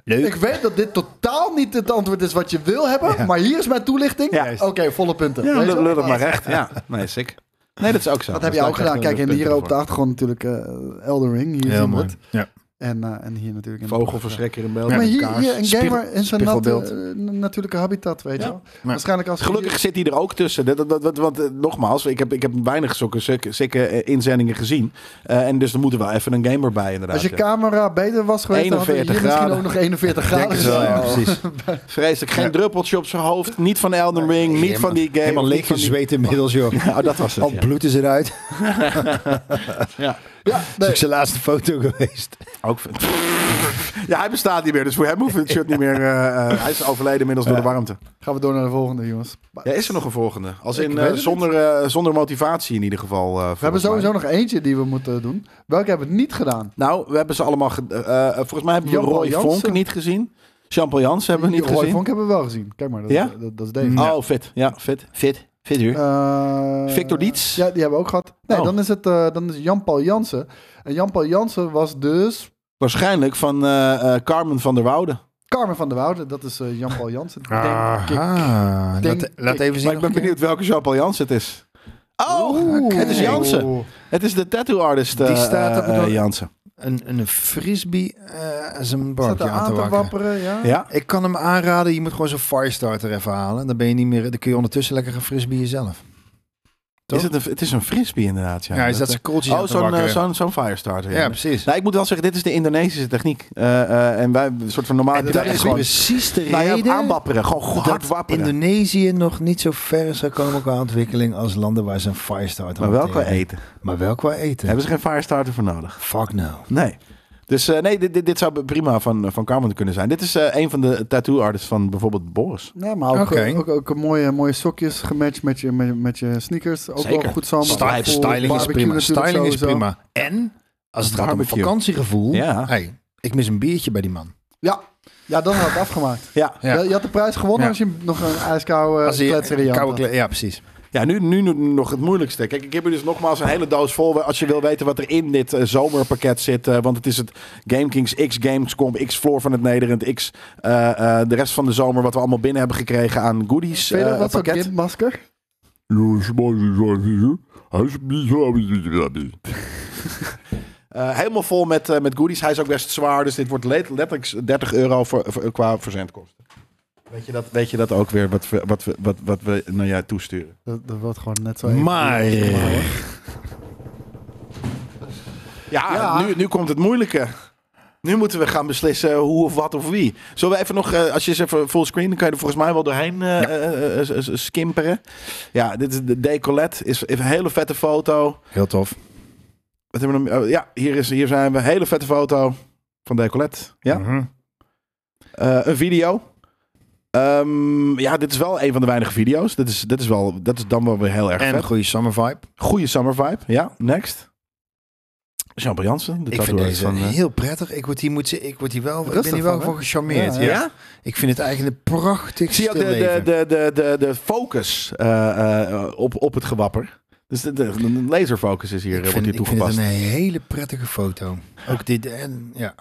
Speaker 3: Leuk.
Speaker 2: ik weet dat dit totaal niet het antwoord is wat je wil hebben, maar hier is mijn toelichting.
Speaker 1: Ja.
Speaker 2: Oké, volle punten.
Speaker 1: Ja,
Speaker 2: Weet je
Speaker 1: lul,
Speaker 2: wel?
Speaker 1: lul het maar recht. Ja, nee, sick. Nee, dat is ook zo.
Speaker 2: Dat
Speaker 1: Daar
Speaker 2: heb je
Speaker 1: sta
Speaker 2: ook
Speaker 1: ik echt in
Speaker 2: gedaan.
Speaker 1: de
Speaker 2: Kijk, en
Speaker 1: punten
Speaker 2: hier op de
Speaker 1: voor.
Speaker 2: achtergrond natuurlijk eh Elden Ring. Hier zien we het.
Speaker 3: Ja.
Speaker 2: En, eh, en hier natuurlijk. in de achtergrond.
Speaker 1: Vogelverschrikker in België.
Speaker 2: Maar
Speaker 1: met
Speaker 2: hier,
Speaker 1: kaars.
Speaker 2: hier een
Speaker 3: Spiegel-
Speaker 2: gamer in zijn nat,
Speaker 3: spiegelbeeld.
Speaker 2: eh, natuurlijke habitat, weet je wel. Waarschijnlijk als
Speaker 1: Gelukkig zit hij er ook tussen. Dat, dat, dat, dat- want eh, nogmaals, ik heb, ik heb weinig zulke sick- sikke eh, inzendingen gezien. Eh, en dus er moet er wel even een gamer bij inderdaad.
Speaker 2: Als je
Speaker 1: ja.
Speaker 2: camera beter was geweest, dan hadden we
Speaker 1: 41
Speaker 2: hier misschien
Speaker 1: graden.
Speaker 2: ook nog 41 graden.
Speaker 3: het wel, ja, precies.
Speaker 1: Vreselijk. Geen druppeltje op zijn hoofd. Niet van Elden Ring. niet
Speaker 3: Helemaal-
Speaker 1: van die game.
Speaker 3: Helemaal
Speaker 1: niet
Speaker 3: leeg
Speaker 1: van die-
Speaker 3: gezweet inmiddels, joh.
Speaker 1: Oh, dat was het.
Speaker 3: Al
Speaker 1: ja.
Speaker 3: bloed is eruit. Dat
Speaker 1: Ja.
Speaker 2: Ja,
Speaker 3: is
Speaker 2: nee.
Speaker 3: ook zijn laatste foto geweest.
Speaker 1: Ook vind- ja, hij bestaat niet meer. Dus voor hem hoeft het shirt niet meer. eh, eh, hij is overleden inmiddels door de warmte.
Speaker 2: Gaan we door naar de volgende, jongens.
Speaker 1: Ja, is er nog een volgende? Als
Speaker 2: Ik
Speaker 1: in
Speaker 2: weet
Speaker 1: eh,
Speaker 2: het
Speaker 1: zonder, eh, zonder motivatie in ieder geval. eh, volgens
Speaker 2: We hebben
Speaker 1: mij.
Speaker 2: sowieso nog eentje die we moeten doen. Welke hebben we niet gedaan?
Speaker 1: Nou, we hebben ze allemaal. ge- eh, eh, volgens mij hebben we
Speaker 2: Jean-Paul
Speaker 1: Roy
Speaker 2: Jansen.
Speaker 1: Vonk niet gezien. Jean-Paul Jansen hebben we niet
Speaker 2: Roy
Speaker 1: gezien.
Speaker 2: Vonk hebben we wel gezien. Kijk maar, dat,
Speaker 1: Ja?
Speaker 2: dat, dat, is deze.
Speaker 1: Oh, fit. Ja, fit. Fit. Fit uur.
Speaker 2: Eh,
Speaker 1: Oh. Victor Dietz?
Speaker 2: Ja, die hebben we ook gehad. Nee,
Speaker 1: Oh.
Speaker 2: dan is het eh, dan is Jan-Paul Jansen. En Jan-Paul Jansen was dus
Speaker 1: Waarschijnlijk van eh, eh, Carmen van der Woude.
Speaker 2: Carmen van der Woude. Dat is eh, Jan-Paul Jansen. Denk ik.
Speaker 3: Ah,
Speaker 2: Denk
Speaker 3: laat, laat
Speaker 2: ik.
Speaker 3: even zien.
Speaker 1: Maar ik ben benieuwd welke Jean-Paul Jansen het is. Oh,
Speaker 2: Oeh.
Speaker 1: het is Jansen.
Speaker 2: Oeh.
Speaker 1: Het is de tattoo artist eh
Speaker 3: Die staat op het
Speaker 1: eh,
Speaker 3: dak.
Speaker 1: Jansen.
Speaker 3: Een, een frisbee eh als een
Speaker 2: Staat
Speaker 3: barkje
Speaker 2: er
Speaker 3: aan te wakkeren.
Speaker 2: wapperen, ja.
Speaker 1: Ja.
Speaker 3: Ik kan hem aanraden, je moet gewoon zo'n firestarter even halen. Dan ben je niet meer, dan kun je ondertussen lekker gaan frisbeeën zelf. Toch?
Speaker 1: Is het, een, het is een frisbee inderdaad. Ja,
Speaker 3: Ja, is dat zijn kooltjes
Speaker 1: Oh,
Speaker 3: aan te
Speaker 1: zo'n eh,
Speaker 3: wakkeren.
Speaker 1: zo'n zo'n firestarter.
Speaker 3: ja, precies.
Speaker 1: Nou, ik moet wel zeggen, dit is de Indonesische techniek. Eh, eh, en wij, een soort van normaal...
Speaker 3: En dat is precies de
Speaker 1: nou, ja,
Speaker 3: reden
Speaker 1: aanwapperen. Gewoon go- hard
Speaker 3: dat
Speaker 1: wapperen.
Speaker 3: Indonesië nog niet zo ver is gekomen qua ontwikkeling als landen waar ze een firestarter
Speaker 1: Maar wel qua
Speaker 3: hanteren.
Speaker 1: eten.
Speaker 3: Maar wel qua eten.
Speaker 1: Hebben ze geen firestarter voor nodig?
Speaker 3: Fuck no.
Speaker 1: Nee. Dus eh, nee, dit, dit, dit zou prima van, eh, van Carmen kunnen zijn. Dit is eh, een van de tattoo artists van bijvoorbeeld Boris.
Speaker 2: Ja, maar ook,
Speaker 3: Oké.
Speaker 2: ook, ook, een mooie, mooie sokjes gematcht met je, met, met je sneakers. Ook
Speaker 1: Zeker.
Speaker 2: wel goed samen.
Speaker 3: Style, styling is prima. Styling is prima. En als het gaat om
Speaker 1: Barbecue.
Speaker 3: vakantiegevoel,
Speaker 1: Ja.
Speaker 3: hey, ik mis een biertje bij die man.
Speaker 2: Ja. ja, dan had het afgemaakt.
Speaker 1: Ja,
Speaker 3: Ja.
Speaker 2: Je, je had de prijs gewonnen
Speaker 3: Ja.
Speaker 2: als je nog een ijskoude
Speaker 3: Als hij-
Speaker 2: kletser in je Eh, hand
Speaker 3: koude
Speaker 2: had.
Speaker 3: kle- ja, precies.
Speaker 1: ja nu, nu nog het moeilijkste. Kijk, ik heb hier dus nogmaals een hele doos vol. Als je wil weten wat er in dit eh, zomerpakket zit. eh, want het is het GameKings X Gamescom, X Floor van het Nederland, X eh, eh, de rest van de zomer. Wat we allemaal binnen hebben gekregen aan goodies.
Speaker 2: Vind je dat
Speaker 1: eh,
Speaker 2: wat zo'n
Speaker 1: pakket.
Speaker 2: kindmasker?
Speaker 1: Eh, helemaal vol met, eh, met goodies. Hij is ook best zwaar, dus dit wordt let- letterlijk 30 euro voor, voor- qua verzendkosten. Weet je dat, weet je dat ook weer, wat, we- wat, we- wat, wat we naar jou toesturen?
Speaker 2: Dat, dat wordt gewoon net zo. even-
Speaker 1: Maar... Ja,
Speaker 2: Ja.
Speaker 1: Nu, nu komt het moeilijke. Nu moeten we gaan beslissen hoe of wat of wie. Zullen we even nog, eh, als je eens even fullscreen, dan kan je er volgens mij wel doorheen eh, eh, eh, eh, eh, skimperen. Ja, dit is de decollet. Is een hele vette foto.
Speaker 3: Heel tof.
Speaker 1: Wat hebben we nog, meer? Oh, ja, hier, is, hier zijn we. Hele vette foto van Decolet. Ja.
Speaker 3: Mhm.
Speaker 1: Eh, een video. Ehm, ja, dit is wel een van de weinige video's. Dit is, dit is, wel, dat is dan wel weer heel erg
Speaker 3: En een
Speaker 1: vet.
Speaker 3: goede summer vibe.
Speaker 1: Goede summer vibe. Ja, next. Jean-Paul Jansen. De
Speaker 3: ik vind
Speaker 1: tattooer
Speaker 3: deze
Speaker 1: van, eh,
Speaker 3: heel prettig. Ik word hier, moet, ze- ik word hier wel, ik
Speaker 2: Rustig
Speaker 3: ben hier wel
Speaker 2: van, hè?
Speaker 3: voor gecharmeerd.
Speaker 2: Ja,
Speaker 3: Ja,
Speaker 2: ja.
Speaker 3: Ik vind het eigenlijk een prachtig
Speaker 1: Ik zie ook de, de, de, de, de, de focus eh, eh, op, op het gewapper. Dus de, de, de laserfocus is hier,
Speaker 3: Ik
Speaker 1: eh, wordt
Speaker 3: vind,
Speaker 1: hier
Speaker 3: ik vind het
Speaker 1: toegepast.
Speaker 3: een hele prettige foto. Ook dit en ja.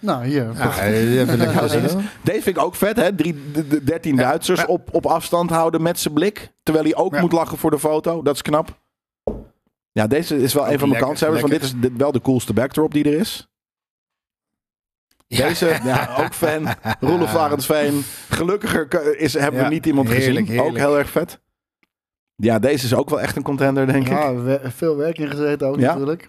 Speaker 2: Nou, hier.
Speaker 3: ja even lekker
Speaker 1: Ja,
Speaker 3: zitten.
Speaker 1: Deze vind ik ook vet, hè? Drie, de, de 13 Duitsers op, op afstand houden met zijn blik. Terwijl hij ook
Speaker 3: Ja.
Speaker 1: moet lachen voor de foto. Dat is knap. Ja, deze is wel
Speaker 3: Ook
Speaker 1: een van mijn
Speaker 3: lekker,
Speaker 1: kanshebbers. Want dit is dit, wel de coolste backdrop die er is. Deze, ja. ook fan. Roelof Arendsveen. Gelukkiger ke- is, hebben
Speaker 3: Ja,
Speaker 1: we niet iemand
Speaker 3: heerlijk,
Speaker 1: gezien. Ook
Speaker 3: heerlijk.
Speaker 1: heel erg vet. Ja, deze is ook wel echt een contender, denk ik.
Speaker 2: Ja, we- veel werk in gezeten ook
Speaker 1: Ja.
Speaker 2: natuurlijk.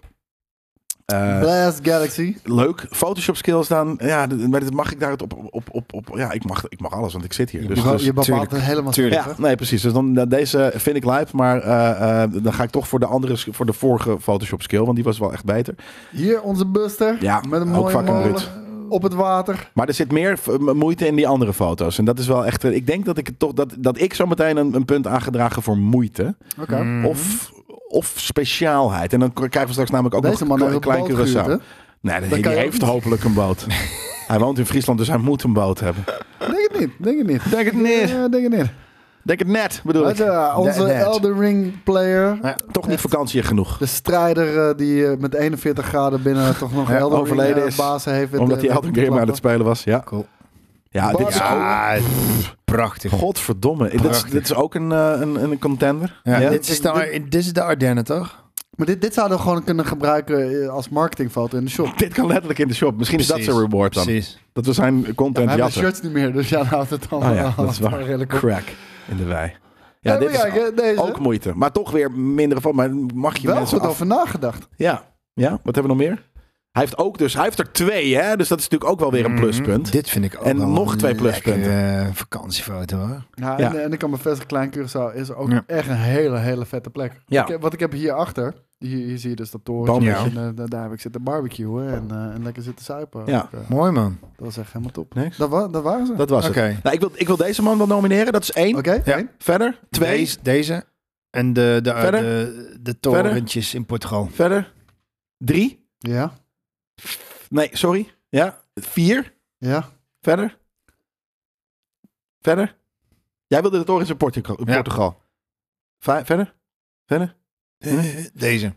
Speaker 1: Eh,
Speaker 2: Blast Galaxy.
Speaker 1: leuk. Photoshop skills dan. Ja, d- maar dat mag ik daar het op, op, op, op. Ja, ik mag, ik mag alles, want ik zit hier.
Speaker 3: Je
Speaker 1: Dus,
Speaker 2: Je, be-
Speaker 1: dus-
Speaker 2: je bepaalt
Speaker 3: tuurlijk,
Speaker 2: het helemaal
Speaker 3: tuurlijk.
Speaker 1: ja, nee, precies. Dus dan, nou, deze vind ik live, maar eh, eh, dan ga ik toch voor de andere, sk- voor de vorige Photoshop skill, want die was wel echt beter.
Speaker 2: Hier onze Buster.
Speaker 1: Ja,
Speaker 2: met een
Speaker 1: ook
Speaker 2: mooie
Speaker 1: fucking
Speaker 2: molen
Speaker 1: Ruud.
Speaker 2: op het water.
Speaker 1: Maar er zit meer v- m- moeite in die andere foto's. En dat is wel echt. eh, Ik denk dat ik het toch dat, dat ik zo meteen een, een punt aangedragen voor moeite
Speaker 2: Oké.
Speaker 1: of, of speciaalheid. En dan k- krijgen we straks namelijk ook
Speaker 2: Deze
Speaker 1: nog
Speaker 2: man heeft
Speaker 1: een
Speaker 2: een
Speaker 1: klein
Speaker 2: boot gehuurd, hè?
Speaker 1: Curaçao. Nee, die,
Speaker 2: kan
Speaker 1: die
Speaker 2: je ook
Speaker 1: heeft
Speaker 2: niet.
Speaker 1: hopelijk een boot. hij woont in Friesland, dus hij moet een boot hebben.
Speaker 2: Denk het niet, denk het niet.
Speaker 1: Denk het niet.
Speaker 2: Ja, denk het niet.
Speaker 1: Denk het net, bedoel
Speaker 2: Weet
Speaker 1: ik.
Speaker 2: je, onze
Speaker 3: Net.
Speaker 2: Elden Ring player.
Speaker 1: Toch niet vakantie genoeg.
Speaker 2: De strijder eh, die eh, met 41 graden binnen toch nog
Speaker 1: Ja,
Speaker 2: Elden Ring
Speaker 1: overleden
Speaker 2: eh,
Speaker 1: is.
Speaker 2: bazen heeft. weten-
Speaker 1: Omdat hij
Speaker 2: weten
Speaker 1: Elden
Speaker 2: te
Speaker 1: Game aan het
Speaker 2: klappen.
Speaker 1: spelen was. Ja,
Speaker 3: Cool.
Speaker 1: ja dit is ook...
Speaker 3: Ja, prachtig.
Speaker 1: Godverdomme. Dit is,
Speaker 3: Prachtig.
Speaker 1: dit is ook een, eh, een, een contender.
Speaker 3: Ja,
Speaker 1: Ja,
Speaker 3: Dit, is de, Ar- dit is de Ardennen, toch?
Speaker 2: Maar dit, dit zouden we gewoon kunnen gebruiken eh, als marketingfoto in de shop.
Speaker 1: Dit kan letterlijk in de shop. Misschien is
Speaker 3: Precies.
Speaker 1: dat zijn reward dan.
Speaker 3: Precies.
Speaker 1: Dat we zijn
Speaker 2: We
Speaker 1: content
Speaker 2: hebben de
Speaker 1: jatten.
Speaker 2: shirts niet meer, dus ja, dan houdt het allemaal
Speaker 1: Oh ja, dat is waar.
Speaker 2: redelijk op.
Speaker 1: Crack in de wei. Ja,
Speaker 2: Ja,
Speaker 1: dit
Speaker 2: maar
Speaker 1: is
Speaker 2: kijk, hè, deze.
Speaker 1: ook moeite. Maar toch weer minder van. Maar mag je
Speaker 2: Wel
Speaker 1: mensen
Speaker 2: goed
Speaker 1: af...
Speaker 2: over nagedacht.
Speaker 1: Ja. ja, wat hebben we nog meer? Hij heeft ook dus... Hij heeft er twee, hè? Dus dat is natuurlijk ook wel weer een
Speaker 3: Mhm.
Speaker 1: pluspunt.
Speaker 3: Dit vind ik ook
Speaker 1: En
Speaker 3: wel
Speaker 1: nog
Speaker 3: een
Speaker 1: twee pluspunten.
Speaker 3: lekkere, eh, vakantiefoto, hoor.
Speaker 2: Ja,
Speaker 1: Ja.
Speaker 2: En, en ik kan bevestigen, Klein Curaçao is ook
Speaker 3: Ja.
Speaker 2: echt een hele, hele vette plek.
Speaker 1: Ja.
Speaker 2: Ik heb- wat ik heb hierachter, hier, hier zie je dus dat torentje.
Speaker 1: Bomen.
Speaker 2: En, eh, da- daar heb ik zitten barbecuen en, eh, en lekker zitten suipen.
Speaker 1: Ja.
Speaker 2: Ook, eh,
Speaker 3: Mooi, man.
Speaker 2: dat was echt helemaal top.
Speaker 1: Niks.
Speaker 2: Dat, wa- dat waren ze.
Speaker 1: Dat was
Speaker 3: Oké.
Speaker 1: het. Nou, ik, wil, ik wil deze man wel nomineren. Dat is één.
Speaker 2: Oké?
Speaker 3: Ja.
Speaker 2: één.
Speaker 1: Verder. Twee.
Speaker 3: Deze, deze. En de, de,
Speaker 1: Verder?
Speaker 3: de, de torentjes in Portugal.
Speaker 1: Verder. Drie.
Speaker 2: Ja.
Speaker 1: Nee, sorry. Ja. Vier.
Speaker 2: Ja.
Speaker 1: Verder. Verder. Jij wilde de torens in Portugal.
Speaker 3: Ja.
Speaker 1: Portugal. Vijf, verder. Verder.
Speaker 3: Hm?
Speaker 1: Eh,
Speaker 3: Deze.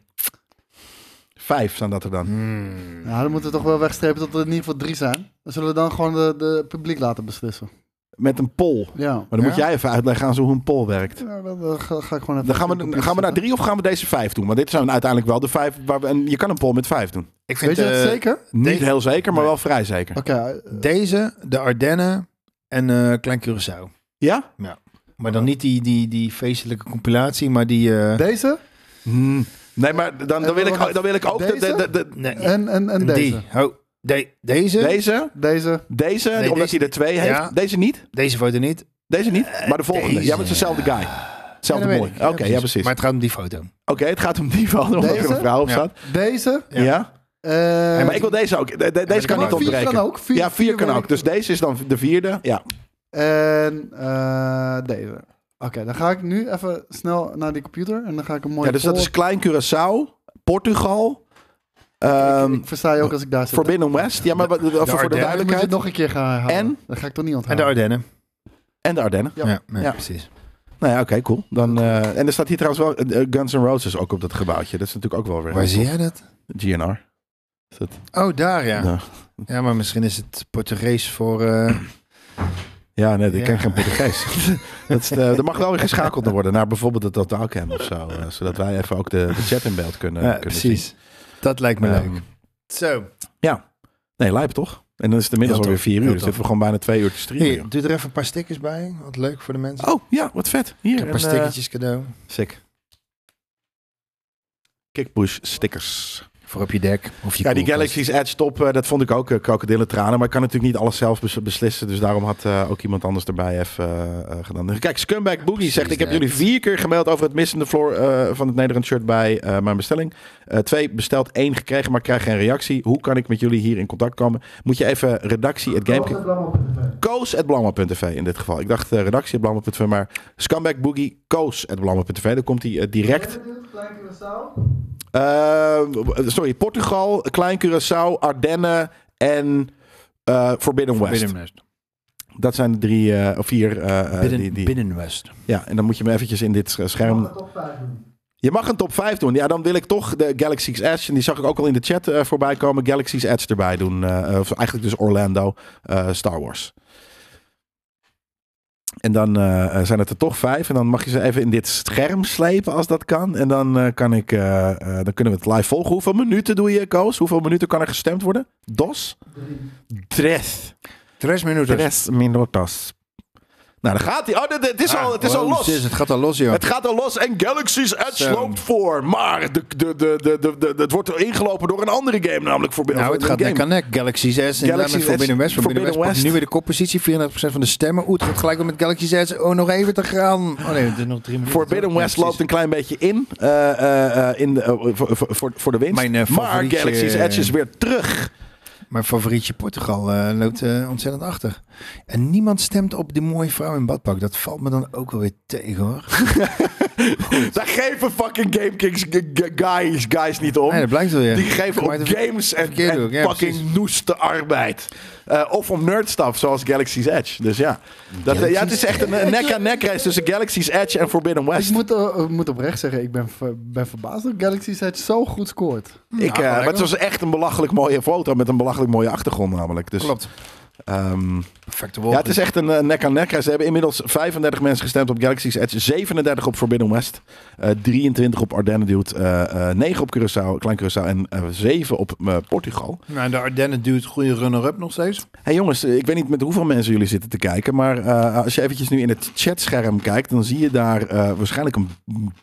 Speaker 1: Vijf staan dat er dan.
Speaker 3: Hmm.
Speaker 2: Nou, dan moeten we toch wel wegstrepen dat er in ieder geval drie zijn. Dan zullen we dan gewoon de, de publiek laten beslissen.
Speaker 1: Met een pol.
Speaker 2: Ja.
Speaker 1: Maar dan moet
Speaker 3: Ja.
Speaker 1: jij even uitleggen aan ze hoe een poll werkt.
Speaker 2: Ja, dan, dan ga, ga ik gewoon even...
Speaker 1: Dan gaan we, gaan we naar drie of gaan we deze vijf doen? Want dit zijn uiteindelijk wel de vijf. Waar we, en je kan een poll met vijf doen.
Speaker 3: Ik vind
Speaker 2: Weet je dat
Speaker 3: eh,
Speaker 2: zeker?
Speaker 1: Niet
Speaker 3: de-
Speaker 1: heel zeker, maar
Speaker 3: Nee.
Speaker 1: wel vrij zeker.
Speaker 2: Oké. eh,
Speaker 3: deze, de Ardennen en eh, Klein Curaçao.
Speaker 1: Ja?
Speaker 3: Maar
Speaker 1: Oh.
Speaker 3: dan niet die, die, die feestelijke compilatie, maar die... eh,
Speaker 2: Deze
Speaker 1: Hmm. Nee, maar dan, dan, wil, ik, ook- dan wil ik ook de, de,
Speaker 2: Deze?
Speaker 1: de, de-
Speaker 3: nee,
Speaker 2: en, en, en
Speaker 3: die.
Speaker 2: deze.
Speaker 3: Ho, de- deze, deze.
Speaker 1: deze.
Speaker 2: Deze.
Speaker 1: Deze,
Speaker 3: Nee,
Speaker 1: omdat
Speaker 3: deze-
Speaker 1: hij er twee heeft.
Speaker 3: ja.
Speaker 1: Deze niet.
Speaker 3: foto niet.
Speaker 1: Deze niet. Maar de volgende.
Speaker 3: deze.
Speaker 1: Ja, maar het is dezelfde guy. Hetzelfde
Speaker 3: Ja, dat
Speaker 1: mooi.
Speaker 3: weet
Speaker 1: Oké,
Speaker 3: ik.
Speaker 1: ja, precies.
Speaker 3: Maar het gaat om die foto.
Speaker 1: Oké, het gaat om die van, omdat er
Speaker 2: Deze?
Speaker 1: een vrouw op
Speaker 3: Ja.
Speaker 1: staat.
Speaker 2: Deze.
Speaker 1: Ja.
Speaker 3: Ja.
Speaker 2: eh,
Speaker 1: Ja, maar ik wil deze ook. De- de- deze kan
Speaker 3: kan
Speaker 1: niet
Speaker 3: ook.
Speaker 2: vier
Speaker 1: ontbreken.
Speaker 2: kan ook. Vier,
Speaker 1: ja, vier kan
Speaker 2: wil
Speaker 1: ook.
Speaker 2: ik.
Speaker 1: Dus deze is dan de vierde. Ja.
Speaker 2: En eh, deze. Oké, dan ga ik nu even snel naar die computer en dan ga ik een mooie.
Speaker 1: ja dus dat
Speaker 2: poll-
Speaker 1: is Klein Curaçao, Portugal,
Speaker 2: Ik-
Speaker 1: ehm
Speaker 2: ik versta je ook als ik daar zit. hè?
Speaker 1: Forbidden West. Ja, maar wat- even voor de
Speaker 3: Ardennen.
Speaker 2: Ik moet het
Speaker 1: duidelijkheid.
Speaker 2: nog een keer gaan herhalen.
Speaker 1: En?
Speaker 2: Dat ga ik toch niet
Speaker 3: En de
Speaker 2: onthouden.
Speaker 3: Ardennen.
Speaker 1: En de Ardennen.
Speaker 2: Ja.
Speaker 3: Ja, ja,
Speaker 1: Ja.
Speaker 3: precies.
Speaker 1: Nou ja, oké, cool. Dan, eh, en er staat hier trouwens wel eh, eh, Guns N' Roses ook op dat gebouwtje. Dat is natuurlijk ook wel weer
Speaker 3: Waar zie jij dat?
Speaker 1: GNR.
Speaker 3: Oh, daar ja.
Speaker 1: Ja.
Speaker 3: ja. maar misschien is het Portugees voor... eh,
Speaker 1: Ja, nee, ik
Speaker 3: Ja.
Speaker 1: ken geen Portugees. dat is de- er mag wel weer geschakeld worden naar bijvoorbeeld de totaalcam of zo. eh, zodat wij even ook de, de chat in beeld kunnen,
Speaker 3: ja,
Speaker 1: kunnen zien.
Speaker 3: precies. Dat lijkt me
Speaker 1: Ehm,
Speaker 3: leuk. Zo.
Speaker 1: Ja. Nee, lijp toch? En dan is het inmiddels
Speaker 3: Heel
Speaker 1: alweer
Speaker 3: tof,
Speaker 1: vier uur.
Speaker 3: heel
Speaker 1: Dus
Speaker 3: tof.
Speaker 1: zitten we gewoon bijna twee uur te streamen.
Speaker 3: Hier,
Speaker 1: joh.
Speaker 3: doe er even een paar stickers bij. Wat leuk voor de mensen.
Speaker 1: Oh, ja, wat vet. Hier.
Speaker 3: Ik heb een paar
Speaker 1: een, eh,
Speaker 3: stickertjes cadeau.
Speaker 1: sick. Kickpush stickers.
Speaker 3: Voor op je dek. Of je
Speaker 1: Ja, die
Speaker 3: koelkast.
Speaker 1: Galaxy's Edge top, eh, dat vond ik ook eh, krokodillentranen. Maar ik kan natuurlijk niet alles zelf bes- beslissen. Dus daarom had eh, ook iemand anders erbij even eh, eh, gedaan. Kijk, Scumbag Boogie
Speaker 3: Precies,
Speaker 1: zegt... Ik heb
Speaker 3: net.
Speaker 1: jullie vier keer gemaild over het missende floor eh, van het Nederland shirt bij eh, mijn bestelling. Eh, twee, besteld één gekregen, maar krijg geen reactie. Hoe kan ik met jullie hier in contact komen? Moet je even redactie at Gamekings... Koos at blamma.tv in dit geval. Ik dacht eh, redactie at blamma.tv, maar Scumbag Boogie, Koos at blamma.tv. Dan komt hij eh, direct... Eh, sorry, Portugal, Klein Curaçao, Ardennen en eh, Forbidden West.
Speaker 3: Binnenwest.
Speaker 1: Dat zijn de drie eh, of vier. eh, eh, die,
Speaker 3: Binnen,
Speaker 1: die-
Speaker 3: Binnenwest.
Speaker 1: Ja, en dan moet je hem eventjes in dit eh, scherm. Je mag een top 5 doen. Ja, dan wil ik toch de Galaxy's Edge. En die zag ik ook al in de chat eh, voorbij komen. Galaxy's Edge erbij doen. eh, of eigenlijk dus Orlando, eh, Star Wars. En dan eh, eh, zijn het er toch vijf. En dan mag je ze even in dit scherm slepen als dat kan. En dan, eh, kan ik, eh, eh, dan kunnen we het live volgen. Hoeveel minuten doe je, Koos? Hoeveel minuten kan er gestemd worden? Dos? Tres.
Speaker 3: Tres minuten.
Speaker 1: Tres minutos. Nou, dan gaat hij. Oh, dit- dit- het is, al, het is al los.
Speaker 3: Ah, Het gaat al los, joh.
Speaker 1: Het gaat al los en Galaxy's Edge
Speaker 3: Zo.
Speaker 1: loopt voor. Maar de, de, de, de, de, de- het wordt ingelopen door een andere game, namelijk voor
Speaker 3: Nou, het gaat nek aan nek. Galaxy 6 en
Speaker 1: Galaxy
Speaker 3: daarmee voor
Speaker 1: S,
Speaker 3: Binnenwest. Voor
Speaker 1: Forbidden
Speaker 3: Binnenwest
Speaker 1: West.
Speaker 3: pakt nu weer de koppositie. 34% van de stemmen. Oeh, het gaat gelijk om met Galaxy 6. Oh, nog even te gaan. Oh nee, het is nog drie minuten.
Speaker 1: Forbidden
Speaker 3: Ja,
Speaker 1: West
Speaker 3: precies.
Speaker 1: loopt een klein beetje in, eh, eh, eh, in de, eh, voor, voor- voor, voor de winst.
Speaker 3: Mijn, eh,
Speaker 1: maar
Speaker 3: favorietje-
Speaker 1: Galaxy's Edge is weer terug.
Speaker 3: Mijn favorietje Portugal eh, loopt eh, ontzettend achter. En niemand stemt op de mooie vrouw in badpak. Dat valt me dan ook alweer tegen, hoor.
Speaker 1: Daar geven fucking GameKings g- g- guys, guys niet om.
Speaker 3: Nee, dat blijkt wel weer.
Speaker 1: Die geven
Speaker 3: Kom
Speaker 1: op
Speaker 3: uit de-
Speaker 1: games en,
Speaker 3: verkeerde
Speaker 1: en
Speaker 3: hoek, ja,
Speaker 1: fucking noeste arbeid. Eh, of om nerdstuff, zoals Galaxy's Edge. Dus ja, dat, eh, ja het is echt een nek-aan-nek race tussen Galaxy's Edge en Forbidden West.
Speaker 2: Ik moet, eh, ik moet oprecht zeggen, ik ben, ver- ben verbaasd dat Galaxy Edge zo goed scoort.
Speaker 1: Ik, eh, maar het was echt een belachelijk mooie foto met een belachelijk mooie achtergrond namelijk. Dus,
Speaker 3: Klopt.
Speaker 1: ehm,
Speaker 3: Perfecte
Speaker 1: ja,
Speaker 3: woord.
Speaker 1: het is echt een eh, nek aan nek. Ze hebben inmiddels 35 mensen gestemd op Galaxy's Edge, 37 op Forbidden West, eh, 23 op Ardennen Dude, eh, eh, 9 op Curaçao, Klein Curaçao en eh, 7 op eh, Portugal.
Speaker 3: Nou, de Ardennen duwt goede runner-up nog
Speaker 2: Dus-
Speaker 3: steeds.
Speaker 1: Hey jongens, eh, ik weet niet met hoeveel mensen jullie zitten te kijken, maar eh, als je eventjes nu in het chatscherm kijkt, dan zie je daar eh, waarschijnlijk een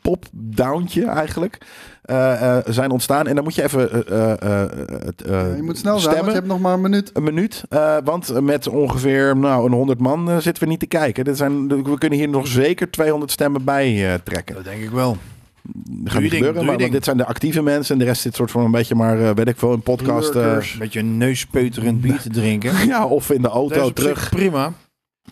Speaker 1: pop-downtje eigenlijk eh, eh, zijn ontstaan. En dan moet je even eh, eh, eh, het, eh,
Speaker 2: je moet snel zijn, want
Speaker 1: stemmen.
Speaker 2: je hebt nog maar een minuut.
Speaker 1: Een minuut, eh, want met ongeveer nou, een 100 man eh, zitten we niet te kijken. Dit zijn, we kunnen hier nog zeker 200 stemmen bij eh, trekken.
Speaker 3: Dat denk ik wel.
Speaker 1: Dat
Speaker 3: je
Speaker 1: gaat niet
Speaker 3: ding, doe je
Speaker 1: gebeuren, maar want
Speaker 3: ding.
Speaker 1: dit zijn de actieve mensen en de rest zit soort van een beetje maar, eh, weet ik veel, een podcast. eh,
Speaker 3: Een beetje een neuspeuterend bier te drinken.
Speaker 1: ja, of in de
Speaker 3: Dat is
Speaker 1: auto
Speaker 3: op zich
Speaker 1: terug.
Speaker 3: Prima.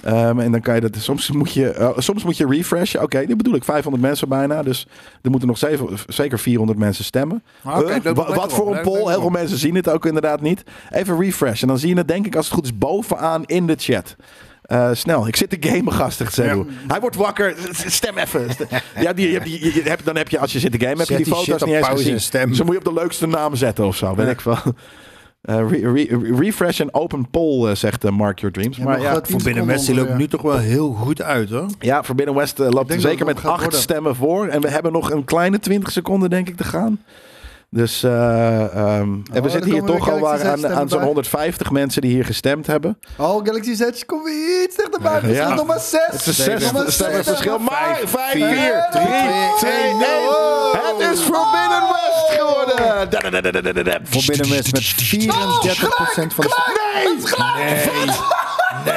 Speaker 1: Ehm, en dan kan je dat. Soms moet je, eh, soms moet je refreshen. Oké, dit bedoel ik 500 mensen bijna. Dus er moeten nog zeven, zeker 400 mensen stemmen.
Speaker 3: Ah,
Speaker 1: Huh?
Speaker 3: oké, dat loopt
Speaker 1: Wa-
Speaker 3: lekker
Speaker 1: wat
Speaker 3: op,
Speaker 1: voor een
Speaker 3: leuk,
Speaker 1: poll?
Speaker 3: leuk
Speaker 1: Heel veel
Speaker 3: op.
Speaker 1: mensen zien het ook inderdaad niet. Even refresh. En dan zie je het, denk ik, als het goed is, bovenaan in de chat. Eh, snel, ik zit te gamen, gastig. Zeru. Hij wordt wakker. S- s- Stem even. Stem- Ja, die, je hebt die, je- je hebt- dan heb je als je zit te gamen, heb
Speaker 3: Zet
Speaker 1: je die
Speaker 3: die
Speaker 1: foto's
Speaker 3: shit op
Speaker 1: niet eens
Speaker 3: pauze
Speaker 1: gezien.
Speaker 3: en stem.
Speaker 1: Ze moet je op de leukste naam zetten of zo. Weet ik wel. Eh, re- re- refresh en open poll, eh, zegt eh, Mark Your Dreams. maar
Speaker 2: mag
Speaker 1: ja,
Speaker 2: dat
Speaker 3: Voor Binnenwest die loopt nu toch wel heel goed uit, hoor.
Speaker 1: ja, Forbidden West eh,
Speaker 2: Ik
Speaker 1: loopt
Speaker 2: denk
Speaker 1: zeker
Speaker 2: dat het
Speaker 1: met
Speaker 2: gaat
Speaker 1: acht
Speaker 2: worden.
Speaker 1: stemmen voor. En we hebben nog een kleine 20 seconden, denk ik, te gaan. Dus eh, ehm, en we
Speaker 2: dan
Speaker 1: zitten hier
Speaker 2: komen we
Speaker 1: toch al
Speaker 2: Galaxy's
Speaker 1: waar
Speaker 2: Edge
Speaker 1: aan,
Speaker 2: stemmen
Speaker 1: aan zo'n
Speaker 2: bij.
Speaker 1: 150 mensen die hier gestemd hebben.
Speaker 2: Oh, Galaxy Edge, kom weer iets dichterbij. Het
Speaker 1: Ja.
Speaker 2: is nog maar zes.
Speaker 1: Het is
Speaker 3: Zeven.
Speaker 1: zes stemmen
Speaker 2: Zeven.
Speaker 1: verschil. Maar 5, 4, 3, 2, 1.
Speaker 2: vier, twee, Oh. nul.
Speaker 1: Het is Forbidden West
Speaker 2: Oh.
Speaker 1: geworden. Da, da, da, da, da, da, da.
Speaker 3: Voor Binnenwest met 34% van
Speaker 2: Oh,
Speaker 3: de stemmen.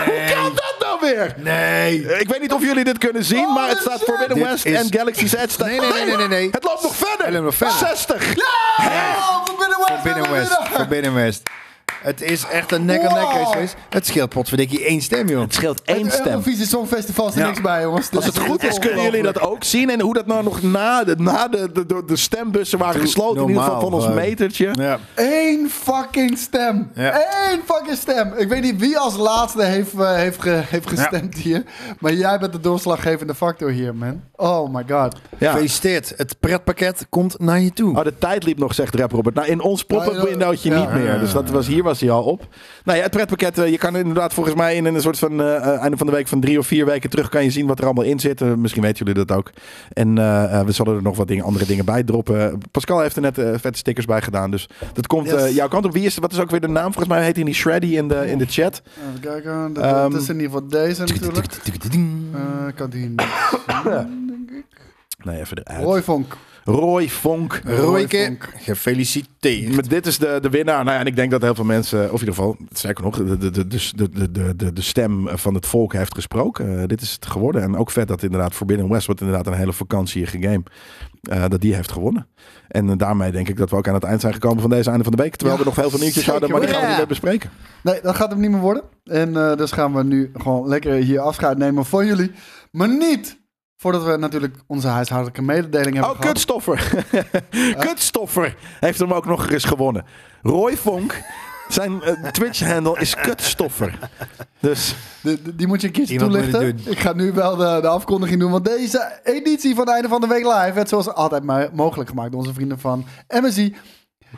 Speaker 1: Hoe kan dat nou weer?
Speaker 3: Nee.
Speaker 1: Ik weet niet of jullie dit kunnen zien, maar het staat Forbidden
Speaker 3: Dit
Speaker 1: West
Speaker 3: is-
Speaker 1: en Galaxy's Edge. staat-
Speaker 3: Nee, nee, nee, nee, nee, nee.
Speaker 1: Het loopt nog
Speaker 3: Het
Speaker 1: verder.
Speaker 3: loopt nog verder.
Speaker 1: 60.
Speaker 2: Oh, voor Binnenwest.
Speaker 3: Binnenwest. Voor Binnenwest. Het is echt een nek aan nek race. geweest. Het scheelt potverdikkie één stem, joh.
Speaker 1: Het scheelt één
Speaker 2: Het
Speaker 1: stem.
Speaker 2: Eh, Eurovisie Songfestival is er
Speaker 3: Ja.
Speaker 2: niks bij, jongens.
Speaker 1: Als het goed is, kunnen jullie dat ook zien. En hoe dat nou nog na de, na de, de, de- de stembussen waren
Speaker 3: Doe
Speaker 1: gesloten. In ieder geval van
Speaker 3: normaal
Speaker 1: ons
Speaker 3: gewoon.
Speaker 1: metertje.
Speaker 3: Ja.
Speaker 2: Eén fucking stem.
Speaker 3: Ja.
Speaker 2: Eén fucking stem. Ik weet niet wie als laatste heeft, eh, heeft, ge- heeft gestemd hier. Maar jij bent de doorslaggevende factor hier, man. Oh my god.
Speaker 1: Ja.
Speaker 3: Gefeliciteerd. Het pretpakket komt naar je toe.
Speaker 1: Oh, de tijd liep nog, zegt rap Robert. Nou, in ons
Speaker 2: Ja, ja,
Speaker 1: pop-up windowtje
Speaker 2: ja.
Speaker 1: niet meer. Dus dat was, hier was hij al op. Nou ja, het pretpakket. eh, je kan inderdaad volgens mij in een soort van... eh, eh, einde van de week van drie of vier weken terug... kan je zien wat er allemaal in zit. Eh, misschien weten jullie dat ook. En eh, eh, we zullen er nog wat dingen, andere dingen bij droppen. Pascal heeft er net eh, vette stickers bij gedaan. Dus dat komt
Speaker 2: Yes.
Speaker 1: eh, jouw kant op. Wie is, wat is ook weer de naam? Volgens mij heet hij niet Shreddy in de, in de chat.
Speaker 2: Even kijken. Dat,
Speaker 1: Ehm,
Speaker 2: dat is in ieder geval deze natuurlijk. Eh, Ik had die niet zien, denk ik.
Speaker 1: Nee, even eruit. Roy,
Speaker 2: Roy Vonk.
Speaker 1: Vonk.
Speaker 3: Royke,
Speaker 2: Vonk.
Speaker 3: gefeliciteerd.
Speaker 1: Maar dit is de, de winnaar. Nou ja, en ik denk dat heel veel mensen, of in ieder geval, zeker nog, de, de, de, de, de, de, de, de stem van het volk heeft gesproken. Eh, dit is het geworden. En ook vet dat inderdaad Forbidden West, wat inderdaad een hele vakantie game, eh dat die heeft gewonnen. En eh, daarmee denk ik dat we ook aan het eind zijn gekomen van deze einde van de week. Terwijl
Speaker 2: Ja,
Speaker 1: we nog heel veel nieuwtjes
Speaker 2: zeker
Speaker 1: hadden, maar die
Speaker 2: weten.
Speaker 1: gaan we niet meer bespreken.
Speaker 2: Nee, dat gaat hem niet meer worden. En eh, dus gaan we nu gewoon lekker hier afscheid nemen van jullie. Maar niet voordat we natuurlijk onze huishoudelijke mededeling hebben
Speaker 1: Oh,
Speaker 2: gehad.
Speaker 1: Kutstoffer. Kutstoffer heeft hem ook nog eens gewonnen. Roy Vonk, zijn eh, Twitch-handle is Kutstoffer. Dus...
Speaker 2: De- de- die moet je een keertje
Speaker 3: Iemand moet het
Speaker 2: toelichten.
Speaker 3: doen.
Speaker 2: Ik ga nu wel de, de afkondiging doen. Want deze editie van Einde van de Week Live werd zoals altijd maar mogelijk gemaakt door onze vrienden van MSI.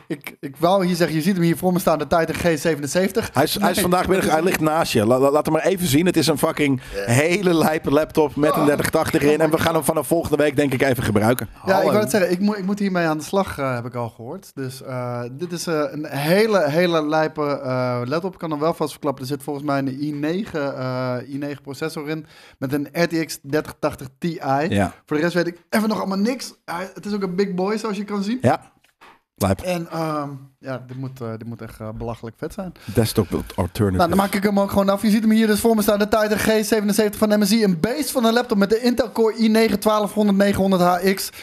Speaker 2: Ik, ik wou hier zeggen, je ziet hem hier voor me staan, de Titan G77.
Speaker 1: Hij is, hij is vandaag middag, hij ligt naast je. La- la- laat hem maar even zien. Het is een fucking hele lijpe laptop met een 3080 erin. En we gaan hem vanaf volgende week denk ik even gebruiken.
Speaker 2: Ah. Ja, ik
Speaker 3: Hallo.
Speaker 2: wou het zeggen, ik moet, ik moet hiermee aan de slag, eh, heb ik al gehoord. Dus eh, dit is eh, een hele, hele lijpe eh laptop. Ik kan hem wel vast verklappen. Er zit volgens mij een i9, eh, i9 processor in met een RTX 3080 Ti.
Speaker 1: Ja.
Speaker 2: Voor de rest weet ik even nog allemaal niks. Hij- het is ook een big boy, zoals je kan zien.
Speaker 1: Ja. Lijp.
Speaker 2: En ehm, ja, dit moet, eh, dit moet echt eh, belachelijk vet zijn.
Speaker 1: Desktop alternative.
Speaker 2: Nou, dan maak ik hem ook gewoon af. Je ziet hem hier dus voor me staan. De Titan G77 van MSI. Een beest van een laptop met de Intel Core i9 12900HX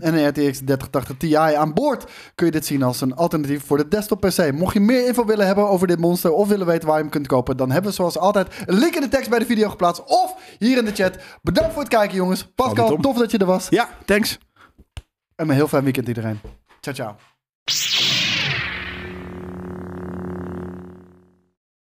Speaker 2: en een RTX 3080 Ti aan boord. Kun je dit zien als een alternatief voor de desktop PC. Mocht je meer info willen hebben over dit monster of willen weten waar je hem kunt kopen, dan hebben we zoals altijd een link in de tekst bij de video geplaatst of hier in de chat. Bedankt voor het kijken jongens.
Speaker 1: Gaat niet
Speaker 2: Pascal,
Speaker 1: om.
Speaker 2: tof dat je er was.
Speaker 1: Ja, thanks.
Speaker 2: En een heel fijn weekend iedereen. Ciao, ciao.